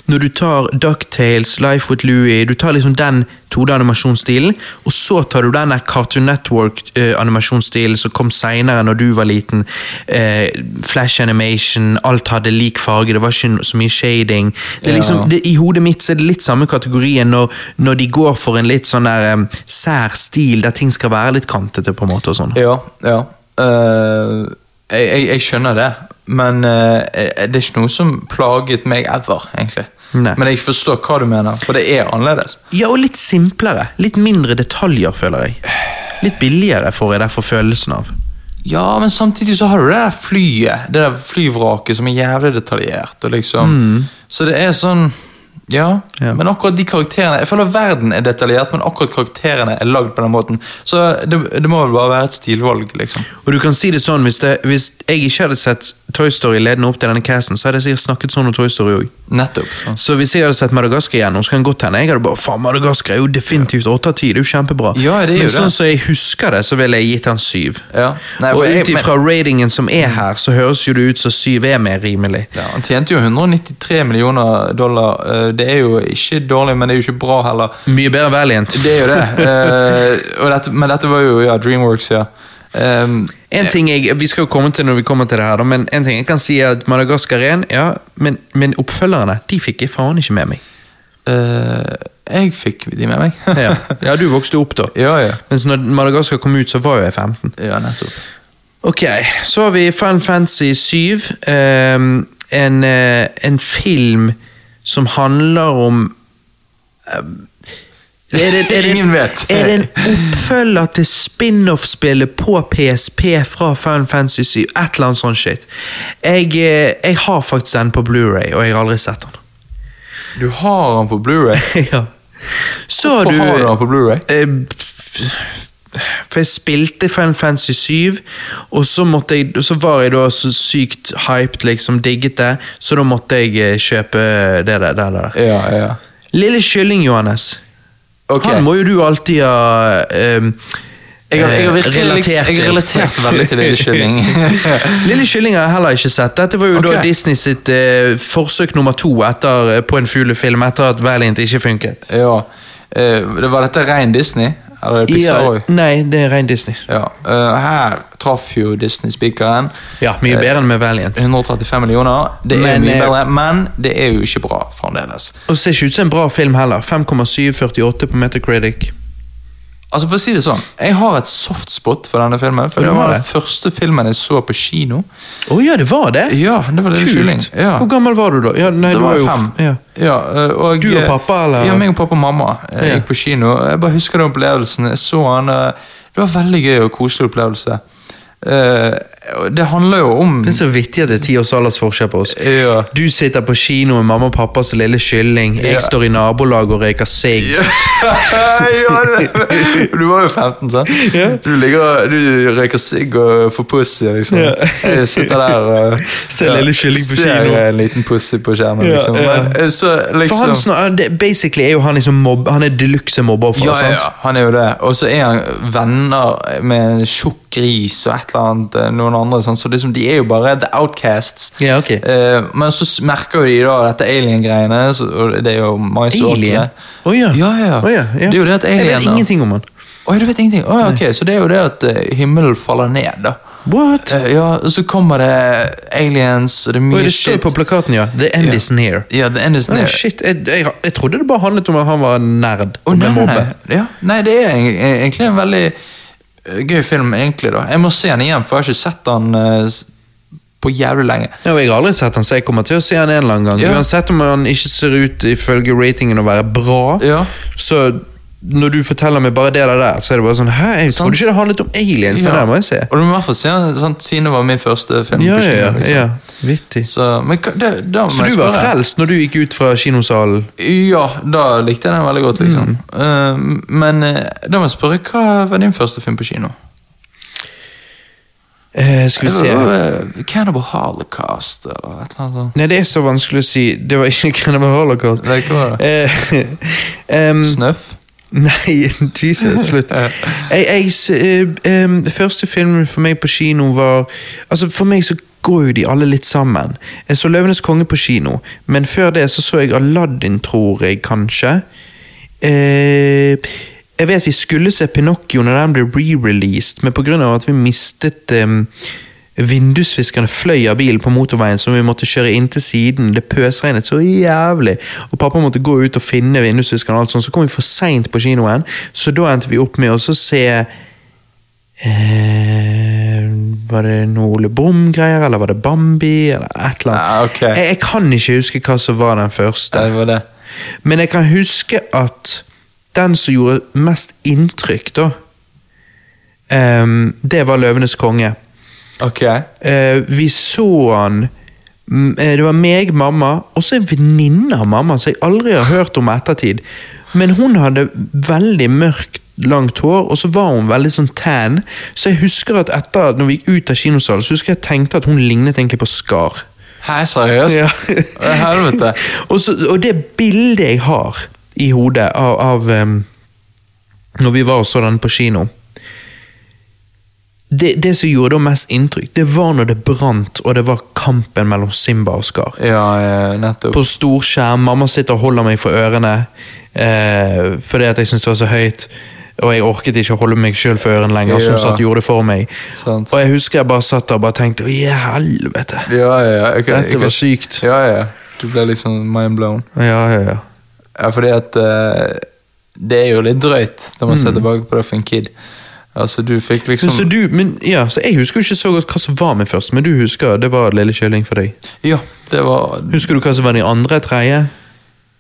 Speaker 1: når du tar Ducktales, Life with Louie, du tar liksom den 2D-animasjonsstilen, og så tar du den der Cartoon Network-animasjonsstilen som kom seinere, når du var liten. Eh, flash animation, alt hadde lik farge, det var ikke så mye shading. Det er
Speaker 2: Ja.
Speaker 1: liksom, det, I hodet mitt så er det litt samme kategorien når, når de går for en litt sånn der em, sær stil, der ting skal være litt kantete, på en måte. og sånn.
Speaker 2: Ja, ja. Eh, jeg, jeg, jeg skjønner det, men eh, jeg- det er ikke noe som plaget meg ever, egentlig.
Speaker 1: Nei.
Speaker 2: Men jeg forstår hva du mener, for det er annerledes.
Speaker 1: Ja, og litt simplere. Litt mindre detaljer, føler jeg. Litt billigere får jeg derfor følelsen av.
Speaker 2: Ja, men samtidig så har du det der flyet, det der flyvraket som er jævlig detaljert. Og liksom. Så det er sånn ja,
Speaker 1: Ja.
Speaker 2: men akkurat de karakterene Jeg føler verden er detaljert, men akkurat karakterene er lagd på den måten. Så det, det må vel bare være et stilvalg, liksom.
Speaker 1: Og du kan si det sånn, hvis, det, hvis jeg ikke hadde sett Toy Story ledende opp til denne casten, så hadde jeg sikkert snakket sånn om Toy Story òg.
Speaker 2: Nettopp.
Speaker 1: Så hvis jeg hadde sett Madagaskar igjennom, så kan det godt hende jeg hadde bare Faen, Madagaskar er jo definitivt åtte av ti, det er jo kjempebra.
Speaker 2: Ja, det er jo
Speaker 1: Men
Speaker 2: det.
Speaker 1: sånn som jeg husker det, så ville jeg gitt han syv.
Speaker 2: Ja. Nei, for
Speaker 1: og
Speaker 2: jeg-
Speaker 1: ut ifra ratingen som er her, så høres jo det ut som syv er mer rimelig.
Speaker 2: Ja, han tjente jo 193 millioner dollar. Eh, Det er jo ikke dårlig, men det er jo ikke bra heller.
Speaker 1: Mye bedre enn Valiant.
Speaker 2: Det er jo det. Eh, og dette, men dette var jo ja, Dreamworks, ja. Um,
Speaker 1: En ting jeg, Vi skal jo komme til når vi kommer til det her, da, men en ting jeg kan si er at Madagaskar 1, ja, men, men oppfølgerne de fikk jeg faen ikke med meg.
Speaker 2: eh, jeg fikk de med meg.
Speaker 1: Ja, [laughs] ja du vokste opp da.
Speaker 2: [laughs] ja, ja.
Speaker 1: Mens når Madagaskar kom ut, så var jo jeg 15.
Speaker 2: Ja, nettopp.
Speaker 1: Ok, så har vi Final Fantasy 7. ehm, en, eh, en film som handler om ehm, er det, er det,
Speaker 2: Ingen vet.
Speaker 1: er det en oppfølger til spin-off-spillet på PSP fra Final Fantasy 7? Et eller annet sånt shit. Jeg, eh, jeg har faktisk den på Blu-ray, og jeg har aldri sett den. [laughs]
Speaker 2: Du har han på Blu-ray.
Speaker 1: ja. Så har
Speaker 2: Hvorfor
Speaker 1: du
Speaker 2: har du han på Blu-ray?
Speaker 1: Eh, For jeg spilte Final Fantasy 7, og så, måtte jeg, så var jeg da så sykt hyped, liksom, digget det, så da måtte jeg eh, kjøpe det der. der, der.
Speaker 2: Ja, ja.
Speaker 1: Lille kylling, Johannes.
Speaker 2: Ok.
Speaker 1: Han må jo du alltid ha eh,
Speaker 2: Jeg har, jeg har
Speaker 1: eh,
Speaker 2: virkelig liksom- jeg har relatert [laughs] veldig til Lille Kylling.
Speaker 1: [laughs] Lille kylling har jeg heller ikke sett. Dette var jo da
Speaker 2: Ok.
Speaker 1: Disney sitt eh, forsøk nummer to eh, etter, på en fuglefilm etter at Valiant ikke funket.
Speaker 2: ja. Eh, det var dette rein Disney? Eller Pixar
Speaker 1: Ja,
Speaker 2: òg.
Speaker 1: nei, det er ren Disney.
Speaker 2: Ja. eh, her traff jo Disney spikeren.
Speaker 1: Ja, Mye bedre enn med Valiant.
Speaker 2: 135 millioner. Det er
Speaker 1: Men,
Speaker 2: mye
Speaker 1: eh,
Speaker 2: bedre, men det er jo ikke bra fremdeles.
Speaker 1: Og ser ikke ut som en bra film heller. 5,748 på Metacritic.
Speaker 2: Altså for å si det sånn, Jeg har et soft spot for denne filmen. For
Speaker 1: Ja,
Speaker 2: Det
Speaker 1: har
Speaker 2: var den
Speaker 1: det.
Speaker 2: første filmen jeg så på kino.
Speaker 1: Å ja, det var det?
Speaker 2: Ja, det var litt kylling.
Speaker 1: Kult.
Speaker 2: Ja.
Speaker 1: Hvor gammel var du da? Ja, nei,
Speaker 2: Det
Speaker 1: du
Speaker 2: var
Speaker 1: var jo
Speaker 2: fem.
Speaker 1: Ja.
Speaker 2: Ja, eh, og,
Speaker 1: Du og pappa, eller?
Speaker 2: Ja, meg og pappa og mamma eh,
Speaker 1: Ja.
Speaker 2: gikk på kino. Jeg bare husker den opplevelsen. Jeg så han, eh, Det var veldig gøy og koselig opplevelse. Eh, og det handler jo om
Speaker 1: Det er så vittig at det er ti års aldersforskjell på oss.
Speaker 2: Ja.
Speaker 1: Du sitter på kino med mamma og pappas lille kylling. Jeg
Speaker 2: Ja.
Speaker 1: står i nabolaget og røyker sigg.
Speaker 2: ja, det- du var jo 15, sant?
Speaker 1: Ja.
Speaker 2: Du ligger og du røyker sigg og får pussy, liksom.
Speaker 1: Ja.
Speaker 2: Jeg sitter der og
Speaker 1: Ser lille kylling på
Speaker 2: ser
Speaker 1: kino.
Speaker 2: en liten pussy på skjermen.
Speaker 1: Ja,
Speaker 2: Liksom.
Speaker 1: ja.
Speaker 2: Men, eh, så,
Speaker 1: For
Speaker 2: liksom
Speaker 1: han, snar- det- basically er jo han liksom mobb, Han er deluxe mobbeoffer.
Speaker 2: ja, ja,
Speaker 1: sant?
Speaker 2: ja, han er jo det. Og så er han venner med en tjukk gris og et eller annet, eh, noen andre. Sånn. Så liksom, de er jo bare the outcasts.
Speaker 1: Ja, ok.
Speaker 2: Eh, men så s- merker jo de da dette alien-greiene, så- og det er jo mange som
Speaker 1: Alien? Å ja.
Speaker 2: Ja, ja, ja.
Speaker 1: Å ja, ja.
Speaker 2: Det er jo det at alien
Speaker 1: Jeg vet ingenting om han.
Speaker 2: Oi, du vet ingenting? Å, ja, ok, Så det er jo det at eh, himmelen faller ned, da.
Speaker 1: What?
Speaker 2: Eh, ja, og så kommer det aliens, og det er
Speaker 1: Å,
Speaker 2: mye
Speaker 1: det står på plakaten, ja. The end is near.
Speaker 2: Ja, the end is
Speaker 1: Å,
Speaker 2: near.
Speaker 1: shit, jeg, jeg, jeg trodde det bare handlet om at han var nerd.
Speaker 2: Å,
Speaker 1: og ble
Speaker 2: nei, nei,
Speaker 1: mobbet.
Speaker 2: nei. Ja. nei, det er eng- egentlig en veldig eh, gøy film, egentlig. da. Jeg må se den igjen, for jeg har ikke sett den eh, s- på jævlig lenge.
Speaker 1: Ja, og jeg har aldri sett han, så jeg kommer til å se han en eller annen gang.
Speaker 2: Ja.
Speaker 1: Uansett om han ikke ser ut ifølge ratingen å være bra,
Speaker 2: Ja.
Speaker 1: så når du forteller meg bare det der, der, så er det bare sånn Hæ, jeg
Speaker 2: Sant.
Speaker 1: trodde ikke det handlet om aliens. Det der må jeg se.
Speaker 2: Og du må i hvert fall se den, sant, siden det var min første film.
Speaker 1: Ja, ja,
Speaker 2: på kino,
Speaker 1: ja.
Speaker 2: liksom.
Speaker 1: ja. Vittig.
Speaker 2: Så, men hva- det, da må
Speaker 1: Så
Speaker 2: jeg
Speaker 1: du var
Speaker 2: spørre.
Speaker 1: frelst når du gikk ut fra kinosalen?
Speaker 2: Ja, da likte jeg den veldig godt, liksom.
Speaker 1: Mm.
Speaker 2: Eh, men eh, da må jeg spørre, hva var din første film på kino?
Speaker 1: Eh, skal vi
Speaker 2: Det
Speaker 1: se
Speaker 2: var, eh, Cannibal Holocaust, eller et eller annet sånt.
Speaker 1: Nei, det er så vanskelig å si. Det var ikke [laughs] Cannibal Holocaust.
Speaker 2: Nei, hva var
Speaker 1: Eh, [laughs] em,
Speaker 2: Snøff?
Speaker 1: Nei, [laughs] Jesus, [laughs] slutt. Jeg, jeg, s- eh, em, første filmen for meg på kino var Altså For meg så går jo de alle litt sammen. Jeg så 'Løvenes konge' på kino, men før det så så jeg 'Aladdin', tror jeg kanskje. Eh, jeg vet vi skulle se 'Pinocchio' når den ble re-released, men pga. at vi mistet ehm, em, Vindusviskerne fløy av bilen på motorveien som vi måtte kjøre inn til siden. Det pøsregnet så jævlig, og pappa måtte gå ut og finne vindusviskerne. og alt sånt. Så kom vi for seint på kinoen, så da endte vi opp med å så se eh, Var det noe Ole Brumm-greier, eller var det Bambi, eller et eller annet?
Speaker 2: Ja, ok. Eh.
Speaker 1: jeg, jeg kan ikke huske hva som var den første.
Speaker 2: Det var det.
Speaker 1: Men jeg kan huske at den som gjorde mest inntrykk, da, ehm, det var 'Løvenes konge'.
Speaker 2: Ok.
Speaker 1: Eh, vi så han mm, eh, Det var meg, mamma, og så en venninne av mamma som jeg aldri har hørt om i ettertid. Men hun hadde veldig mørkt, langt hår, og så var hun veldig sånn tan. Så jeg husker at etter at når vi gikk ut av kinosalen, så husker jeg jeg tenkte at hun lignet egentlig på Skar.
Speaker 2: Hei, seriøst?
Speaker 1: [laughs] Ja.
Speaker 2: Å, Helvete.
Speaker 1: [laughs] og, så, og det bildet jeg har i hodet av, av em, Når vi var og så den på kino det, det som gjorde da mest inntrykk, det var når det brant, og det var kampen mellom Simba og Skar.
Speaker 2: Ja, eh, nettopp.
Speaker 1: På stor skjerm, mamma sitter og holder meg for ørene eh, fordi at jeg syntes det var så høyt. Og jeg orket ikke å holde meg sjøl for ørene lenger, så
Speaker 2: Ja.
Speaker 1: hun satt og gjorde det for meg.
Speaker 2: Sant.
Speaker 1: Og jeg husker jeg bare satt der og bare tenkte å, ja, helvete.
Speaker 2: Ja, ja, ja. ok,
Speaker 1: Dette
Speaker 2: jeg-
Speaker 1: var sykt.
Speaker 2: Ja, ja. Du ble liksom mind blown.
Speaker 1: Ja, ja, ja.
Speaker 2: Ja, fordi at eh, det er jo litt drøyt når man ser tilbake på det for en kid. Altså, du fikk liksom
Speaker 1: Mm. Men, så du, men, ja, så jeg husker jo ikke så godt hva som var min først, men du husker det var Lille Kjøling for deg.
Speaker 2: Ja, det var
Speaker 1: Husker du hva som var den andre, tredje?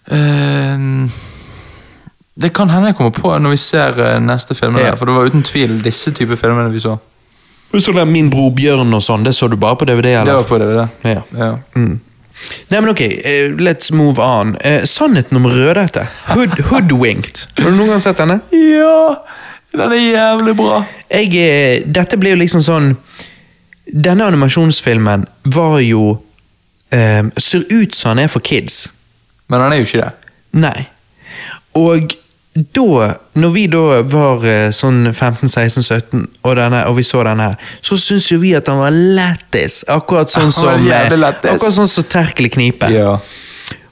Speaker 2: Eh, Det kan hende jeg kommer på når vi ser eh, neste film.
Speaker 1: Ja.
Speaker 2: der, For det var uten tvil disse type filmene vi så.
Speaker 1: Så der Min bror Bjørn og sånn, det så du bare på DVD,
Speaker 2: Det var
Speaker 1: eller?
Speaker 2: på DVD.
Speaker 1: Ja.
Speaker 2: Ja.
Speaker 1: Nei, men ok, eh, let's move on. Eh, sannheten om Rødhette. Hood, hoodwinked. Har du noen gang sett denne?
Speaker 2: ja! Den er jævlig bra.
Speaker 1: Jeg, eh, dette ble jo liksom sånn Denne animasjonsfilmen var jo eh, Ser ut som den er for kids.
Speaker 2: Men den er jo ikke det.
Speaker 1: Nei. Og da, når vi da var eh, sånn 15-16-17, og, denne- og vi så denne her, så syntes jo vi at den var lættis. Akkurat
Speaker 2: [laughs]
Speaker 1: sånn
Speaker 2: Han var
Speaker 1: som eh,
Speaker 2: jævlig lættis.
Speaker 1: Akkurat sånn som Terkel i Knipe.
Speaker 2: Ja.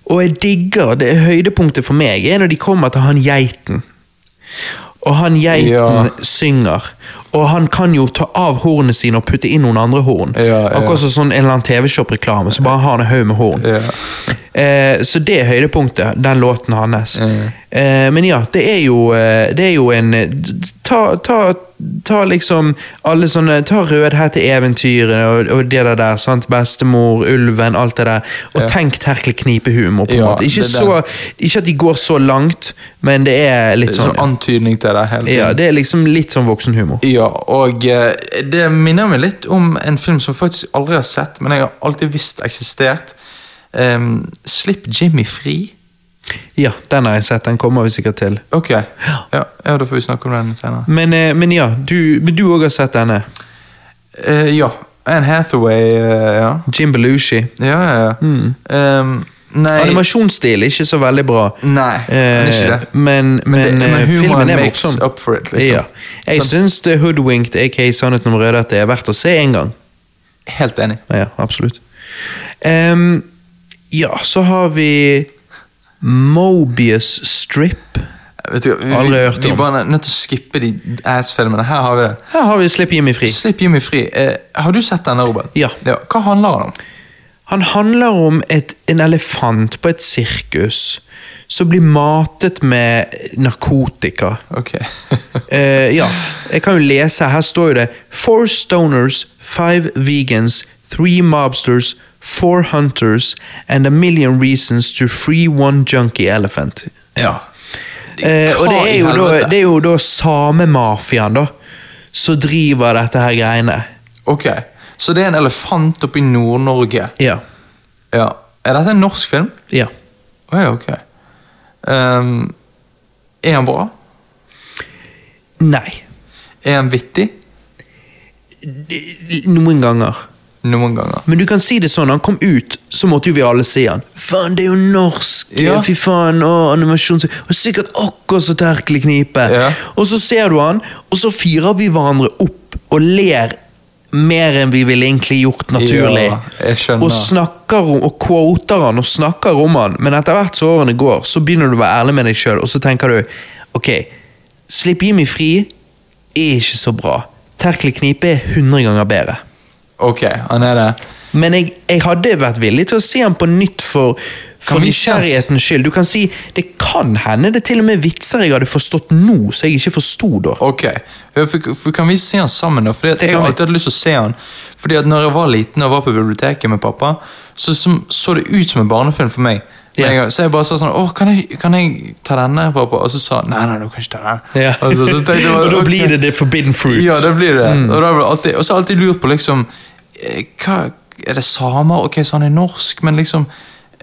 Speaker 1: Og jeg digger det høydepunktet for meg er når de kommer til han geiten. og han geiten
Speaker 2: Ja.
Speaker 1: synger. Og han kan jo ta av hornene sine og putte inn noen andre horn.
Speaker 2: Ja, ja.
Speaker 1: Akkurat som sånn en eller annen TV-shop-reklame, så bare har han en haug med horn.
Speaker 2: Ja.
Speaker 1: Eh, så det er høydepunktet, den låten hans. Eh, men ja, det er jo, eh, det er jo en eh, ta, ta, ta liksom alle sånne Ta Rødhette eventyrene og, og det der, der sant? Bestemor, Ulven, alt det der. Og tenk terkel-knipehumor, på en
Speaker 2: Ja,
Speaker 1: måte. Ikke,
Speaker 2: det er
Speaker 1: så, ikke at de går så langt, men det er litt sånn
Speaker 2: Sånn antydning til det hele tiden.
Speaker 1: ja, det er liksom litt sånn voksenhumor.
Speaker 2: Ja, og eh, det minner meg litt om en film som jeg faktisk aldri har sett, men jeg har alltid visst eksistert. Em, Slipp Jimmy fri.
Speaker 1: Ja, den har jeg sett. Den kommer vi sikkert til.
Speaker 2: Ok, ja, ja, da får vi snakke om den senere.
Speaker 1: Men, eh, men ja, du men du òg har sett denne.
Speaker 2: Eh, ja, Anne Hathaway, eh, ja.
Speaker 1: Jim Belushi.
Speaker 2: Ja, ja, ja.
Speaker 1: Mm.
Speaker 2: Em, nei,
Speaker 1: Animasjonsstil ikke så veldig bra. Eh,
Speaker 2: nei, men ikke det.
Speaker 1: Men, men,
Speaker 2: det- men
Speaker 1: eh,
Speaker 2: humoren
Speaker 1: filmen er
Speaker 2: makes
Speaker 1: morsom.
Speaker 2: up for it, liksom.
Speaker 1: Ja. Jeg
Speaker 2: Sånn.
Speaker 1: syns The Hoodwinked, aka Sannheten om Rødhette, er verdt å se en gang.
Speaker 2: Helt enig.
Speaker 1: Ja, absolutt. Em, ja, så har vi Mobius Strip.
Speaker 2: Vet du, hva, vi,
Speaker 1: Aldri hørt
Speaker 2: vi, vi
Speaker 1: om.
Speaker 2: bare er nødt til å skippe de ass-filmene. Her har vi det.
Speaker 1: Her har vi Slipp Jimmy fri.
Speaker 2: Slipp Jimmy fri. Eh, har du sett denne, Robert?
Speaker 1: Ja.
Speaker 2: Hva handler den om?
Speaker 1: Han handler om et, en elefant på et sirkus som blir matet med narkotika.
Speaker 2: Ok.
Speaker 1: Eh, ja, jeg kan jo lese. Her står jo det Four stoners, five vegans, three mobsters, four hunters and a million reasons to free one junkie elephant.
Speaker 2: [laughs] ja.
Speaker 1: Eh, og det
Speaker 2: Hva i
Speaker 1: er jo da,
Speaker 2: helvete?
Speaker 1: det er jo da samemafiaen, da, som driver dette her greiene.
Speaker 2: Ok, så det er en elefant oppe i Nord-Norge.
Speaker 1: Ja.
Speaker 2: Ja. Er dette en norsk film?
Speaker 1: ja.
Speaker 2: Å ja, ok. Ehm, er han bra?
Speaker 1: Nei.
Speaker 2: Er han vittig?
Speaker 1: Noen ganger.
Speaker 2: Noen ganger.
Speaker 1: Men du kan si det sånn, han kom ut, så måtte jo vi alle se han. Faen, det er jo norsk!
Speaker 2: Ja.
Speaker 1: Fy faen, og animasjon Og sikkert akkurat så terkelig knipe.
Speaker 2: Ja.
Speaker 1: Og så ser du han, og så fyrer vi hverandre opp og ler mer enn vi ville egentlig gjort naturlig.
Speaker 2: Ja, jeg skjønner.
Speaker 1: og snakker om, og quoter han og snakker om han, men etter hvert som årene går, så begynner du å være ærlig med deg sjøl, og så tenker du ok, slipp Jimmy fri er ikke så bra. Terkelig knipe er 100 ganger bedre.
Speaker 2: Ok, han er det.
Speaker 1: Men jeg, jeg hadde vært villig til å se han på nytt for, for
Speaker 2: vi kjens-
Speaker 1: nysgjerrighetens skyld. Du kan si, Det kan hende det er til og med vitser jeg hadde forstått nå, så jeg ikke forsto da.
Speaker 2: Ok, Ja, for, for Kan vi se han sammen, da? Fordi at
Speaker 1: Det
Speaker 2: Jeg
Speaker 1: kan
Speaker 2: har
Speaker 1: vi.
Speaker 2: alltid hatt lyst til å se han. Fordi at når jeg var liten og var på biblioteket med pappa, så som, så det ut som en barnefilm for meg.
Speaker 1: Ja.
Speaker 2: Men jeg- Så jeg bare sa sånn Åh, kan, jeg- kan jeg ta denne, pappa? Og så sa han nei, nei, du kan ikke ta den.
Speaker 1: [laughs] Ja.
Speaker 2: Og Altså, så, så tenkte jeg bare,
Speaker 1: og da
Speaker 2: ok.
Speaker 1: blir det Mm. The Forbidden Fruit.
Speaker 2: Ja, det blir det. Og, da blir det alltid, og så har jeg alltid lurt på liksom eh, hva, Er det samer? Ok, så han er norsk, men liksom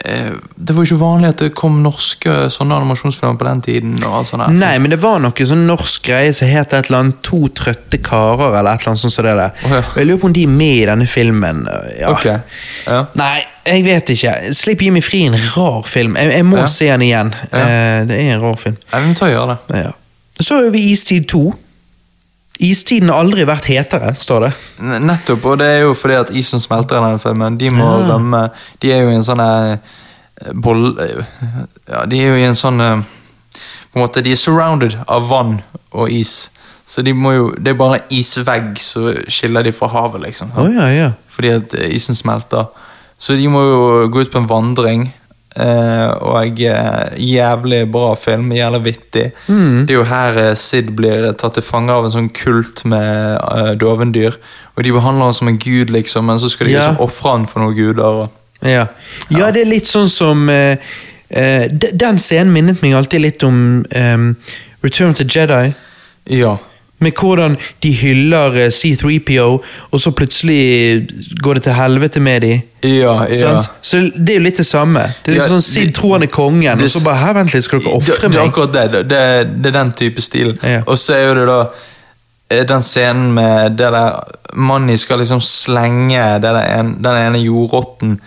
Speaker 2: eh, Det var jo ikke vanlig at det kom norske sånne animasjonsfilmer på den tiden. og alt sånt der.
Speaker 1: Nei, men det var noe sånn norsk greie som het et eller annet To trøtte karer, eller et eller annet sånt som det der.
Speaker 2: Å, ja.
Speaker 1: Og Jeg lurer på om de er med i denne filmen. øh, Ja.
Speaker 2: Ok, ja.
Speaker 1: Nei, jeg vet ikke. Slipp Jimmy fri er en rar film. Jeg, jeg må
Speaker 2: Ja.
Speaker 1: se den igjen. Eh, det er en rar film.
Speaker 2: Nei, vi må ta og gjøre det.
Speaker 1: Ja. Så er vi Istid 2. Istiden har aldri vært hetere, står det.
Speaker 2: N- Nettopp, og det er jo fordi at isen smelter i den filmen. De må rømme De er jo i en sånn eh, boll... eh, Ja, de er jo i en sånn eh, På en måte, de er surrounded av vann og is. Så de må jo Det er bare isvegg som skiller de fra havet, liksom.
Speaker 1: Å ja, ja.
Speaker 2: Fordi at eh, isen smelter. Så de må jo gå ut på en vandring. eh, og eh, jævlig bra film, jævlig vittig. Det er jo her eh, Sid blir tatt til fange av en sånn kult med eh, dovendyr. Og de behandler han som en gud, liksom, men så skal de
Speaker 1: Ja.
Speaker 2: liksom ofre han for noen guder. Og...
Speaker 1: Ja, ja det er litt sånn som eh, eh, de- Den scenen minnet meg alltid litt om ehm, Return of the Jedi.
Speaker 2: Ja.
Speaker 1: Med hvordan de hyller eh, C3PO, og så plutselig går det til helvete med dem.
Speaker 2: Ja, ja.
Speaker 1: Så det er jo litt det samme. Det er litt
Speaker 2: Ja,
Speaker 1: sånn Sid
Speaker 2: det-
Speaker 1: tror han er kongen,
Speaker 2: det-
Speaker 1: og så bare her, vent litt, skal dere
Speaker 2: Det,
Speaker 1: ofre
Speaker 2: det er
Speaker 1: meg?
Speaker 2: akkurat det. Det, det, det er den type stil.
Speaker 1: Ja.
Speaker 2: Og så er jo det da eh, den scenen med det der Manni skal liksom slenge det der en, den ene jordrotten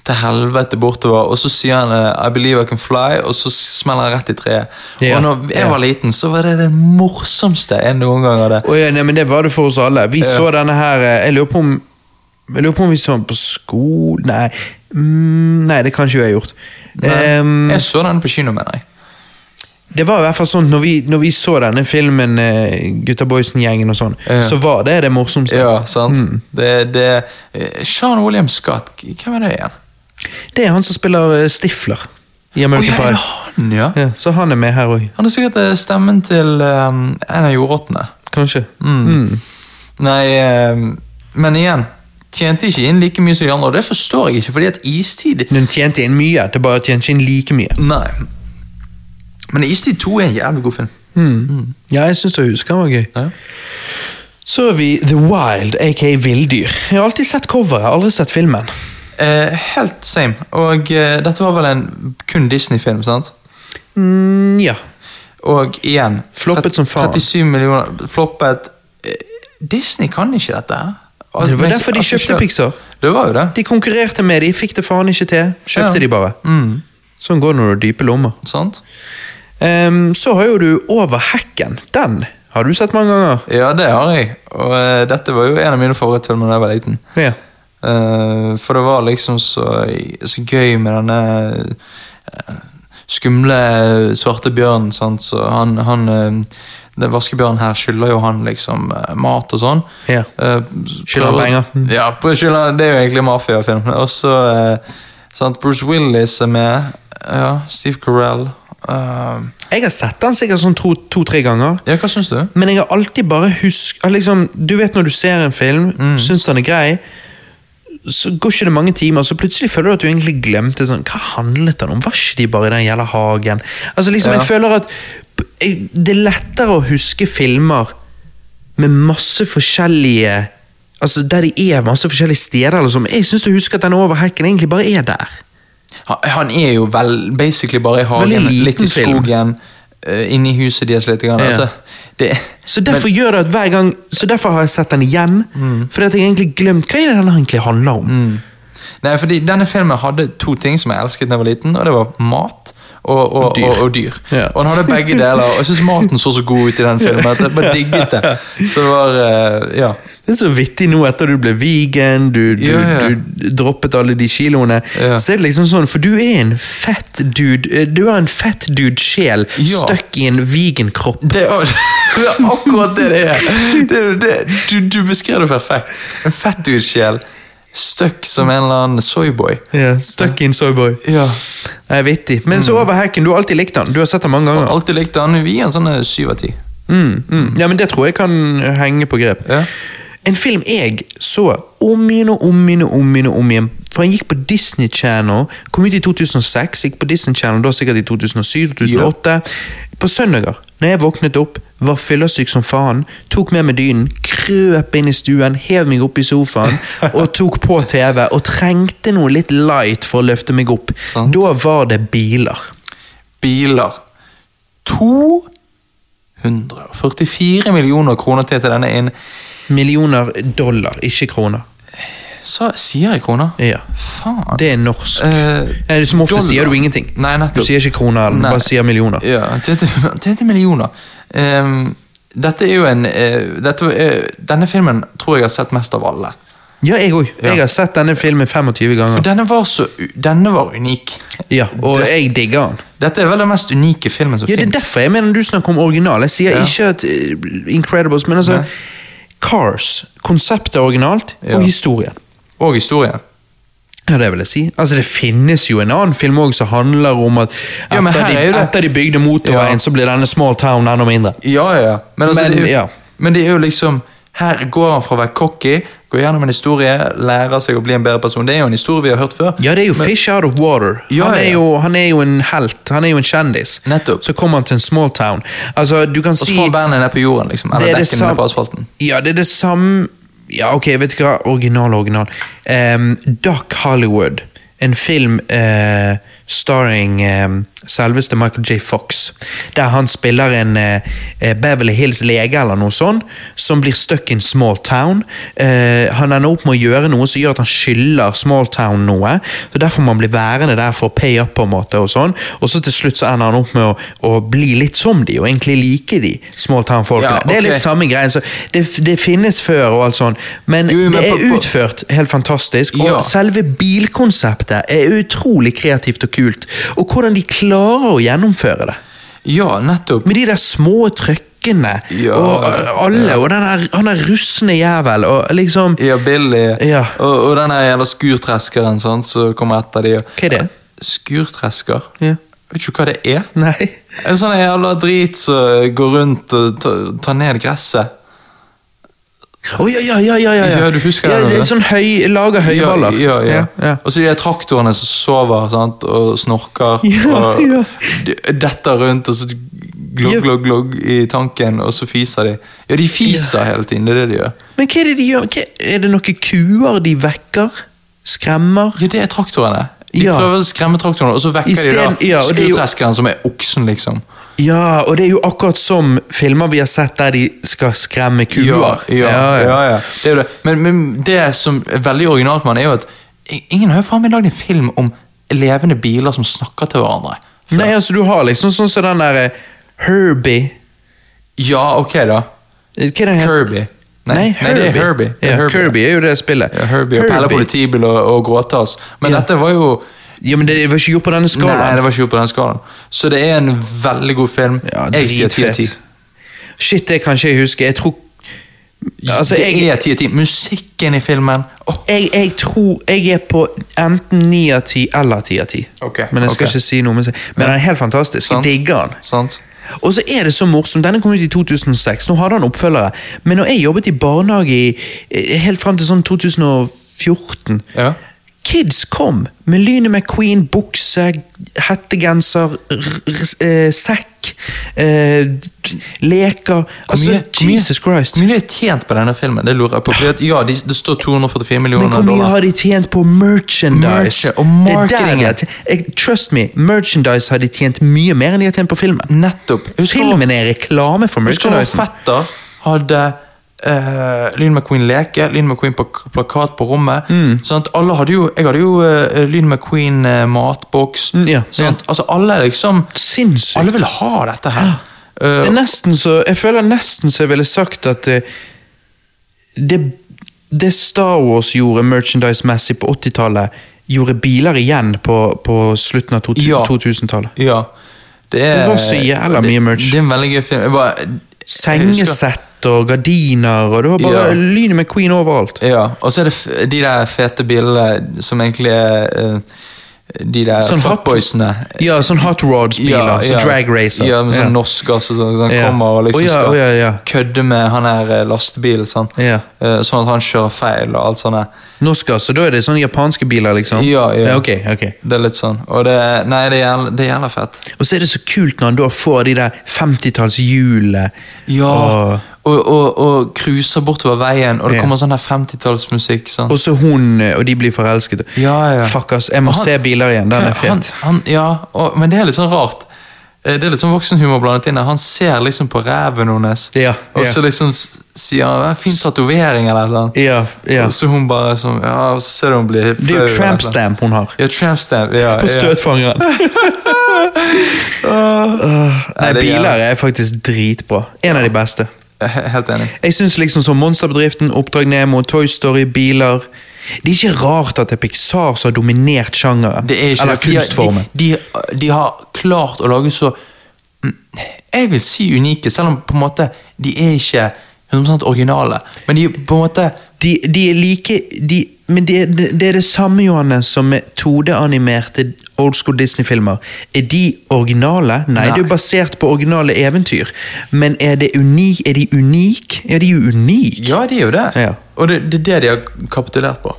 Speaker 2: til helvete bortover, og så sier han eh, 'I believe I can fly', og så smeller han rett i treet.
Speaker 1: Ja.
Speaker 2: Og når jeg
Speaker 1: Ja.
Speaker 2: var liten, så var det det morsomste jeg noen gang hadde.
Speaker 1: Å ja, nei, men Det var det for oss alle. Vi så denne her eh, Jeg lurer på om jeg lurer på om vi så den på skole Nei, mm, nei det kan ikke jeg ha gjort.
Speaker 2: Men
Speaker 1: Ehm,
Speaker 2: jeg så den på kino, mener jeg.
Speaker 1: Det var i hvert fall sånn, når vi, når vi så denne filmen, eh, Gutta Boysen-gjengen og sånn,
Speaker 2: Ja.
Speaker 1: så var det det morsomste.
Speaker 2: Ja, sant?
Speaker 1: Mm.
Speaker 2: Det, det, eh, Sean William Scott, k- hvem er det igjen?
Speaker 1: Det er han som spiller eh, Stifler i
Speaker 2: Å,
Speaker 1: American
Speaker 2: ja, det er
Speaker 1: Pie.
Speaker 2: han, ja.
Speaker 1: Ja, så han er med her òg,
Speaker 2: Han er sikkert eh, stemmen til eh, en av jordrottene.
Speaker 1: kanskje.
Speaker 2: Mm. Nei, eh, men igjen, tjente ikke inn like mye som de andre, og det forstår jeg ikke, fordi at Istid
Speaker 1: Den tjente inn mye, det bare tjente ikke inn like mye.
Speaker 2: Nei. Men Istid 2 er en jævlig god film.
Speaker 1: Mm. Ja, jeg syns jeg husker han var gøy.
Speaker 2: Ja.
Speaker 1: Så har vi The Wild, aka Villdyr. Jeg har alltid sett coveret, aldri sett filmen.
Speaker 2: Eh, helt same. Og eh, dette var vel en kun Disney-film, sant?
Speaker 1: Mm, ja.
Speaker 2: Og igjen
Speaker 1: Floppet som faen.
Speaker 2: 37 millioner Floppet Eh, Disney kan ikke dette. her. Al-
Speaker 1: Det var
Speaker 2: men-
Speaker 1: derfor de
Speaker 2: at de
Speaker 1: kjøpte
Speaker 2: selv-
Speaker 1: Pixar.
Speaker 2: Det var jo det.
Speaker 1: De konkurrerte med de, fikk det faen ikke til. Kjøpte
Speaker 2: Ja.
Speaker 1: de bare.
Speaker 2: Mm,
Speaker 1: Sånn går det når du har dype lommer.
Speaker 2: sant?
Speaker 1: Ehm, så har jo du Over hekken. Den har du sett mange ganger.
Speaker 2: Ja, det har jeg. Og eh, dette var jo en av mine favorittfilmer da jeg var liten.
Speaker 1: Ja.
Speaker 2: Eh, for det var liksom så, så gøy med denne eh, skumle svarte bjørnen. Sant? Så han, han eh, den vaskebjørnen her skylder jo han liksom eh, mat og sånn.
Speaker 1: Ja.
Speaker 2: Eh,
Speaker 1: Skylder han
Speaker 2: prøver-
Speaker 1: penger. Mm.
Speaker 2: Ja, på- skylder, han- det er jo egentlig mafiafilm. Og så eh, sant, Bruce Willis er med. Ja, Steve Carell. Eh,
Speaker 1: Jeg har sett den sikkert sånn to- to-tre ganger.
Speaker 2: ja, hva syns du?
Speaker 1: Men jeg har alltid bare husk at liksom, Du vet når du ser en film, syns den er grei, så går ikke det mange timer, så plutselig føler du at du egentlig glemte sånn, Hva handlet den om? Var ikke de bare i den jævla hagen? Altså liksom,
Speaker 2: Ja.
Speaker 1: jeg føler at p- jeg, Det er lettere å huske filmer med masse forskjellige Altså Der de er masse forskjellige steder. Eller sånn. Jeg syns du husker at den over hekken egentlig bare er der.
Speaker 2: Han, han er jo vel, basically bare i hagen,
Speaker 1: Veldig liten
Speaker 2: litt i
Speaker 1: film.
Speaker 2: skogen, eh, inni huset deres litt. Grann,
Speaker 1: Ja.
Speaker 2: altså, det,
Speaker 1: Så derfor gjør det at hver gang Så derfor har jeg sett den igjen. Fordi at jeg egentlig glemt Hva er det den egentlig handler
Speaker 2: Mm.
Speaker 1: om?
Speaker 2: nei, fordi denne filmen hadde to ting som jeg elsket da jeg var liten, og det var mat. Og, og, og
Speaker 1: dyr.
Speaker 2: dyr. Og, og, dyr.
Speaker 1: Ja.
Speaker 2: og han hadde begge deler, og jeg syns maten så så god ut i den filmen. at Jeg bare digget det. Så det var eh, Ja.
Speaker 1: Det er så vittig nå etter du ble vegan, du, du,
Speaker 2: Ja, ja.
Speaker 1: du droppet alle de kiloene.
Speaker 2: Ja.
Speaker 1: Så er det liksom sånn, for du er en fett dude. eh, Du har en fett dude-sjel
Speaker 2: Ja.
Speaker 1: stuck i en vegan kropp.
Speaker 2: Det er, [laughs] det er akkurat det det er. Det er jo det, du, du beskrev det perfekt. En fett utsjel, stuck som en eller annen soyboy.
Speaker 1: Ja, stuck in soyboy.
Speaker 2: Ja.
Speaker 1: Det er vittig. Men så over hekken, du har alltid likt den. Du har sett den mange ganger.
Speaker 2: Alltid likte han. Vi er en sånn eh, syv av ti.
Speaker 1: Mm, mm. Ja, men det tror jeg kan henge på grep.
Speaker 2: Ja.
Speaker 1: En film jeg så om igjen og om igjen og om igjen, og om igjen for han gikk på Disney Channel, kom ut i 2006, gikk på Disney Channel da sikkert i 2007-2008. På søndager, når jeg våknet opp, var fyllesyk som faen, tok med meg dynen, krøp inn i stuen, hev meg opp i sofaen og tok på TV og trengte noe litt light for å løfte meg opp.
Speaker 2: Sant.
Speaker 1: Da var det biler.
Speaker 2: biler. 244 millioner kroner til til denne inn.
Speaker 1: Millioner dollar, ikke kroner.
Speaker 2: Så sier jeg kroner.
Speaker 1: Ja.
Speaker 2: Faen.
Speaker 1: Det er norsk.
Speaker 2: Eh,
Speaker 1: Nei, som ofte
Speaker 2: dollar.
Speaker 1: sier du ingenting.
Speaker 2: Nei,
Speaker 1: Du
Speaker 2: nettopp.
Speaker 1: sier ikke kroner, eller du
Speaker 2: Nei.
Speaker 1: bare sier millioner.
Speaker 2: Ja, tjente, [laughs] tjente millioner. Ehm, dette er jo en eh, dette, eh, Denne filmen tror jeg jeg har sett mest av alle.
Speaker 1: Ja, jeg òg. Jeg har sett denne filmen 25
Speaker 2: For
Speaker 1: ganger.
Speaker 2: denne var så u- Denne var unik.
Speaker 1: Ja, Og jeg digger den.
Speaker 2: Dette er vel den mest unike filmen som
Speaker 1: Ja, Det er
Speaker 2: fins.
Speaker 1: derfor jeg mener du snakker om original. Jeg sier
Speaker 2: Ja.
Speaker 1: ikke at eh, Incredibles, men altså
Speaker 2: Nei.
Speaker 1: Cars. Konseptet er originalt,
Speaker 2: Ja.
Speaker 1: og historien.
Speaker 2: Og historien.
Speaker 1: Ja, det vil jeg si. Altså, Det finnes jo en annen film også som handler om at etter,
Speaker 2: Ja, men her
Speaker 1: de,
Speaker 2: er jo det-
Speaker 1: etter de bygde motorveien,
Speaker 2: Ja.
Speaker 1: så blir denne small town enda mindre.
Speaker 2: Ja, ja, ja. Men, altså,
Speaker 1: Men,
Speaker 2: det, er jo,
Speaker 1: ja.
Speaker 2: men det er jo liksom Her går han fra å være cocky, går gjennom en historie, lærer seg å bli en bedre person. Det er jo en historie vi har hørt før.
Speaker 1: Ja, det er jo fish out of water.
Speaker 2: Ja,
Speaker 1: han,
Speaker 2: ja,
Speaker 1: er
Speaker 2: ja.
Speaker 1: jo, han er jo en helt. Han er jo en kjendis.
Speaker 2: Nettopp.
Speaker 1: Så kommer han til en small town. Altså, du kan
Speaker 2: Og
Speaker 1: si
Speaker 2: så får bandet ned på jorden, liksom.
Speaker 1: Det
Speaker 2: Eller
Speaker 1: er det
Speaker 2: dekkene
Speaker 1: sam-
Speaker 2: ned på asfalten.
Speaker 1: Ja, det er det samme Ja, ok, vet du hva? Original, original. Ehm, Duck Hollywood. En film eh, starring ehm, selveste Michael J. Fox. Der han spiller en eh, eh, Beverly Hills-lege eller noe sånt, som blir stuck in small town. Eh, han ender opp med å gjøre noe som gjør at han skylder small town noe. så Derfor må han bli værende der for å pay up, på en måte. Og sånn. Og så til slutt så ender han opp med å, å bli litt som de, og egentlig like de small town-folkene.
Speaker 2: Ja,
Speaker 1: Det er
Speaker 2: ok.
Speaker 1: litt samme greien. Så det, det finnes før og alt sånn, men,
Speaker 2: Jo, men
Speaker 1: det er
Speaker 2: på- på-
Speaker 1: utført helt fantastisk. Og
Speaker 2: Ja.
Speaker 1: selve bilkonseptet er utrolig kreativt og kult. Og hvordan de klarer å gjennomføre det.
Speaker 2: Ja, nettopp.
Speaker 1: Med de der små trøkkene
Speaker 2: Ja,
Speaker 1: og uh, alle, og den der, han der russende jævel, og liksom
Speaker 2: Ja, Billy.
Speaker 1: Ja.
Speaker 2: Og, og den der jævla skurtreskeren sant, som kommer etter de.
Speaker 1: Hva er det?
Speaker 2: Skurtresker?
Speaker 1: Ja.
Speaker 2: Vet ikke hva det er.
Speaker 1: Nei.
Speaker 2: En sånn jævla drit som går rundt og ta- tar ned gresset.
Speaker 1: Å ja, ja, ja, ja, ja.
Speaker 2: Ja, du husker
Speaker 1: ja,
Speaker 2: det,
Speaker 1: det er
Speaker 2: eller?
Speaker 1: sånn høy, lager høyballer.
Speaker 2: Ja, ja, ja.
Speaker 1: ja.
Speaker 2: Og så de der traktorene som sover sant, og snorker
Speaker 1: [laughs] Ja,
Speaker 2: og
Speaker 1: ja.
Speaker 2: d- detter rundt og så glogg,
Speaker 1: Ja.
Speaker 2: glogg, glogg i tanken, og så fiser de. Ja, de fiser hele tiden. Det er det de gjør.
Speaker 1: Men hva er det de gjør? Hva, er det noen kuer de vekker? Skremmer?
Speaker 2: Ja, det er traktorene. De
Speaker 1: Ja.
Speaker 2: prøver å skremme traktorene, og så vekker
Speaker 1: Isteden-
Speaker 2: de da
Speaker 1: ja, og det er jo-
Speaker 2: skurtreskeren, som er oksen, liksom.
Speaker 1: Ja, og det er jo akkurat som filmer vi har sett der de skal skremme kuer.
Speaker 2: Ja, ja, ja, ja. Det er jo det. Men, men det som er veldig originalt med den, er jo at i- ingen har jo faen meg lagd en film om levende biler som snakker til hverandre.
Speaker 1: Nei, altså du har liksom sånn som den der eh, Herbie
Speaker 2: Ja, ok, da.
Speaker 1: Eh, Hva er den heter?
Speaker 2: Kirby.
Speaker 1: Nei, Herbie.
Speaker 2: det er Herbie. Det er
Speaker 1: Ja, Kirby er jo det spillet.
Speaker 2: Ja, Herbie og Pelle politibil og, og Gråtass. Men dette var jo
Speaker 1: Ja, men det var ikke gjort på denne
Speaker 2: Nei,
Speaker 1: skalaen.
Speaker 2: det var ikke gjort på den skalaen. Så det er en veldig god film.
Speaker 1: Ja,
Speaker 2: jeg sier 10 av
Speaker 1: dritfett.
Speaker 2: 10.
Speaker 1: Shit, det kan ikke jeg huske. Jeg tror Altså,
Speaker 2: det
Speaker 1: jeg-
Speaker 2: er 10 av 10. Musikken i filmen Åh,
Speaker 1: jeg, jeg tror jeg er på enten 9 av 10 eller 10 av 10.
Speaker 2: Ok,
Speaker 1: Men jeg skal
Speaker 2: ok.
Speaker 1: ikke si noe. Men men den er helt fantastisk.
Speaker 2: Sant.
Speaker 1: Jeg digger den.
Speaker 2: Sant?
Speaker 1: Og så er det så morsomt, Denne kom ut i 2006, nå hadde han oppfølgere. Men når jeg jobbet i barnehage i, eh, helt fram til sånn 2014
Speaker 2: Ja.
Speaker 1: Kids kom med Lynet McQueen, bukse, hettegenser, r- r- eh, sekk, eh, d- leker Altså, Jesus Christ.
Speaker 2: Hvor mye de har tjent på denne filmen? Det lurer jeg på. Fordi at, ja, de, Det står 244
Speaker 1: Men
Speaker 2: millioner
Speaker 1: hvor mye
Speaker 2: dollar.
Speaker 1: har de tjent på merchandise?
Speaker 2: Merch- og
Speaker 1: Det er der
Speaker 2: marketing.
Speaker 1: de har tjent- jeg- Trust me, merchandise har de tjent mye mer enn de har tjent på filmen.
Speaker 2: Nettopp. Husker du-
Speaker 1: Filmen er reklame for
Speaker 2: Husker du når
Speaker 1: merchandise.
Speaker 2: fetter hadde uh, Lyn McQueen leke, Lyn McQueen pak- plakat på rommet.
Speaker 1: Mm.
Speaker 2: Sant? Alle hadde jo, jeg hadde jo uh, Lyn McQueen eh, matboks.
Speaker 1: Mm, ja,
Speaker 2: sant? Altså, alle liksom
Speaker 1: Sinnssykt.
Speaker 2: Alle ville ha dette
Speaker 1: Ah.
Speaker 2: her.
Speaker 1: Det
Speaker 2: Eh,
Speaker 1: er nesten så, jeg føler nesten så jeg ville sagt at eh, det, det Star Wars gjorde merchandise-messig på 80-tallet, gjorde biler igjen på, på slutten av to-
Speaker 2: Ja.
Speaker 1: 2000-tallet.
Speaker 2: ja. Det, er,
Speaker 1: Det var så jævla mye merch.
Speaker 2: Det, det er en veldig gøy film. Jeg bare, jeg husker-
Speaker 1: Sengesett og gardiner, og det var bare
Speaker 2: Ja.
Speaker 1: Lynet McQueen overalt.
Speaker 2: Ja, og så er det f de der fete bilene som egentlig er eh, De der
Speaker 1: Sånn hot-
Speaker 2: fuckboysene.
Speaker 1: Ja, sånn hot rods-biler. så altså drag racer.
Speaker 2: Ja, med sånn
Speaker 1: Ja.
Speaker 2: norsk gass og sånn. så Han
Speaker 1: Ja.
Speaker 2: kommer og liksom
Speaker 1: Å, ja,
Speaker 2: skal
Speaker 1: å, ja, ja.
Speaker 2: kødde med han her eh, lastebilen, sånn.
Speaker 1: Ja.
Speaker 2: Eh, sånn at han kjører feil og alt sånt. der.
Speaker 1: Norsk gass, så da er det sånne japanske biler, liksom?
Speaker 2: Ja, ja.
Speaker 1: ok, ok.
Speaker 2: Det er litt sånn. Og det, nei, det er jævla, det er jævla fett.
Speaker 1: Og så er det så kult når han da får de der 50-tallshjulene. Og,
Speaker 2: Og, og, og cruiser bortover veien, og det
Speaker 1: Ja.
Speaker 2: kommer sånn her 50-tallsmusikk. Sånn.
Speaker 1: og så hun, eh, og de blir forelsket.
Speaker 2: Ja, ja.
Speaker 1: Fuck, ass. Jeg må
Speaker 2: Og han-
Speaker 1: se biler igjen. Den er
Speaker 2: Han,
Speaker 1: fet.
Speaker 2: han, ja, og, men det er litt sånn rart. Eh, Det er litt sånn voksenhumor blandet inn. her. Han ser liksom på ræven hennes,
Speaker 1: Ja,
Speaker 2: og
Speaker 1: ja.
Speaker 2: så liksom s- sier han "Ja, 'fin tatovering' eller noe.
Speaker 1: Ja, ja.
Speaker 2: Og så hun bare sånn, ja, og så ser du hun blir flau.
Speaker 1: Det er
Speaker 2: eller
Speaker 1: jo tramp
Speaker 2: noe.
Speaker 1: stamp hun har.
Speaker 2: Ja, tramp stamp. Ja,
Speaker 1: På
Speaker 2: ja. [laughs]
Speaker 1: støtfangeren. Nei,
Speaker 2: Nei, det er
Speaker 1: biler er faktisk dritbra. En av de beste.
Speaker 2: Jeg er Helt enig.
Speaker 1: Jeg synes liksom som Monsterbedriften, Oppdrag Nemo, Toy Story, biler Det er ikke rart at det er Pixar som har dominert sjangeren.
Speaker 2: Det er ikke
Speaker 1: eller
Speaker 2: det, for de-
Speaker 1: kunstformen.
Speaker 2: De, de, de har klart å lage så mm, Jeg vil si unike, selv om på en måte de er ikke 100 originale. Men de på en måte
Speaker 1: De, de er like de, Men det, det, det er det samme, Johanne, som med 2D-animerte old school Disney-filmer. Er de originale? Nei,
Speaker 2: Nei.
Speaker 1: det er jo basert på originale eventyr. Men er, det unik, er de unike? Ja, de er jo unike.
Speaker 2: Ja, de er jo det.
Speaker 1: Ja. Mm.
Speaker 2: Og det, det er det de har kapitulert på.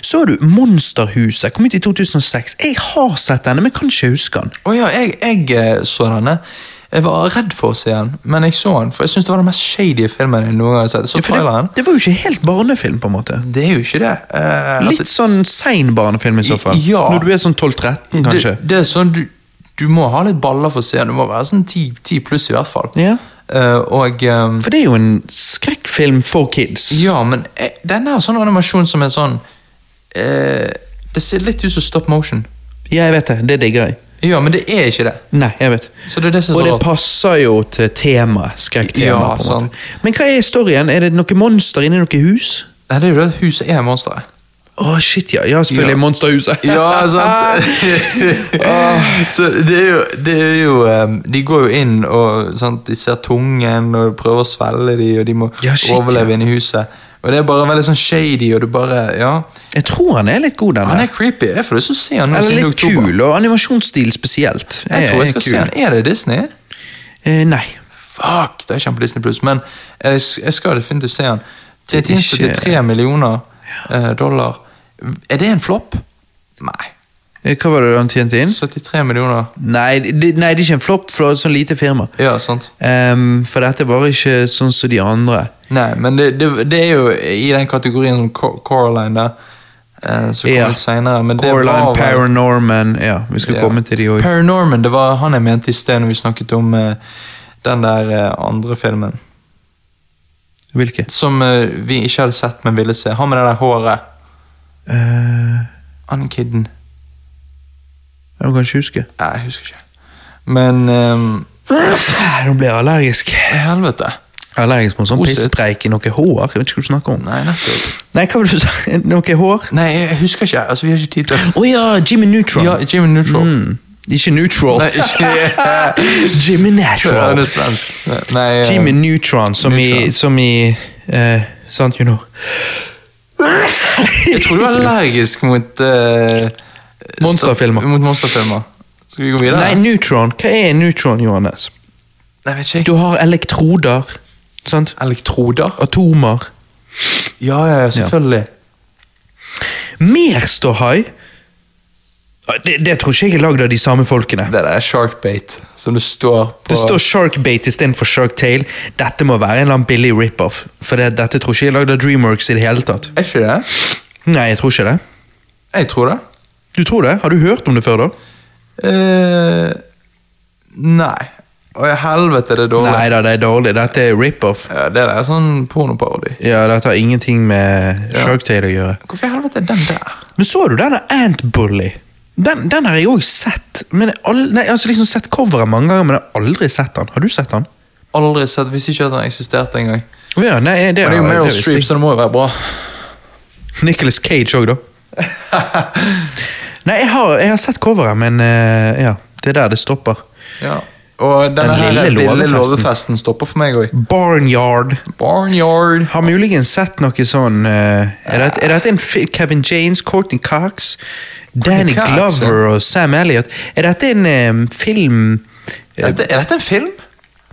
Speaker 1: Så har du Monsterhuset, kom ut i 2006. Jeg har sett denne, men kan ikke huske den.
Speaker 2: Å ja, jeg, jeg eh, så denne. Jeg var redd for å se den, men jeg så den, for jeg syns det var den mest shady filmen jeg noen gang har sett. Så
Speaker 1: For det,
Speaker 2: traileren,
Speaker 1: det var jo ikke helt barnefilm, på en måte.
Speaker 2: det er jo ikke det. Eh,
Speaker 1: Litt sånn sein barnefilm i så fall.
Speaker 2: Ja.
Speaker 1: Når du er sånn 12-13, kanskje.
Speaker 2: Det, det er sånn, du, du må ha litt baller for å se den. Du må være sånn 10, 10 pluss i hvert fall.
Speaker 1: Ja.
Speaker 2: Eh, og eh,
Speaker 1: For det er jo en skrekkfilm for kids.
Speaker 2: Ja, men eh, denne har sånn animasjon som er sånn eh, Det ser litt ut som stop motion.
Speaker 1: Ja, jeg vet det. Det digger jeg.
Speaker 2: Ja, men det er ikke det.
Speaker 1: Nei, jeg vet.
Speaker 2: Så det er det som
Speaker 1: Og
Speaker 2: er så
Speaker 1: det
Speaker 2: rart.
Speaker 1: passer jo til temaet. Skrekktema.
Speaker 2: Ja,
Speaker 1: på en
Speaker 2: sant.
Speaker 1: måte. Men hva er storyen? Er det noe monster inni noe hus?
Speaker 2: Nei, det er jo det at huset er monsteret.
Speaker 1: Å Å, shit, ja. Ja, selvfølgelig.
Speaker 2: Ja.
Speaker 1: [laughs] Monsterhuset.
Speaker 2: Ja, [laughs] sant? [laughs] så det er jo, det er jo em, De går jo inn og sant, de ser tungen og prøver å svelge de, og de må
Speaker 1: Ja, shit,
Speaker 2: overleve inne i huset. Og det er bare veldig sånn shady, og du bare Ja.
Speaker 1: Jeg tror han er litt god, den
Speaker 2: Han
Speaker 1: der.
Speaker 2: er creepy. Jeg får lyst til å se han nå
Speaker 1: Eller
Speaker 2: siden
Speaker 1: litt
Speaker 2: oktober.
Speaker 1: kul, og animasjonsstil spesielt.
Speaker 2: Jeg tror jeg skal se han. Er det Disney?
Speaker 1: Eh, nei.
Speaker 2: Fuck, det er ikke på Disney Plus, men jeg, s- jeg skal definitivt se han. Til
Speaker 1: Det er ikke-
Speaker 2: 73 millioner eh, dollar. Er det en flopp? Nei.
Speaker 1: Eh, Hva var det han tjente inn?
Speaker 2: 73 millioner.
Speaker 1: Nei, det, nei, det er ikke en flopp for et sånn lite firma.
Speaker 2: Ja, sant.
Speaker 1: Ehm, for dette var ikke sånn som de andre.
Speaker 2: Nei, men det, det, det er jo i den kategorien som Co- Coraline der, eh, som kom
Speaker 1: Ja.
Speaker 2: ut senere. Men det
Speaker 1: Coraline,
Speaker 2: var vel-
Speaker 1: Paranorman Ja, vi skal
Speaker 2: Ja.
Speaker 1: komme til de òg.
Speaker 2: Paranorman, det var han jeg mente i sted når vi snakket om eh, den der eh, andre filmen.
Speaker 1: Hvilke?
Speaker 2: Som eh, vi ikke hadde sett, men ville se. Han med det der håret.
Speaker 1: Eh,
Speaker 2: Han kidden.
Speaker 1: jeg kan ikke huske.
Speaker 2: Nei, jeg husker ikke. Men ehm,
Speaker 1: Nå ble jeg allergisk.
Speaker 2: Helvete.
Speaker 1: Allergisk mot sånn
Speaker 2: Koset.
Speaker 1: pisspreik i noe hår. Jeg vet ikke hva du snakker om.
Speaker 2: Nei, nettopp.
Speaker 1: Nei, hva var det du sa? [laughs] Noe hår?
Speaker 2: Nei, jeg husker ikke. Altså, vi har ikke tid til
Speaker 1: Å ja, Jimmy Neutron.
Speaker 2: Ja, Jimmy Neutral.
Speaker 1: Mm. Ikke Neutral.
Speaker 2: Nei, ikke
Speaker 1: Jimmy [laughs]
Speaker 2: Ja,
Speaker 1: Neutral.
Speaker 2: det er svensk. Nei, eh,
Speaker 1: Jimmy Neutron, som i,
Speaker 2: Neutron.
Speaker 1: som i eh, Sant, you know.
Speaker 2: jeg tror
Speaker 1: [laughs]
Speaker 2: du er allergisk mot eh,
Speaker 1: Monsterfilmer.
Speaker 2: sta- Mot monsterfilmer. Skal vi gå videre?
Speaker 1: Nei, Neutron. Hva er Neutron, Johannes?
Speaker 2: Nei, vet ikke.
Speaker 1: Du har elektroder. Sant?
Speaker 2: Elektroder?
Speaker 1: Atomer.
Speaker 2: Ja, ja, ja, selvfølgelig.
Speaker 1: Mer ståhai? Ah, Det, det tror ikke jeg er lagd av de samme folkene.
Speaker 2: Det der er sharkbait, som det står på
Speaker 1: Det står Sharkbait istedenfor Sharktail. Dette må være en eller annen billig rip-off. For det, dette tror ikke jeg er lagd av Dreamworks i det hele tatt.
Speaker 2: Er ikke det?
Speaker 1: Nei, jeg tror ikke det.
Speaker 2: Jeg tror det.
Speaker 1: Du tror det? Har du hørt om det før, da?
Speaker 2: Eh, nei. Å, i helvete, det er dårlig.
Speaker 1: Nei da, det er dårlig. Dette er rip-off.
Speaker 2: Ja, det der er sånn pornoparodi.
Speaker 1: Ja, dette har ingenting med
Speaker 2: Ja.
Speaker 1: Sharktail å gjøre.
Speaker 2: Hvorfor i helvete er den der?
Speaker 1: Men så du denne Ant-Bully? Den, den har jeg òg sett. Men jeg har al- nei, altså liksom sett coveret mange ganger, men jeg har aldri sett den. Har du sett den?
Speaker 2: Aldri sett, Visste ikke at den eksisterte engang.
Speaker 1: Ja, nei, det,
Speaker 2: Men det er jo
Speaker 1: har-
Speaker 2: Meryl
Speaker 1: det visste
Speaker 2: Streep, så det må jo være bra.
Speaker 1: Nicholas Cage òg, da. Nei, jeg har, jeg har sett coveret, men eh, ja, det er der det stopper.
Speaker 2: [laughs] Ja. Og denne
Speaker 1: Den
Speaker 2: her
Speaker 1: lille
Speaker 2: lille,
Speaker 1: låvefesten.
Speaker 2: låvefesten stopper for meg òg.
Speaker 1: Barnyard.
Speaker 2: Barnyard.
Speaker 1: Har muligens sett noe sånn eh, Er dette er dette en fi Kevin Janes, Courtney Cox, Danny
Speaker 2: Cox, ja.
Speaker 1: Glover og Sam Elliot? Er dette en eh, film eh,
Speaker 2: Er dette, er dette en film?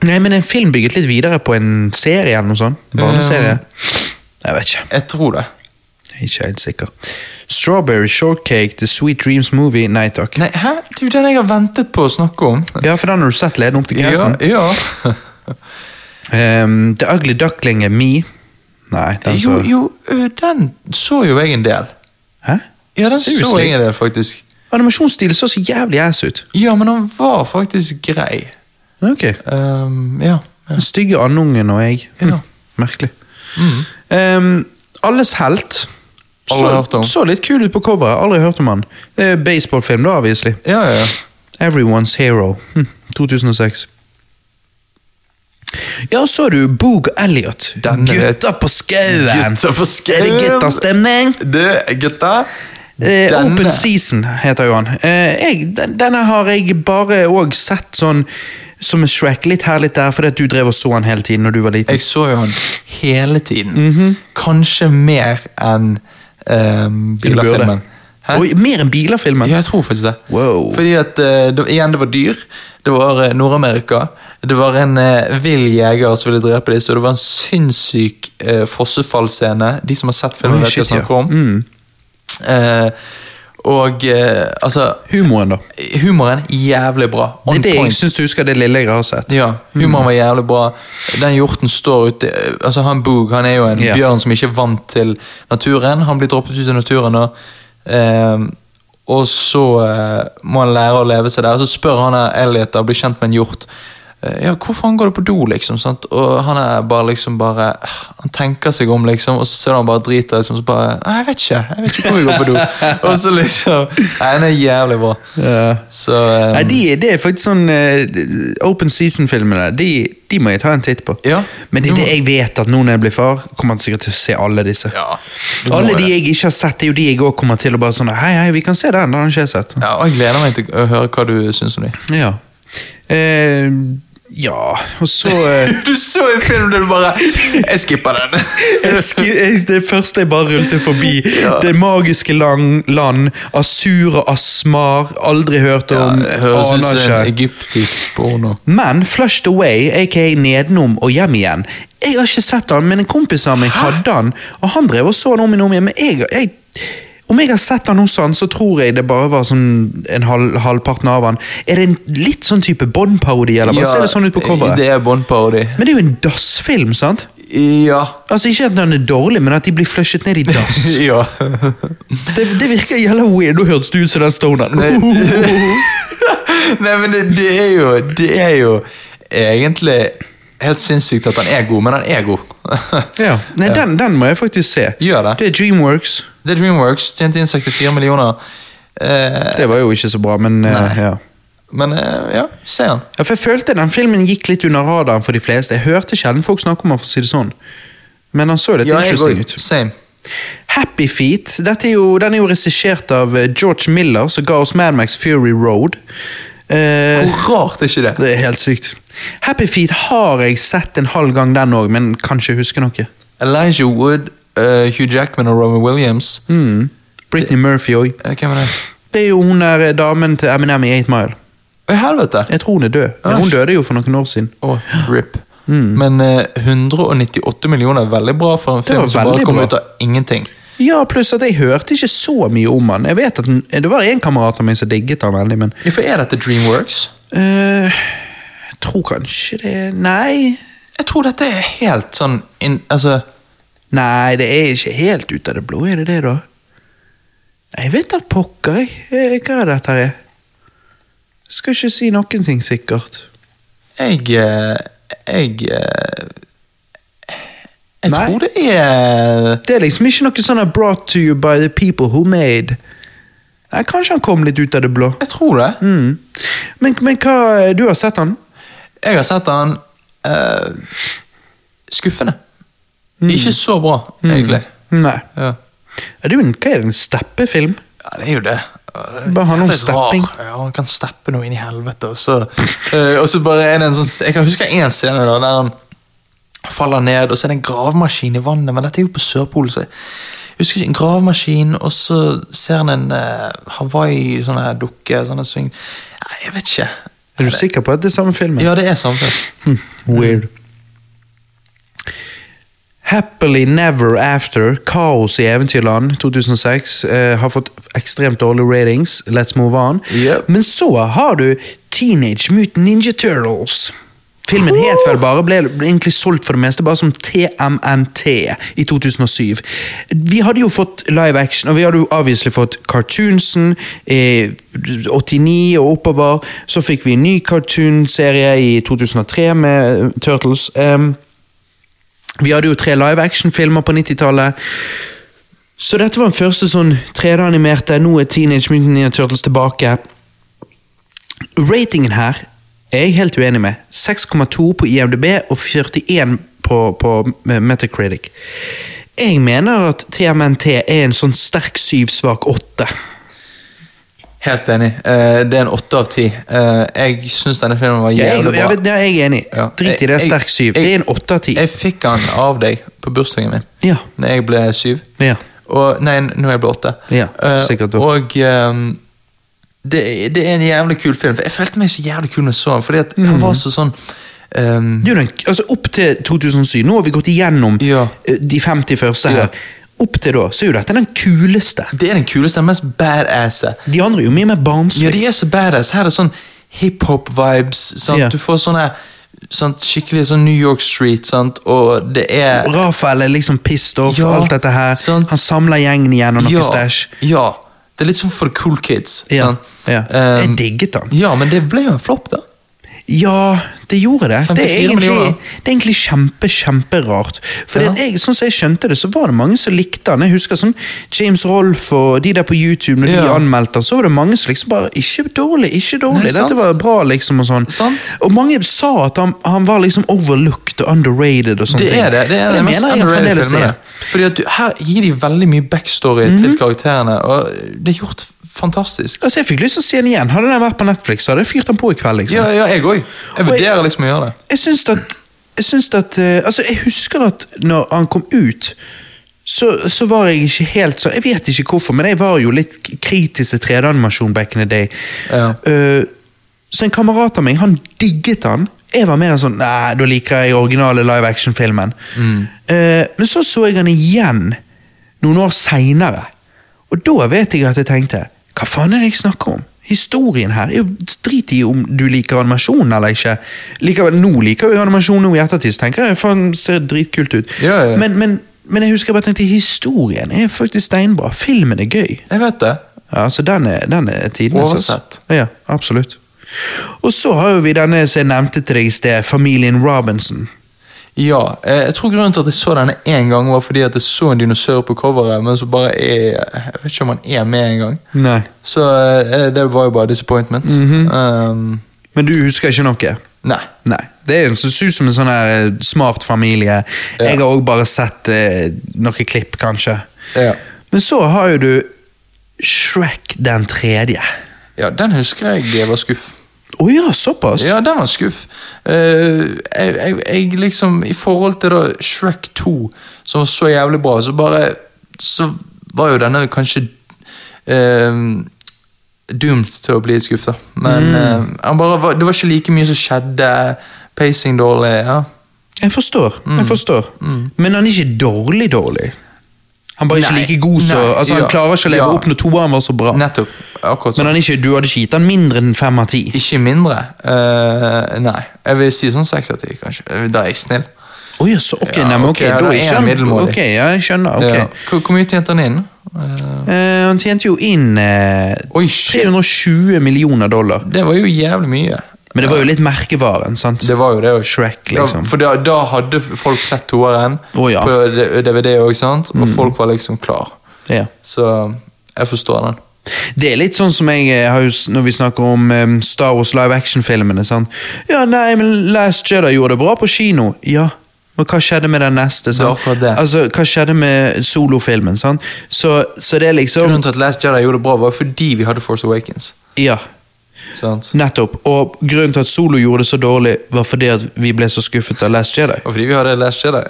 Speaker 1: Nei, men en film bygget litt videre på en serie eller noe sånt? Barneserie? Jeg vet ikke.
Speaker 2: Jeg tror det.
Speaker 1: Jeg er ikke helt sikker. Strawberry Shortcake, The Sweet Dreams Movie. Nei takk.
Speaker 2: Nei, hæ? Det er jo den jeg har ventet på å snakke om.
Speaker 1: Ja, for den har du sett ledende opp til
Speaker 2: Ja,
Speaker 1: grensen.
Speaker 2: ja. [laughs]
Speaker 1: Ehm, The Ugly Duckling er me. Nei, den
Speaker 2: Jo,
Speaker 1: så
Speaker 2: jo, ø, den så jo jeg en del.
Speaker 1: Hæ?
Speaker 2: Ja, den så
Speaker 1: Seriously?
Speaker 2: jeg en del, faktisk.
Speaker 1: Animasjonsstilen så så jævlig ass ut.
Speaker 2: Ja, men han var faktisk grei.
Speaker 1: Ok.
Speaker 2: Ehm, ja.
Speaker 1: Den stygge andungen og jeg. Hm,
Speaker 2: Ja. Mm.
Speaker 1: Merkelig. Ehm, Alles helt.
Speaker 2: Alle har hørt
Speaker 1: Så,
Speaker 2: om.
Speaker 1: så litt kul ut på coveret. Aldri hørt om han. Det er Baseballfilm, da, obviously.
Speaker 2: Ja, ja, ja.
Speaker 1: Everyone's Hero. Hm, 2006. Ja, så du Boog Elliot.
Speaker 2: Den er-
Speaker 1: Gutta på skauen!
Speaker 2: Gutta på
Speaker 1: Er det
Speaker 2: skauen!
Speaker 1: guttastemning?
Speaker 2: Du, gutta.
Speaker 1: Eh,
Speaker 2: denne-
Speaker 1: Open Season heter jo han. Eh, jeg, den, denne har jeg bare òg sett sånn som en Shrek. Litt her, litt der, fordi at du drev og så han hele tiden når du var liten.
Speaker 2: Jeg så jo han hele tiden.
Speaker 1: Mhm.
Speaker 2: Kanskje mer enn um,
Speaker 1: Enn du burde.
Speaker 2: bilderfilmen. Hæ?
Speaker 1: Oi, mer enn bilerfilmen?
Speaker 2: Ja, jeg tror faktisk det.
Speaker 1: Wow.
Speaker 2: Fordi at, eh, det, igjen, det var dyr. Det var eh, Nord-Amerika. Det var en eh, vill jeger som ville drepe dem, så det var en sinnssyk eh, fossefallscene. De som har sett filmen,
Speaker 1: Oi,
Speaker 2: vet hva jeg
Speaker 1: shit, ja. Mm.
Speaker 2: snakker om. Eh, og eh, altså
Speaker 1: Humoren, da.
Speaker 2: Humoren jævlig bra.
Speaker 1: Det
Speaker 2: On
Speaker 1: er det jeg
Speaker 2: point.
Speaker 1: syns du husker det lille jeg har sett.
Speaker 2: Ja, humoren var jævlig bra. Den hjorten står ute Altså Han Boog han er jo en
Speaker 1: Ja.
Speaker 2: bjørn som ikke er vant til naturen. Han blir droppet ut i naturen, og, ehm, og så eh, må han lære å leve seg der. Og så spør han her Elliot, da, blir kjent med en hjort. eh, Ja, hvor faen går du på do, liksom? sant? Og han er bare liksom bare Han tenker seg om, liksom, og så ser du han bare driter liksom, så bare Nei, jeg vet ikke. Jeg vet ikke hvor vi går på do.
Speaker 1: [laughs]
Speaker 2: og så liksom Nei, den er jævlig bra.
Speaker 3: Ja.
Speaker 2: Så eh,
Speaker 1: Nei, de, det er faktisk sånn eh, Open season-filmene. De, de må jeg ta en titt på.
Speaker 2: Ja.
Speaker 1: Men det er
Speaker 2: Du må-
Speaker 1: det jeg vet at nå når jeg blir far, kommer jeg sikkert til å se alle disse.
Speaker 2: Ja, du må
Speaker 1: alle
Speaker 2: det.
Speaker 1: de jeg ikke har sett, det er jo de jeg òg kommer til å bare sånn Hei, hei, vi kan se den. Den har ikke jeg sett.
Speaker 2: Ja, og Jeg gleder meg til å høre hva du syns om dem.
Speaker 1: Ja. Eh, ja, og så eh,
Speaker 2: [laughs] Du så en film der du bare Jeg skipper den.
Speaker 1: jeg skri, jeg, Det første jeg bare rullte forbi,
Speaker 2: Ja.
Speaker 1: Det magiske lang, land, Asur og Asmar, aldri hørt om,
Speaker 2: Det høres ut
Speaker 1: aner
Speaker 2: som
Speaker 1: ikke.
Speaker 2: en egyptisk porno.
Speaker 1: Men Flushed Away, aka Nedenom og Hjem igjen Jeg har ikke sett han, men en kompis av meg hadde han, og han drev og så han om igjen og om igjen. Men jeg, jeg, om jeg har sett han hos han, så tror jeg det bare var sånn en halv, halvparten av han. Er det en litt sånn type Bond-parodi, eller bare
Speaker 2: Ja,
Speaker 1: ser det sånn ut på coveret?
Speaker 2: Det er Bond-parody.
Speaker 1: Men det er jo en dassfilm, sant?
Speaker 2: Ja.
Speaker 1: Altså Ikke at den er dårlig, men at de blir flushet ned i dass.
Speaker 2: [laughs] ja.
Speaker 1: Det, det virker jævla weird. Nå hørtes du ut som den stoneren.
Speaker 2: [laughs] Nei, men det, det er jo Det er jo egentlig helt sinnssykt at han er god, men han er [laughs] god.
Speaker 1: Ja. Nei, den, den må jeg faktisk se.
Speaker 2: Gjør det.
Speaker 1: Det er Dreamworks.
Speaker 2: The Dreamworks tjente inn 64 millioner. Eh,
Speaker 1: Det var jo ikke så bra, men eh,
Speaker 2: Nei.
Speaker 1: ja.
Speaker 2: men eh, ja, se han.
Speaker 1: Ja, for jeg følte den filmen gikk litt under radaren for de fleste. Jeg hørte sjelden folk snakke om den, for å si det sånn. Men han så litt
Speaker 2: Ja, jeg
Speaker 1: interesting
Speaker 2: går-
Speaker 1: ut.
Speaker 2: Same.
Speaker 1: Happy Feet dette er jo, den er jo regissert av eh, George Miller, som ga oss Mad Max Fury Road. Eh,
Speaker 2: Hvor rart er ikke det?
Speaker 1: det er helt sykt. Happy Feet har jeg sett en halv gang, den òg, men kan ikke huske noe.
Speaker 2: Elijah Wood, eh, Hugh Jackman og Robin Williams.
Speaker 1: Mm. Britney Murphy òg.
Speaker 2: Eh, Hvem er det?
Speaker 1: Det er jo hun der eh, damen til Eminem i 8 Mile.
Speaker 2: Å, helvete!
Speaker 1: Jeg tror hun er død. Men Hun døde jo for noen år siden.
Speaker 2: Å, RIP. Men eh, 198 millioner er veldig bra for
Speaker 1: Mm.
Speaker 2: en
Speaker 1: Det var
Speaker 2: film som bare
Speaker 1: veldig
Speaker 2: kom
Speaker 1: bra.
Speaker 2: ut av ingenting.
Speaker 1: Ja, pluss at jeg hørte ikke så mye om han. Jeg vet at den, Det var en kamerat av meg som digget han veldig, men
Speaker 2: Hvorfor er dette Dreamworks?
Speaker 1: øh, Jeg tror kanskje det Nei.
Speaker 2: Jeg tror dette er helt sånn inn- Altså,
Speaker 1: Nei, det er ikke helt ut av det blå, er det det, da? Jeg vet da pokker, jeg. Eh, Hva er dette her? er? Jeg skal ikke si noen ting sikkert.
Speaker 2: jeg eh, Jeg eh, Jeg
Speaker 1: Nei.
Speaker 2: tror det er
Speaker 1: Det er liksom ikke noe sånn her 'brought to you by the people who made'. Nei, Kanskje han kom litt ut av det blå.
Speaker 2: Jeg tror det.
Speaker 1: Mm. Men, men hva Du har sett han?
Speaker 2: Jeg har sett den eh, skuffende.
Speaker 1: Mm.
Speaker 2: Ikke så bra, egentlig.
Speaker 1: Nei.
Speaker 2: Ja.
Speaker 1: Er det jo en, hva er det, en steppefilm?
Speaker 2: Ja, det er jo det. Ja, det er
Speaker 1: Bare handler om
Speaker 2: jævlig rar.
Speaker 1: stepping.
Speaker 2: Ja, han kan steppe noe inn i helvete, og så Eh, Og så bare er det en sånn Jeg kan huske en scene da, der han faller ned, og så er det en gravemaskin i vannet, men dette er jo på Sørpolen, så jeg husker ikke En gravemaskin, og så ser han en eh, Hawaii-sånn her dukke sånn en sving. Nei, jeg vet ikke.
Speaker 1: Er du sikker på at det er samme filmen?
Speaker 2: Ja, det er samfunn.
Speaker 1: Weird. Happily Never After, Kaos i Eventyrland 2006, eh, har fått ekstremt dårlige ratings. Let's move on.
Speaker 2: Yep.
Speaker 1: Men så har du Teenage Mutant Ninja Turtles. Filmen het vel bare, ble ble egentlig solgt for det meste bare som TMNT i 2007. Vi hadde jo fått live action, og vi hadde jo obviously fått cartoonsen eh, 89 og oppover. Så fikk vi en ny cartoonserie i 2003 med eh, Turtles. Em, vi hadde jo tre live action-filmer på 90-tallet. Så dette var den første sånn 3D-animerte. Nå er Teenage Mutant Ninja Turtles tilbake. Ratingen her er jeg helt uenig med. 6,2 på IMDb og 41 på, på Metacritic. Jeg mener at TMNT er en sånn sterk syv, svak åtte.
Speaker 2: Helt enig. Eh, det er en åtte av ti. Eh, jeg syns denne filmen var
Speaker 1: Jeg, jeg,
Speaker 2: jævlig bra.
Speaker 1: vet- ja, jeg er enig.
Speaker 2: Ja.
Speaker 1: Drit i
Speaker 2: Jeg-
Speaker 1: det,
Speaker 2: jeg-
Speaker 1: sterk syv.
Speaker 2: jeg-
Speaker 1: Det er en åtte av ti.
Speaker 2: Jeg fikk den av deg på bursdagen min.
Speaker 1: Ja.
Speaker 2: Når jeg ble syv.
Speaker 1: Ja.
Speaker 2: Og, nei, når jeg ble åtte.
Speaker 1: Ja,
Speaker 2: Eh,
Speaker 1: sikkert da.
Speaker 2: og ehm, det, det er en jævlig kul film. For jeg følte meg så jævlig kul når jeg så den. Fordi at
Speaker 1: Mm.
Speaker 2: han var så sånn ehm,
Speaker 1: Det er jo den, altså Opp til 2007, nå har vi gått igjennom
Speaker 2: Ja.
Speaker 1: eh, de 50 første her.
Speaker 2: Ja.
Speaker 1: Opp til da så er jo dette den kuleste.
Speaker 2: Det er den kuleste, den mest badasse.
Speaker 1: De andre er jo mye mer
Speaker 2: Ja,
Speaker 1: barnslige.
Speaker 2: de er så badass. Her er det sånn hiphop-vibes. sant?
Speaker 1: Ja.
Speaker 2: Du får sånne sant, skikkelig sånn New York Street, sant? og det er
Speaker 1: Rafael er liksom pissed off,
Speaker 2: Ja,
Speaker 1: alt dette her.
Speaker 2: sant.
Speaker 1: Han samler gjengen igjen og noe stæsj.
Speaker 2: Ja. Det er litt sånn for the cool kids.
Speaker 1: Ja,
Speaker 2: sant?
Speaker 1: ja.
Speaker 2: Ehm,
Speaker 1: Jeg digget han.
Speaker 2: Ja, men det ble jo en flopp, da.
Speaker 1: Ja, det gjorde det. Det er
Speaker 2: 54 millioner.
Speaker 1: egentlig, det er egentlig kjempe, kjemperart. For
Speaker 2: Ja.
Speaker 1: jeg, sånn som jeg skjønte det, så var det mange som likte han. Jeg husker sånn James Rolf og de der på YouTube, når de
Speaker 2: Ja.
Speaker 1: anmeldte han, så var det mange som liksom bare Ikke dårlig, ikke dårlig.
Speaker 2: Nei, sant.
Speaker 1: Dette var bra, liksom, og sånn.
Speaker 2: Sant.
Speaker 1: Og mange sa at han, han var liksom overlooked og underrated og sånne
Speaker 2: Det
Speaker 1: ting.
Speaker 2: er det. Det er
Speaker 1: Og
Speaker 2: det mest
Speaker 1: mener jeg han
Speaker 2: underrated
Speaker 1: fremdeles
Speaker 2: filmen.
Speaker 1: er. Mhm.
Speaker 2: Fordi at du, her gir de veldig mye backstory til karakterene, og det er gjort fantastisk.
Speaker 1: Altså, Jeg fikk lyst til å se den igjen. Hadde den vært på Netflix, så hadde jeg fyrt den på i kveld. liksom.
Speaker 2: Ja, ja jeg òg. Jeg
Speaker 1: Og jeg-
Speaker 2: vurderer liksom å gjøre det.
Speaker 1: Jeg syns at, jeg syns at eh, Altså, jeg husker at når han kom ut så, så var jeg ikke helt sånn Jeg vet ikke hvorfor, men jeg var jo litt k- kritisk til 3D-animasjon back in the day.
Speaker 2: Ja.
Speaker 1: Eh, så en kamerat av meg, han digget han. Jeg var mer sånn Nei, da liker jeg originale live action-filmen.
Speaker 2: Mm.
Speaker 1: Eh, men så så jeg han igjen noen år seinere, og da vet jeg at jeg tenkte Hva faen er det jeg snakker om? Historien her er jo drit i om du liker animasjon eller ikke. Likevel, nå liker jeg animasjon nå i ettertid, så tenker jeg faen ser dritkult ut.
Speaker 2: Ja, ja.
Speaker 1: Men, men, men jeg husker jeg bare tenkte historien er faktisk steinbra. Filmen er gøy.
Speaker 2: Jeg vet det.
Speaker 1: Ja, så den er, den er tidenes. altså.
Speaker 2: Oversett.
Speaker 1: Ja, absolutt. Og så har jo vi denne som jeg nevnte til deg i sted, familien Robinson.
Speaker 2: Ja, eh, jeg tror grunnen til at jeg så denne én gang, var fordi at jeg så en dinosaur på coveret, men så bare er Jeg vet ikke om han er med engang.
Speaker 1: Nei.
Speaker 2: Så eh, det var jo bare disappointment.
Speaker 1: Mhm.
Speaker 2: um,
Speaker 1: Men du husker ikke noe?
Speaker 2: nei.
Speaker 1: Nei. Det er en som ser ut som en sånn her eh, smart familie. Jeg har òg bare sett eh, noen klipp, kanskje.
Speaker 2: Ja.
Speaker 1: Men så har jo du Shrek den tredje.
Speaker 2: ja, den husker jeg var skuff.
Speaker 1: Å ja, såpass?
Speaker 2: Ja, den var skuff. Eh, jeg, jeg, jeg liksom I forhold til da Shrek 2, som var så jævlig bra, så bare Så var jo denne kanskje eh, doomed til å bli et skuff, da. Men eh, han bare var, det var ikke like mye som skjedde. Pacing dårlig. ja
Speaker 1: Jeg forstår.
Speaker 2: Mm.
Speaker 1: jeg forstår. Men han er ikke dårlig dårlig. Han bare er ikke
Speaker 2: Nei.
Speaker 1: like god så,
Speaker 2: Nei,
Speaker 1: altså Han
Speaker 2: ja.
Speaker 1: klarer ikke å leve
Speaker 2: Ja.
Speaker 1: opp når toeren var så bra.
Speaker 2: Nettopp. Akkurat
Speaker 1: Men
Speaker 2: sånn.
Speaker 1: han er ikke, du hadde ikke gitt han mindre enn fem av ti.
Speaker 2: Ikke mindre. Eh, nei. Jeg vil si sånn seks av ti, kanskje. Eh, Da er jeg snill.
Speaker 1: Oi, så, ok,
Speaker 2: Ja,
Speaker 1: nei, men
Speaker 2: ok,
Speaker 1: ok,
Speaker 2: ja,
Speaker 1: da
Speaker 2: da er
Speaker 1: ikke
Speaker 2: han
Speaker 1: han
Speaker 2: middelmådig.
Speaker 1: Ok, ja, jeg skjønner. ok.
Speaker 2: Ja. Hvor, hvor mye tjente han inn? Eh,
Speaker 1: Eh, han tjente jo inn eh,
Speaker 2: Oi, shit.
Speaker 1: 320 millioner dollar.
Speaker 2: Det var jo jævlig mye.
Speaker 1: Men det var jo litt merkevaren, sant?
Speaker 2: Det var jo det. og-
Speaker 1: Shrek, liksom.
Speaker 2: Ja, for da, da hadde folk sett toeren
Speaker 1: Å, ja.
Speaker 2: på D- DVD òg, sant? Og folk var liksom klar.
Speaker 1: Ja.
Speaker 2: Så jeg forstår den.
Speaker 1: Det er litt sånn som jeg eh, har jo, s- når vi snakker om eh, Star Wars live action-filmene. sant? Ja, nei, men Last Jedi gjorde det bra på kino. Ja, men hva skjedde med den neste? sant?
Speaker 2: Det er akkurat det.
Speaker 1: Altså, Hva skjedde med solofilmen? sant? Så, så det er liksom
Speaker 2: Grunnen til at Last Jedi gjorde det bra, var fordi vi hadde Force Awakens.
Speaker 1: Ja,
Speaker 2: Sant?
Speaker 1: nettopp. Og grunnen til at Solo gjorde det så dårlig, var fordi at vi ble så skuffet av Last Jedi.
Speaker 2: Og fordi vi hadde Last Jedi.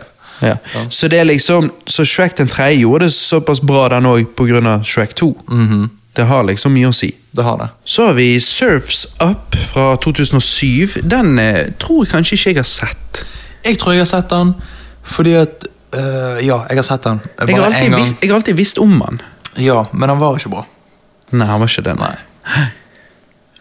Speaker 1: Ja. Så det er liksom Så Shrek den tredje gjorde det såpass bra, den òg, pga. Shrek 2.
Speaker 2: Mhm.
Speaker 1: Det har liksom mye å si.
Speaker 2: Det har det.
Speaker 1: Så har vi Surfs Up fra 2007. Den eh, tror jeg kanskje ikke jeg har sett.
Speaker 2: Jeg tror jeg har sett den fordi at øh, Ja, jeg har sett den. Bare
Speaker 1: Jeg har
Speaker 2: en
Speaker 1: alltid,
Speaker 2: gang.
Speaker 1: visst, jeg har alltid visst om den.
Speaker 2: Ja, men den var ikke bra.
Speaker 1: Nei, han var ikke den. [gasps]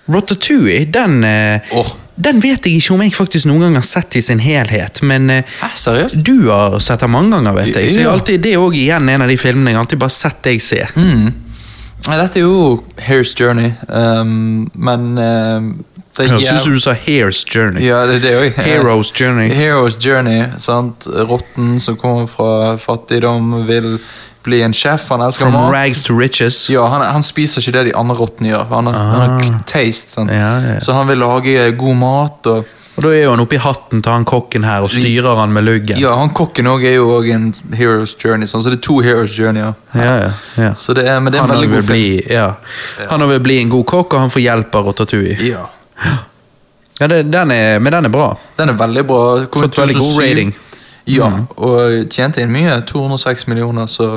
Speaker 1: Rotatouille, den eh,
Speaker 2: Åh.
Speaker 1: Den vet jeg ikke om jeg faktisk noen gang har sett i sin helhet, men eh,
Speaker 2: Hæ, seriøst?
Speaker 1: du har sett den mange ganger, vet jeg. Så jeg har
Speaker 2: Ja.
Speaker 1: alltid, det er òg igjen en av de filmene jeg har alltid bare sett deg se.
Speaker 2: Mm. Nei, Dette er jo Hair's Journey, ehm, men ehm, det er
Speaker 1: Jeg syns
Speaker 2: jæv-
Speaker 1: du sa Hairs Journey.
Speaker 2: Ja, det er det
Speaker 1: [laughs]
Speaker 2: òg.
Speaker 1: Hero's
Speaker 2: [laughs]
Speaker 1: Journey.
Speaker 2: Hero's Journey, sant? Rotten som kommer fra fattigdom, vil bli en sjef. Han elsker
Speaker 1: From
Speaker 2: mat.
Speaker 1: rags to riches.
Speaker 2: Ja, han, han spiser ikke det de andre rottene gjør. Han har, han har k- taste, sant?
Speaker 1: Ah. Ja, ja.
Speaker 2: så han vil lage god mat. og...
Speaker 1: Og da er jo han oppi hatten til han kokken her og styrer han med luggen.
Speaker 2: Ja, han kokken også er jo også en Hero's Journey, sånn, så det er to Hero's Journeyer.
Speaker 1: ja, ja, ja.
Speaker 2: Så det er, men det er en
Speaker 1: Han
Speaker 2: veldig
Speaker 1: vil
Speaker 2: god film.
Speaker 1: bli, ja. han vil bli en god kokk, og han får hjelp av Rotatouille.
Speaker 2: Ja.
Speaker 1: Ja, det, den er, men den er bra.
Speaker 2: Den er veldig bra. Kom
Speaker 1: Fått
Speaker 2: i
Speaker 1: veldig god
Speaker 2: 2007.
Speaker 1: rating.
Speaker 2: Ja,
Speaker 1: Mm.
Speaker 2: og tjente inn mye. 206 millioner, så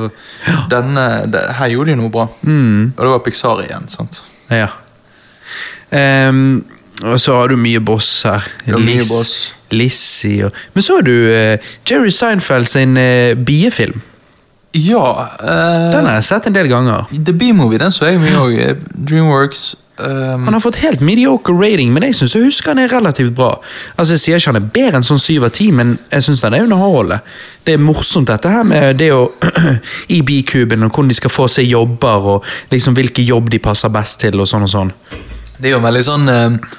Speaker 2: denne, det- her gjorde de noe bra.
Speaker 1: Mm.
Speaker 2: Og det var Pixar igjen, sant.
Speaker 1: Ja. Ehm, og så har du mye boss her.
Speaker 2: Ja, mye boss.
Speaker 1: Lizzie og Men så har du eh, Jerry Seinfeld sin eh, biefilm.
Speaker 2: Ja eh,
Speaker 1: Den har jeg sett en del ganger.
Speaker 2: The B-movie, den så jeg mye òg. Dreamworks. ehm,
Speaker 1: Han har fått helt mediocre rating, men jeg syns jeg husker han er relativt bra. Altså Jeg sier ikke han er bedre enn sånn syv av ti, men jeg syns han er underholdende. Det er morsomt dette her med det å [clears throat] I bikuben, og hvordan de skal få seg jobber, og liksom hvilke jobb de passer best til, og sånn og sånn.
Speaker 2: det er jo en veldig sånn eh,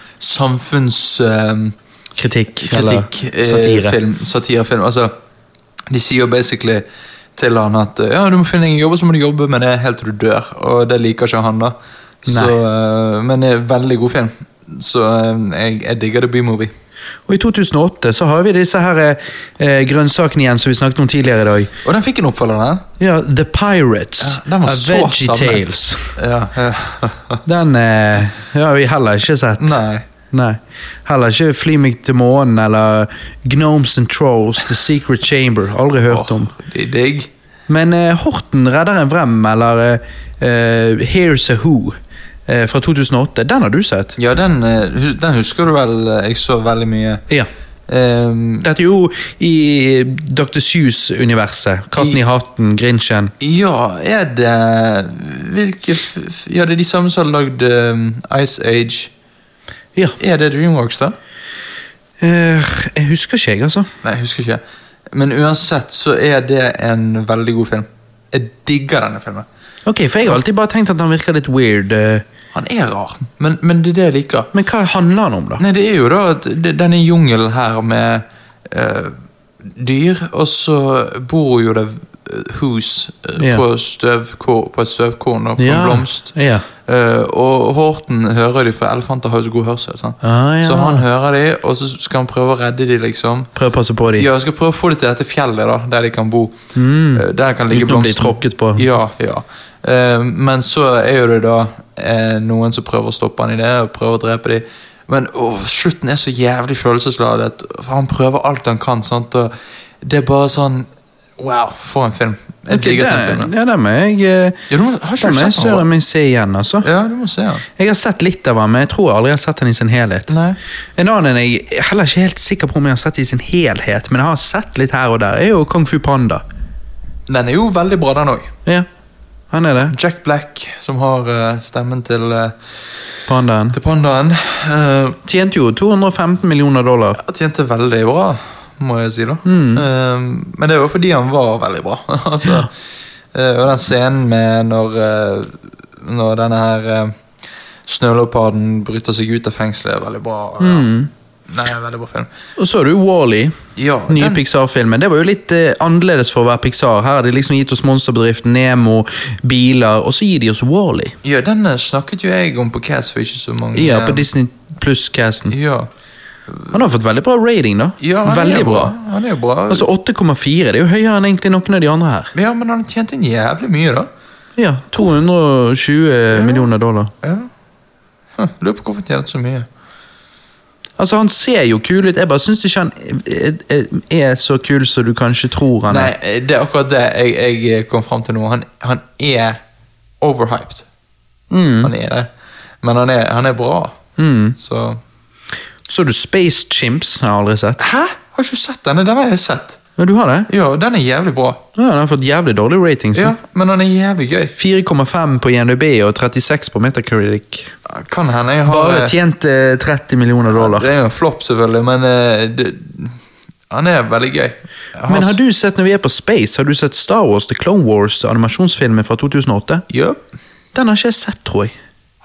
Speaker 2: samfunnskritikk
Speaker 1: Kritikk.
Speaker 2: satire. eh, film, satirefilm. Altså, de sier basically til han at eh, ja, du må finne deg en jobb, og så må du jobbe med det helt til du dør. Og det liker ikke han, da. Så, eh, men det er en veldig god film. Så eh, jeg, jeg digger det Bymovie.
Speaker 1: Og i 2008 så har vi disse her eh, grønnsakene igjen som vi snakket om tidligere i dag.
Speaker 2: Og den fikk en oppfølger, den.
Speaker 1: Ja, The Pirates
Speaker 2: Den var
Speaker 1: av
Speaker 2: så
Speaker 1: Veggie Tales.
Speaker 2: savnet. Ja, ja.
Speaker 1: Den eh, har vi heller ikke sett.
Speaker 2: Nei.
Speaker 1: Nei. Heller ikke Fly meg til månen eller Gnomes and Trolls, The Secret Chamber. Aldri [laughs] hørt om.
Speaker 2: Åh, de er digg.
Speaker 1: Men eh, Horten redder en vrem, eller eh, eh, Here's a Who eh, fra 2008. Den har du sett?
Speaker 2: Ja, den, eh, hu- den husker du vel eh, jeg så veldig mye.
Speaker 1: Ja.
Speaker 2: Ehm,
Speaker 1: Dette er jo i Dr. Seuss-universet. Katten i hatten, Grinchen.
Speaker 2: ja, er det Hvilke f- f- Ja, det er de samme som har lagd ehm, Ice Age.
Speaker 1: Ja.
Speaker 2: Er det Dreamworks, da?
Speaker 1: Eh, jeg husker ikke, jeg, altså.
Speaker 2: Nei, jeg husker ikke. Men uansett så er det en veldig god film. Jeg digger denne filmen.
Speaker 1: Ok, For jeg har alltid bare tenkt at han virker litt weird. eh.
Speaker 2: Han er rar, men, men det er det jeg liker.
Speaker 1: Men hva handler han om, da?
Speaker 2: Nei, det er jo da at det- denne jungelen her med eh, dyr, og så bor jo det eh, hus eh,
Speaker 1: Ja.
Speaker 2: på, støvkorn, på et støvkorn og på
Speaker 1: Ja,
Speaker 2: en blomst.
Speaker 1: ja.
Speaker 2: Eh, og Horten hører de, for elefanter har jo så god hørsel. sant?
Speaker 1: Ah, ja.
Speaker 2: Så han hører de, og så skal han prøve å redde de, liksom.
Speaker 1: Prøv å passe på de.
Speaker 2: Ja, jeg skal prøve å få det til dette fjellet, da, der de kan bo. Eh, Der kan ligge
Speaker 1: Mm. Uten å bli
Speaker 2: blomsten.
Speaker 1: tråkket på.
Speaker 2: Ja, ja. Eh, men så er jo det da eh, noen som prøver å stoppe han i det, og prøver å drepe de. Men åh, slutten er så jævlig følelsesladet. For han prøver alt han kan. sant? Og det er bare sånn Wow, for en film. Jeg
Speaker 1: Ok,
Speaker 2: digger den
Speaker 1: den-
Speaker 2: filmen.
Speaker 1: ja, den må jeg eh,
Speaker 2: Ja, du må, har ikke
Speaker 1: Den
Speaker 2: du
Speaker 1: må jeg
Speaker 2: sett den?
Speaker 1: søren
Speaker 2: Håvard?
Speaker 1: meg se igjen, altså.
Speaker 2: Ja, du må se den.
Speaker 1: Jeg har sett litt av den, men jeg tror aldri jeg har sett den i sin helhet.
Speaker 2: Nei.
Speaker 1: En annen enn jeg er heller ikke helt sikker på om jeg har sett i sin helhet, men jeg har sett litt her og der, er jo Kung Fu Panda.
Speaker 2: Den er jo veldig bra, den òg.
Speaker 1: Ja, han er det.
Speaker 2: Jack Black, som har eh, stemmen til, eh,
Speaker 1: Pandaen.
Speaker 2: til pandaen. eh,
Speaker 1: Tjente jo 215 millioner dollar.
Speaker 2: Han tjente veldig bra, må jeg si. da
Speaker 1: Mm.
Speaker 2: Eh, Men det var fordi han var veldig bra. [laughs] altså, eh, og den scenen med når, eh, når denne her eh, snøleoparden bryter seg ut av fengselet, er veldig bra. Ja.
Speaker 1: Mm.
Speaker 2: Nei, veldig bra film.
Speaker 1: Og så har du Wall-E,
Speaker 2: Ja,
Speaker 1: nye
Speaker 2: den,
Speaker 1: Pixar-filmen. Det var jo litt eh, annerledes for å være Pixar. Her har de liksom gitt oss monsterbedriften, Nemo, biler, og så gir de oss Wall-E.
Speaker 2: ja, den eh, snakket jo jeg om på Cats for ikke så mange
Speaker 1: Ja, på
Speaker 2: eh,
Speaker 1: Disney Pluss-casten.
Speaker 2: ja.
Speaker 1: Han har fått veldig bra rating, da.
Speaker 2: ja, han er
Speaker 1: veldig
Speaker 2: jo
Speaker 1: bra.
Speaker 2: Han er jo bra.
Speaker 1: Altså 8,4. Det er jo høyere enn egentlig noen av de andre her.
Speaker 2: ja, men han tjente en jævlig mye, da.
Speaker 1: Ja, 220 millioner dollar.
Speaker 2: Ja. Hm, Lurer på hvorfor han tjente så mye.
Speaker 1: Altså, han ser jo kul ut. Jeg bare syns ikke han er, er, er så kul som du kanskje tror han er.
Speaker 2: Ah, Nei, det er akkurat det jeg, jeg kom fram til nå. Han, han er overhyped. Han er det. Men han er, han er bra. Så
Speaker 1: Så du Space Chimps? Den har jeg aldri sett.
Speaker 2: Hæ? Har ikke du sett denne? Den har jeg sett.
Speaker 1: Ja, du har det?
Speaker 2: Ja, den er jævlig bra.
Speaker 1: Ja, den har fått jævlig dårlig rating. så.
Speaker 2: Ja, Men den er jævlig gøy.
Speaker 1: 4,5 på INDB og 36 på Metacritic.
Speaker 2: Kan hende jeg har
Speaker 1: Bare tjent eh, 30 millioner dollar.
Speaker 2: Det er jo en flopp, selvfølgelig, men eh, det, han er veldig gøy. Hans-
Speaker 1: Men har du sett, når vi er på space, har du sett Star Wars The Clone Wars, animasjonsfilmen fra 2008?
Speaker 2: Ja.
Speaker 1: Den har ikke jeg sett, tror jeg.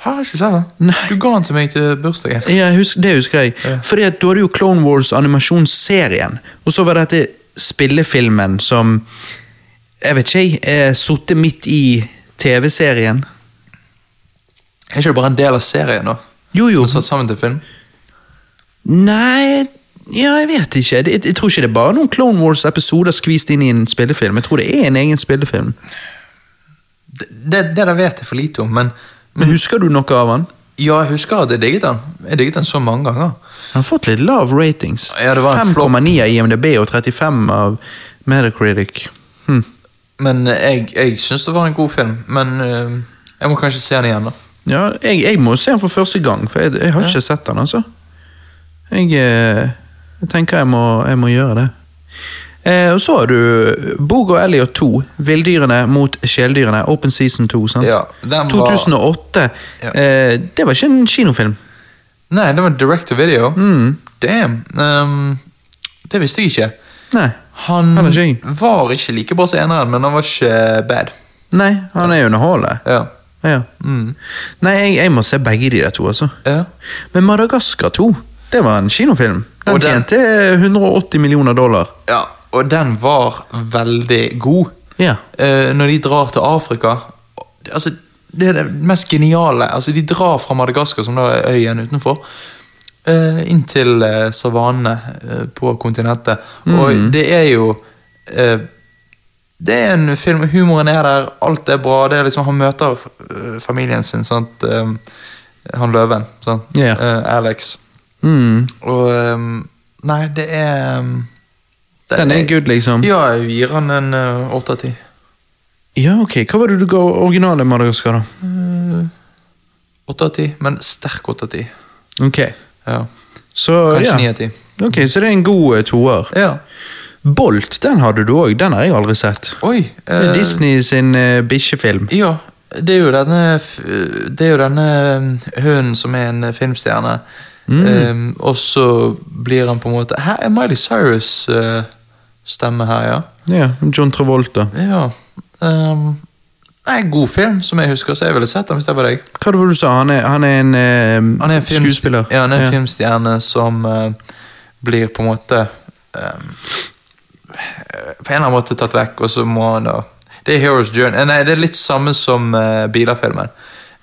Speaker 2: Har ikke du sett den?
Speaker 1: Nei.
Speaker 2: Du ga den til meg til bursdagen.
Speaker 1: Ja, jeg husker, det husker jeg. Fordi at da hadde jo Clone Wars animasjonsserien, og så var dette spillefilmen som Jeg vet ikke, jeg. eh, Satt midt i TV-serien.
Speaker 2: Er ikke det bare en del av serien, da?
Speaker 1: Jo, jo.
Speaker 2: Og satt sammen til film?
Speaker 1: Nei ja, jeg vet ikke. Jeg, jeg tror ikke det er bare noen Clone Wars-episoder skvist inn i en spillefilm. Jeg tror det er en egen spillefilm.
Speaker 2: Det, det, det der vet jeg for lite om, men
Speaker 1: Men husker du noe av han?
Speaker 2: Ja, jeg husker at jeg digget den. Jeg digget den så mange ganger.
Speaker 1: Han har fått litt lav ratings.
Speaker 2: Ja, det var en
Speaker 1: 5,9 av IMDb og 35 av Metacritic. Hm.
Speaker 2: Men jeg, jeg syns det var en god film. Men eh, jeg må kanskje se den igjen, da.
Speaker 1: Ja, jeg, jeg må se den for første gang, for jeg, jeg har ikke sett den, altså. Jeg, eh, jeg tenker jeg må, jeg må gjøre det. Eh, og så har du Bog og Elliot 2, Villdyrene mot kjæledyrene, Open Season 2. sant?
Speaker 2: Ja, den var-
Speaker 1: 2008.
Speaker 2: Ja.
Speaker 1: Eh, det var ikke en kinofilm.
Speaker 2: Nei, det var direct to video. Damn. ehm, det visste jeg ikke.
Speaker 1: Nei.
Speaker 2: Han
Speaker 1: Han er ikke-
Speaker 2: var ikke like bra som eneren, men han var ikke bad.
Speaker 1: Nei, han er underholdet.
Speaker 2: Ja.
Speaker 1: Ja, ja.
Speaker 2: Mm.
Speaker 1: Nei, jeg, jeg må se begge de der to, altså.
Speaker 2: Ja.
Speaker 1: Men Madagaskar 2, det var en kinofilm. Den
Speaker 2: Og den-
Speaker 1: tjente 180 millioner dollar.
Speaker 2: Ja, og den var veldig god.
Speaker 1: Ja.
Speaker 2: Eh, når de drar til Afrika altså, Det er det mest geniale. Altså, de drar fra Madagaskar, som da er øyen utenfor, eh, inn til eh, savannene eh, på kontinentet.
Speaker 1: Mm.
Speaker 2: Og det er jo eh, det er en film, humoren er der, alt er bra. det er liksom, Han møter øh, familien sin, sant? Ehm, han løven, sant?
Speaker 1: Ja.
Speaker 2: Eh, Alex.
Speaker 1: Mm.
Speaker 2: Og ehm, Nei, det er ehm, det
Speaker 1: Den er good, liksom.
Speaker 2: Ja, jeg gir han en øh, åtte av ti.
Speaker 1: Ja, ok. Hva var det du ga originale Madagaskar, da?
Speaker 2: Åtte av ti, men sterk åtte av ti.
Speaker 1: Ok,
Speaker 2: Ja.
Speaker 1: så
Speaker 2: Kanskje ni
Speaker 1: ja.
Speaker 2: av ti.
Speaker 1: Ok, så det er en god eh, toer.
Speaker 2: Ja.
Speaker 1: Bolt, den hadde du òg. Den har jeg aldri sett.
Speaker 2: Oi!
Speaker 1: Det er
Speaker 2: eh,
Speaker 1: Disney sin eh, bikkjefilm.
Speaker 2: Ja, det er jo denne f- Det er jo denne um, hunden som er en uh, filmstjerne.
Speaker 1: Mm.
Speaker 2: Um, og så blir han på en måte Her er Miley Cyrus uh, stemme her, ja.
Speaker 1: Ja, John Travolta.
Speaker 2: ja. Um, det er en god film, som jeg husker, så jeg ville sett den hvis det var deg.
Speaker 1: Hva var det du sa? Han er, han er en, eh,
Speaker 2: Han er en films-
Speaker 1: skuespiller?
Speaker 2: Ja, han er en filmstjerne som eh, blir på en måte um, På en eller annen måte tatt vekk, og så må han da Det er Heroes Journey. Eh, Nei, det er litt samme som uh, Biler-filmen.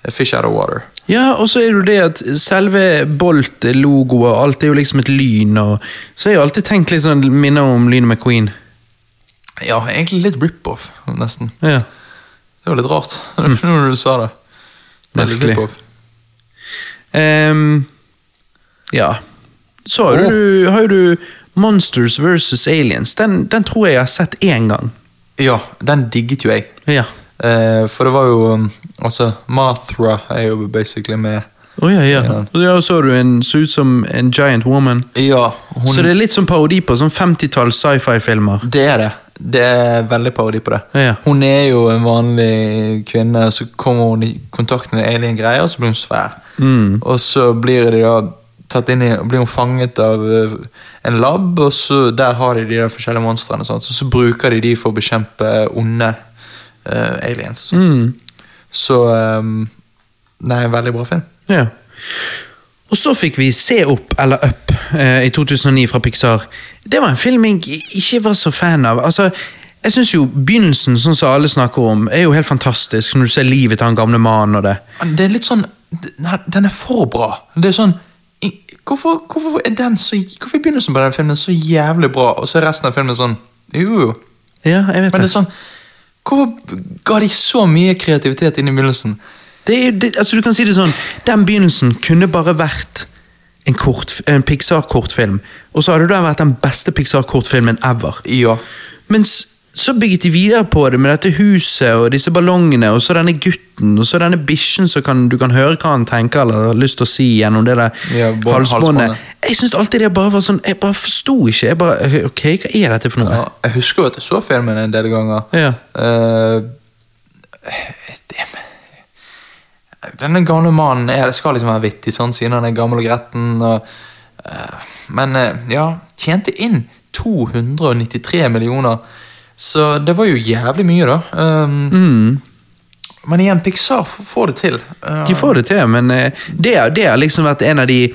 Speaker 2: Eh, Fish Out of Water.
Speaker 1: Ja, og så er det jo det at selve Bolt-logoet og alt er jo liksom et lyn, og så har jeg alltid tenkt litt sånn minner om Lynet McQueen.
Speaker 2: Ja, egentlig litt rip-off, nesten.
Speaker 1: Ja.
Speaker 2: Det var litt rart [laughs] når du sa det. Det er litt
Speaker 1: Merkelig.
Speaker 2: rip-off.
Speaker 1: Ehm, ja. Så har jo
Speaker 2: Åh.
Speaker 1: du, har jo du Monsters vs. Aliens. Den, den tror jeg jeg har sett én gang.
Speaker 2: Ja, den digget jo jeg.
Speaker 1: Ja.
Speaker 2: Eh, for det var jo um, Altså, Mathra er jo basically med
Speaker 1: Å ja, ja. ja. Så har du en så ut som en giant woman.
Speaker 2: Ja, hun
Speaker 1: Så det er litt som parodi på sånn 50-talls sci-fi-filmer.
Speaker 2: Det er det. Det er veldig parodi på det.
Speaker 1: Ja, ja.
Speaker 2: Hun er jo en vanlig kvinne, så kommer hun i kontakt med alien-greier, og så blir hun svær. Og så blir, de da tatt inn i, blir hun fanget av eh, en lab, og så der har de de der forskjellige monstrene. sant? Så, så bruker de de for å bekjempe onde eh, aliens. Og sånt.
Speaker 1: Mm,
Speaker 2: Så um, Nei, veldig bra film.
Speaker 1: Ja. Og så fikk vi Se opp eller Up eh, i 2009 fra Pixar. Det var en film jeg ikke var så fan av. Altså, jeg synes jo Begynnelsen, sånn som alle snakker om, er jo helt fantastisk. Når du ser livet til han gamle mannen og det.
Speaker 2: Det er litt sånn Nei, den er for bra. Det er sånn i- Hvorfor, hvorfor er den så Hvorfor er begynnelsen på den filmen så jævlig bra, og så er resten av filmen sånn Jo, jo.
Speaker 1: Ja, jeg vet
Speaker 2: Men det
Speaker 1: det.
Speaker 2: er sånn Hvorfor ga de så mye kreativitet inn i begynnelsen?
Speaker 1: det, er, det altså, du kan si det sånn, Den begynnelsen kunne bare vært en, kort- en Pixar-kortfilm. Og så hadde det vært den beste Pixar-kortfilmen ever.
Speaker 2: Ja.
Speaker 1: Mens så bygget de videre på det med dette huset og disse ballongene, og så denne gutten, og så denne bikkjen som kan, du kan høre hva han tenker eller har lyst til å si gjennom det der
Speaker 2: Ja, bånd- halsbåndet.
Speaker 1: halsbåndet. Jeg syns alltid det bare var sånn Jeg bare forsto ikke. Jeg bare, ok, Hva er dette for noe?
Speaker 2: ja. Jeg husker jo at jeg så filmen en del ganger.
Speaker 1: Ja.
Speaker 2: Eh, det- denne gamle mannen er, det skal liksom være vittig, sånn, siden han er gammel og gretten. Og, eh, men eh, ja, tjente inn 293 millioner, så det var jo jævlig mye, da. Um, Men igjen, Pixar f- får det til. Eh,
Speaker 1: De får det til, men eh, det, har- det har liksom vært en av de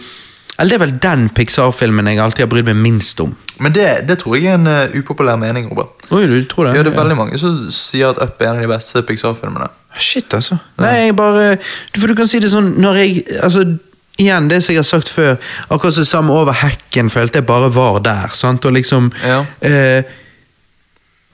Speaker 1: Eller det er vel den Pixar-filmen jeg alltid har brydd meg minst om.
Speaker 2: men det, det tror jeg er en eh, upopulær mening, Robert.
Speaker 1: Oi, du tror det?
Speaker 2: Ja, det er veldig mange som sier at Up er en av de beste Pixar-filmene.
Speaker 1: Shit, altså. Nei, jeg bare du- For du kan si det sånn når jeg Altså, igjen, det som jeg har sagt før, akkurat som Sam over hekken følte jeg bare var der, sant, og liksom
Speaker 2: Ja.
Speaker 1: eh,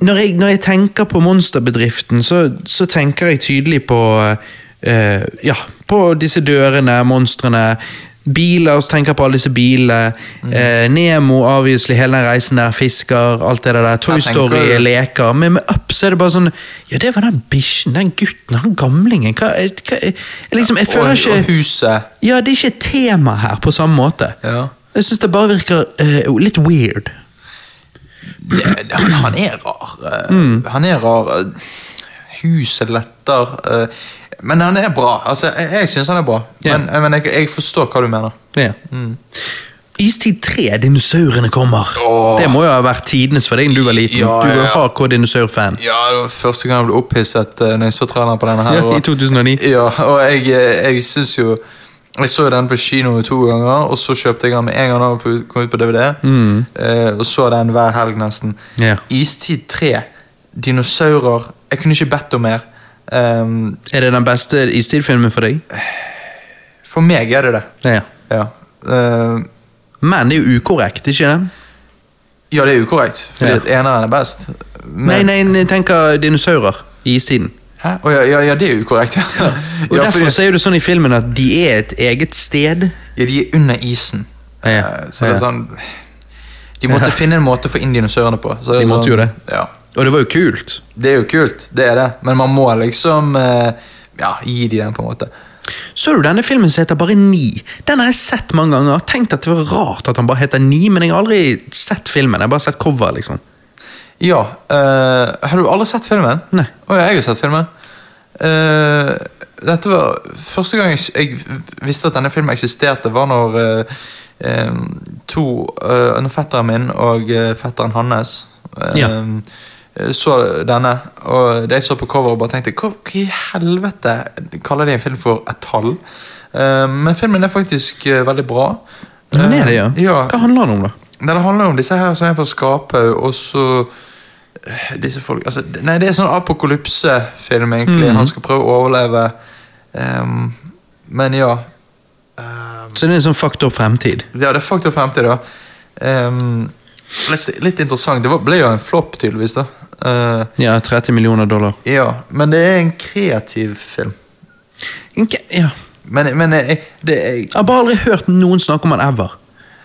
Speaker 1: når, jeg, når jeg tenker på monsterbedriften, så, så tenker jeg tydelig på eh, Ja, på disse dørene, monstrene. Biler, så tenker jeg på alle disse bilene.
Speaker 2: Mhm.
Speaker 1: Eh, Nemo, obviously, hele den reisen der, fisker, alt det der. Toy
Speaker 2: Jeg tenker-
Speaker 1: Story er leker, men med Up så er det bare sånn Ja, det var den bikkjen, den gutten, han gamlingen. Hva, hva jeg, liksom, jeg
Speaker 2: Og,
Speaker 1: føler
Speaker 2: og
Speaker 1: ikke
Speaker 2: huset.
Speaker 1: Ja, det er ikke et tema her på samme måte.
Speaker 2: Ja.
Speaker 1: Jeg syns det bare virker eh, litt weird.
Speaker 2: det, han, han er rar. eh,
Speaker 1: Mm.
Speaker 2: Han er rar. eh, Huset letter. eh, men han er bra. Altså, jeg jeg syns han er bra.
Speaker 1: Ja.
Speaker 2: Men, men jeg, jeg forstår hva du mener.
Speaker 1: Ja. Mm. Istid 3, dinosaurene kommer.
Speaker 2: Åh.
Speaker 1: Det må jo ha vært tidenes for deg da du var liten.
Speaker 2: Ja,
Speaker 1: Du
Speaker 2: ja,
Speaker 1: var
Speaker 2: ja.
Speaker 1: hardcore dinosaurfan.
Speaker 2: Ja, det var første gang jeg ble opphisset eh, når jeg så traileren på denne her.
Speaker 1: Ja,
Speaker 2: og-
Speaker 1: I 2009. [laughs]
Speaker 2: Ja, og jeg, jeg syns jo Jeg så jo den på kino to ganger, og så kjøpte jeg den med en gang den var på- kom ut på DVD. Eh, og så den hver helg, nesten.
Speaker 1: Mm. Ja.
Speaker 2: Istid 3. Dinosaurer. Jeg kunne ikke bedt om mer. Ehm,
Speaker 1: Er det den beste Istid-filmen for deg?
Speaker 2: for meg er det det.
Speaker 1: Ja.
Speaker 2: Ja. Ehm,
Speaker 1: Men det er jo ukorrekt, ikke det?
Speaker 2: ja, det er ukorrekt, fordi
Speaker 1: Ja.
Speaker 2: at eneren er best. Men-
Speaker 1: Nei, nei, jeg tenker dinosaurer i istiden.
Speaker 2: Hæ? Å, ja, ja, ja, det er ukorrekt. ja.
Speaker 1: [laughs] Og
Speaker 2: ja,
Speaker 1: Derfor
Speaker 2: fordi-
Speaker 1: så er det sånn i filmen at de er et eget sted.
Speaker 2: Ja, de er under isen.
Speaker 1: Ja, ja.
Speaker 2: Eh, Så det er
Speaker 1: Ja.
Speaker 2: sånn De
Speaker 1: [laughs]
Speaker 2: måtte finne en måte å få inn dinosaurene på. Så det er
Speaker 1: De måtte
Speaker 2: sånn,
Speaker 1: jo det.
Speaker 2: Ja.
Speaker 1: Og det var jo kult.
Speaker 2: Det er jo kult, det er det, men man må liksom eh, ja, gi de den, på en måte.
Speaker 1: Så du denne filmen som heter bare Ni? Den har jeg sett mange ganger. Tenkt at det var rart at han bare heter Ni, men jeg har aldri sett filmen. Jeg har bare sett cover, liksom.
Speaker 2: Ja. eh, har du alle sett filmen?
Speaker 1: Nei.
Speaker 2: Å ja, jeg har sett filmen. Eh, dette var Første gang jeg, s- jeg visste at denne filmen eksisterte, var når eh, eh, to eh, Når fetteren min og eh, fetteren hans eh,
Speaker 1: Ja.
Speaker 2: eh, så denne, og det jeg så på coveret og bare tenkte Hva hva i helvete kaller de en film for et tall? Eh, men filmen er faktisk eh, veldig bra.
Speaker 1: Men er det,
Speaker 2: Eh,
Speaker 1: ja.
Speaker 2: ja.
Speaker 1: Hva handler den om, da?
Speaker 2: Nei, det handler om disse her som er på Skaphaug, og så eh, Disse folk altså, Nei, det er sånn apokalypsefilm, egentlig. Han skal prøve å overleve. Ehm, men ja.
Speaker 1: Så det er en sånn fucked up fremtid.
Speaker 2: Ja, det er fucked up fremtid, da. Ehm, litt, litt interessant. Det var, ble jo en flopp, tydeligvis. da Eh,
Speaker 1: Ja, 30 millioner dollar.
Speaker 2: Ja, men det er en kreativ film.
Speaker 1: Ikke, ja.
Speaker 2: Men, men jeg, det, jeg,
Speaker 1: Jeg har bare aldri hørt noen snakke om han ever.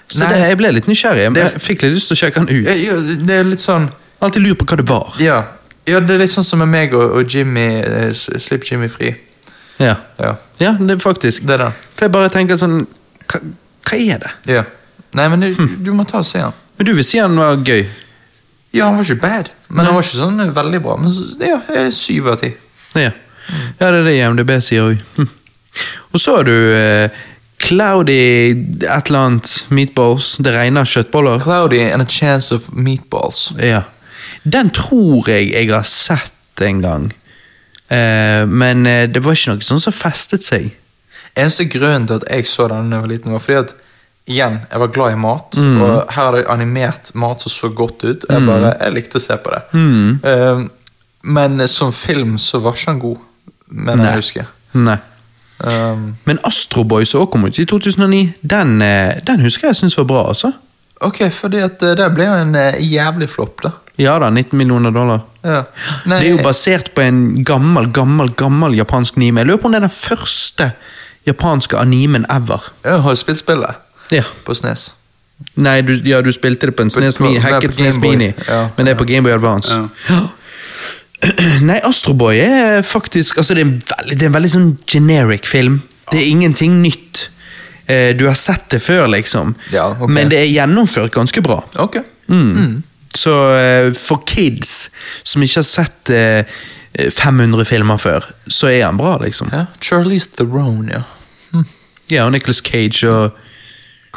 Speaker 1: Så
Speaker 2: Nei.
Speaker 1: det, jeg ble litt nysgjerrig. Jeg,
Speaker 2: Det- Eh,
Speaker 1: jeg fikk litt lyst til å sjekke han ut.
Speaker 2: jeg, jeg Det er litt sånn
Speaker 1: Alltid lurt på hva det var.
Speaker 2: Ja, ja det er litt sånn som med meg og, og Jimmy. eh, s- Slipp Jimmy fri.
Speaker 1: Ja,
Speaker 2: Ja,
Speaker 1: ja det er faktisk.
Speaker 2: det er den.
Speaker 1: For jeg bare tenker sånn Hva, hva er det?
Speaker 2: Ja. Nei, men du, du må ta og se han.
Speaker 1: Men du vil si han var gøy?
Speaker 2: Ja, han var ikke bad, men han var ikke sånn eh, veldig bra. Men så- ja, eh, syv av ti.
Speaker 1: Ja, ja det er det IMDb sier òg. Hm. Og så har du eh, Cloudy et eller annet meatballs. Det regner kjøttboller.
Speaker 2: Cloudy and a chance of meatballs.
Speaker 1: Ja. Den tror jeg jeg har sett en gang. Eh, men eh, det var ikke noe sånn som festet seg.
Speaker 2: Eneste grunnen til at jeg så den da jeg var liten, var fordi at igjen, jeg var glad i mat.
Speaker 1: Mm.
Speaker 2: Og her hadde jeg animert mat som så godt ut. og Jeg bare, jeg likte å se på det.
Speaker 1: Mm.
Speaker 2: Eh, men som film så var ikke han god, mener jeg husker.
Speaker 1: Nei.
Speaker 2: Um,
Speaker 1: Men Astroboy som også kom ut i 2009, den, eh, den husker jeg syns var bra, altså.
Speaker 2: ok, fordi at eh, det ble jo en eh, jævlig flopp, da.
Speaker 1: Ja da, 19 millioner dollar.
Speaker 2: Ja. Nei,
Speaker 1: Det er jo basert på en gammel, gammel, gammel japansk anime. Jeg lurer på om det er den første japanske animen ever.
Speaker 2: jeg har jo spilt spillet
Speaker 1: Ja.
Speaker 2: på Snes.
Speaker 1: Nei, du, ja, du spilte det på en SNES
Speaker 2: på-
Speaker 1: Mini,
Speaker 2: nei, på
Speaker 1: hacket SNES
Speaker 2: Game Boy.
Speaker 1: Mini,
Speaker 2: Ja.
Speaker 1: men det er på Gameboy Advance. Ja. [clears throat] Nei, Astroboy er faktisk altså det, er en veldig, det er en veldig sånn generic film. Det er ingenting nytt. Eh, Du har sett det før, liksom.
Speaker 2: Ja, ok.
Speaker 1: Men det er gjennomført ganske bra.
Speaker 2: Ok.
Speaker 1: Mm. Så eh, for kids som ikke har sett eh, 500 filmer før, så er han bra, liksom.
Speaker 2: Ja, Charlize Theron, ja.
Speaker 1: Ja, og Nicolas Cage og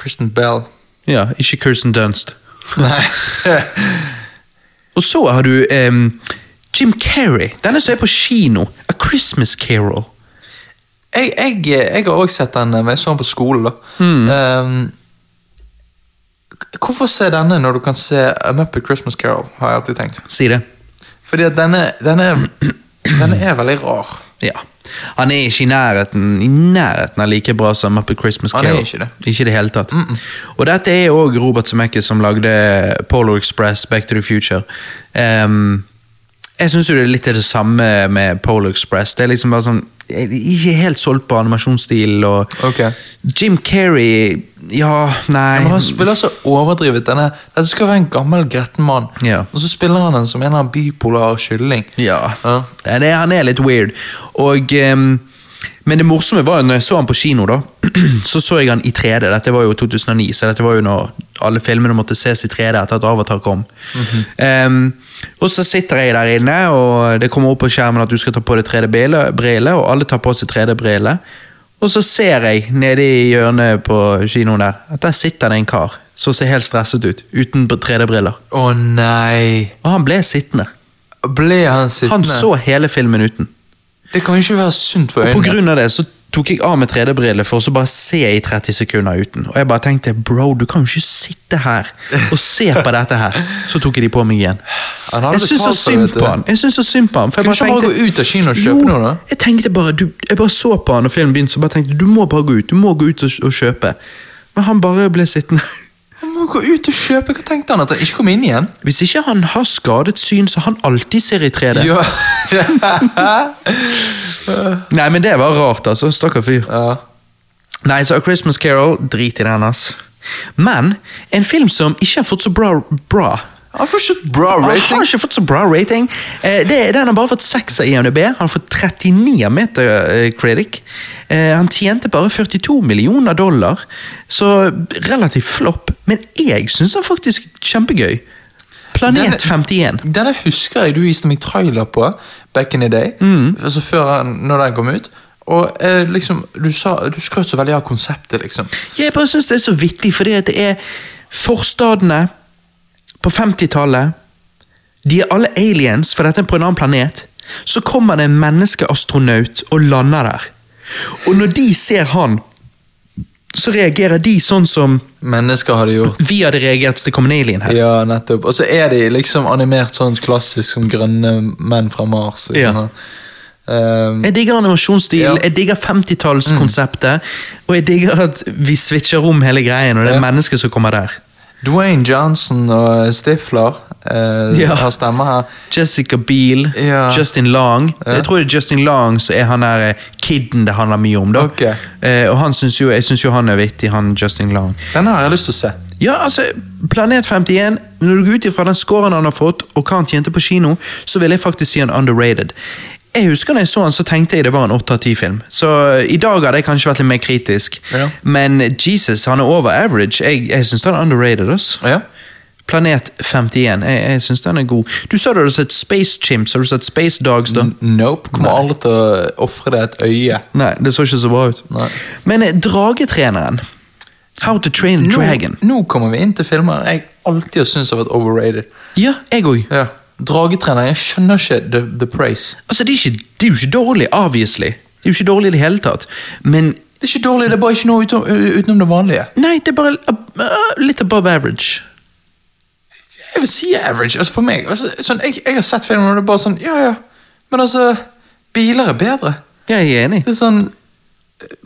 Speaker 2: Kristen Bell.
Speaker 1: Ja, ikke Kirsten Dunst.
Speaker 2: Nei.
Speaker 1: [laughs] Og så har du em, Jim Carrey. Denne som er på kino. A Christmas Carol.
Speaker 2: jeg, jeg, jeg har også sett den, men jeg så den på skolen, da.
Speaker 1: Hmm.
Speaker 2: Ehm, k- hvorfor se denne når du kan se A Muppet Christmas Carol, har jeg alltid tenkt.
Speaker 1: Si det.
Speaker 2: Fordi at denne, denne, denne er veldig rar.
Speaker 1: Ja. Han er ikke i nærheten, i nærheten av like bra som Muppet Christmas
Speaker 2: Han er
Speaker 1: Carol.
Speaker 2: ikke det.
Speaker 1: Ikke i det hele tatt. Og dette er òg Robert Zemeckis som lagde Polo Express, Back to the Future. Ehm, jeg syns jo det er litt det samme med Polo Express. Det er liksom bare sånn jeg er Ikke helt solgt på animasjonsstilen og
Speaker 2: Ok.
Speaker 1: Jim Carrey Ja, nei
Speaker 2: Men han spiller så overdrivet denne. Dette skal være en gammel, gretten mann,
Speaker 1: Ja.
Speaker 2: og så spiller han den som en eller annen bipolar kylling.
Speaker 1: Ja.
Speaker 2: Ja.
Speaker 1: Nei, Det, han er litt weird. Og, ehm, men det morsomme var jo når jeg så han på kino, da. [clears throat] så så jeg han i 3D. Dette var jo 2009, så dette var jo når alle filmene måtte ses i 3D etter at Avatar kom.
Speaker 2: Mhm.
Speaker 1: Ehm, og så sitter jeg der inne, og det kommer opp på skjermen at du skal ta på deg 3D-briller, og alle tar på seg 3D-briller. Og så ser jeg nede i hjørnet på kinoen der at der sitter det en kar som ser helt stresset ut, uten 3D-briller.
Speaker 2: Å nei.
Speaker 1: Og han ble sittende.
Speaker 2: Ble han sittende?
Speaker 1: Han så hele filmen uten.
Speaker 2: Det kan jo ikke være sunt for
Speaker 1: Og på
Speaker 2: øynene.
Speaker 1: grunn av det så tok jeg av meg 3D-brillene for å så bare se i 30 sekunder uten. Og jeg bare tenkte bro, du kan jo ikke sitte her og se på dette her. Så tok jeg de på meg igjen.
Speaker 2: Han hadde
Speaker 1: Jeg syns så
Speaker 2: betalt for det,
Speaker 1: synd
Speaker 2: vet du.
Speaker 1: på han. Jeg synes så synd på han for jeg
Speaker 2: Kunne ikke han bare gå ut av kino og kjøpe
Speaker 1: Jo,
Speaker 2: noe, da?
Speaker 1: Jeg tenkte bare, du, jeg bare så på han når filmen begynte, så bare tenkte du må bare gå ut. Du må gå ut og, og kjøpe. Men han bare ble sittende. [laughs]
Speaker 2: Han må gå ut og kjøpe. Hva tenkte han? At han ikke kom inn igjen?
Speaker 1: Hvis ikke han har skadet syn, så han alltid ser i 3D.
Speaker 2: Ja.
Speaker 1: Nei, men det var rart, altså. Stakkar fyr.
Speaker 2: [laughs] ja.
Speaker 1: Nei, så A Christmas Carol, drit i den, ass. Men en film som ikke har fått så bra, bra
Speaker 2: Han får ikke bra
Speaker 1: Han har
Speaker 2: rating.
Speaker 1: ikke fått så bra rating. Eh, det, den har bare fått 6 av IMDb. Han har fått 39 av Metacritic. Eh, han tjente bare 42 millioner dollar, så relativt flopp. Men jeg syns han faktisk er kjempegøy.
Speaker 2: Den-
Speaker 1: Planet 51.
Speaker 2: Denne husker jeg du viste meg trailer på back in the day. Altså før han, når den kom ut. Og eh, liksom, du, sa, du skrøt så veldig av konseptet, liksom.
Speaker 1: Jeg bare syns det er så vittig, fordi at det er forstadene på 50-tallet. De er alle aliens, for dette er på en annen planet. Så kommer det en menneskeastronaut og lander der. Og når de ser han, så reagerer de sånn som
Speaker 2: Mennesker har det gjort.
Speaker 1: vi hadde reagert hvis det kom en alien her.
Speaker 2: [laughs] Ja, nettopp. Og så er de liksom animert sånn klassisk som grønne menn fra Mars.
Speaker 1: Ja.
Speaker 2: Liksom. Ehm,
Speaker 1: Jeg digger animasjonsstilen,
Speaker 2: Ja. Mm.
Speaker 1: jeg digger 50-tallskonseptet, og jeg digger at vi switcher om hele greien, og det
Speaker 2: Ja.
Speaker 1: er mennesker som kommer der.
Speaker 2: Dwayne Johnson og Stifler eh,
Speaker 1: Ja.
Speaker 2: har stemmer her.
Speaker 1: Jessica Biel,
Speaker 2: Ja.
Speaker 1: Justin Long. Jeg tror det er Justin Long som er han der eh, kidden det handler mye om. da.
Speaker 2: Ok.
Speaker 1: Eh, og han synes jo, Jeg syns jo han er vittig, han Justin Long.
Speaker 2: Den har jeg lyst til å se.
Speaker 1: Ja, altså, Planet 51, når du går ut ifra den scoren han har fått, og hva han tjente på kino, så vil jeg faktisk si han underrated. Jeg husker når jeg så han, så tenkte jeg det var en 8 av 10-film. Så eh, i dag hadde jeg kanskje vært litt mer kritisk.
Speaker 2: Ja.
Speaker 1: Men Jesus, han er over average. Jeg, jeg syns han er underrated. ass.
Speaker 2: Ja.
Speaker 1: Planet 51. Jeg, jeg syns den er god. Du sa du hadde sett Space Chimps. Har du sett Space Dogs,
Speaker 2: Mm.
Speaker 1: da?
Speaker 2: Nope. Kommer aldri til å ofre det et øye.
Speaker 1: Nei, det så ikke så bra ut.
Speaker 2: Nei.
Speaker 1: Men eh, dragetreneren. How to Train a Dragon.
Speaker 2: Nå, nå kommer vi inn til filmer jeg alltid har syntes har vært overrated.
Speaker 1: Ja, jeg òg.
Speaker 2: Ja. Dragetrener. Jeg skjønner ikke the, the praise.
Speaker 1: Altså, det er, ikke, det er jo ikke dårlig, obviously. Det er jo ikke dårlig i det hele tatt. Men
Speaker 2: Det er ikke dårlig, det er bare ikke noe utenom, utenom det vanlige.
Speaker 1: nei, det er bare ab- ah, litt above average.
Speaker 2: Jeg vil si average. Altså for meg, altså, sånn, jeg, jeg har sett filmen, og det er bare sånn Ja, ja. Men altså, biler er bedre.
Speaker 1: Jeg er enig.
Speaker 2: Det er sånn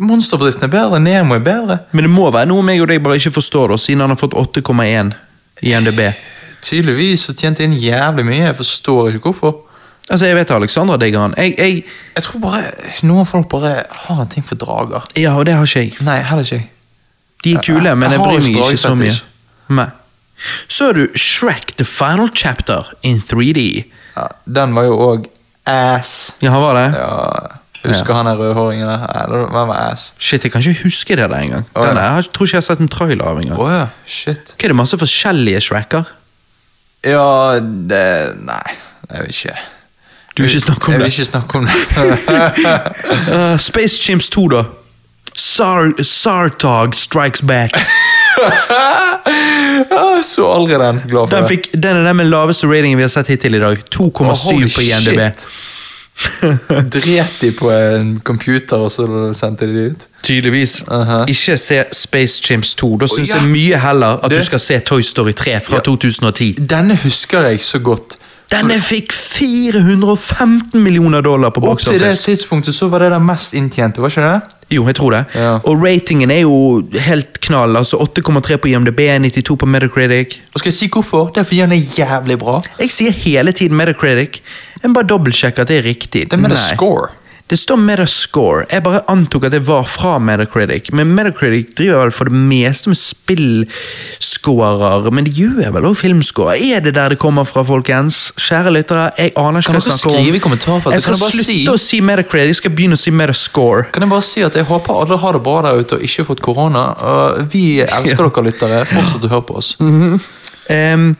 Speaker 2: Monsterbedriften er bedre, Nemo er bedre.
Speaker 1: Men det må være noe meg og deg bare ikke forstår, da, siden han har fått 8,1 i NDB.
Speaker 2: Tydeligvis så tjente de inn jævlig mye. Jeg forstår ikke hvorfor.
Speaker 1: Altså, jeg vet Alexandra digger han. Jeg, jeg,
Speaker 2: Jeg tror bare noen folk bare har en ting for drager.
Speaker 1: ja, og det har ikke jeg.
Speaker 2: Nei, heller ikke jeg.
Speaker 1: De er kule, men jeg
Speaker 2: har
Speaker 1: bryr
Speaker 2: ikke
Speaker 1: meg ikke så mye.
Speaker 2: dragfetish.
Speaker 1: Nei. Så har du Shrek The Final Chapter in 3D.
Speaker 2: Ja, den var jo òg ass.
Speaker 1: Ja, han var det?
Speaker 2: Ja, jeg husker han der rødhåringen der? Ja, det var- han var ass.
Speaker 1: Shit, jeg kan ikke huske det der engang.
Speaker 2: Å, ja.
Speaker 1: Den er- Jeg tror ikke jeg har sett en trailer av
Speaker 2: Å
Speaker 1: engang.
Speaker 2: ja, shit.
Speaker 1: Hva er det masse forskjellige Shrekker?
Speaker 2: Ja, det Nei, jeg vil ikke
Speaker 1: Du vil ikke snakke om
Speaker 2: jeg,
Speaker 1: det?
Speaker 2: Jeg vil ikke snakke [laughs] om det.
Speaker 1: Eh, Space Chimps 2, da. Sar Sartog Strikes Back.
Speaker 2: jeg så aldri den. Glad for
Speaker 1: Den,
Speaker 2: det.
Speaker 1: fikk, den er den med laveste ratingen vi har sett hittil i dag. 2,7
Speaker 2: Å, holy
Speaker 1: på INDB.
Speaker 2: shit. Dret de på en computer, og så sendte de det ut?
Speaker 1: Tydeligvis.
Speaker 2: Aha.
Speaker 1: Ikke se Space Chimps 2. Da syns
Speaker 2: ja.
Speaker 1: jeg mye heller at du
Speaker 2: Det-
Speaker 1: skal se Toy Story 3 fra 2010.
Speaker 2: Denne husker jeg så godt.
Speaker 1: Denne fikk 415 millioner dollar på
Speaker 2: Opp
Speaker 1: box
Speaker 2: til det
Speaker 1: office.
Speaker 2: tidspunktet så var det den mest inntjente, var ikke det?
Speaker 1: Jo, jeg tror det.
Speaker 2: Ja.
Speaker 1: Og ratingen er jo helt knall. Altså 8,3 på IMDb, 92 på Metacritic.
Speaker 2: Og skal jeg si hvorfor? Det er fordi den er jævlig bra.
Speaker 1: Jeg sier hele tiden Metacritic. Jeg må bare dobbeltsjekke at det er riktig.
Speaker 2: Det er med det
Speaker 1: Nei.
Speaker 2: score.
Speaker 1: Det står Metascore. Jeg bare antok at det var fra Metacritic. Men Metacritic driver vel for det meste med spillscorer, men de gjør vel også filmscorer. Er det der det kommer fra, folkens? Kjære lyttere, jeg aner ikke
Speaker 2: Kan
Speaker 1: hva jeg
Speaker 2: dere
Speaker 1: snakker om.
Speaker 2: skrive i kommentarfeltet?
Speaker 1: Jeg skal
Speaker 2: Kan jeg bare
Speaker 1: slutte
Speaker 2: si-
Speaker 1: å si Metacritic, jeg skal begynne å si Metascore.
Speaker 2: Kan jeg bare si at jeg håper alle har det bra der ute og ikke har fått
Speaker 1: Mm.
Speaker 2: korona. Og vi elsker dere lyttere. Fortsett å høre på oss.
Speaker 1: Ehm,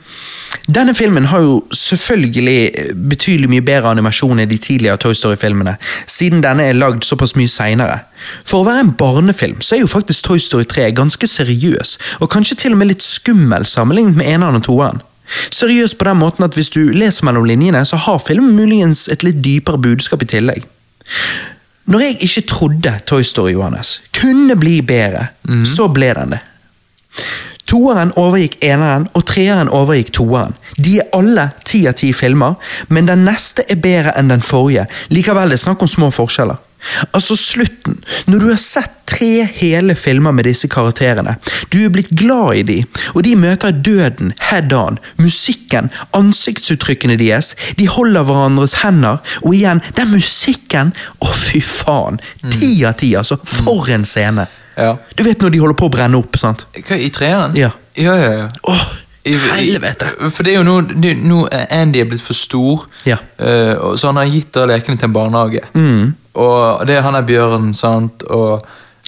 Speaker 1: Denne filmen har jo selvfølgelig eh, betydelig mye bedre animasjon enn de tidligere Toy Story-filmene, siden denne er lagd såpass mye seinere. For å være en barnefilm så er jo faktisk Toy Story 3 ganske seriøs, og kanskje til og med litt skummel sammenlignet med eneren og toeren. Seriøs på den måten at hvis du leser mellom linjene, så har filmen muligens et litt dypere budskap i tillegg. Når jeg ikke trodde Toy Story Johannes kunne bli bedre, så ble den det. Toeren overgikk eneren, og treeren overgikk toeren. De er alle ti av ti filmer, men den neste er bedre enn den forrige. Likevel, det er snakk om små forskjeller. Altså slutten, når du har sett tre hele filmer med disse karakterene, du er blitt glad i de, og de møter døden head on, musikken, ansiktsuttrykkene deres, de holder hverandres hender, og igjen, den musikken, å fy faen, ti av ti altså, for en scene.
Speaker 2: Ja.
Speaker 1: Du vet når de holder på å brenne opp, sant?
Speaker 2: Hva, I treeren?
Speaker 1: Ja.
Speaker 2: ja, ja, ja.
Speaker 1: Åh,
Speaker 2: I- i-
Speaker 1: helvete!
Speaker 2: For det er jo nå, det, er- nå er Andy er blitt for stor,
Speaker 1: Ja. Mm.
Speaker 2: eh, og så han har gitt da lekene til en barnehage. Og det, han er bjørn, sant, og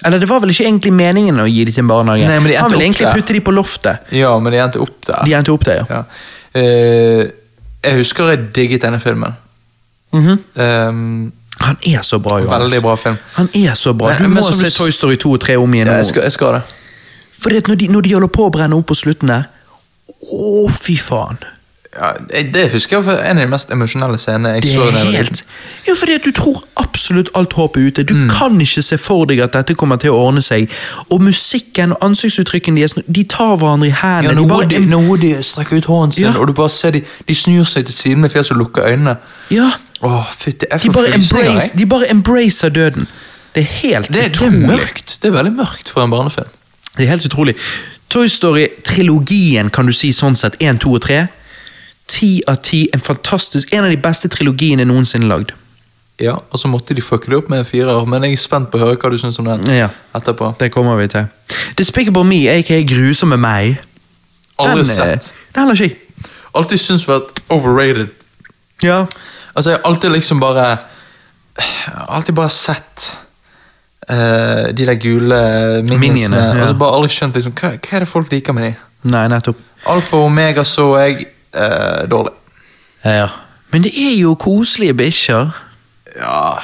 Speaker 1: Eller det var vel ikke egentlig meningen å gi de til en barnehage.
Speaker 2: Nei, men de endte
Speaker 1: Han ville
Speaker 2: opp
Speaker 1: egentlig
Speaker 2: der.
Speaker 1: putte de på loftet.
Speaker 2: Ja, men de endte opp der.
Speaker 1: De endte opp der, ja.
Speaker 2: Ja. Eh, jeg husker jeg digget denne filmen.
Speaker 1: Mhm.
Speaker 2: Ehm,
Speaker 1: Han er så bra, Johannes.
Speaker 2: veldig bra film.
Speaker 1: Han er så bra.
Speaker 2: Nei,
Speaker 1: Du
Speaker 2: men
Speaker 1: må
Speaker 2: som du
Speaker 1: se
Speaker 2: s-
Speaker 1: Toy Story 2 og 3 om igjen.
Speaker 2: Ja, jeg,
Speaker 1: nå.
Speaker 2: skal, jeg skal det.
Speaker 1: Fordi at når de, når de holder på å brenne opp på slutten der Å, fy faen.
Speaker 2: Ja, jeg- det husker jeg var en av de mest emosjonelle scenene jeg
Speaker 1: Det
Speaker 2: så. da jeg
Speaker 1: er
Speaker 2: var
Speaker 1: helt
Speaker 2: liten.
Speaker 1: Jo, fordi at du tror absolutt alt håpet er ute. Du
Speaker 2: Mm.
Speaker 1: kan ikke se for deg at dette kommer til å ordne seg. Og musikken og ansiktsuttrykkene deres, de tar hverandre i
Speaker 2: Ja,
Speaker 1: hendene.
Speaker 2: når
Speaker 1: de bare-
Speaker 2: Woody, når Woody strekker ut hånden sin,
Speaker 1: Ja.
Speaker 2: og du bare ser de, de snur seg til siden med fjeset og lukker øynene.
Speaker 1: ja,
Speaker 2: Åh, fytti, jeg
Speaker 1: de,
Speaker 2: får
Speaker 1: bare
Speaker 2: frysninger, jeg.
Speaker 1: embrace, de bare embracer døden. Det er helt
Speaker 2: Det, det er
Speaker 1: utrolig.
Speaker 2: mørkt. Det er veldig mørkt for en barnefilm.
Speaker 1: Det er helt utrolig. Toy Story-trilogien, kan du si sånn sett, 1, 2 og 3. 10 av 10, en fantastisk, en av de beste trilogiene noensinne lagd.
Speaker 2: Ja, og så måtte de fucke det opp med en firer, men jeg er spent på å høre hva du syns om den
Speaker 1: Ja.
Speaker 2: etterpå.
Speaker 1: Det kommer vi til. Despicable Me, aka Grusomme meg.
Speaker 2: Aldri
Speaker 1: eh,
Speaker 2: sett.
Speaker 1: Den har ikke jeg.
Speaker 2: Alltid syns vært overrated.
Speaker 1: Ja.
Speaker 2: Altså, jeg har alltid liksom bare jeg har Alltid bare sett eh, de der gule
Speaker 1: Miniene,
Speaker 2: minionsene.
Speaker 1: ja.
Speaker 2: Og så bare aldri skjønt liksom, hva, hva er det folk liker med de?
Speaker 1: Nei, nettopp.
Speaker 2: Alfa og Omega så jeg eh, dårlig.
Speaker 1: Ja. Men det er jo koselige bikkjer.
Speaker 2: Ja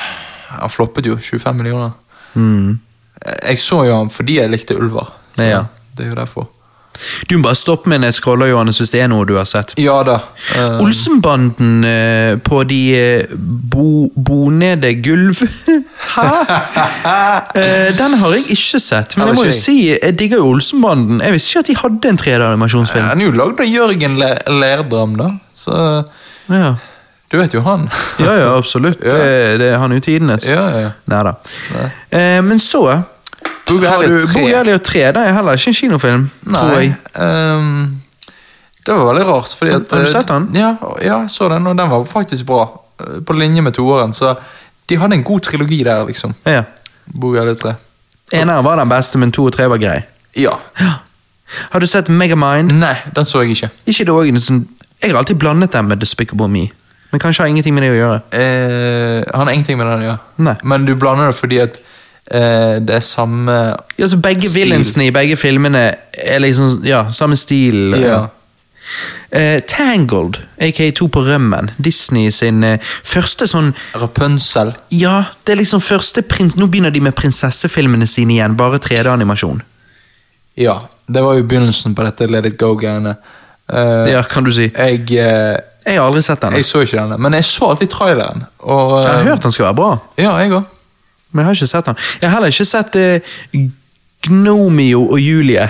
Speaker 2: Han floppet jo. 25 millioner. Eh, Jeg så jo han fordi jeg likte ulver. Så
Speaker 1: Mm. Ja.
Speaker 2: Det er jo derfor.
Speaker 1: Du må bare stoppe med en scroller, Johannes, hvis det er noe du har sett.
Speaker 2: Ja da. eh,
Speaker 1: Olsenbanden eh, på de eh, bo, bonede gulv [laughs] Hæ? Eh, den har jeg ikke sett, men
Speaker 2: Har
Speaker 1: jeg må
Speaker 2: ikke
Speaker 1: jo
Speaker 2: jeg.
Speaker 1: si jeg digger jo Olsenbanden. Jeg visste ikke at de hadde en 3D-animasjonsfilm.
Speaker 2: Han er jo lagd av Jørgen Le Lerdram, da. Så
Speaker 1: Ja.
Speaker 2: du vet jo han.
Speaker 1: ja, ja, absolutt. Det, det, han er jo tidenes.
Speaker 2: Ja, ja.
Speaker 1: Neida. Eh, men så
Speaker 2: Boogie
Speaker 1: har
Speaker 2: Elliot
Speaker 1: du
Speaker 2: 3.
Speaker 1: Boogie Elliot 3. Det er heller ikke en kinofilm, tror
Speaker 2: Nei.
Speaker 1: jeg.
Speaker 2: ehm, det var veldig rart, fordi at eh,
Speaker 1: Har du sett den?
Speaker 2: Ja, ja, jeg så den, og den var faktisk bra. eh, På linje med toeren, så de hadde en god trilogi der, liksom.
Speaker 1: Ja.
Speaker 2: Boogie Elliot 3.
Speaker 1: Eneren var den beste, men to og tre var grei.
Speaker 2: Ja.
Speaker 1: Har du sett Megamind?
Speaker 2: Nei, den så jeg ikke.
Speaker 1: Ikke det også, en sånn- Jeg har alltid blandet dem med Despicable Me. Men kanskje har ingenting med det å gjøre.
Speaker 2: Eh, han har ingenting med den å gjøre.
Speaker 1: Nei.
Speaker 2: Men du blander det fordi at eh, det er samme
Speaker 1: Ja, så Begge
Speaker 2: Stil.
Speaker 1: villainsene i begge filmene er liksom ja, samme stil.
Speaker 2: Ja.
Speaker 1: Eh, Tangled, aka To på rømmen, Disney sin eh, første sånn
Speaker 2: Rapunzel.
Speaker 1: Ja, det er liksom første prins... Nå begynner de med prinsessefilmene sine igjen, bare 3D-animasjon.
Speaker 2: Ja, det var jo begynnelsen på dette Let it go-greiene. Eh,
Speaker 1: Ja, kan du si.
Speaker 2: jeg, eh,
Speaker 1: Jeg har aldri sett den.
Speaker 2: jeg
Speaker 1: Jeg
Speaker 2: så ikke denne, men jeg så alltid traileren. Og,
Speaker 1: har
Speaker 2: eh,
Speaker 1: hørt den skal være bra,
Speaker 2: Ja, jeg òg.
Speaker 1: men jeg har ikke sett den. Jeg har heller ikke sett eh, Gnomio og Julie.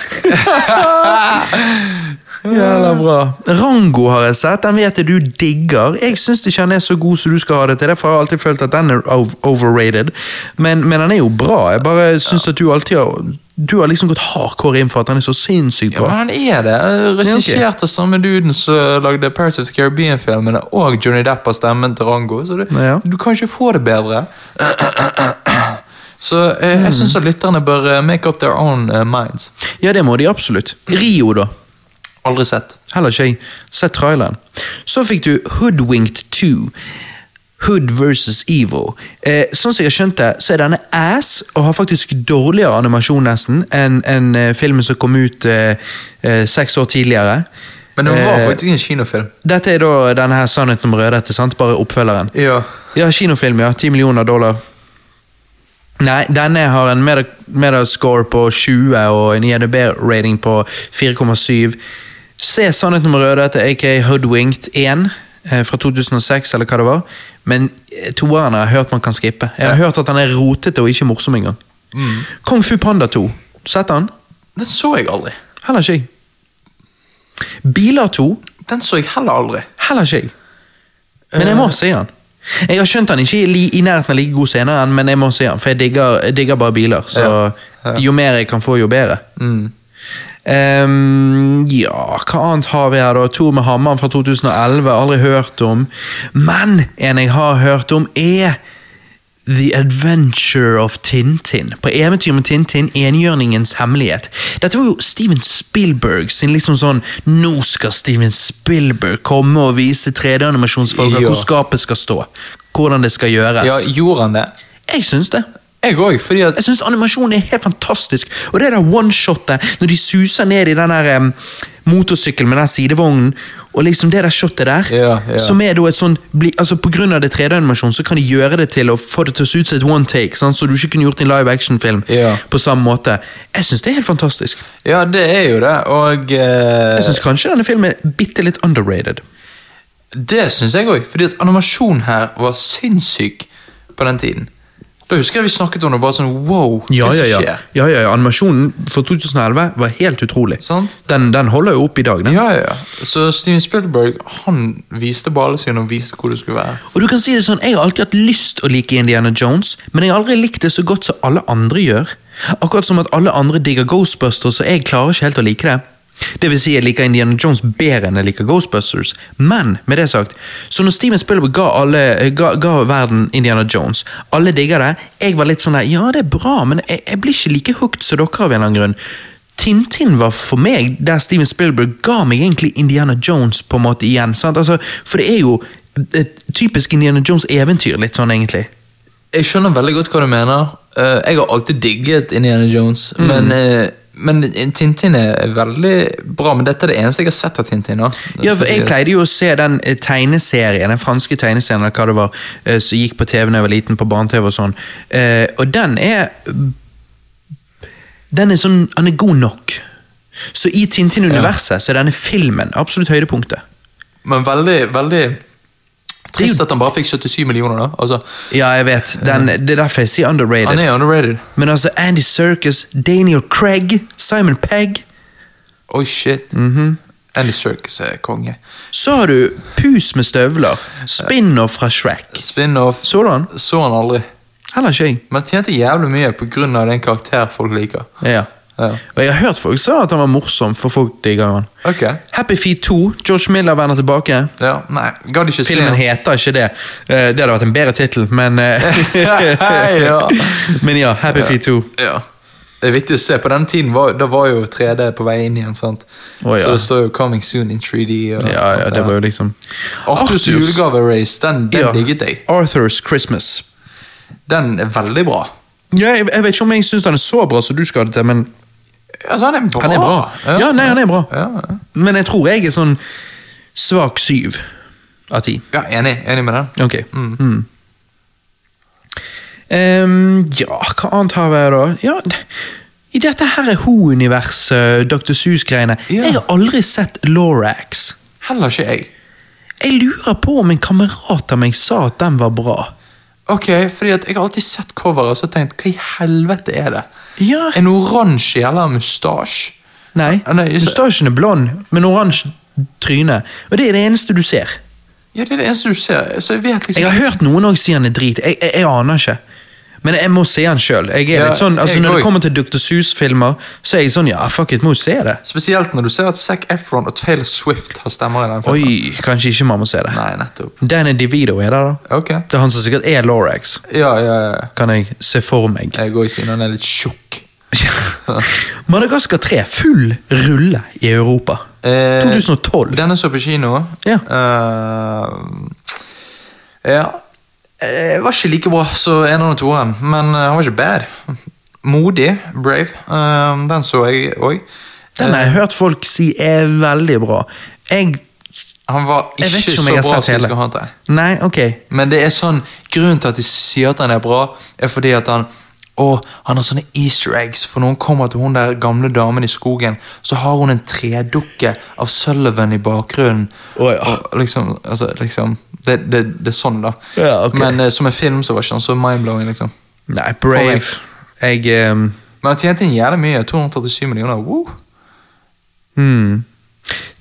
Speaker 1: Jævla bra. Rango har jeg sett, den vet jeg du digger. Jeg syns ikke han er så god som du skal ha det til. Derfor har jeg alltid følt at den er ov- overrated. Men, men han er jo bra. Jeg bare syns at du alltid har Du har liksom gått hardcore inn for at han er så sinnssykt
Speaker 2: Ja, men
Speaker 1: bra.
Speaker 2: han er det.
Speaker 1: Ja,
Speaker 2: Regissert av samme duden som lagde Pirates of the Caribbean-filmene, og Johnny Depp har stemmen til Rango, så du,
Speaker 1: Ja.
Speaker 2: du kan ikke få det bedre. [clears throat] Så eh,
Speaker 1: Mm.
Speaker 2: jeg syns at lytterne bør eh, make up their own eh, minds.
Speaker 1: Ja, det må de absolutt. Rio, da.
Speaker 2: Aldri sett.
Speaker 1: Heller ikke jeg. Sett traileren. Så fikk du Hoodwinked 2. Hood versus Evil. Eh, sånn som jeg har skjønt det, så er denne ass, og har faktisk dårligere animasjon nesten, enn enn, eh, filmen som kom ut eh, eh, seks år tidligere.
Speaker 2: Men det var
Speaker 1: Eh,
Speaker 2: faktisk en kinofilm.
Speaker 1: Dette er da denne her sannheten om rødhette, sant? Bare oppfølgeren.
Speaker 2: Ja.
Speaker 1: Ja, kinofilm, ja. 10 millioner dollar. Nei, denne har en meta- metascore på 20 og en INDB-rating på 4,7. Se Sannheten om rødhette, aka Hoodwinked 1 eh, fra 2006, eller hva det var. Men eh, toeren har jeg hørt man kan skippe. Jeg har hørt at han er rotete og ikke morsom engang. Kung Fu Panda 2. Sett han?
Speaker 2: Den så jeg aldri.
Speaker 1: Heller ikke jeg. Biler 2.
Speaker 2: Den så jeg heller aldri.
Speaker 1: Heller ikke jeg. Men jeg må si han. Jeg har skjønt han ikke er li- i nærheten av like god senere, enn, men jeg må si han, for jeg digger, jeg digger bare biler. Så
Speaker 2: Ja, ja. Mm.
Speaker 1: jo mer jeg kan få, jo bedre. Ehm, ja, hva annet har vi her, da? Tor med hammeren fra 2011. Aldri hørt om. Men en jeg har hørt om, er The Adventure of Tintin. På eventyr med Tintin, enhjørningens hemmelighet. Dette var jo Steven Spielberg sin liksom sånn Nå skal Steven Spielberg komme og vise 3D-animasjonsfolk
Speaker 2: Ja.
Speaker 1: hvor skapet skal stå. Hvordan det skal gjøres.
Speaker 2: Ja, gjorde han det?
Speaker 1: Jeg syns det.
Speaker 2: Jeg òg, fordi at
Speaker 1: Jeg syns animasjonen er helt fantastisk. Og det der one-shotet, når de suser ned i den der em, motorsykkelen med den sidevognen, og liksom det der shotet der,
Speaker 2: Ja, ja.
Speaker 1: som er da et sånn bli, altså På grunn av det 3D-animasjonen, så kan de gjøre det til å få det til å se ut som et one take, sant? så du ikke kunne gjort i en live action-film
Speaker 2: Ja.
Speaker 1: på samme måte. Jeg syns det er helt fantastisk.
Speaker 2: Ja, det er jo det, og eh,
Speaker 1: Jeg syns kanskje denne filmen er bitte litt underrated.
Speaker 2: Det syns jeg òg, fordi at animasjon her var sinnssyk på den tiden. Da husker jeg vi snakket om det bare sånn wow, hva
Speaker 1: Ja, ja, ja.
Speaker 2: skjer?
Speaker 1: ja, ja, ja. Animasjonen for 2011 var helt utrolig.
Speaker 2: Sant?
Speaker 1: Den, den holder jo opp i dag, den.
Speaker 2: Ja, ja, ja. Så Steven Spielberg han viste ballene sine og viste hvor det skulle være.
Speaker 1: Og du kan si det sånn, Jeg har alltid hatt lyst å like Indiana Jones, men jeg har aldri likt det så godt som alle andre gjør. Akkurat som at alle andre digger Ghostbusters, og jeg klarer ikke helt å like det. Det vil si, jeg liker Indiana Jones bedre enn jeg liker Ghostbusters. Men med det sagt, så når Steven Spielberg ga, alle, eh, ga, ga verden Indiana Jones, alle digger det, jeg var litt sånn der, ja det er bra, men jeg, jeg blir ikke like hooked som dere av en eller annen grunn. Tintin var for meg der Steven Spielberg ga meg egentlig Indiana Jones på en måte igjen. Sant? Altså, for det er jo et typisk Indiana Jones-eventyr, litt sånn egentlig.
Speaker 2: Jeg skjønner veldig godt hva du mener. Eh, jeg har alltid digget Indiana Jones, men, eh, men Tintin er veldig bra. Men dette er det eneste jeg har sett av Tintin. da.
Speaker 1: Ja, for Jeg pleide jo å se den eh, tegneserien, den franske tegneserien eller hva det var, eh, som gikk på TV da jeg var liten, på barne-TV og sånn. Eh, Og den er Den er sånn Han er god nok. Så i Tintin-universet så er denne filmen absolutt høydepunktet.
Speaker 2: Men veldig, veldig trist at han bare fikk 77 millioner, da. Altså,
Speaker 1: Ja, jeg vet. Den, det er derfor jeg sier underrated.
Speaker 2: han er underrated.
Speaker 1: Men altså, Andy Serkis, Daniel Craig, Simon Pegg
Speaker 2: Oi, shit.
Speaker 1: Mhm.
Speaker 2: Andy Serkis er konge.
Speaker 1: Så har du Pus med støvler, spin-off fra Shrek.
Speaker 2: Spin-off så,
Speaker 1: Så du han?
Speaker 2: han aldri.
Speaker 1: Heller ikke jeg.
Speaker 2: Men han tjente jævlig mye pga. den karakter folk liker.
Speaker 1: Ja.
Speaker 2: Ja.
Speaker 1: Og jeg har hørt folk sa at han var morsom, for folk digger han.
Speaker 2: Ok.
Speaker 1: Happy Feet 2, George Miller vender tilbake.
Speaker 2: Ja, nei, gadd ikke se
Speaker 1: Filmen
Speaker 2: han.
Speaker 1: heter ikke det. Eh, Det hadde vært en bedre tittel, men eh,
Speaker 2: Ja.
Speaker 1: [laughs] Men ja, Happy Feet 2.
Speaker 2: Ja. Det er viktig å se. På den tiden var, da var jo 3D på vei inn igjen. sant?
Speaker 1: Å, ja.
Speaker 2: Så det står jo 'Coming soon in 3D'. Og,
Speaker 1: Ja, ja, det var jo liksom
Speaker 2: Arthurs julegave-race, den, den
Speaker 1: Ja.
Speaker 2: digget jeg.
Speaker 1: Arthur's Christmas.
Speaker 2: Den er veldig bra.
Speaker 1: Ja, jeg, jeg vet ikke om jeg syns den er så bra som du skal ha det til, men
Speaker 2: Altså, han er bra.
Speaker 1: Han er bra. Ja, nei, han er bra.
Speaker 2: Ja, ja.
Speaker 1: Men jeg tror jeg er sånn svak syv av ti.
Speaker 2: ja enig, enig med den.
Speaker 1: Ok. Mm. Ehm, ja, hva annet har vi her da? Ja, d- I dette her er Ho-universet, Dr. Sus-greiene.
Speaker 2: Ja.
Speaker 1: Jeg har aldri sett Lorax.
Speaker 2: Heller ikke jeg.
Speaker 1: Jeg lurer på om en kamerat av meg sa at den var bra.
Speaker 2: Ok, fordi at jeg har alltid sett coveret og så tenkt Hva i helvete er det?
Speaker 1: Ja.
Speaker 2: En oransje jævla mustasje?
Speaker 1: Nei,
Speaker 2: Ah, nei, ikke-
Speaker 1: mustasjen er blond, men oransje tryne. Og det er det eneste du ser.
Speaker 2: Ja, det er det eneste du ser. Så jeg vet liksom
Speaker 1: Jeg har hørt noen også si han er drit. Jeg, jeg, jeg aner ikke. Men jeg må se han sjøl.
Speaker 2: Ja,
Speaker 1: sånn, altså,
Speaker 2: jeg
Speaker 1: når
Speaker 2: også.
Speaker 1: det kommer til Dr. Seuss-filmer, så er jeg sånn ja, fuck it, må jo se det.
Speaker 2: Spesielt når du ser at Zac Efron og Taylor Swift har stemmer i den filmen.
Speaker 1: Oi, kanskje ikke man må se det.
Speaker 2: Nei, nettopp.
Speaker 1: Danny DeVito er der, da.
Speaker 2: Ok.
Speaker 1: Det er han som sikkert er Lorax,
Speaker 2: Ja, ja, ja.
Speaker 1: kan jeg se for
Speaker 2: [laughs]
Speaker 1: meg.
Speaker 2: Jeg går i siden han er litt tjukk.
Speaker 1: Madagaskar 3, full rulle i Europa.
Speaker 2: Eh,
Speaker 1: 2012.
Speaker 2: Denne så på kino.
Speaker 1: Ja.
Speaker 2: Eh, ja. Eh, var ikke like bra som eneren og toeren, men eh, han var ikke bad. Modig, brave. Eh, den så jeg òg.
Speaker 1: Den har jeg hørt folk si er veldig bra. Jeg,
Speaker 2: Han var
Speaker 1: Jeg vet
Speaker 2: ikke
Speaker 1: ikke
Speaker 2: så
Speaker 1: om jeg har
Speaker 2: bra
Speaker 1: sett
Speaker 2: som vi
Speaker 1: hele.
Speaker 2: skal ha til.
Speaker 1: nei, ok.
Speaker 2: Men det er sånn, grunnen til at de sier at han er bra, er fordi at han å, han har sånne easter eggs, for når hun kommer til hun der gamle damen i skogen, så har hun en tredukke av Sullivan i bakgrunnen.
Speaker 1: Å, ja.
Speaker 2: og liksom, altså, liksom, det, det, det er sånn, da.
Speaker 1: Ja, ok.
Speaker 2: Men eh, som en film så var ikke han så mindblowing. liksom.
Speaker 1: Nei, Brave. Jeg ehm,
Speaker 2: Men han tjente inn jævlig mye. 237 millioner. Woo.
Speaker 1: hmm.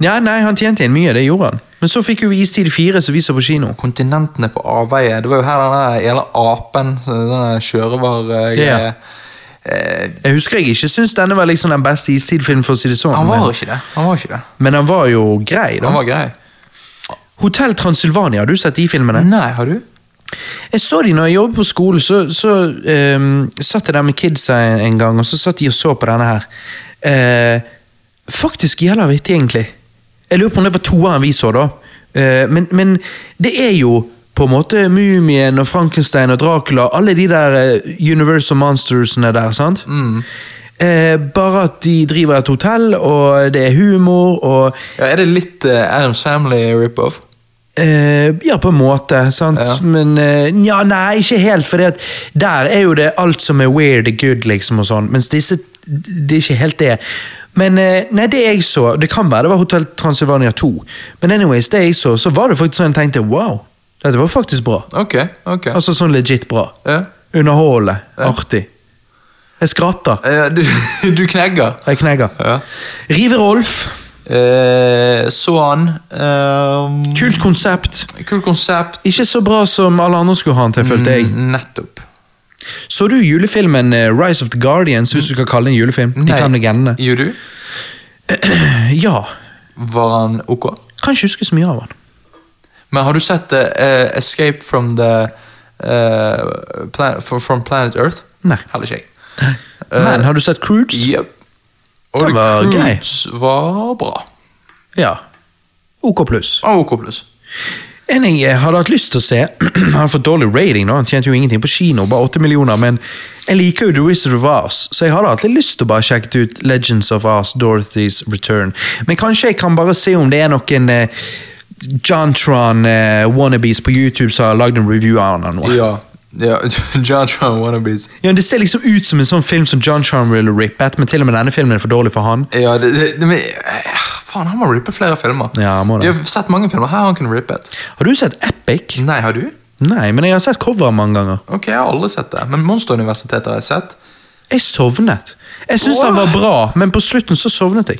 Speaker 1: Ja, nei, han tjente igjen mye, det gjorde han. Men så fikk jo vi Istid 4, som vi så på kino.
Speaker 2: Kontinentene på avveie. Det var jo her den der jævla apen, så- denne sjørøvergreia
Speaker 1: Ja.
Speaker 2: Eh,
Speaker 1: Jeg husker jeg ikke syntes denne var liksom den beste Istid-filmen, for å si det sånn.
Speaker 2: Han var
Speaker 1: men,
Speaker 2: ikke det. Han var ikke det.
Speaker 1: men han var jo grei, da.
Speaker 2: Han var grei.
Speaker 1: Hotell Transilvania, har du sett de filmene?
Speaker 2: Nei, har du?
Speaker 1: Jeg så de når jeg jobbet på skolen, så, så ehm, satt jeg der med kidsa en, en gang, og så satt de og så på denne her. Eh, faktisk jævla vittig, egentlig. Jeg lurer på om det var toeren vi så, da. Eh, men, men det er jo på en måte Mumien og Frankenstein og Dracula, alle de der eh, Universal Monstersene der, sant? Eh, bare at de driver et hotell, og det er humor, og
Speaker 2: Ja, er det litt eh, Adams Family rip-off?
Speaker 1: Eh, ja, på en måte, sant?
Speaker 2: Ja.
Speaker 1: Men eh, nja, nei, ikke helt, for der er jo det alt som er weird er good, liksom, og sånn, mens disse Det er ikke helt det. Men eh, nei, det jeg så Det kan være det var Hotell Transylvania 2, men anyways, det jeg så, så var det faktisk sånn jeg tenkte wow, dette var faktisk bra.
Speaker 2: Ok, ok.
Speaker 1: Altså sånn legit bra.
Speaker 2: Ja.
Speaker 1: Underholdende. Artig. Jeg skratter.
Speaker 2: Eh, du, [laughs] du knegger.
Speaker 1: Jeg knegger.
Speaker 2: Ja.
Speaker 1: Rive-Rolf.
Speaker 2: Eh, så han. eh,
Speaker 1: Kult konsept.
Speaker 2: Kult konsept.
Speaker 1: Ikke så bra som alle andre skulle ha den til, følte jeg.
Speaker 2: Mm, Nettopp.
Speaker 1: Så du julefilmen eh, Rise of the Guardians, hvis du skal kalle det en julefilm? De fem legendene. Eh,
Speaker 2: Gjorde du?
Speaker 1: Ja.
Speaker 2: Var han ok?
Speaker 1: Kan ikke huske så mye av han.
Speaker 2: Men har du sett eh, Escape from the eh, plan from, from Planet Earth?
Speaker 1: Nei.
Speaker 2: Heller ikke jeg. Eh,
Speaker 1: Men har du sett Croods?
Speaker 2: Yep. Og
Speaker 1: Den
Speaker 2: The
Speaker 1: var grei.
Speaker 2: Croods var bra.
Speaker 1: Ja. OK pluss.
Speaker 2: Og OK pluss.
Speaker 1: En jeg eh, hadde hatt lyst til å se [clears throat] Han har fått dårlig rating, nå. han tjente jo ingenting på kino, bare 8 millioner, men jeg liker jo The Wizard of Oz, så jeg hadde hatt litt lyst til å bare sjekke ut Legends of Oz, Dorothy's Return. Men kanskje jeg kan bare se om det er noen eh, Johntron eh, wannabes på YouTube som har lagd en review av han. eller noe.
Speaker 2: Ja. ja. [laughs] John Tron Wannabes.
Speaker 1: Ja, men Det ser liksom ut som en sånn film som John Charm ville rippet, men til og med denne filmen er for dårlig for han.
Speaker 2: Ja, det, det, det, men, eh, faen, han må rippe flere filmer.
Speaker 1: Ja, han må det.
Speaker 2: Jeg har sett mange filmer. Her har han kunnet rippe et.
Speaker 1: Har du sett Epic?
Speaker 2: Nei, har du?
Speaker 1: Nei, men jeg har sett coveret mange ganger.
Speaker 2: Ok, Jeg har aldri sett det. Men Monsteruniversitetet har jeg sett.
Speaker 1: Jeg sovnet. Jeg syns den var bra, men på slutten så sovnet jeg.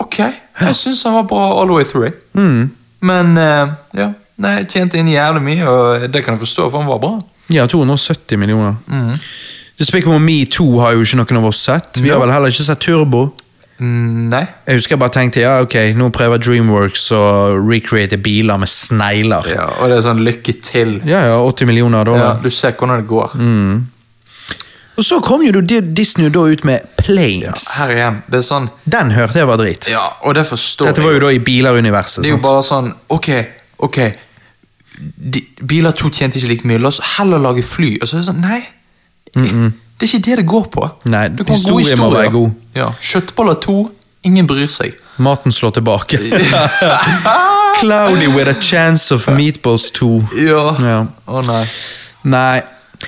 Speaker 2: Ok, Jeg syns han var bra all the way through. jeg. Men eh, ja, Nei, jeg tjente inn jævlig mye, og det kan jeg forstå, for han var bra.
Speaker 1: Ja, 270 millioner.
Speaker 2: Mm.
Speaker 1: Despicable Me 2 har jo ikke noen av oss sett. Vi har vel heller ikke sett Turbo.
Speaker 2: Mm, Nei.
Speaker 1: Jeg husker jeg bare tenkte ja, ok, nå prøver Dreamworks å recreate biler med snegler.
Speaker 2: Ja, og det er sånn lykke til.
Speaker 1: Ja, ja, 80 millioner
Speaker 2: Ja, Mm.
Speaker 1: dollar.
Speaker 2: du ser hvordan det går.
Speaker 1: Og så kom jo Disney da ut med Planes.
Speaker 2: Her igjen. Det er sånn
Speaker 1: Den hørte jeg var drit.
Speaker 2: Ja, og det forstår
Speaker 1: Dette var
Speaker 2: jeg.
Speaker 1: jo da i bileruniverset.
Speaker 2: Det er jo
Speaker 1: Sant?
Speaker 2: bare sånn Ok, ok. De, biler to tjente ikke like mye. La oss heller lage fly. Og så er det sånn Nei. Det er ikke det det går på.
Speaker 1: Nei,
Speaker 2: det kommer gode
Speaker 1: historien må være
Speaker 2: historier.
Speaker 1: god.
Speaker 2: Ja, Kjøttboller to. Ingen bryr
Speaker 1: [laughs]
Speaker 2: seg.
Speaker 1: Maten slår
Speaker 2: [laughs]
Speaker 1: tilbake. Cloudy with a chance of meatballs 2.
Speaker 2: Ja. Å
Speaker 1: Ja.
Speaker 2: nei.
Speaker 1: Nei.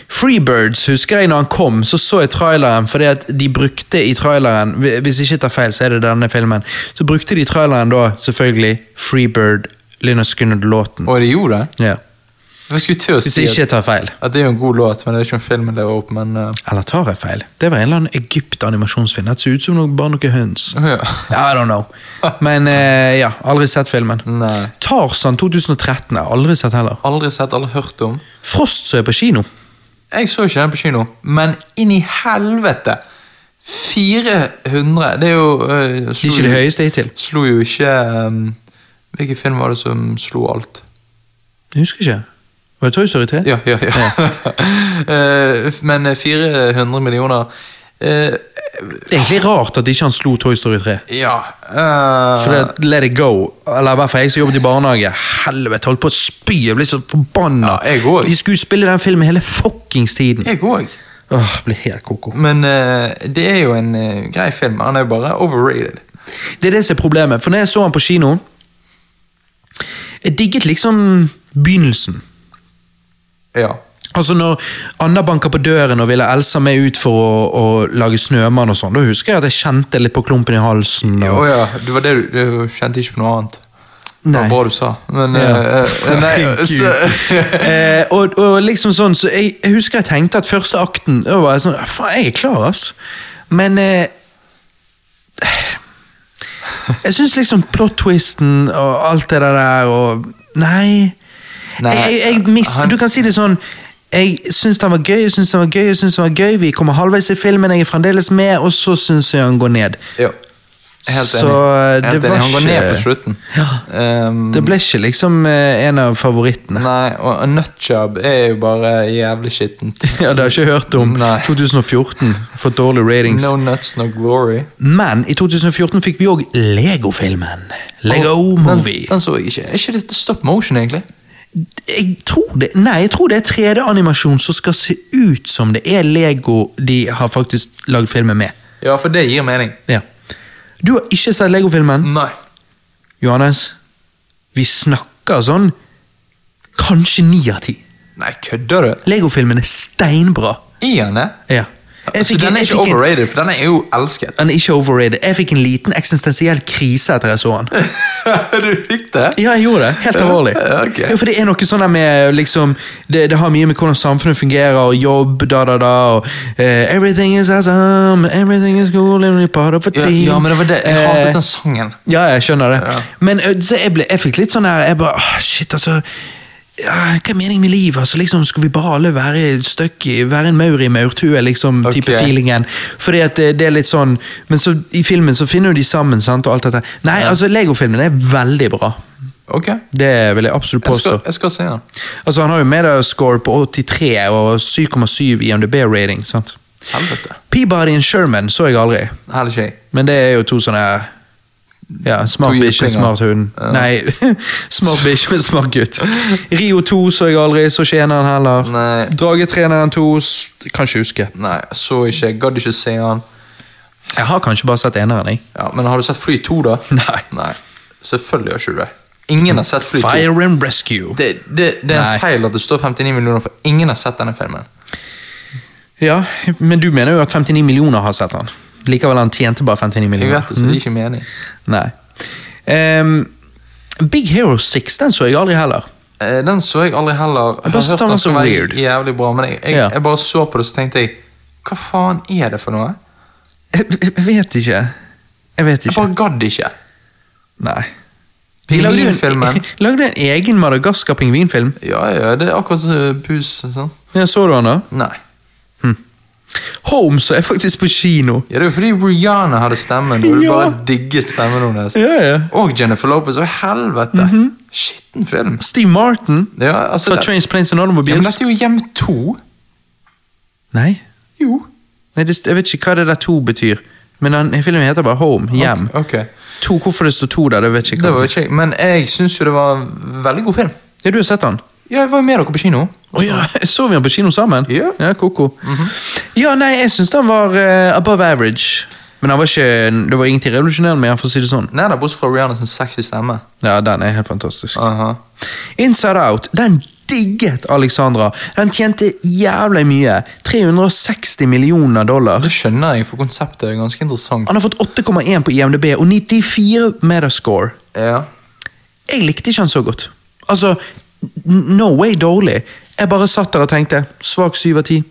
Speaker 1: Freebirds husker jeg når han kom, så så jeg traileren. fordi at de brukte i traileren, hvi- Hvis jeg ikke tar feil, så er det denne filmen. Så brukte de i traileren da selvfølgelig Freebird, Linus Gunnar-låten.
Speaker 2: Og det gjorde det?
Speaker 1: Ja.
Speaker 2: Jeg skulle til å
Speaker 1: Hvis
Speaker 2: si
Speaker 1: jeg ikke
Speaker 2: at,
Speaker 1: tar feil.
Speaker 2: at det er jo en god låt, men det er ikke en film det var opp, men eh,
Speaker 1: Eller tar jeg feil? Det var en eller annen Egypt-animasjonsfilm. Det så ut som noe, bare noe
Speaker 2: [laughs]
Speaker 1: høns.
Speaker 2: Ja.
Speaker 1: I don't know. Men eh, ja, aldri sett filmen.
Speaker 2: Nei.
Speaker 1: Tarzan 2013 har jeg aldri sett heller.
Speaker 2: Aldri sett, aldri hørt om.
Speaker 1: Frost som er på kino.
Speaker 2: Jeg så ikke den på kino, men inn i helvete! 400 Det er jo eh,
Speaker 1: Det er
Speaker 2: slo
Speaker 1: ikke det
Speaker 2: jo-
Speaker 1: høyeste hittil.
Speaker 2: Slo jo ikke eh, Hvilken film var det som slo alt?
Speaker 1: Jeg husker ikke. Var det Toy Story 3?
Speaker 2: Ja, ja, ja. [laughs] Eh, men eh, 400 millioner eh,
Speaker 1: Det er egentlig rart at ikke han slo Toy Story 3.
Speaker 2: Ja. eh,
Speaker 1: For det at Let it go, eller i hvert fall jeg som jobbet i barnehage, helvete, holdt på å spy. Jeg ble så forbanna.
Speaker 2: Ja, jeg også.
Speaker 1: De skulle spille den filmen hele fuckings tiden.
Speaker 2: jeg òg.
Speaker 1: Åh, jeg ble helt koko.
Speaker 2: Men eh, det er jo en eh, grei film. Han er jo bare overrated.
Speaker 1: Det er det som er problemet. For når jeg så han på kino Jeg digget liksom begynnelsen.
Speaker 2: Ja.
Speaker 1: Altså Når Anna banka på døren og ville Elsa med ut for å, å lage snømann, og sånn, da husker jeg at jeg kjente litt på klumpen i halsen.
Speaker 2: Å
Speaker 1: Og,
Speaker 2: ja, det var det du, du kjente ikke på noe annet. Det
Speaker 1: Nei.
Speaker 2: var bra du sa, men eh,
Speaker 1: [laughs]
Speaker 2: eh, Nei, så
Speaker 1: eh, og, og liksom sånn, så jeg, jeg husker jeg tenkte at første akten da var jeg sånn, Faen, jeg er klar, ass. Men eh, Jeg syns liksom plot-twisten og alt det der og Nei.
Speaker 2: Nei,
Speaker 1: jeg, jeg, jeg mist,
Speaker 2: han-
Speaker 1: Du kan si det sånn Jeg syns den var gøy, jeg syns den var gøy, jeg syns den var gøy. Vi kommer halvveis i filmen, jeg er fremdeles med, og så syns jeg han går ned.
Speaker 2: Ja. Helt enig.
Speaker 1: Så, eh,
Speaker 2: Helt
Speaker 1: det
Speaker 2: enig.
Speaker 1: var
Speaker 2: Han går
Speaker 1: ikke-
Speaker 2: ned på slutten.
Speaker 1: Ja.
Speaker 2: Ehm,
Speaker 1: Det ble ikke liksom eh, en av favorittene.
Speaker 2: Nei, og nutjob er jo bare jævlig skittent.
Speaker 1: [laughs] Ja, det har jeg ikke hørt om.
Speaker 2: Nei.
Speaker 1: 2014 fått dårlige ratings.
Speaker 2: No nuts, no glory.
Speaker 1: Men i 2014 fikk vi òg Lego-filmen. Lego
Speaker 2: Den,
Speaker 1: Movie.
Speaker 2: den så jeg ikke. Er ikke dette stop motion, egentlig?
Speaker 1: Jeg tror det Nei, jeg tror det er 3D-animasjon som skal se ut som det er Lego de har faktisk lagd filmen med.
Speaker 2: Ja, for det gir mening.
Speaker 1: Ja. Du har ikke sett Lego-filmen,
Speaker 2: Nei.
Speaker 1: Johannes. Vi snakker sånn kanskje ni av ti.
Speaker 2: Nei, kødder du?
Speaker 1: Lego-filmen er steinbra.
Speaker 2: Er han det?
Speaker 1: Ja. Jeg
Speaker 2: Så
Speaker 1: fikk en-
Speaker 2: Altså, den er
Speaker 1: jeg
Speaker 2: ikke
Speaker 1: fikk en-
Speaker 2: overrated, for den er jo
Speaker 1: [laughs]
Speaker 2: elsket.
Speaker 1: Han er ikke overrated. Jeg fikk en liten eksistensiell krise etter jeg så han.
Speaker 2: du fikk det?
Speaker 1: Ja, jeg gjorde det. Helt alvorlig.
Speaker 2: Ja, ok.
Speaker 1: Ja, for det er noe sånn der med liksom, det, det har mye med hvordan samfunnet fungerer, og jobb, da, da, da, og eh, Everything is awesome, everything is cool, and we're part of a
Speaker 2: Ja,
Speaker 1: team.
Speaker 2: ja, men det var det. Jeg
Speaker 1: Eh,
Speaker 2: hatet den sangen.
Speaker 1: ja, jeg skjønner det.
Speaker 2: Ja.
Speaker 1: Men ø, så jeg, ble, jeg fikk litt sånn her Jeg bare «Åh, Shit, altså. Ja, hva er meningen med livet? Altså, liksom, Skulle vi bare alle være støkk i Være en maur i maurtue, liksom,
Speaker 2: Ok.
Speaker 1: type feelingen? Fordi at det, det er litt sånn Men så i filmen så finner jo de sammen, sant, og alt dette. Nei, altså, Lego-filmen er veldig bra.
Speaker 2: Ok. Jeg
Speaker 1: Det vil jeg absolutt påstå.
Speaker 2: skal, jeg skal se den.
Speaker 1: Altså, Han har jo mediascore på 83 og 7,7 i MDB-rating. sant?
Speaker 2: Helvete.
Speaker 1: Peabody and Sherman så jeg aldri.
Speaker 2: Heller ikke jeg.
Speaker 1: Men det er jo to sånne ja, smart
Speaker 2: To
Speaker 1: bitch og
Speaker 2: jyplinger.
Speaker 1: smart hund.
Speaker 2: Ja.
Speaker 1: Nei, [laughs] smart bitch og smart gutt. Rio 2 så jeg aldri, så ikke eneren heller.
Speaker 2: Nei.
Speaker 1: Dragetreneren 2 s- kan ikke huske.
Speaker 2: eh, Nei, så ikke. Jeg gadd ikke se han.
Speaker 1: Jeg har kanskje bare sett eneren, jeg.
Speaker 2: Ja, men har du sett Fly 2, da?
Speaker 1: [laughs] Nei.
Speaker 2: Nei. Selvfølgelig har ikke du det. Ingen har sett Fly 2.
Speaker 1: Fire and Rescue.
Speaker 2: Det, det, det er en
Speaker 1: Nei.
Speaker 2: feil at det står 59 millioner, for ingen har sett denne filmen.
Speaker 1: Ja, Men du mener jo at 59 millioner har sett han. Likevel han tjente bare 59
Speaker 2: Jeg
Speaker 1: millioner.
Speaker 2: vet det, så det gir ikke mening.
Speaker 1: Nei. Ehm, Big Hero 6 den så jeg aldri heller.
Speaker 2: Eh, Den så jeg aldri heller. Jeg
Speaker 1: bare
Speaker 2: har
Speaker 1: synes
Speaker 2: hørt
Speaker 1: den var
Speaker 2: den
Speaker 1: så
Speaker 2: skal være
Speaker 1: weird.
Speaker 2: jævlig bra, men jeg, jeg,
Speaker 1: Ja.
Speaker 2: jeg bare så på det, så tenkte jeg Hva faen er det for noe?
Speaker 1: Jeg, jeg- jeg vet ikke. Jeg vet
Speaker 2: Jeg
Speaker 1: ikke.
Speaker 2: bare gadd ikke.
Speaker 1: Nei. De lagde jo en- [laughs]
Speaker 2: Pingvinfilmen.
Speaker 1: lagde en egen Madagaskar-pingvinfilm.
Speaker 2: Ja, ja, det er akkurat som Pus. Sånn.
Speaker 1: Ja, så du han da?
Speaker 2: Nei.
Speaker 1: Holmes er faktisk på kino.
Speaker 2: Ja, det er jo fordi Rihanna hadde stemmen, og du
Speaker 1: [laughs] Ja.
Speaker 2: bare digget stemmen hennes.
Speaker 1: Ja, ja.
Speaker 2: Og Jennifer Lopez. Å, helvete!
Speaker 1: Mhm.
Speaker 2: Skitten film.
Speaker 1: Steve Martin
Speaker 2: Ja, altså,
Speaker 1: fra
Speaker 2: det-
Speaker 1: Trains, Planes and
Speaker 2: ja, men
Speaker 1: Automobiles.
Speaker 2: dette er jo Hjem 2.
Speaker 1: Nei,
Speaker 2: Jo.
Speaker 1: Nei det, jeg vet ikke hva det der to betyr. Men den, filmen heter bare Home. Hjem.
Speaker 2: Ok, ok.
Speaker 1: To, hvorfor det står to der, det vet jeg ikke.
Speaker 2: Det var jo ikke jeg. Men jeg syns jo det var en veldig god film.
Speaker 1: Ja, du har sett den?
Speaker 2: Ja, jeg var jo med dere på kino.
Speaker 1: Å ja, så vi den på kino sammen?
Speaker 2: Ja.
Speaker 1: Ja, koko. Ja, nei, jeg syns den var eh, above average. Men han var ikke, det var ingenting revolusjonerende med han, for å si det sånn.
Speaker 2: Nei da, bortsett fra Rihanna sin sexy stemme.
Speaker 1: Ja, den er helt fantastisk.
Speaker 2: Aha.
Speaker 1: Inside Out, den digget Alexandra. Den tjente jævlig mye. 360 millioner dollar.
Speaker 2: Det skjønner jeg, for konseptet er ganske interessant.
Speaker 1: Han har fått 8,1 på IMDb og 94 metascore.
Speaker 2: Ja.
Speaker 1: Jeg likte ikke han så godt. Altså, n- no way dårlig. Jeg bare satt der og tenkte svak 7 av 10.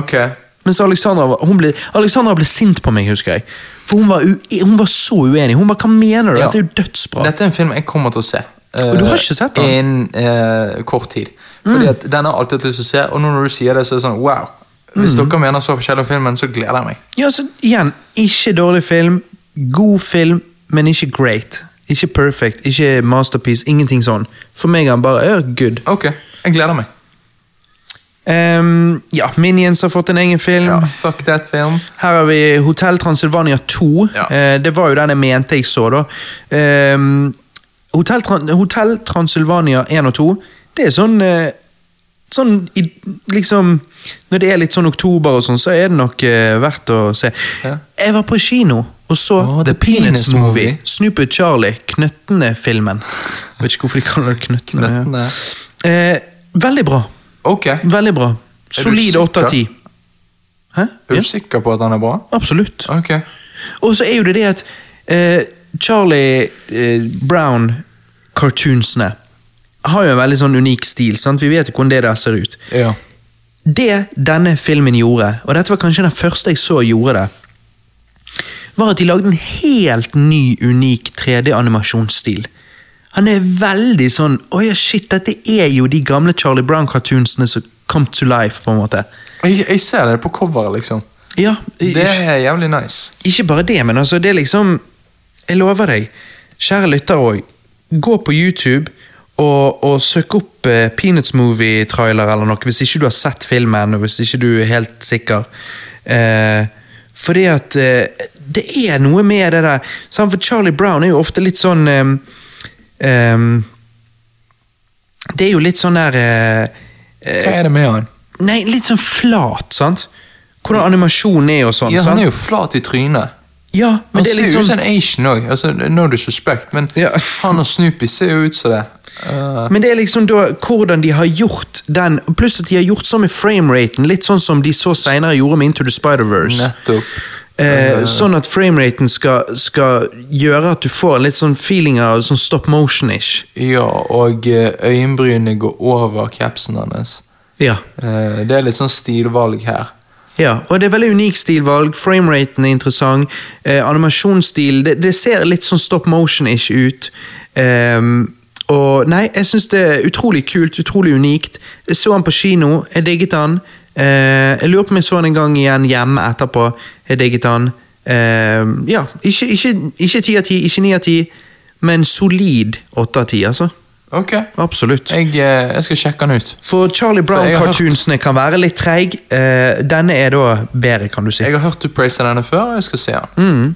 Speaker 2: Ok.
Speaker 1: Mens Alexandra, var- hun ble, Alexandra ble sint på meg, husker jeg. For hun var, ue, hun var så uenig. Hun bare 'hva mener du?'
Speaker 2: Ja.
Speaker 1: Dette er jo dødsbra.
Speaker 2: Dette er en film jeg kommer til å se. eh,
Speaker 1: Og du har ikke sett den?
Speaker 2: Innen eh, kort tid. Fordi at den har jeg alltid hatt lyst til å se, og nå når du sier det, så er det sånn wow. Hvis dere mener så forskjellig om filmen, så gleder jeg meg.
Speaker 1: Ja, så igjen, ikke dårlig film. God film, men ikke great. Ikke perfect, ikke masterpiece, ingenting sånn. For meg er han bare ja, good.
Speaker 2: Ok, Mm. jeg gleder meg.
Speaker 1: Ehm, ja, Minions har fått en egen film.
Speaker 2: Ja, fuck that film.
Speaker 1: Her har vi Hotell Transylvania 2.
Speaker 2: Ja.
Speaker 1: Eh, det var jo den jeg mente jeg så, da. Ehm, Hotell, Tran Hotell Transylvania 1 og 2, det er sånn eh, Sånn i, liksom Når det er litt sånn oktober og sånn, så er det nok eh, verdt å se.
Speaker 2: Ja.
Speaker 1: Jeg var på kino Og så
Speaker 2: Åh,
Speaker 1: The
Speaker 2: The
Speaker 1: Peanuts
Speaker 2: Peanuts
Speaker 1: Movie.
Speaker 2: Movie.
Speaker 1: Snoopy Charlie, Knøttene-filmen. Jeg Vet ikke hvorfor de kaller det Knøttene. ja.
Speaker 2: Knøttene.
Speaker 1: Eh, veldig bra.
Speaker 2: Ok. Er
Speaker 1: Veldig bra. Solid
Speaker 2: sikker?
Speaker 1: 8 av 10. Hæ?
Speaker 2: du
Speaker 1: Ja,
Speaker 2: sikker på at han er bra?
Speaker 1: absolutt.
Speaker 2: Ok.
Speaker 1: Og så er jo det det at eh, Charlie eh, Brown-cartoonsene har jo en veldig sånn unik stil. sant? Vi vet jo hvordan det der ser ut.
Speaker 2: Ja.
Speaker 1: Det denne filmen gjorde, og dette var kanskje den første jeg så gjorde det, var at de lagde en helt ny, unik 3D-animasjonsstil. Han er veldig sånn Å ja, shit, dette er jo de gamle Charlie Brown-cartoonsene som come to life, på en måte.
Speaker 2: Jeg, jeg ser det på coveret, liksom.
Speaker 1: Ja, i-
Speaker 2: Det er jævlig nice.
Speaker 1: ikke bare det, men altså, det er liksom Jeg lover deg, kjære lytter òg, gå på YouTube og, og søk opp eh, Peanuts Movie-trailer eller noe, hvis ikke du har sett filmen, og hvis ikke du er helt sikker. Eh, fordi at eh, det er noe med det der sant, For Charlie Brown er jo ofte litt sånn eh, eh, Det er jo litt sånn der eh,
Speaker 2: Hva er det med han?
Speaker 1: Nei, litt sånn flat, sant? Hvordan animasjonen er og sånn.
Speaker 2: Ja,
Speaker 1: sant?
Speaker 2: Han er jo flat i trynet.
Speaker 1: ja, men
Speaker 2: Han
Speaker 1: det er
Speaker 2: ser jo
Speaker 1: liksom-
Speaker 2: ut som en Asian òg. Altså, no disrespect, men
Speaker 1: Ja.
Speaker 2: han og Snoopy ser jo ut som det. Eh,
Speaker 1: Men det er liksom da hvordan de har gjort den, pluss at de har gjort sånn med frameraten, litt sånn som de så senere gjorde med Into the Spider-Verse.
Speaker 2: nettopp.
Speaker 1: Eh, sånn at frameraten skal, skal gjøre at du får litt sånn feeling av sånn stop motion-ish.
Speaker 2: Ja, og eh, øyenbrynene går over capsen hans.
Speaker 1: Ja.
Speaker 2: Eh, det er litt sånn stilvalg her.
Speaker 1: ja. Og det er veldig unik stilvalg, frameraten er interessant, eh, animasjonsstil det, det ser litt sånn stop motion-ish ut. Ehm, og nei, jeg syns det er utrolig kult, utrolig unikt. Jeg så han på kino, jeg digget han. Eh, jeg lurer på om jeg så han en gang igjen hjemme etterpå. Jeg digget han. Eh, ja, ikke, ikke, ikke 10 av 10, ikke 9 av 10, men solid 8 av 10, altså.
Speaker 2: Ok,
Speaker 1: Absolutt.
Speaker 2: jeg, eh, jeg skal sjekke han ut.
Speaker 1: For Charlie
Speaker 2: jeg har hørt-
Speaker 1: Brown-cartoonsene kan være litt treig. Eh, denne er da bedre, kan du si.
Speaker 2: Jeg har hørt du praise denne før, og jeg skal se han.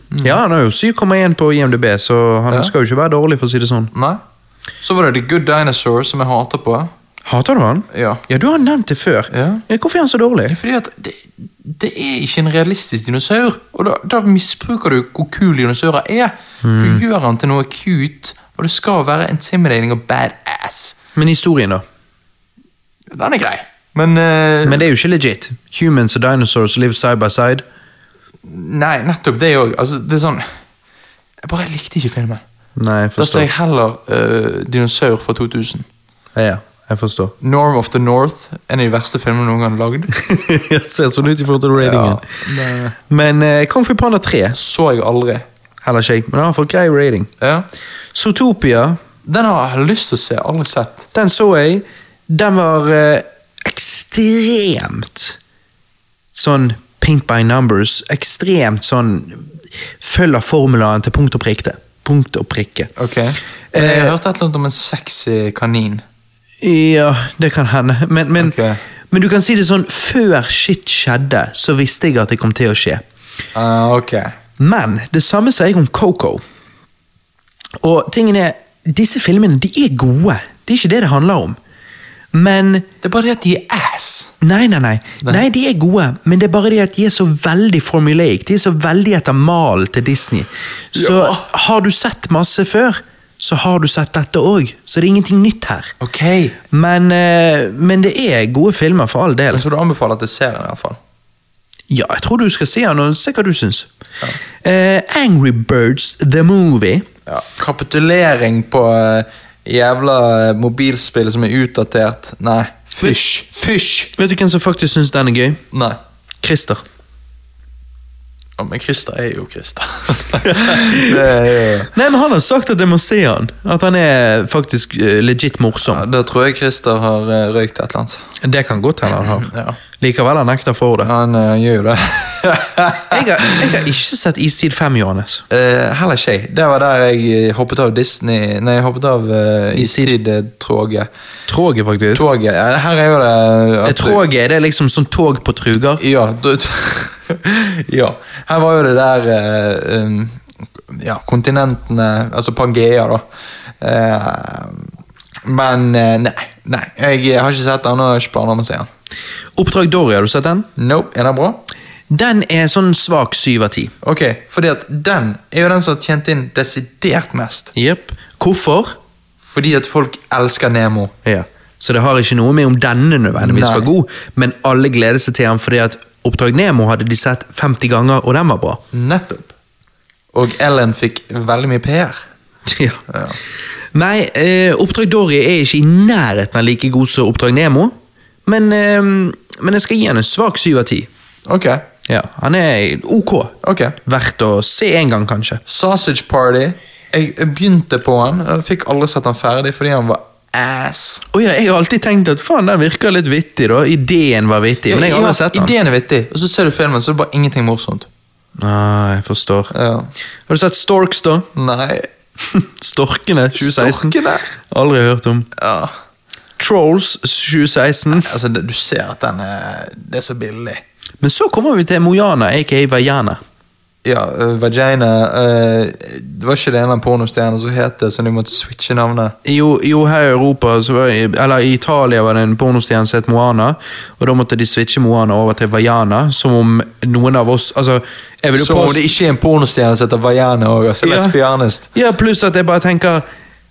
Speaker 1: Mm. Ja, han har jo 7,1 på IMDb, så han
Speaker 2: Ja.
Speaker 1: skal jo ikke være dårlig, for å si det sånn.
Speaker 2: Nei? Så var det The Good Dinosaur, som jeg hater på.
Speaker 1: Hater du han?
Speaker 2: Ja.
Speaker 1: Ja, du har nevnt det før.
Speaker 2: Ja.
Speaker 1: Hvorfor er han så dårlig?
Speaker 2: Det er fordi at det, det er ikke en realistisk dinosaur. Og da, da misbruker du hvor kul dinosaurer er.
Speaker 1: Mm.
Speaker 2: Du gjør han til noe cute, og det skal være intimidating og badass.
Speaker 1: Men historien, da?
Speaker 2: Den er grei. Men, eh,
Speaker 1: Men det er jo ikke legit. Humans og dinosaurs live side by side.
Speaker 2: Nei, nettopp det òg. Altså, det er sånn Jeg bare likte ikke filmen.
Speaker 1: Nei, jeg
Speaker 2: Da
Speaker 1: forstår.
Speaker 2: ser jeg heller eh, Dinosaur fra 2000.
Speaker 1: Ja, ja, jeg [laughs] forstår.
Speaker 2: Norm of the North, en av de verste filmene noen gang lagd.
Speaker 1: jeg ser sånn ut i forhold til ratingen.
Speaker 2: Ja,
Speaker 1: Men eh, Kung Fu Panda 3
Speaker 2: Så jeg aldri.
Speaker 1: heller ikke jeg, men han har fått grei rating.
Speaker 2: Ja.
Speaker 1: Zootopia
Speaker 2: Den har jeg lyst til å se. Aldri sett.
Speaker 1: Den så jeg. Den var eh, ekstremt sånn paint by numbers. Ekstremt sånn Følger formulaen til punkt og prikke. Punkt og prikke.
Speaker 2: Ok.
Speaker 1: Eh,
Speaker 2: Men jeg har hørt et eller annet om en sexy kanin.
Speaker 1: Ja, det kan hende. Men, men,
Speaker 2: Ok.
Speaker 1: men du kan si det sånn, før shit skjedde, så visste jeg at det kom til å skje.
Speaker 2: Ah, ok.
Speaker 1: Men det samme sier jeg om Coco. Og tingen er, disse filmene de er gode. Det er ikke det det handler om. Men
Speaker 2: Det er bare det at de er ass.
Speaker 1: Nei, nei, nei. Nei, De er gode, men det er bare det at de er så veldig formulaic. De er så veldig etter malen til Disney. Så har du sett masse før, så har du sett dette òg. Så det er ingenting nytt her.
Speaker 2: Ok.
Speaker 1: Men, eh, men det er gode filmer, for all del.
Speaker 2: Så du anbefaler at jeg ser den i hvert fall.
Speaker 1: Ja, jeg tror du skal se den og se hva du syns. Eh, Angry Birds The Movie.
Speaker 2: Ja. Kapitulering på eh, jævla eh, mobilspill som er utdatert. Nei. Fysj. Fysj!
Speaker 1: Vet du hvem som faktisk syns den er gøy?
Speaker 2: Nei.
Speaker 1: [laughs] Christer.
Speaker 2: Ja, men Christer er jo Christer. [laughs] det er jo...
Speaker 1: Nei, men Han har sagt at jeg må se han. At han er faktisk eh, legit morsom.
Speaker 2: Ja, da tror jeg Christer har eh, røykt et eller annet.
Speaker 1: Det kan godt hende han har.
Speaker 2: Ja.
Speaker 1: Likevel, han nekter for det.
Speaker 2: Han eh, gjør jo [laughs] det.
Speaker 1: Jeg har, jeg har ikke sett Istid 5, Johannes.
Speaker 2: Eh, heller ikke jeg. Det var der jeg eh, hoppet av Disney Nei, jeg hoppet av uh, Istid-toget.
Speaker 1: Toget, faktisk.
Speaker 2: Toget, ja, her er jo det at-
Speaker 1: Toget, er det liksom sånn tog på truger?
Speaker 2: Ja, du, [laughs] ja. Her var jo det der eh, um, Ja, kontinentene Altså Pangea, da. Eh, men eh, nei. nei Jeg har ikke sett den og har ikke planer om å se den.
Speaker 1: Oppdrag Dory, har du sett den?
Speaker 2: Nope. Er den bra?
Speaker 1: Den er sånn svak syv av ti.
Speaker 2: Ok, fordi at den er jo den som har tjent inn desidert mest.
Speaker 1: Jepp. Hvorfor?
Speaker 2: Fordi at folk elsker Nemo.
Speaker 1: Ja. Så det har ikke noe med om denne nødvendigvis
Speaker 2: Nei.
Speaker 1: var god, men alle gleder seg til den fordi at Oppdrag Nemo hadde de sett 50 ganger, og den var bra.
Speaker 2: Nettopp. Og Ellen fikk veldig mye PR.
Speaker 1: [laughs] Ja.
Speaker 2: Ja.
Speaker 1: Nei, eh, Oppdrag Dory er ikke i nærheten av like god som Oppdrag Nemo, men, eh, men jeg skal gi han en svak syv av ti.
Speaker 2: Ok,
Speaker 1: Ja, han er ok.
Speaker 2: ok.
Speaker 1: Verdt å se en gang, kanskje.
Speaker 2: Sausage Party. Jeg jeg begynte på han, og fikk aldri sett han ferdig fordi han var ass.
Speaker 1: Å ja, jeg har alltid tenkt at faen, den virker litt vittig, da. Ideen var vittig, men jeg har
Speaker 2: Ja,
Speaker 1: aldri sett den.
Speaker 2: Ideen er vittig, og så ser du filmen, så er det bare ingenting morsomt.
Speaker 1: Ah, jeg forstår.
Speaker 2: Ja.
Speaker 1: Har du sett Storks, da? [laughs]
Speaker 2: Nei.
Speaker 1: Storkene 2016.
Speaker 2: Storkene?
Speaker 1: Aldri hørt om.
Speaker 2: Ja.
Speaker 1: Trolls 2016.
Speaker 2: Altså, det- du ser at den er, det er så billig.
Speaker 1: Men så kommer vi til Mojana, aka Vajana.
Speaker 2: Ja, øh, Vagina øh, Det var ikke det en eller annen pornostjerne som het det, så de måtte switche navnet.
Speaker 1: Jo, jo, her i Europa, så var, eller i Italia var det en pornostjerne som het Moana, og da måtte de switche Moana over til Vajana, som om noen av oss Altså, jeg vil jo
Speaker 2: Som om
Speaker 1: påstå-
Speaker 2: det ikke er en pornostjerne som heter Vagina òg, altså. Let's be honest.
Speaker 1: Ja, pluss at jeg bare tenker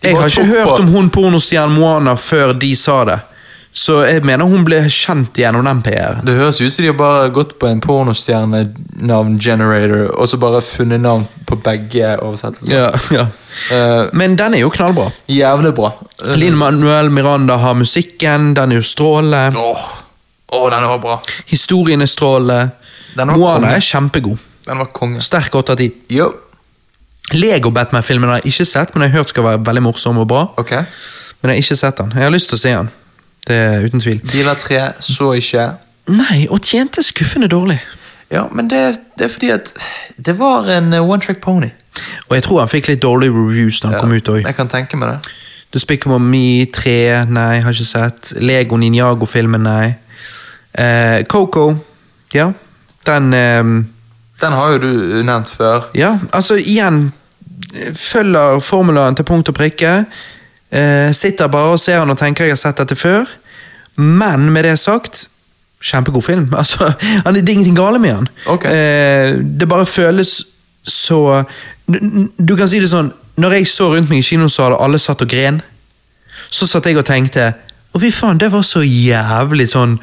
Speaker 1: Jeg
Speaker 2: bare
Speaker 1: har ikke
Speaker 2: tok på-
Speaker 1: hørt om hun pornostjernen Moana før de sa det. Så jeg mener hun ble kjent gjennom den PR-en.
Speaker 2: Det høres ut som de har bare gått på en pornostjernenavn-generator, og så bare funnet navn på begge oversettelser.
Speaker 1: Ja, ja.
Speaker 2: Eh,
Speaker 1: Men den er jo knallbra.
Speaker 2: jævlig bra. Eh,
Speaker 1: Linn Manuel Miranda har musikken, den er jo stråle.
Speaker 2: Åh, Åh, den var bra.
Speaker 1: Historien er stråle.
Speaker 2: Den var
Speaker 1: Moana
Speaker 2: konge.
Speaker 1: er kjempegod.
Speaker 2: Den var konge.
Speaker 1: Sterk åtte av ti.
Speaker 2: Jo.
Speaker 1: Lego-Batman-filmen har jeg ikke sett, men jeg har hørt skal være veldig morsom og bra.
Speaker 2: Ok.
Speaker 1: Men jeg har ikke sett den. Jeg har lyst til å se den. Det er uten tvil.
Speaker 2: Dealer 3 så ikke.
Speaker 1: Nei, og tjente skuffende dårlig.
Speaker 2: Ja, men det, det er fordi at det var en eh, one track pony.
Speaker 1: Og jeg tror han fikk litt dårlige reviews da han kom ut òg.
Speaker 2: Jeg kan tenke meg det.
Speaker 1: The Spickable Me 3, nei, har ikke sett. Lego Ninjago-filmen, nei. Eh, Coco, ja. Den eh,
Speaker 2: Den har jo du nevnt før.
Speaker 1: Ja, altså igjen Følger formulaen til punkt og prikke. Eh, sitter bare og ser han og tenker jeg har sett dette før. Men med det sagt Kjempegod film. [laughs] Altså, han, det er ingenting gale med han.
Speaker 2: Ok.
Speaker 1: Eh, det bare føles så du, du kan si det sånn Når jeg så rundt meg i kinosalen, og alle satt og gren, så satt jeg og tenkte Å, fy faen, det var så jævlig sånn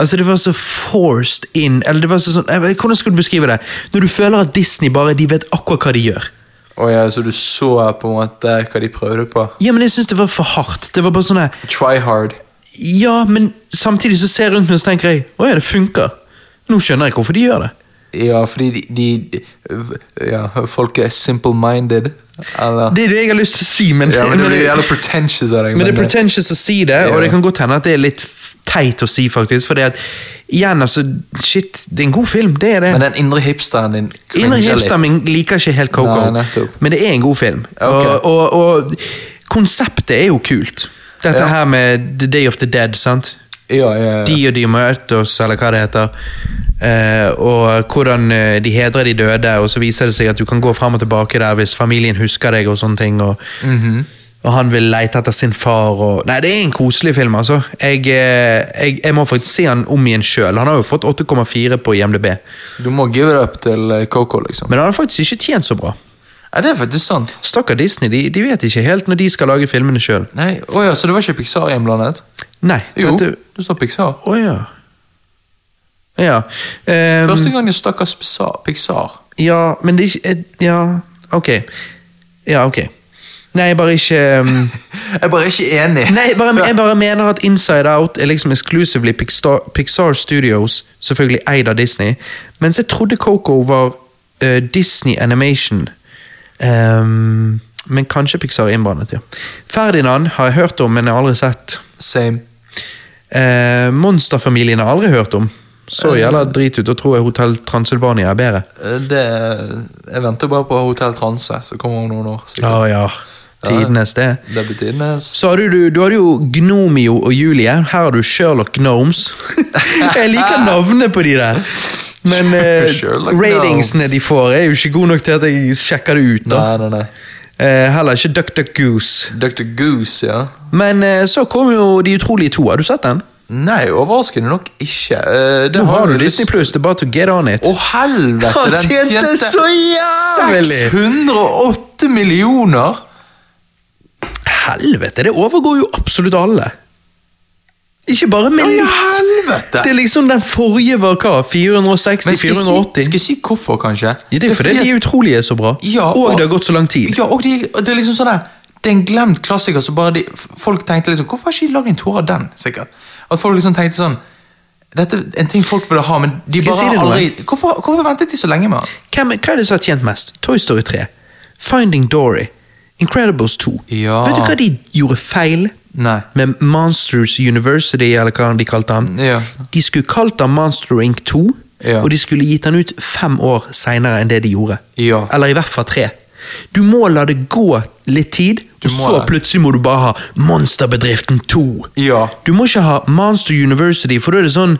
Speaker 1: Altså, det var så forced in Eller det var så sånn, jeg vet- Hvordan skulle du beskrive det? Når du føler at Disney bare de vet akkurat hva de gjør.
Speaker 2: Og ja, Så du så på en måte hva de prøvde på?
Speaker 1: Ja, men jeg syns det var for hardt. Det var bare sånn der,
Speaker 2: Try hard.
Speaker 1: Ja, men samtidig så ser jeg rundt meg og så tenker jeg, å ja, det funker. Nå skjønner jeg hvorfor de gjør det.
Speaker 2: Ja, fordi de, de Ja, folk er simple-minded. Eller
Speaker 1: Det er det jeg har lyst til å si, men,
Speaker 2: Ja, [laughs] men Det
Speaker 1: men
Speaker 2: blir
Speaker 1: det-
Speaker 2: jævlig pretentious av deg.
Speaker 1: [laughs] Men det er pretentious å si det, og
Speaker 2: Ja.
Speaker 1: det kan godt hende at det er litt f- teit å si, faktisk. For det at, igjen, altså, shit, det er en god film, det er det.
Speaker 2: men den indre hipsteren din
Speaker 1: Indre
Speaker 2: cringer
Speaker 1: hipster min liker ikke helt Coco,
Speaker 2: Nei, nettopp.
Speaker 1: men det er en god film.
Speaker 2: Ok.
Speaker 1: Og, og, og konseptet er jo kult. Dette
Speaker 2: Ja.
Speaker 1: her med The Day of the Dead, sant?
Speaker 2: Ja, ja, ja.
Speaker 1: De og de møter oss, eller hva det heter. Eh, og hvordan eh, de hedrer de døde, og så viser det seg at du kan gå frem og tilbake der hvis familien husker deg. Og sånne ting Og,
Speaker 2: Mhm.
Speaker 1: og han vil lete etter sin far. Og, nei, det er en koselig film, altså. Jeg, eh, jeg, jeg må faktisk se han om igjen sjøl. Han har jo fått 8,4 på IMDb,
Speaker 2: Du må give it up til eh, Coco, liksom.
Speaker 1: men han har faktisk ikke tjent så bra.
Speaker 2: Ja, det er faktisk sant.
Speaker 1: Stakkar Disney, de, de vet ikke helt når de skal lage filmene sjøl.
Speaker 2: Nei, Å ja, Så det var ikke Pixar innblandet?
Speaker 1: Nei.
Speaker 2: Jo,
Speaker 1: dette-
Speaker 2: det står Pixar.
Speaker 1: Å ja. Ja. ehm,
Speaker 2: Første gang jeg stakkars Pixar- Pixar.
Speaker 1: Ja, men det er ikke eh, Ja, ok. Ja, ok. Nei, jeg bare ikke
Speaker 2: [laughs]
Speaker 1: um,
Speaker 2: Jeg er bare ikke enig.
Speaker 1: Nei, jeg bare, jeg bare mener at Inside Out er liksom exclusively Pixar, Pixar Studios, selvfølgelig eid av Disney, mens jeg trodde Coco var eh, Disney Animation. Ehm, men kanskje Pixar er innblandet, ja. Ferdinand har jeg hørt om, men jeg har aldri sett.
Speaker 2: Same.
Speaker 1: Eh, Monsterfamilien har jeg aldri hørt om. Så jævla drit ut, og tror jeg Hotell Transylvania er bedre.
Speaker 2: Eh, Det, eh, jeg venter bare på Hotell Transe, som kommer om noen år.
Speaker 1: Å
Speaker 2: sikkert.
Speaker 1: ja. Tidenes, det.
Speaker 2: Det blir tidenes.
Speaker 1: Så har du, du, du har jo Gnomio og Julie. Her har du Sherlock
Speaker 2: [laughs]
Speaker 1: Gnomes. jeg liker navnet på de der. Men eh,
Speaker 2: Sherlock
Speaker 1: ratingsene
Speaker 2: Gnomes.
Speaker 1: de får, er jo ikke gode nok til at jeg sjekker det ut. da.
Speaker 2: Nei, nei, nei.
Speaker 1: Eh, heller ikke Duck Duck Goose.
Speaker 2: Dr. Goose, ja.
Speaker 1: Men eh, så kom jo De utrolige to. Har du sett den?
Speaker 2: Nei, overraskende nok ikke. Eh, det
Speaker 1: Nå har du
Speaker 2: jo
Speaker 1: Disney Pluss, det er bare to get on it.
Speaker 2: Å, helvete!
Speaker 1: Han
Speaker 2: Den
Speaker 1: tjente
Speaker 2: tjente
Speaker 1: så jævlig!
Speaker 2: 608 millioner!
Speaker 1: Helvete, det overgår jo absolutt alle. Ikke bare med
Speaker 2: Ja, i
Speaker 1: litt.
Speaker 2: helvete!
Speaker 1: Det er liksom den forrige var hva? 460,
Speaker 2: Men skal jeg, si,
Speaker 1: 480?
Speaker 2: skal jeg si hvorfor, kanskje?
Speaker 1: Ja, det er fordi de utrolige er så bra,
Speaker 2: Ja,
Speaker 1: og, det har gått så lang tid.
Speaker 2: Ja, og det, og det er liksom sånn der Det er en glemt klassiker som bare de, folk tenkte liksom Hvorfor har ikke de lagd en toer av den? sikkert? At folk liksom tenkte sånn Dette er en ting folk ville ha, men
Speaker 1: Skal
Speaker 2: de
Speaker 1: jeg
Speaker 2: bare
Speaker 1: si det
Speaker 2: har
Speaker 1: til
Speaker 2: aldri hvorfor, hvorfor ventet de så lenge med den?
Speaker 1: Hvem, hva er det som har tjent mest? Toy Story 3, Finding Dory, Incredibles 2.
Speaker 2: Ja.
Speaker 1: Vet du hva de gjorde feil
Speaker 2: Nei.
Speaker 1: med Monsters University, eller hva de kalte den?
Speaker 2: Ja.
Speaker 1: De skulle kalt den Monster Inc. 2,
Speaker 2: Ja.
Speaker 1: og de skulle gitt den ut fem år senere enn det de gjorde.
Speaker 2: Ja.
Speaker 1: Eller i hvert fall tre. Du må la det gå litt tid, og
Speaker 2: må
Speaker 1: så
Speaker 2: det.
Speaker 1: plutselig må du bare ha Monsterbedriften 2.
Speaker 2: Ja.
Speaker 1: Du må ikke ha Monster University, for da er det sånn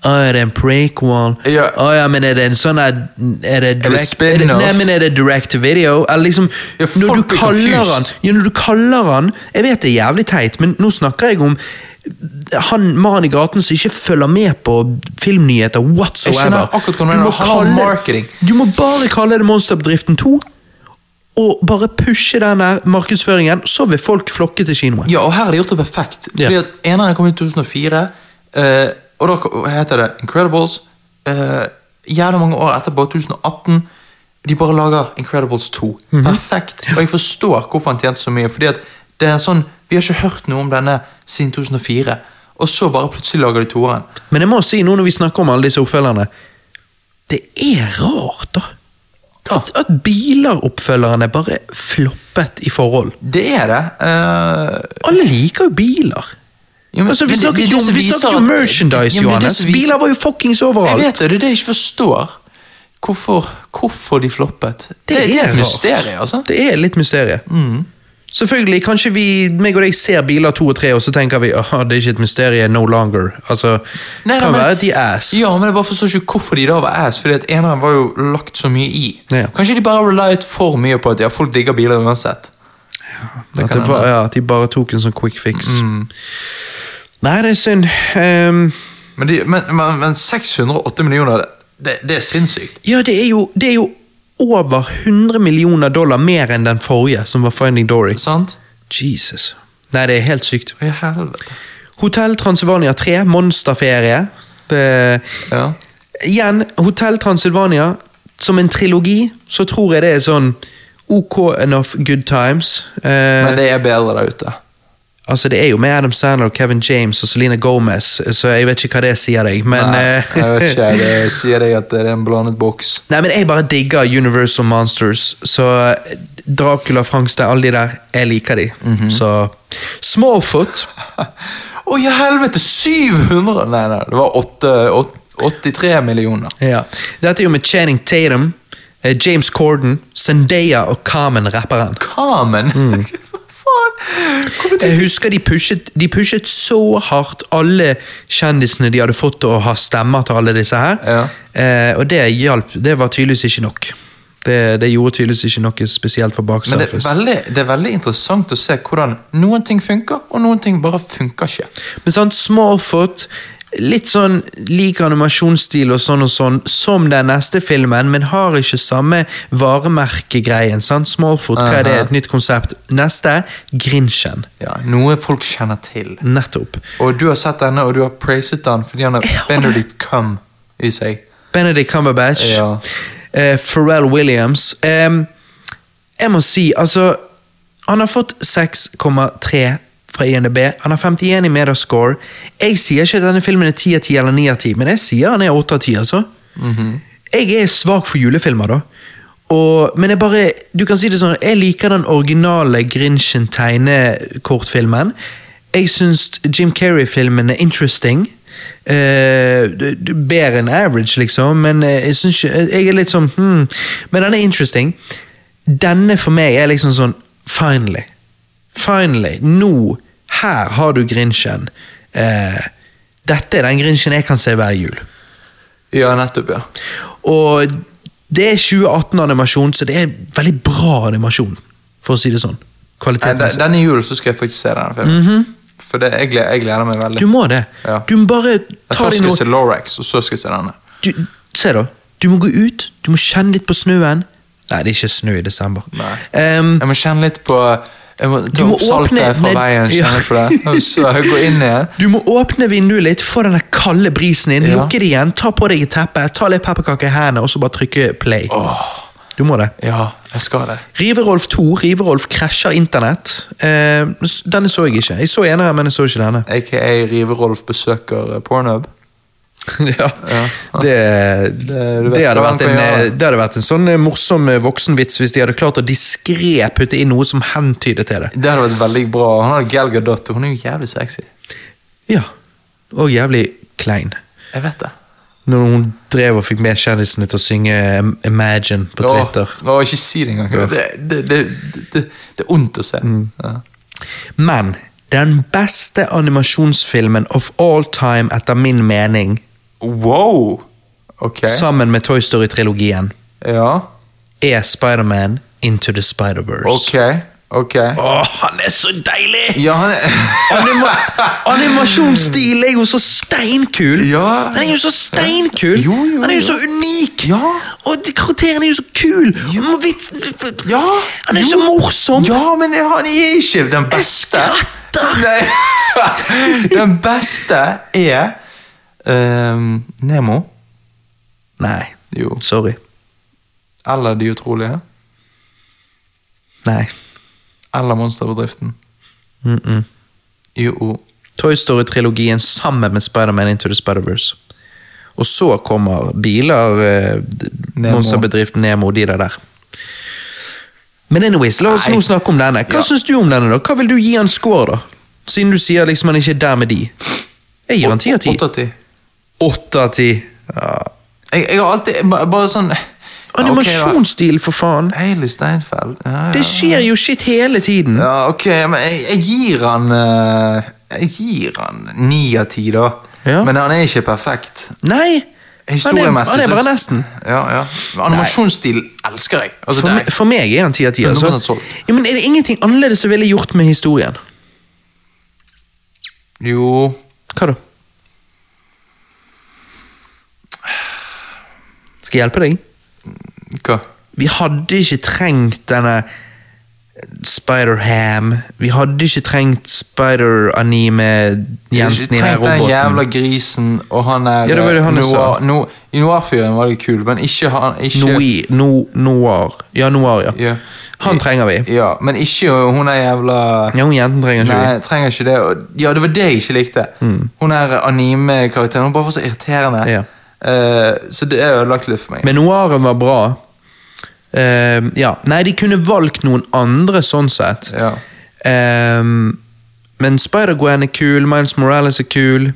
Speaker 1: Å, er det en prequel?
Speaker 2: Ja.
Speaker 1: Å ja, men er det en sånn Er er det, direct, er det
Speaker 2: spin-off?
Speaker 1: Nei, men er det direct to video? Eller liksom
Speaker 2: Ja, folk
Speaker 1: Når du
Speaker 2: blir
Speaker 1: kaller
Speaker 2: confused.
Speaker 1: han ja, Når du kaller han Jeg vet det er jævlig teit, men nå snakker jeg om han mannen i gaten som ikke følger med på filmnyheter whatsoever.
Speaker 2: Jeg skjønner akkurat hva du mener.
Speaker 1: må
Speaker 2: Han har
Speaker 1: kalle-
Speaker 2: marketing.
Speaker 1: Du må bare kalle det Monsterbedriften 2, og bare pushe den der markedsføringen, så vil folk flokke til kinoen.
Speaker 2: Ja, og her er det gjort det perfekt. Fordi
Speaker 1: Ja.
Speaker 2: at Eneren kom i 2004, eh, og da ko- heter det Incredibles. Eh, jævlig mange år etterpå, 2018, de bare lager Incredibles 2.
Speaker 1: Mhm.
Speaker 2: Perfekt. Og jeg forstår hvorfor han tjente så mye. Fordi at det er en sånn, Vi har ikke hørt noe om denne siden 2004, og så bare plutselig lager de toeren.
Speaker 1: Men jeg må si nå når vi snakker om alle disse oppfølgerne Det er rart, da. At, at biler-oppfølgerne bare floppet i forhold.
Speaker 2: Det er det. eh,
Speaker 1: Alle liker jo biler.
Speaker 2: ja, men-
Speaker 1: altså, vi
Speaker 2: men det-
Speaker 1: snakket
Speaker 2: det er
Speaker 1: jo
Speaker 2: det som
Speaker 1: om, vi
Speaker 2: viser
Speaker 1: snakket jo
Speaker 2: at-
Speaker 1: om merchandise,
Speaker 2: Ja, men det er det
Speaker 1: Johannes.
Speaker 2: som viser-
Speaker 1: Biler var jo fuckings
Speaker 2: Jeg
Speaker 1: overalt.
Speaker 2: vet det, det er det jeg ikke forstår. Hvorfor, hvorfor de floppet? Det, det, er
Speaker 1: rart.
Speaker 2: et mysterium, altså.
Speaker 1: Det er litt mysterium.
Speaker 2: Mm.
Speaker 1: Selvfølgelig, kanskje vi meg og deg ser biler to og tre, og så tenker vi at det er ikke et mysterium no longer. Altså,
Speaker 2: Nei,
Speaker 1: kan
Speaker 2: nei, men-
Speaker 1: være at de er ass.
Speaker 2: Ja, men jeg bare forstår ikke hvorfor de da var ass, fordi at eneren var jo lagt så mye i.
Speaker 1: Ja.
Speaker 2: Kanskje de bare relied for mye på at ja, folk digger biler uansett. det
Speaker 1: At,
Speaker 2: kan Mm.
Speaker 1: det var, ja, at de bare tok en sånn quick fix. Nei, det er synd. Ehm,
Speaker 2: Men, de, men, men, men 608 millioner, det, det, det er sinnssykt.
Speaker 1: ja, det er, jo, det er jo over 100 millioner dollar mer enn den forrige, som var Finding Dory.
Speaker 2: Sant?
Speaker 1: Jesus. Nei, det er helt sykt.
Speaker 2: Å, i helvete.
Speaker 1: Hotell Transylvania 3, monsterferie. Det,
Speaker 2: Ja.
Speaker 1: igjen, Hotell Transylvania, som en trilogi, så tror jeg det er sånn OK enough good times. Eh,
Speaker 2: Men det er bedre der ute.
Speaker 1: Altså, det er jo med Adam Sandler, Kevin James og Selena Gomez, så jeg vet ikke hva det sier deg, men
Speaker 2: Nei,
Speaker 1: eh,
Speaker 2: jeg vet ikke, det sier deg at det er en blandet boks.
Speaker 1: Nei, men jeg bare digger Universal Monsters, så eh, Dracula, Frankenstein, alle de der, jeg liker de.
Speaker 2: Mhm.
Speaker 1: Så Smallfoot
Speaker 2: Å, i helvete! 700! Nei, nei, det var åtte- åt- 83 millioner.
Speaker 1: ja. Dette er jo med Channing Tatum, eh, James Corden, Zendaya og Carmen-rapperen.
Speaker 2: Carmen! [laughs] Hva faen? Hvorfor
Speaker 1: Jeg husker de pushet, de pushet så hardt alle kjendisene de hadde fått til å ha stemmer til alle disse her.
Speaker 2: Ja.
Speaker 1: Eh, og det hjalp. Det var tydeligvis ikke nok. Det, det gjorde tydeligvis ikke noe spesielt for Box
Speaker 2: Men det er,
Speaker 1: Office.
Speaker 2: veldig, det er veldig interessant å se hvordan noen ting funker, og noen ting bare funker ikke.
Speaker 1: Men sånn Smallfoot Litt sånn lik animasjonsstil og sånn og sånn som den neste filmen, men har ikke samme varemerkegreien. sant? Smallfoot, hva er det?
Speaker 2: Aha.
Speaker 1: Et nytt konsept. Neste Grinchen.
Speaker 2: Ja, Noe folk kjenner til.
Speaker 1: Nettopp.
Speaker 2: Og du har sett denne, og du har praiset den fordi han har
Speaker 1: Jeg har det.
Speaker 2: Benedict Cum i seg.
Speaker 1: Benedict Cumberbatch.
Speaker 2: Ja.
Speaker 1: eh, Pharrell Williams. Eh, jeg må si, altså Han har fått 6,3 fra INDB. Han har 51 i Metascore. Jeg sier ikke at denne filmen er 10 av 10 eller 9 av 10, men jeg sier han er 8 av 10, altså. Jeg er svak for julefilmer, da. Og, men jeg bare, du kan si det sånn, jeg liker den originale Grinchen tegnekortfilmen. Jeg syns Jim Carrey-filmen er interesting. Eh, d- d- bedre enn average, liksom, men eh, jeg syns ikke Jeg er litt sånn hmm, Men den er interesting. Denne for meg er liksom sånn Finally. Finally. Nå. Her har du Grinchen. Eh, dette er den Grinchen jeg kan se hver jul.
Speaker 2: Ja, nettopp, ja.
Speaker 1: Og det er 2018-animasjon, så det er veldig bra animasjon, for å si det sånn.
Speaker 2: Nei, de-
Speaker 1: Kvaliteten.
Speaker 2: Denne julen så skal jeg faktisk se denne filmen. For det, jeg, gleder, jeg gleder meg veldig.
Speaker 1: Mhm. Du må det.
Speaker 2: Ja.
Speaker 1: Du må bare
Speaker 2: Jeg
Speaker 1: ta deg
Speaker 2: først skal
Speaker 1: noe
Speaker 2: jeg se Lorax, og så skal jeg se denne.
Speaker 1: du, Se da, du må gå ut, du må kjenne litt på snøen. Nei, det er ikke snø i desember.
Speaker 2: Nei.
Speaker 1: Ehm,
Speaker 2: Jeg må kjenne litt på jeg må
Speaker 1: Du
Speaker 2: Ta
Speaker 1: må
Speaker 2: opp saltet
Speaker 1: åpne-
Speaker 2: fra
Speaker 1: nei,
Speaker 2: veien,
Speaker 1: ja.
Speaker 2: kjenne litt på det. Og
Speaker 1: [laughs]
Speaker 2: så gå inn igjen.
Speaker 1: du må åpne vinduet litt, få den der kalde brisen inn,
Speaker 2: Ja.
Speaker 1: lukke det igjen, ta på deg et teppe, ta litt pepperkaker i hendene, og så bare trykke play.
Speaker 2: Åh,
Speaker 1: Du må det.
Speaker 2: ja, jeg skal det.
Speaker 1: Riverolf 2, Riverolf krasjer internett. Ehm, s- denne så jeg ikke. Jeg så en av dem, men jeg så ikke denne.
Speaker 2: Aka Rive-Rolf besøker eh, Pornhub.
Speaker 1: [laughs] ja, det, det,
Speaker 2: du vet
Speaker 1: hadde
Speaker 2: hva han
Speaker 1: vært
Speaker 2: kan
Speaker 1: en, eh,
Speaker 2: gjøre.
Speaker 1: det hadde vært en sånn eh, morsom eh, voksenvits hvis de hadde klart å diskré putte inn noe som hentydet til det.
Speaker 2: Det hadde vært veldig bra. Han hadde Gal Gadot, og hun er jo jævlig sexy.
Speaker 1: Ja, Og jævlig klein.
Speaker 2: Jeg vet det.
Speaker 1: Når hun drev og fikk med kjendisene til å synge Im- Imagine på
Speaker 2: Åh,
Speaker 1: Twitter.
Speaker 2: åh, ikke si det engang. Det, det, det, det, det er ondt å se. Ja.
Speaker 1: Men den beste animasjonsfilmen of all time, etter min mening,
Speaker 2: Wow! Ok.
Speaker 1: sammen med Toy Story-trilogien,
Speaker 2: Ja.
Speaker 1: er Spiderman Into the Spider-Verse.
Speaker 2: Ok. Ok.
Speaker 1: Åh, han er så deilig!
Speaker 2: Ja, han er [laughs]
Speaker 1: Anima animasjonsstil er jo så steinkul!
Speaker 2: Ja.
Speaker 1: Han er jo så steinkul!
Speaker 2: Jo, jo,
Speaker 1: han er jo
Speaker 2: jo.
Speaker 1: så unik!
Speaker 2: Ja.
Speaker 1: Og de karakterene er jo så kul! Og vits-
Speaker 2: Ja.
Speaker 1: Han er så morsom!
Speaker 2: Ja, men han er ikke den beste.
Speaker 1: skratter!
Speaker 2: Nei. [laughs] Den beste er ehm, Nemo.
Speaker 1: Nei,
Speaker 2: Jo.
Speaker 1: sorry.
Speaker 2: Eller De utrolige.
Speaker 1: Nei.
Speaker 2: Eller Monsterbedriften.
Speaker 1: Mm -mm.
Speaker 2: Jo.
Speaker 1: Toy Story-trilogien sammen med Spider-Man Into the Spider-Verse. Og så kommer biler, eh, d-
Speaker 2: Nemo.
Speaker 1: monsterbedriften Nemo, de der der. Men anyways, la oss
Speaker 2: Nei.
Speaker 1: nå snakke om denne. Hva
Speaker 2: Ja.
Speaker 1: syns du om denne? da? Hva vil du gi han score, da? Siden du sier liksom han ikke er der med de. Jeg gir han ti av ti.
Speaker 2: Åtte av ti.
Speaker 1: Åtte av ti. Ja.
Speaker 2: Jeg, jeg har alltid ba- bare sånn Ja, ok,
Speaker 1: Animasjonsstil, for faen!
Speaker 2: da. Hailey Steinfeld. Ja, ja.
Speaker 1: Det skjer jo shit hele tiden.
Speaker 2: Ja, ok, men jeg, jeg gir han eh, Jeg gir han ni av ti, da.
Speaker 1: Ja.
Speaker 2: Men han er ikke perfekt.
Speaker 1: Nei! Han er, han
Speaker 2: Historiemessig
Speaker 1: er bare
Speaker 2: så-
Speaker 1: nesten.
Speaker 2: Ja, ja. Animasjonsstilen elsker jeg. Altså,
Speaker 1: For,
Speaker 2: det er-
Speaker 1: me- for meg er han ti av ti.
Speaker 2: 100%
Speaker 1: Altså.
Speaker 2: solgt.
Speaker 1: Ja, men er det ingenting annerledes jeg ville gjort med historien?
Speaker 2: Jo
Speaker 1: Hva da? Skal jeg hjelpe deg?
Speaker 2: Hva?
Speaker 1: Vi hadde ikke trengt denne Spider-Ham. Vi hadde ikke trengt Spider-anime-jenten i den
Speaker 2: Tenk den jævla
Speaker 1: roboten.
Speaker 2: grisen og han er
Speaker 1: Ja, det var det han sa.
Speaker 2: noir, no, Noir-fyren var litt kul, men ikke han ikke,
Speaker 1: Noi, no, noir. Ja, noir, ja.
Speaker 2: Ja.
Speaker 1: Han trenger vi.
Speaker 2: Ja, Men ikke hun er jævla
Speaker 1: Ja, hun jenten trenger ikke vi.
Speaker 2: Nei, trenger ikke det. og- Ja, det var det jeg ikke likte. Hun er anime-karakteren. Hun bare var så irriterende.
Speaker 1: Ja.
Speaker 2: Eh, så det er ødelagt litt for meg.
Speaker 1: Men noiren var bra. Eh, ja. Nei, de kunne valgt noen andre, sånn sett.
Speaker 2: Ja.
Speaker 1: Ehm, men Spider-Gwen er kul, Miles Morales er kul.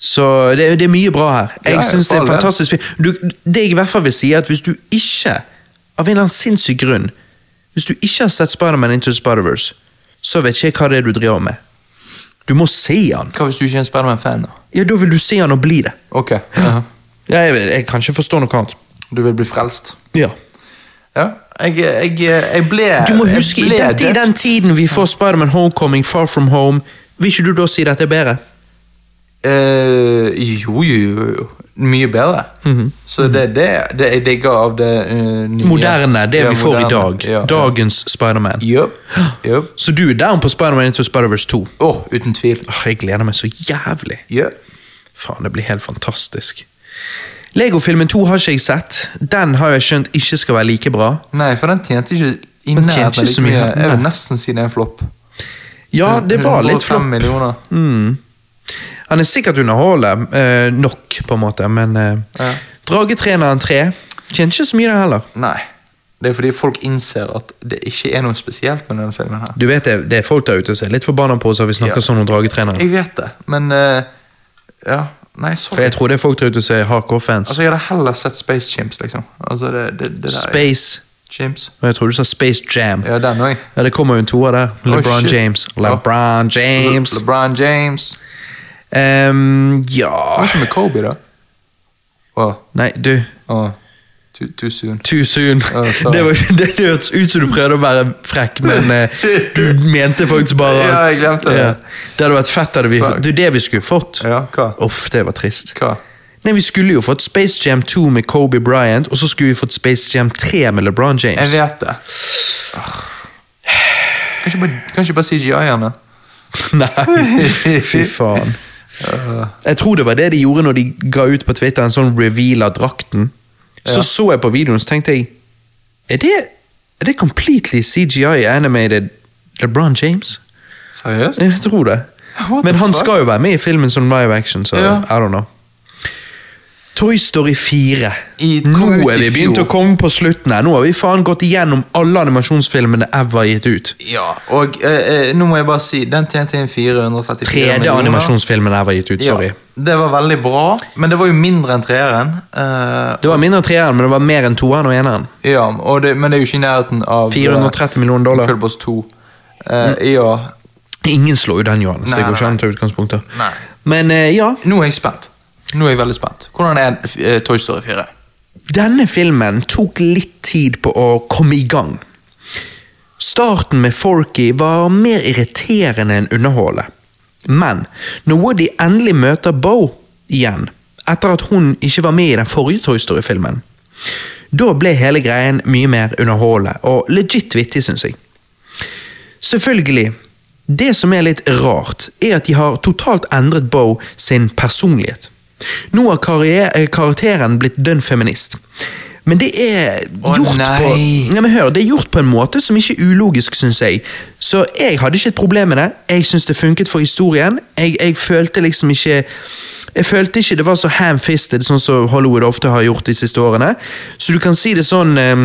Speaker 1: Så det, er- det er mye bra her. Jeg
Speaker 2: Ja, ja,
Speaker 1: synes det er
Speaker 2: for
Speaker 1: en
Speaker 2: all del.
Speaker 1: fantastisk film. Du, det jeg i hvert fall vil si, er at hvis du ikke, av en eller annen sinnssyk grunn, hvis du ikke har sett Spider-Man Into the Spider-Verse, så vet ikke jeg hva det er du driver med. Du må se han.
Speaker 2: Hva hvis du ikke er en Spiderman-fan? da?
Speaker 1: Ja, da vil du se han og bli det. [laughs]
Speaker 2: Ok, ja.
Speaker 1: Ja, jeg, vil- jeg kan ikke forstå noe annet.
Speaker 2: Du vil bli frelst?
Speaker 1: Ja.
Speaker 2: Ja. Jeg, jeg, jeg ble
Speaker 1: Du må huske, i
Speaker 2: jeg Eh, ble
Speaker 1: den, i
Speaker 2: døpt.
Speaker 1: den tiden vi får Spider-Man Homecoming, Far From Home, vil ikke du da si dette er bedre?
Speaker 2: Eh, jo, jo, jo, jo. Mye bedre.
Speaker 1: Mhm.
Speaker 2: Så det er det, det jeg digger av det eh, nye.
Speaker 1: moderne, det
Speaker 2: Ja,
Speaker 1: vi får i
Speaker 2: moderne.
Speaker 1: dag.
Speaker 2: Ja.
Speaker 1: Dagens Spiderman.
Speaker 2: Jupp. Jupp.
Speaker 1: Så du er down på Spiderman Into Spider-Verse 2?
Speaker 2: Å, uten tvil.
Speaker 1: Åh, jeg gleder meg så jævlig.
Speaker 2: Jupp.
Speaker 1: Faen, det blir helt fantastisk. Lego-filmen 2 har ikke jeg sett. Den har jeg skjønt ikke skal være like bra.
Speaker 2: Nei, for den tjente ikke i
Speaker 1: Den tjente
Speaker 2: nærheten
Speaker 1: ikke så
Speaker 2: like
Speaker 1: mye,
Speaker 2: mye. Jeg vil
Speaker 1: nei.
Speaker 2: nesten si det er en flopp.
Speaker 1: Ja, det var litt
Speaker 2: 105
Speaker 1: flopp.
Speaker 2: millioner.
Speaker 1: Han er sikkert underholdende eh, nok, på en måte, men eh,
Speaker 2: Ja.
Speaker 1: Dragetreneren 3 kjenner ikke så mye det heller.
Speaker 2: Nei. Det er fordi folk innser at det ikke er noe spesielt med denne filmen her.
Speaker 1: Du vet det, det er folk der ute som er litt forbanna på oss når vi snakker
Speaker 2: Ja.
Speaker 1: sånn om Dragetreneren.
Speaker 2: Jeg vet det, men eh, Ja, nei,
Speaker 1: For
Speaker 2: sorry.
Speaker 1: jeg tror det er folk der ute som er hardcore fans.
Speaker 2: Altså, Jeg hadde heller sett Space Chimps, liksom. Altså, det, det, det der
Speaker 1: Space
Speaker 2: Chimps.
Speaker 1: Og Jeg tror du sa Space Jam.
Speaker 2: Ja, den òg.
Speaker 1: Ja, det kommer jo en toer der. LeBron
Speaker 2: shit.
Speaker 1: James. LeBron James.
Speaker 2: LeBron James. Oh,
Speaker 1: Ehm,
Speaker 2: Hva
Speaker 1: ja
Speaker 2: er det med Kobe, da? Å,
Speaker 1: Nei, du.
Speaker 2: å. Oh, Too, too soon.
Speaker 1: Too soon.
Speaker 2: Ja,
Speaker 1: det,
Speaker 2: sorry.
Speaker 1: var, ikke- det det hørtes ut som du prøvde å være frekk, men eh, du mente faktisk bare at
Speaker 2: [laughs] Ja, jeg glemte det.
Speaker 1: Det hadde vært fett. Hadde vi,
Speaker 2: Fuck.
Speaker 1: det er det vi skulle fått.
Speaker 2: Ja, hva?
Speaker 1: Uff, det var trist.
Speaker 2: Hva?
Speaker 1: Nei, Vi skulle jo fått Space Jam 2 med Kobe Bryant, og så skulle vi fått Space Jam 3 med LeBron
Speaker 2: Jeg
Speaker 1: James.
Speaker 2: vet det. Åh. Kan ikke bare, kan ikke bare [laughs] CGI-ene?
Speaker 1: Nei, fy faen. Jeg tror det var det de gjorde når de ga ut på Twitter en sånn reveal av drakten. Så
Speaker 2: Ja.
Speaker 1: så jeg på videoen så tenkte jeg Er det, er det completely CGI animated LeBron James?
Speaker 2: Seriøst?
Speaker 1: Jeg tror det.
Speaker 2: What
Speaker 1: Men
Speaker 2: the
Speaker 1: han
Speaker 2: fuck?
Speaker 1: skal jo være med i filmen som live action, så
Speaker 2: Ja.
Speaker 1: I don't know. Toy Story 4.
Speaker 2: I- kom
Speaker 1: Nå
Speaker 2: ut
Speaker 1: er
Speaker 2: i
Speaker 1: vi begynt
Speaker 2: fjor.
Speaker 1: å komme på slutten her. Nå har vi faen gått igjennom alle animasjonsfilmene ever gitt ut.
Speaker 2: Ja, og eh, eh, nå må jeg bare si, den tjente inn 434
Speaker 1: Tredje animasjonsfilmen ever gitt ut, sorry.
Speaker 2: Ja, det var veldig bra, men det var jo mindre enn treeren. eh,
Speaker 1: Det var mindre enn treeren, men det var mer enn toeren og eneren.
Speaker 2: ja, og det, men det er jo ikke i nærheten av eh,
Speaker 1: 430 millioner dollar. Mm.
Speaker 2: Incredibles 2. Eh, Ja,
Speaker 1: Ingen slår jo den, Johannes.
Speaker 2: Nei,
Speaker 1: det går
Speaker 2: nei,
Speaker 1: ikke an å ta utgangspunkter.
Speaker 2: Nei.
Speaker 1: Men eh, ja,
Speaker 2: nå er jeg spent. Nå er jeg veldig spent. Hvordan er eh, Toy Story 4?
Speaker 1: denne filmen tok litt tid på å komme i gang. Starten med Forky var mer irriterende enn underholdet. Men når Woody endelig møter Bo igjen, etter at hun ikke var med i den forrige Toy Story-filmen, da ble hele greien mye mer underholdende og legit vittig, syns jeg. Selvfølgelig. Det som er litt rart, er at de har totalt endret Bo sin personlighet. Nå har karrie- eh, karakteren blitt dønn feminist. Men det er
Speaker 2: Å,
Speaker 1: gjort på
Speaker 2: nei.
Speaker 1: Nei, men hør, Det er gjort på en måte som ikke er ulogisk, syns jeg. Så jeg hadde ikke et problem med det. Jeg syns det funket for historien. Jeg, jeg følte liksom ikke Jeg følte ikke det var så ham-fisted, sånn som Hollywood ofte har gjort de siste årene. Så du kan si det sånn ehm,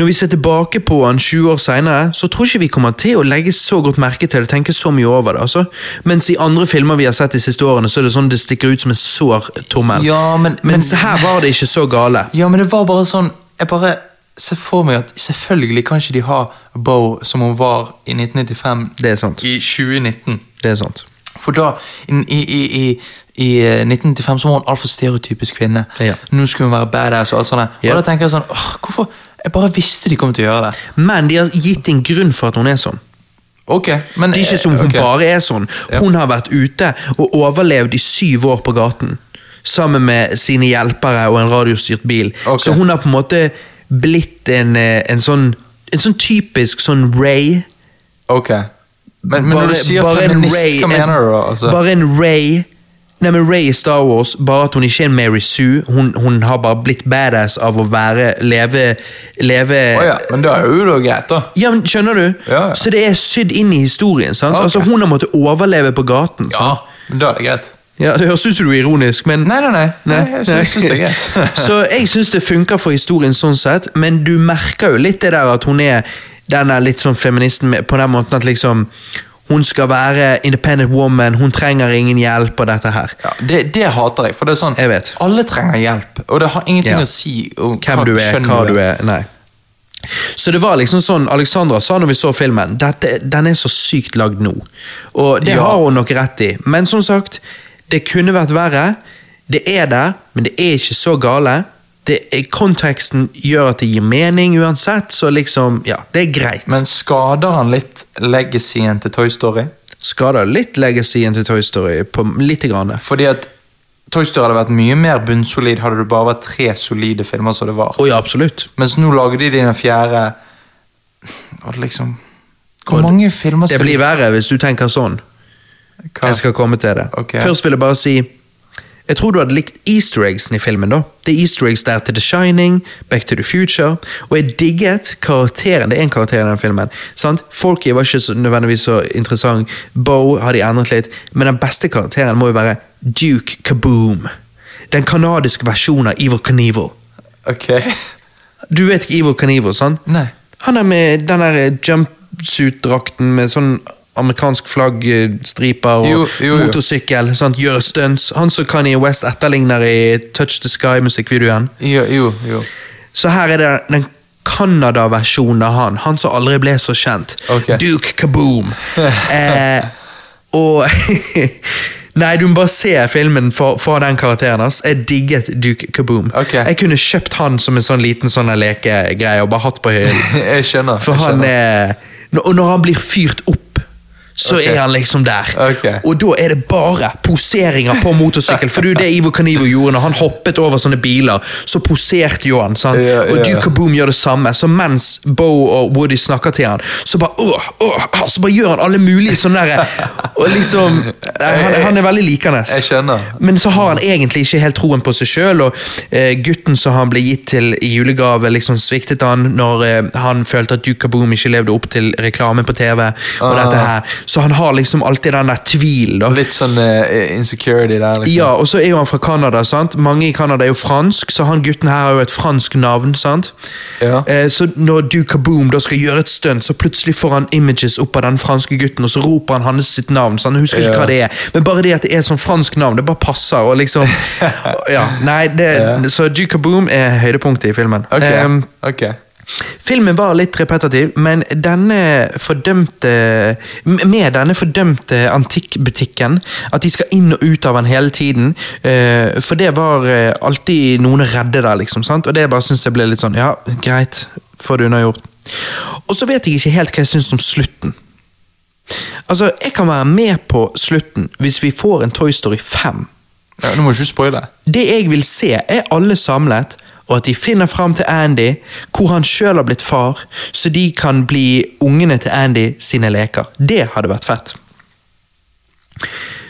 Speaker 1: når vi ser tilbake på han 20 år senere, så tror ikke vi kommer til å legge så godt merke til det og tenke så mye over det. altså. Mens i andre filmer vi har sett de siste årene, så er det sånn det stikker ut som en sår tommel.
Speaker 2: Ja, men-
Speaker 1: Mens
Speaker 2: men-
Speaker 1: her var det ikke så gale.
Speaker 2: Ja, men det var bare sånn Jeg bare ser for meg at selvfølgelig kan ikke de ha Bo som hun var i 1995
Speaker 1: Det er sant.
Speaker 2: i 2019.
Speaker 1: Det er sant.
Speaker 2: For da, i, i, i, i, i 1995 så var hun altfor stereotypisk kvinne.
Speaker 1: Ja.
Speaker 2: Nå skulle hun være badass og alt sånt. der.
Speaker 1: Ja.
Speaker 2: Og da tenker jeg sånn åh, Hvorfor? Jeg bare visste de kom til å gjøre det.
Speaker 1: Men de har gitt en grunn for at hun er sånn.
Speaker 2: Ok, men eh,
Speaker 1: Det er ikke som hun
Speaker 2: ok.
Speaker 1: bare er sånn. Hun har vært ute og overlevd i syv år på gaten. Sammen med sine hjelpere og en radiostyrt bil.
Speaker 2: Ok.
Speaker 1: Så hun har på en måte blitt en, eh, en sånn en sånn typisk sånn Ray.
Speaker 2: Ok. Men, men når du sier feminist, hva mener du da? Altså?
Speaker 1: Bare en Ray Nei, men Ray i Star Wars, bare at hun ikke er en Mary Sue. Hun, hun har bare blitt badass av å være leve, leve
Speaker 2: Å ja, men da er jo da greit, da.
Speaker 1: Ja, men skjønner du?
Speaker 2: Ja, ja.
Speaker 1: Så det er sydd inn i historien. sant?
Speaker 2: Ok.
Speaker 1: Altså, Hun har måttet overleve på gaten. sant?
Speaker 2: Men da er det greit.
Speaker 1: Ja, Det høres ut som du er ironisk, men
Speaker 2: Nei, nei, nei. nei jeg syns, syns det er greit.
Speaker 1: [laughs] Så jeg syns det funker for historien sånn sett, men du merker jo litt det der at hun er denne litt sånn feministen med- på den måten at liksom hun skal være independent woman, hun trenger ingen hjelp og dette her.
Speaker 2: Ja, det, det hater jeg. For det er sånn,
Speaker 1: Jeg vet.
Speaker 2: alle trenger hjelp. Og det har ingenting
Speaker 1: Ja.
Speaker 2: å si om
Speaker 1: Hvem du er,
Speaker 2: kjønn
Speaker 1: hva du er. Nei. Så det var liksom sånn Alexandra sa når vi så filmen, Dette, den er så sykt lagd nå. Og det
Speaker 2: Ja.
Speaker 1: har hun nok rett i, men som sagt, det kunne vært verre. Det er der, men det er ikke så gale. Det er, konteksten gjør at det gir mening uansett, så liksom, ja, det er greit.
Speaker 2: Men skader han litt legacyen til Toy Story?
Speaker 1: Skader litt legacyen til Toy Story, på lite grann.
Speaker 2: Fordi at Toy Story hadde vært mye mer bunnsolid hadde det bare vært tre solide filmer som det var.
Speaker 1: Å ja, absolutt.
Speaker 2: Mens nå lager de den fjerde Og liksom Hvor
Speaker 1: Og
Speaker 2: mange filmer
Speaker 1: Det
Speaker 2: skal
Speaker 1: blir verre hvis du tenker sånn.
Speaker 2: Hva?
Speaker 1: Jeg skal komme til det.
Speaker 2: Ok.
Speaker 1: Først vil jeg bare si Jeg tror du hadde likt easter eggsen i filmen. da. Det er easter eggs der til The Shining, Back to the Future, og jeg digget karakteren. Det er en karakter i den filmen. sant? Forky var ikke så nødvendigvis så interessant. Bo har de endret litt. Men den beste karakteren må jo være Duke Kaboom. Den kanadiske versjonen av Evil Knievel.
Speaker 2: Ok. [laughs]
Speaker 1: Du vet ikke Evil Knievel, sant?
Speaker 2: Nei.
Speaker 1: Han er med den der eh, jumpsuit-drakten med sånn amerikansk flagg, eh, striper og
Speaker 2: Jo, jo, jo.
Speaker 1: motorsykkel. Sant? Gjør stunts. Han som Kanye West etterligner i Touch the Sky-musikkvideoen.
Speaker 2: Jo, jo. jo. [laughs]
Speaker 1: Så her er det den Canada-versjonen av han. Han som aldri ble så kjent.
Speaker 2: [laughs] Ok.
Speaker 1: Duke Kaboom. Eh, og [laughs] Nei, du må bare se filmen for, for den karakteren hans. Jeg digget Duke Kaboom.
Speaker 2: Ok.
Speaker 1: Jeg kunne kjøpt han som en sånn liten sånn her lekegreie og bare hatt på høyden.
Speaker 2: [laughs] Jeg skjønner.
Speaker 1: For
Speaker 2: jeg
Speaker 1: han
Speaker 2: skjønner.
Speaker 1: er når- Og når han blir fyrt opp, så
Speaker 2: Ok.
Speaker 1: er han liksom der.
Speaker 2: Ok.
Speaker 1: Og da er det bare poseringer på motorsykkel. For det er jo det Ivo Canivo gjorde når han hoppet over sånne biler. Så poserte jo han. sant?
Speaker 2: Ja, ja,
Speaker 1: Og
Speaker 2: ja.
Speaker 1: Duke Kaboom gjør det samme. Så mens Bo og Woody snakker til han, så bare åh, åh, åh, så bare gjør han alle mulige sånne der, Og liksom
Speaker 2: [laughs]
Speaker 1: Han, han er veldig likende.
Speaker 2: Jeg skjønner.
Speaker 1: Men så har han egentlig ikke helt troen på seg sjøl, og eh, gutten som han ble gitt til i julegave, liksom sviktet han når eh, han følte at Duke Kaboom ikke levde opp til reklame på TV. og
Speaker 2: Ah.
Speaker 1: dette her. Så han har liksom alltid den der tvilen. da.
Speaker 2: Litt sånn eh, insecurity der, liksom.
Speaker 1: Ja, og så er jo han fra Canada. sant? Mange i Canada er jo fransk, så han gutten her har jo et fransk navn. sant?
Speaker 2: Ja.
Speaker 1: Eh, så når Duke Kaboom da skal gjøre et stunt, så plutselig får han images opp av den franske gutten, og så roper han hans sitt navn. så han husker ikke
Speaker 2: Ja.
Speaker 1: hva det er. Men bare det at det er sånn fransk navn, det bare passer. og
Speaker 2: [laughs]
Speaker 1: liksom... ja, nei, det, Så Duke Kaboom er høydepunktet i filmen.
Speaker 2: Ok.
Speaker 1: Ehm,
Speaker 2: ok.
Speaker 1: Filmen var litt repetitiv, men denne fordømte Med denne fordømte antikkbutikken, at de skal inn og ut av den hele tiden eh, For det var eh, alltid noen å redde der, liksom. sant? Og det bare synes jeg ble litt sånn Ja, greit, får du unnagjort. Og så vet jeg ikke helt hva jeg syns om slutten. Altså, Jeg kan være med på slutten hvis vi får en Toy Story 5.
Speaker 2: Ja, nå må du ikke spoile.
Speaker 1: Det jeg vil se, er alle samlet, og at de finner fram til Andy, hvor han sjøl har blitt far, så de kan bli ungene til Andy sine leker. Det hadde vært fett.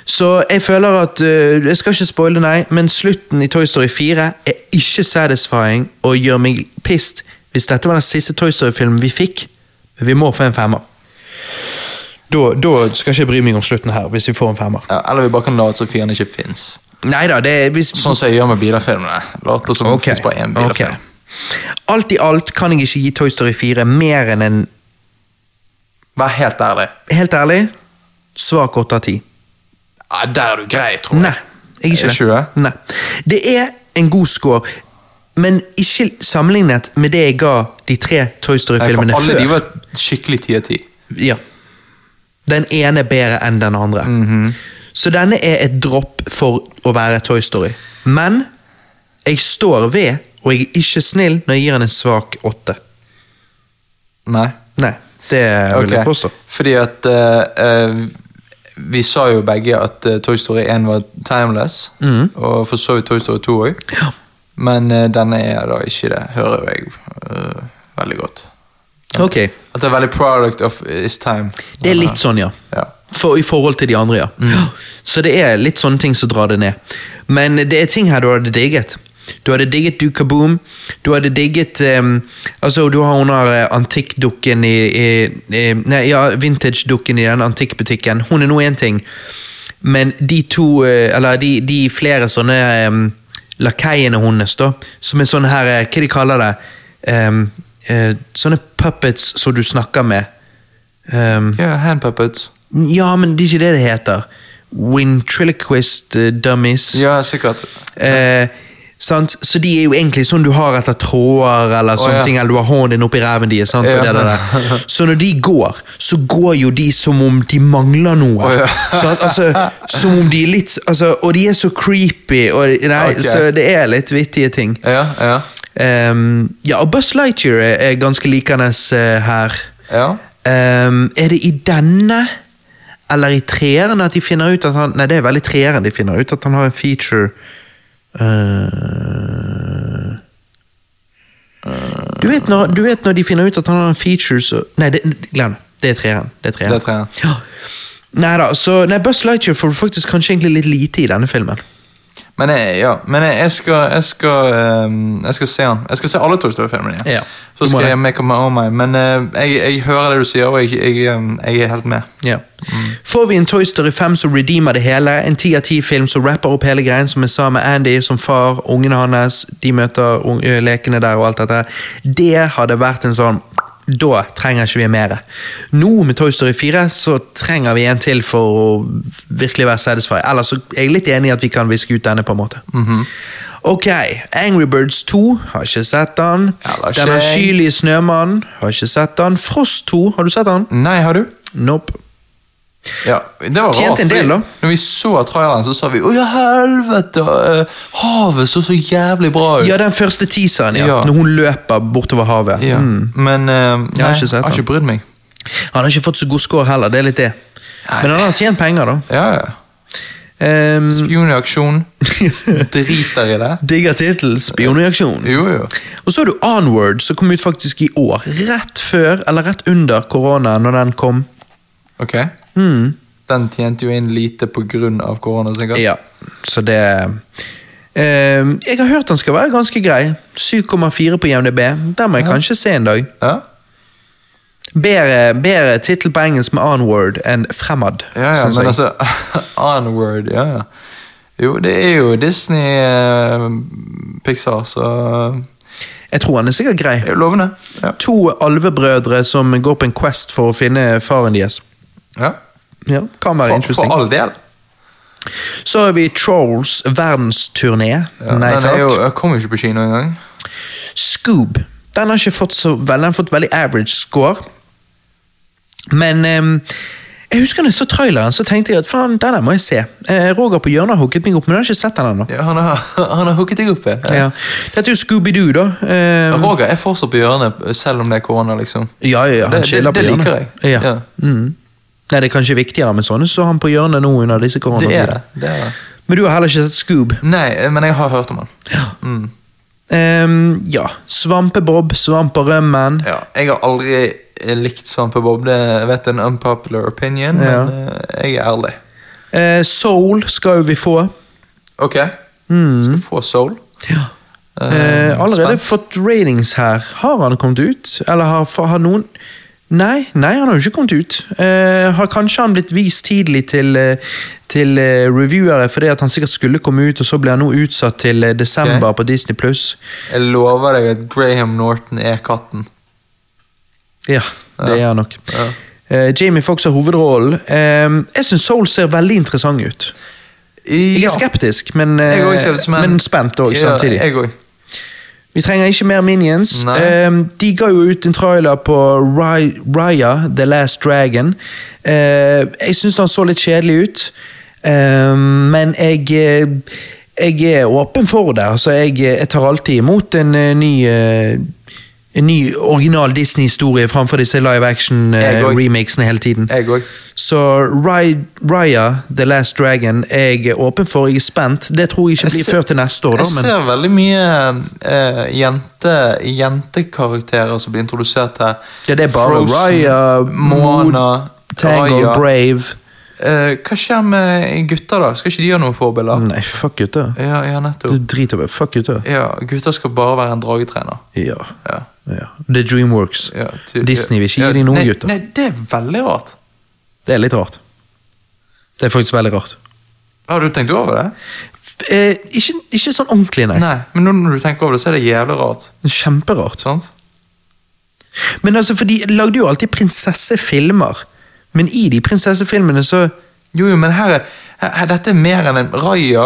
Speaker 1: Så jeg føler at øh, Jeg skal ikke spoile, nei, men slutten i Toy Story 4 er ikke satisfying og gjør meg pissed hvis dette var den siste Toy Story-filmen vi fikk. Men vi må få en femmer. Da, da skal ikke jeg bry meg om slutten her, hvis vi får en femmer.
Speaker 2: Ja, eller vi bare kan late som fienden ikke fins.
Speaker 1: Neida, det er hvis...
Speaker 2: Sånn som jeg gjør med bilafilmene. Later som
Speaker 1: Ok,
Speaker 2: det fins bare
Speaker 1: ok.
Speaker 2: én bilafilm.
Speaker 1: altså. Alt i alt kan jeg ikke gi Toy Story 4 mer enn en
Speaker 2: Vær helt ærlig.
Speaker 1: Helt ærlig, svak 8 av 10.
Speaker 2: Ja, der er du grei, tror jeg.
Speaker 1: Nei. Jeg er
Speaker 2: Er
Speaker 1: ikke
Speaker 2: ikke
Speaker 1: det. Nei. Det er en god score, men ikke sammenlignet med det jeg ga de tre Toy
Speaker 2: Nei, for
Speaker 1: Story-filmene
Speaker 2: alle de
Speaker 1: før.
Speaker 2: var skikkelig ti av ti.
Speaker 1: Ja. Den ene er bedre enn den andre.
Speaker 2: Mhm.
Speaker 1: Så denne er et dropp for å være Toy Story. Men jeg står ved, og jeg er ikke snill når jeg gir den en svak åtte.
Speaker 2: Nei.
Speaker 1: Nei, det vil jeg
Speaker 2: Ok.
Speaker 1: påstå.
Speaker 2: Fordi at eh, eh, Vi sa jo begge at eh, Toy Story 1 var timeless,
Speaker 1: Mhm.
Speaker 2: og for så vidt Toy Story 2 òg. Men eh, denne er da ikke det, hører jeg eh, veldig godt.
Speaker 1: Ok,
Speaker 2: At det er veldig product of its time.
Speaker 1: Det er litt sånn, ja.
Speaker 2: Ja.
Speaker 1: For, I forhold til de andre, ja. Så det er litt sånne ting som drar det ned. Men det er ting her du hadde digget. Du hadde digget Duke Kaboom. Du hadde digget ehm, Altså, du har hun der eh, antikkdukken i, i, i Nei, ja, vintage-dukken i den antikkbutikken. Hun er nå én ting, men de to eh, Eller de, de flere sånne ehm, lakeiene hennes, da, som er sånne her eh, Hva de kaller det? Ehm, eh, sånne puppets som du snakker med. Ehm,
Speaker 2: ja, hand puppets.
Speaker 1: ja, men det er ikke det det heter. Wintriloquist eh, dummies.
Speaker 2: Ja, sikkert.
Speaker 1: Eh, sant? Så de er jo egentlig sånn du har etter tråder, eller sånne
Speaker 2: ja.
Speaker 1: ting, eller du har hånden din oppi ræven deres. sant? Og
Speaker 2: Ja.
Speaker 1: det, der, der. Så når de går, så går jo de som om de mangler noe.
Speaker 2: Å, ja.
Speaker 1: sant? Altså, som om de er litt altså, Og de er så creepy, og, nei,
Speaker 2: Ok.
Speaker 1: så det er litt vittige ting.
Speaker 2: Ja, ja.
Speaker 1: Ehm, ja, og Buzz Lightyear er, er ganske likende eh, her.
Speaker 2: ja.
Speaker 1: Ehm, er det i denne eller i treeren at de finner ut at han Nei, det er vel i treeren de finner ut at han har en feature Eh, du, vet når, du vet når de finner ut at han har en feature så Nei, det, glem det. Det er treeren. Det er treeren.
Speaker 2: Det er treeren.
Speaker 1: Ja. Nei da, så nei, Buzz Lightyear får faktisk kanskje egentlig litt lite i denne filmen.
Speaker 2: Men, jeg, ja, men jeg, jeg, skal, jeg, skal, ehm, jeg skal se han. Jeg skal se alle Toy Story-filmene.
Speaker 1: Ja, du
Speaker 2: Så
Speaker 1: må
Speaker 2: skal
Speaker 1: det.
Speaker 2: jeg make up my own mind. Men eh, jeg, jeg hører det du sier, og jeg, jeg, ehm, jeg er helt med.
Speaker 1: Ja. Får vi en Toy Story 5 som redeemer det hele, en 10 av 10 film som rapper opp hele greien, som er sammen med Andy som far, ungene hans, de møter un- ø, lekene der og alt dette, det hadde vært en sånn da trenger ikke vi mer. Nå med Toy Story 4 så trenger vi en til for å virkelig være satisfied. Ellers så er jeg litt enig i at vi kan viske ut denne, på en måte. Ok, Angry Birds 2, har ikke sett den.
Speaker 2: Eller ikke.
Speaker 1: Den avskyelige snømannen, har ikke sett den. Frost 2, har du sett den?
Speaker 2: Nei, har du?
Speaker 1: Nope.
Speaker 2: Ja, det var
Speaker 1: Tjente
Speaker 2: rart,
Speaker 1: en del,
Speaker 2: fordi
Speaker 1: da.
Speaker 2: Når vi så traileren, så sa vi 'Å ja, helvete! eh, havet så så jævlig bra ut'.
Speaker 1: Ja, den første teaseren, ja.
Speaker 2: Ja.
Speaker 1: Når hun løper bortover havet.
Speaker 2: Ja,
Speaker 1: Mm.
Speaker 2: Men eh, nei,
Speaker 1: har
Speaker 2: jeg har
Speaker 1: ikke
Speaker 2: ikke,
Speaker 1: sett den.
Speaker 2: brydd meg.
Speaker 1: Han har ikke fått så god score heller, det er litt det. Men han har tjent penger, da.
Speaker 2: Ja, ja.
Speaker 1: Um,
Speaker 2: Spionaksjon. Driter i det.
Speaker 1: [laughs] digger tittel. Spionreaksjon.
Speaker 2: Jo, jo.
Speaker 1: Og så har du Onward, som kom ut faktisk i år. Rett før, eller rett under korona, når den kom.
Speaker 2: Ok. Mm. Den tjente jo inn lite pga. korona, sikkert.
Speaker 1: Ja, så det Ehm, Jeg har hørt den skal være ganske grei. 7,4 på JMDb. Den må jeg kanskje se en dag.
Speaker 2: Ja?
Speaker 1: Bedre, bedre tittel på engelsk med Onward enn Fremad.
Speaker 2: Ja, ja,
Speaker 1: synes
Speaker 2: men
Speaker 1: jeg.
Speaker 2: altså [laughs] Onward, ja, ja. Jo, det er jo Disney, eh, Pixar, så eh,
Speaker 1: jeg tror han er sikkert grei.
Speaker 2: Det er jo lovende. Ja.
Speaker 1: To alvebrødre som går på en quest for å finne faren deres.
Speaker 2: ja.
Speaker 1: Ja, kan være
Speaker 2: For, for
Speaker 1: interesting.
Speaker 2: all del.
Speaker 1: Så har vi Trolls verdensturné.
Speaker 2: Ja,
Speaker 1: Nei
Speaker 2: den er
Speaker 1: takk.
Speaker 2: jo, jeg kom jo ikke på kino engang.
Speaker 1: Scoob. Den har ikke fått så vel, den har fått veldig average score. Men ehm, jeg husker da jeg så traileren, så tenkte jeg at faen, den her må jeg se. Eh, Roger på hjørnet har hooket meg opp, men jeg har ikke sett den ennå.
Speaker 2: Ja, han, har, [laughs] han har hooket deg opp. ja.
Speaker 1: Ja. Dette er jo Scooby-Doo, da. Ehm,
Speaker 2: Roger er fortsatt på hjørnet, selv om det er korona, liksom.
Speaker 1: ja, ja, ja, han
Speaker 2: Det-
Speaker 1: chiller
Speaker 2: det-
Speaker 1: på
Speaker 2: det
Speaker 1: hjørnet.
Speaker 2: liker jeg.
Speaker 1: Ja.
Speaker 2: Ja.
Speaker 1: Mm. Nei, det er kanskje viktigere med sånne, så han på hjørnet nå under disse
Speaker 2: Det er
Speaker 1: koronatider.
Speaker 2: det. det er det.
Speaker 1: Men du har heller ikke sett Scoob.
Speaker 2: Nei, men jeg har hørt om han. Mm.
Speaker 1: Ehm, ja. Svampebob, Svamp og rømmen.
Speaker 2: Ja, jeg har aldri eh, likt Svampebob. Det jeg vet en unpopular opinion,
Speaker 1: Ja.
Speaker 2: men eh, jeg er ærlig.
Speaker 1: Eh, Soul skal jo vi få.
Speaker 2: Ok, skal få Soul.
Speaker 1: Ja.
Speaker 2: Eh,
Speaker 1: Mm. Eh, allerede
Speaker 2: spent.
Speaker 1: fått ratings her. Har han kommet ut? Eller har, fa- har noen Nei, nei, han har jo ikke kommet ut. Eh, har kanskje han blitt vist tidlig til, eh, til eh, reviewere fordi at han sikkert skulle komme ut, og så ble han nå utsatt til eh, desember på Disney pluss.
Speaker 2: Jeg lover deg at Graham Norton er katten.
Speaker 1: Ja, det
Speaker 2: Ja.
Speaker 1: er han nok.
Speaker 2: Ja.
Speaker 1: Eh, Jamie Fox har hovedrollen. Eh, jeg syns Soul ser veldig interessant ut. Jeg er skeptisk, men, eh,
Speaker 2: Jeg er også skeptisk,
Speaker 1: men, spent òg
Speaker 2: Ja,
Speaker 1: samtidig.
Speaker 2: Jeg òg.
Speaker 1: Vi trenger ikke mer Minions.
Speaker 2: Nei.
Speaker 1: Ehm, de ga jo ut en trailer på Ry- Raya, The Last Dragon. Eh, jeg syns den så litt kjedelig ut, Ehm, men jeg eh, jeg er åpen for det. Altså, jeg, eh, jeg tar alltid imot en eh, ny eh, en ny original Disney-historie framfor disse live
Speaker 2: Jeg også.
Speaker 1: action-remakesene hele tiden.
Speaker 2: Jeg òg.
Speaker 1: Så Ry Raya, The Last Dragon, jeg er åpen for. Jeg er spent. Det tror jeg ikke
Speaker 2: Jeg
Speaker 1: blir
Speaker 2: ser-
Speaker 1: før til neste år, da.
Speaker 2: Jeg
Speaker 1: men-
Speaker 2: ser veldig mye eh, jente, jentekarakterer som blir introdusert her.
Speaker 1: Ja, det er bare Raya,
Speaker 2: Moana,
Speaker 1: Tango,
Speaker 2: Raya.
Speaker 1: Brave
Speaker 2: Eh, hva skjer med gutter, da? Skal ikke de ha noen forbilder?
Speaker 1: Nei, fuck gutter.
Speaker 2: Ja, ja,
Speaker 1: Du
Speaker 2: nettopp.
Speaker 1: driter vel. Fuck gutter.
Speaker 2: Ja, gutter skal bare være en dragetrener.
Speaker 1: Ja.
Speaker 2: Ja,
Speaker 1: ja. Det er Dreamworks.
Speaker 2: ja, ty-
Speaker 1: Disney vil ikke
Speaker 2: ja,
Speaker 1: gi dem noen
Speaker 2: nei,
Speaker 1: gutter.
Speaker 2: Nei, det er veldig rart.
Speaker 1: Det er litt rart. Det er faktisk veldig rart.
Speaker 2: Har du tenkt over det?
Speaker 1: F- Eh, ikke, ikke sånn ordentlig, nei.
Speaker 2: Nei, men nå når du tenker over det, så er det jævlig rart.
Speaker 1: Kjemperart.
Speaker 2: Sant?
Speaker 1: Men altså, for de lagde jo alltid prinsessefilmer. Men i de prinsessefilmene så
Speaker 2: Jo, jo, men her er, her, her, dette er mer enn en Raya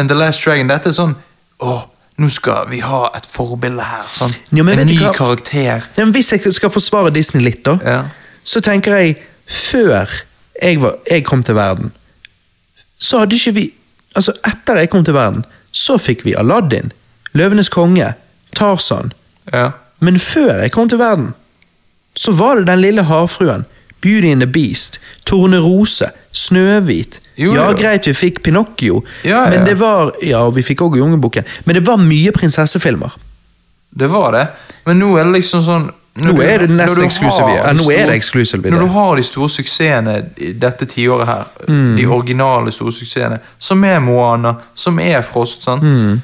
Speaker 2: and The Last Dragon. Dette er sånn Å, nå skal vi ha et forbilde her. Sant?
Speaker 1: Ja, men
Speaker 2: en
Speaker 1: vet du
Speaker 2: ny
Speaker 1: hva?
Speaker 2: karakter.
Speaker 1: Nei, men Hvis jeg skal forsvare Disney litt, da,
Speaker 2: Ja.
Speaker 1: så tenker jeg Før jeg, var, jeg kom til verden, så hadde ikke vi Altså, etter jeg kom til verden, så fikk vi Aladdin, Løvenes konge, Tarzan.
Speaker 2: Ja.
Speaker 1: Men før jeg kom til verden, så var det Den lille havfruen, Beauty and the Beast, Tornerose, Snøhvit.
Speaker 2: Jo,
Speaker 1: ja,
Speaker 2: jo.
Speaker 1: greit, vi fikk Pinocchio,
Speaker 2: Ja, ja.
Speaker 1: men det var Ja, og vi fikk også Jungelbukken. Men det var mye prinsessefilmer.
Speaker 2: Det var det. Men nå er det liksom sånn
Speaker 1: Nå
Speaker 2: du-
Speaker 1: er det nesten
Speaker 2: når du har
Speaker 1: exclusive, ja.
Speaker 2: de
Speaker 1: Nå er det
Speaker 2: store-
Speaker 1: exclusive,
Speaker 2: Når
Speaker 1: det.
Speaker 2: du har de store suksessene i dette tiåret her,
Speaker 1: Mm.
Speaker 2: de originale store suksessene, som er Moana, som er Frost, sant?
Speaker 1: Mm.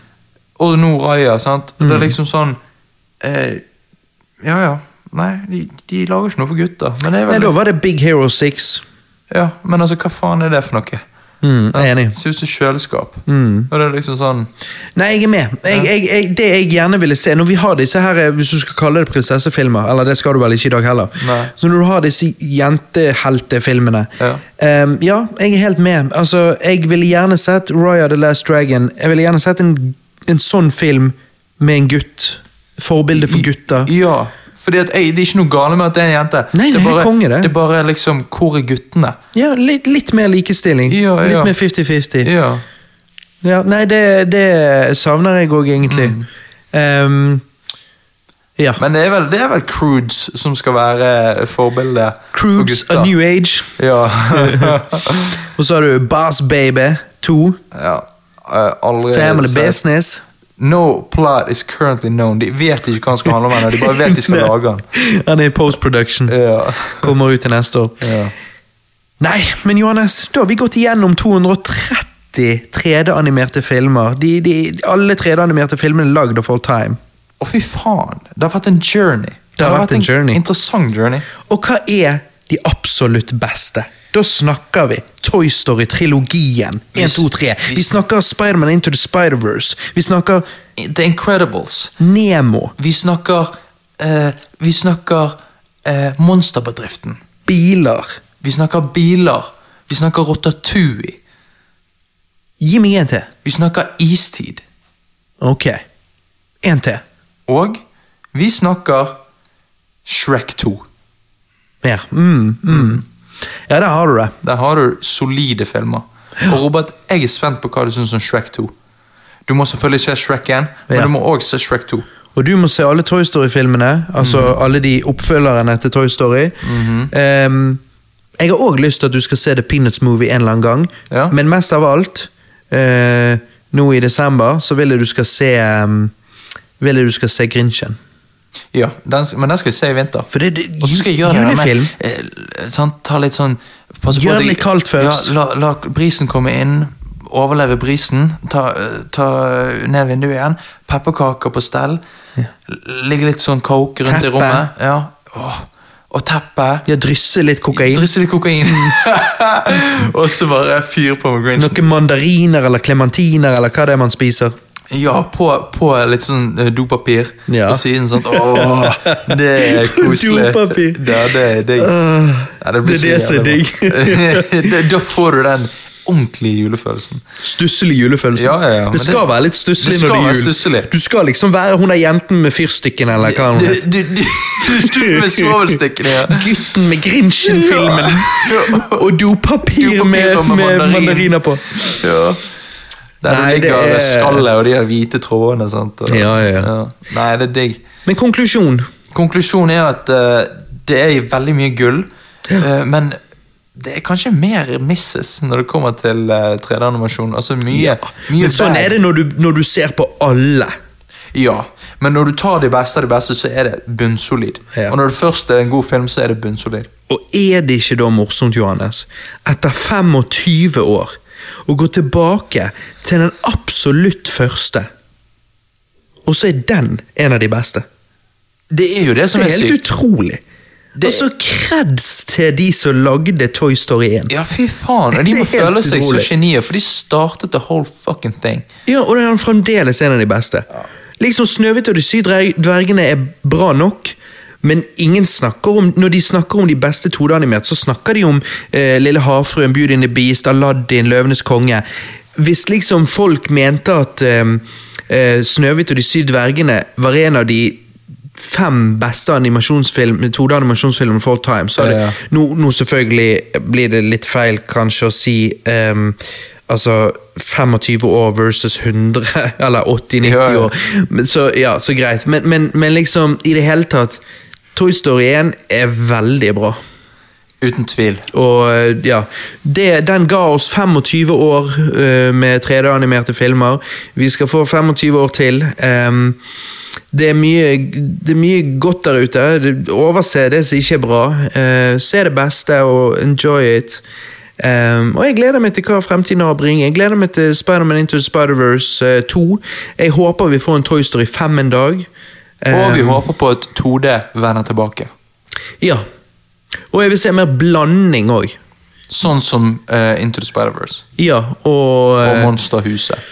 Speaker 2: og nå Raya, sant? Det er liksom sånn eh, Ja, ja. Nei, de, de lager ikke noe for gutter. Men det er
Speaker 1: Nei,
Speaker 2: vel
Speaker 1: da var det Big Hero 6.
Speaker 2: Ja, men altså, hva faen er det for noe?
Speaker 1: Mm, jeg er enig.
Speaker 2: Det ser ut som kjøleskap.
Speaker 1: Mm.
Speaker 2: Og det er liksom sånn
Speaker 1: Nei, jeg er med. Jeg, jeg, jeg, det jeg gjerne ville se, når vi har disse her, eh, hvis du skal kalle det prinsessefilmer, eller det skal du vel ikke i dag heller,
Speaker 2: Nei.
Speaker 1: så når du har disse jenteheltefilmene,
Speaker 2: Ja.
Speaker 1: ehm, ja, jeg er helt med. Altså, jeg ville gjerne sett Raya the Last Dragon, jeg ville gjerne sett en, en sånn film med en gutt, forbilde for gutter.
Speaker 2: Ja, Fordi at, øy, Det er ikke noe gale med at det er en jente.
Speaker 1: Nei, nei,
Speaker 2: det, er bare,
Speaker 1: konge det.
Speaker 2: det er bare liksom Hvor er guttene?
Speaker 1: Ja, litt, litt mer likestilling.
Speaker 2: Ja, ja.
Speaker 1: Litt mer 50-50.
Speaker 2: Ja.
Speaker 1: Ja, nei, det, det savner jeg òg, egentlig.
Speaker 2: Mm.
Speaker 1: Ehm, ja.
Speaker 2: Men det er vel, det er vel Crudes som skal være forbildet for
Speaker 1: Crudes,
Speaker 2: gutter.
Speaker 1: A New Age.
Speaker 2: Ja. [laughs]
Speaker 1: Og så har du Bass Baby 2.
Speaker 2: ja. Eh, Aldri
Speaker 1: Family
Speaker 2: sett.
Speaker 1: Business.
Speaker 2: No plot is currently known. De vet ikke hva han skal handle om ennå, de bare vet de
Speaker 1: [laughs]
Speaker 2: skal
Speaker 1: Nei.
Speaker 2: lage han.
Speaker 1: Han er i post-production.
Speaker 2: Ja.
Speaker 1: Kommer ut til neste år.
Speaker 2: Ja.
Speaker 1: Nei, men Johannes, da har vi gått igjennom 230 3D-animerte filmer. De, de, alle 3D-animerte filmene er lagd av All Time.
Speaker 2: Å, fy faen! Det har vært en journey.
Speaker 1: Det har vært en journey.
Speaker 2: Interessant journey.
Speaker 1: Og hva er de absolutt beste? Da snakker vi Toy Story-trilogien. 1, 2, 3. Vi snakker Spiderman Into the Spider-Verse. Vi snakker
Speaker 2: The Incredibles.
Speaker 1: Nemo.
Speaker 2: Vi snakker eh, Vi snakker eh, monsterbedriften.
Speaker 1: Biler.
Speaker 2: Vi snakker biler. Vi snakker Rotatui.
Speaker 1: Gi meg en til.
Speaker 2: Vi snakker istid.
Speaker 1: Ok. En til.
Speaker 2: Og vi snakker Shrek 2.
Speaker 1: Ja. Mm, mm. ja, der har du det.
Speaker 2: Der har du solide filmer. Og Robert, jeg er spent på hva du syns om Shrek 2. Du må selvfølgelig se Shrek 1, men
Speaker 1: Ja.
Speaker 2: du må òg se Shrek 2.
Speaker 1: Og du må se alle Toy Story-filmene, altså
Speaker 2: Mm.
Speaker 1: alle de oppfølgerne til Toy Story.
Speaker 2: Mhm.
Speaker 1: Ehm, jeg har òg lyst til at du skal se The Peanuts Movie en eller annen gang,
Speaker 2: Ja.
Speaker 1: men mest av alt eh, nå i desember så vil jeg du skal se um, vil jeg du skal se Grinchen.
Speaker 2: Ja, den, sk- Men den skal vi se i vinter.
Speaker 1: For det, det,
Speaker 2: Og så skal jeg gjøre det
Speaker 1: julefilm.
Speaker 2: med eh, l- sånn, Ta litt sånn passe på
Speaker 1: Gjør
Speaker 2: at
Speaker 1: det
Speaker 2: jeg-
Speaker 1: litt kaldt først.
Speaker 2: Ja, la, la brisen komme inn. Overleve brisen. Ta, eh, ta eh, ned vinduet igjen. Pepperkaker på stell. L- Ligge litt sånn coke rundt i
Speaker 1: Teppe.
Speaker 2: rommet. Ja. Åh. Og teppe.
Speaker 1: Ja, drysse litt kokain.
Speaker 2: Drysse litt kokain. [laughs] og så bare fyr på med grinchen.
Speaker 1: Noen mandariner eller klementiner eller hva det er man spiser.
Speaker 2: Ja, på, på litt sånn eh, dopapir
Speaker 1: Ja.
Speaker 2: på siden. Sånn,
Speaker 1: [laughs]
Speaker 2: åh, det er koselig.
Speaker 1: Dopapir.
Speaker 2: Ja, det er digg.
Speaker 1: Øh,
Speaker 2: Ja, blir
Speaker 1: det er det
Speaker 2: så
Speaker 1: som er
Speaker 2: jævlig bra. [laughs] Det- da får du den ordentlige julefølelsen.
Speaker 1: Stusslig julefølelse.
Speaker 2: Ja, ja, ja, men
Speaker 1: Det skal
Speaker 2: det-
Speaker 1: være litt stusslig
Speaker 2: det
Speaker 1: når
Speaker 2: skal
Speaker 1: det er
Speaker 2: være
Speaker 1: jul.
Speaker 2: stusslig.
Speaker 1: Du skal liksom være hun der jenten med fyrstikken eller hva hun
Speaker 2: Du,
Speaker 1: heter.
Speaker 2: du, du, du, [laughs] du med svovelstikkene, ja.
Speaker 1: Gutten med Grinchen-filmen. Og dopapir
Speaker 2: Dopapir
Speaker 1: med,
Speaker 2: og med
Speaker 1: med
Speaker 2: mandarin.
Speaker 1: mandariner på.
Speaker 2: ja. Der
Speaker 1: Nei,
Speaker 2: det
Speaker 1: det
Speaker 2: ligger
Speaker 1: er-
Speaker 2: skallet og de der hvite trådene. Sant? Og,
Speaker 1: Ja, ja, ja.
Speaker 2: Nei, det er digg.
Speaker 1: Men konklusjon.
Speaker 2: Konklusjonen er at eh, det er veldig mye gull, eh, men det er kanskje mer misses når det kommer til eh, 3D-animasjon. Altså mye, mye
Speaker 1: Men sånn
Speaker 2: vei.
Speaker 1: er det når du, når du ser på alle.
Speaker 2: Ja, men når du tar de beste av de beste, så er det bunnsolid.
Speaker 1: Ja.
Speaker 2: Og når det først er en god film, så er det bunnsolid.
Speaker 1: Og er det ikke da morsomt, Johannes, etter 25 år å gå tilbake til den absolutt første, og så er den en av de beste?
Speaker 2: Det er jo det som
Speaker 1: Det
Speaker 2: er,
Speaker 1: er helt
Speaker 2: sykt.
Speaker 1: utrolig. Og så kreds til de som lagde Toy Story 1.
Speaker 2: Ja, fy faen.
Speaker 1: [laughs] Det
Speaker 2: Og de
Speaker 1: er
Speaker 2: må
Speaker 1: helt
Speaker 2: føle seg
Speaker 1: utrolig.
Speaker 2: så genier, for de startet the whole fucking thing.
Speaker 1: Ja, og den er fremdeles en av de beste. Liksom Snøhvit og de syv dverg- dvergene er bra nok, men ingen snakker om, når de snakker om de beste 2D-animert, så snakker de om eh, Lille havfruen, Beauty and the Beast, Aladdin, Løvenes konge. Hvis liksom folk mente at eh, eh, Snøhvit og de syv dvergene var en av de fem beste animasjonsfilm, 2D-animasjonsfilmer for all time, så hadde
Speaker 2: Ja, ja.
Speaker 1: nå, nå selvfølgelig blir det litt feil kanskje å si ehm, altså 25 år versus 100, [laughs] eller 80-90
Speaker 2: Ja, ja.
Speaker 1: år. Men, så, ja, så greit. Men, men, men liksom, i det hele tatt, Toy Story 1 er veldig bra.
Speaker 2: Uten tvil.
Speaker 1: Og eh, ja, det, Den ga oss 25 år eh, med 3D-animerte filmer. Vi skal få 25 år til. Ehm, det, er mye, det er mye godt der ute. Det- Overse det som ikke er bra. Eh, se det beste og enjoy it. Ehm, og jeg gleder meg til hva fremtiden har å bringe. Jeg gleder meg til Spiderman Into the Spider-Verse eh, 2. Jeg håper vi får en Toy Story 5 en dag. Eh.
Speaker 2: Og vi håper på at 2D vender tilbake.
Speaker 1: Ja. Og jeg vil se mer blanding òg.
Speaker 2: Sånn som eh, Into the Spider-Verse
Speaker 1: Ja, og,
Speaker 2: og
Speaker 1: eh,
Speaker 2: Monsterhuset.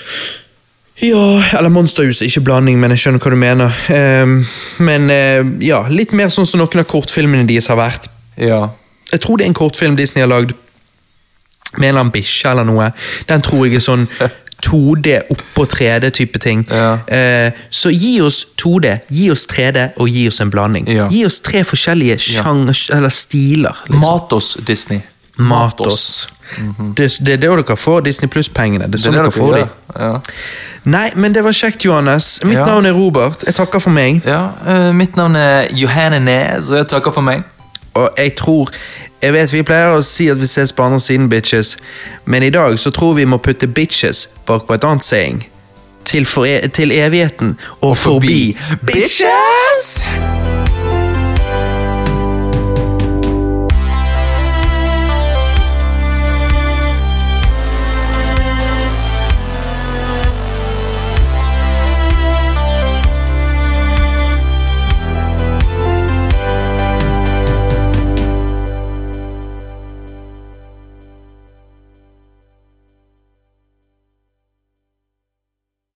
Speaker 1: Ja, eller Monsterhuset, ikke blanding, men jeg skjønner hva du mener. Ehm, men eh, ja, litt mer sånn som noen av kortfilmene deres har vært.
Speaker 2: Ja.
Speaker 1: Jeg tror det
Speaker 2: [laughs]
Speaker 1: er en kortfilm Disney har lagd med en eller annen bikkje eller noe. Den tror jeg er sånn 2D oppå 3D-type ting.
Speaker 2: Ja.
Speaker 1: Eh, så gi oss 2D, gi oss 3D og gi oss en blanding.
Speaker 2: Ja.
Speaker 1: Gi oss tre forskjellige sjanger, eller stiler. liksom.
Speaker 2: Mat oss, Disney.
Speaker 1: Mat oss. det, det er det dere får Disney Pluss-pengene. Det er
Speaker 2: Mhm. Det
Speaker 1: sånn
Speaker 2: er
Speaker 1: dere
Speaker 2: det dere
Speaker 1: får de.
Speaker 2: gjør. Ja.
Speaker 1: Nei, men det var kjekt, Johannes. Mitt
Speaker 2: Ja.
Speaker 1: navn er Robert. Jeg takker for meg.
Speaker 2: Ja, eh, mitt navn er Johanne Næs, og jeg takker for meg.
Speaker 1: Og jeg tror Jeg vet vi pleier å si at vi ses på andre siden, bitches, men i dag så tror vi må putte bitches bak på et annet saying. Til, for, til evigheten og, forbi.
Speaker 2: Bitches!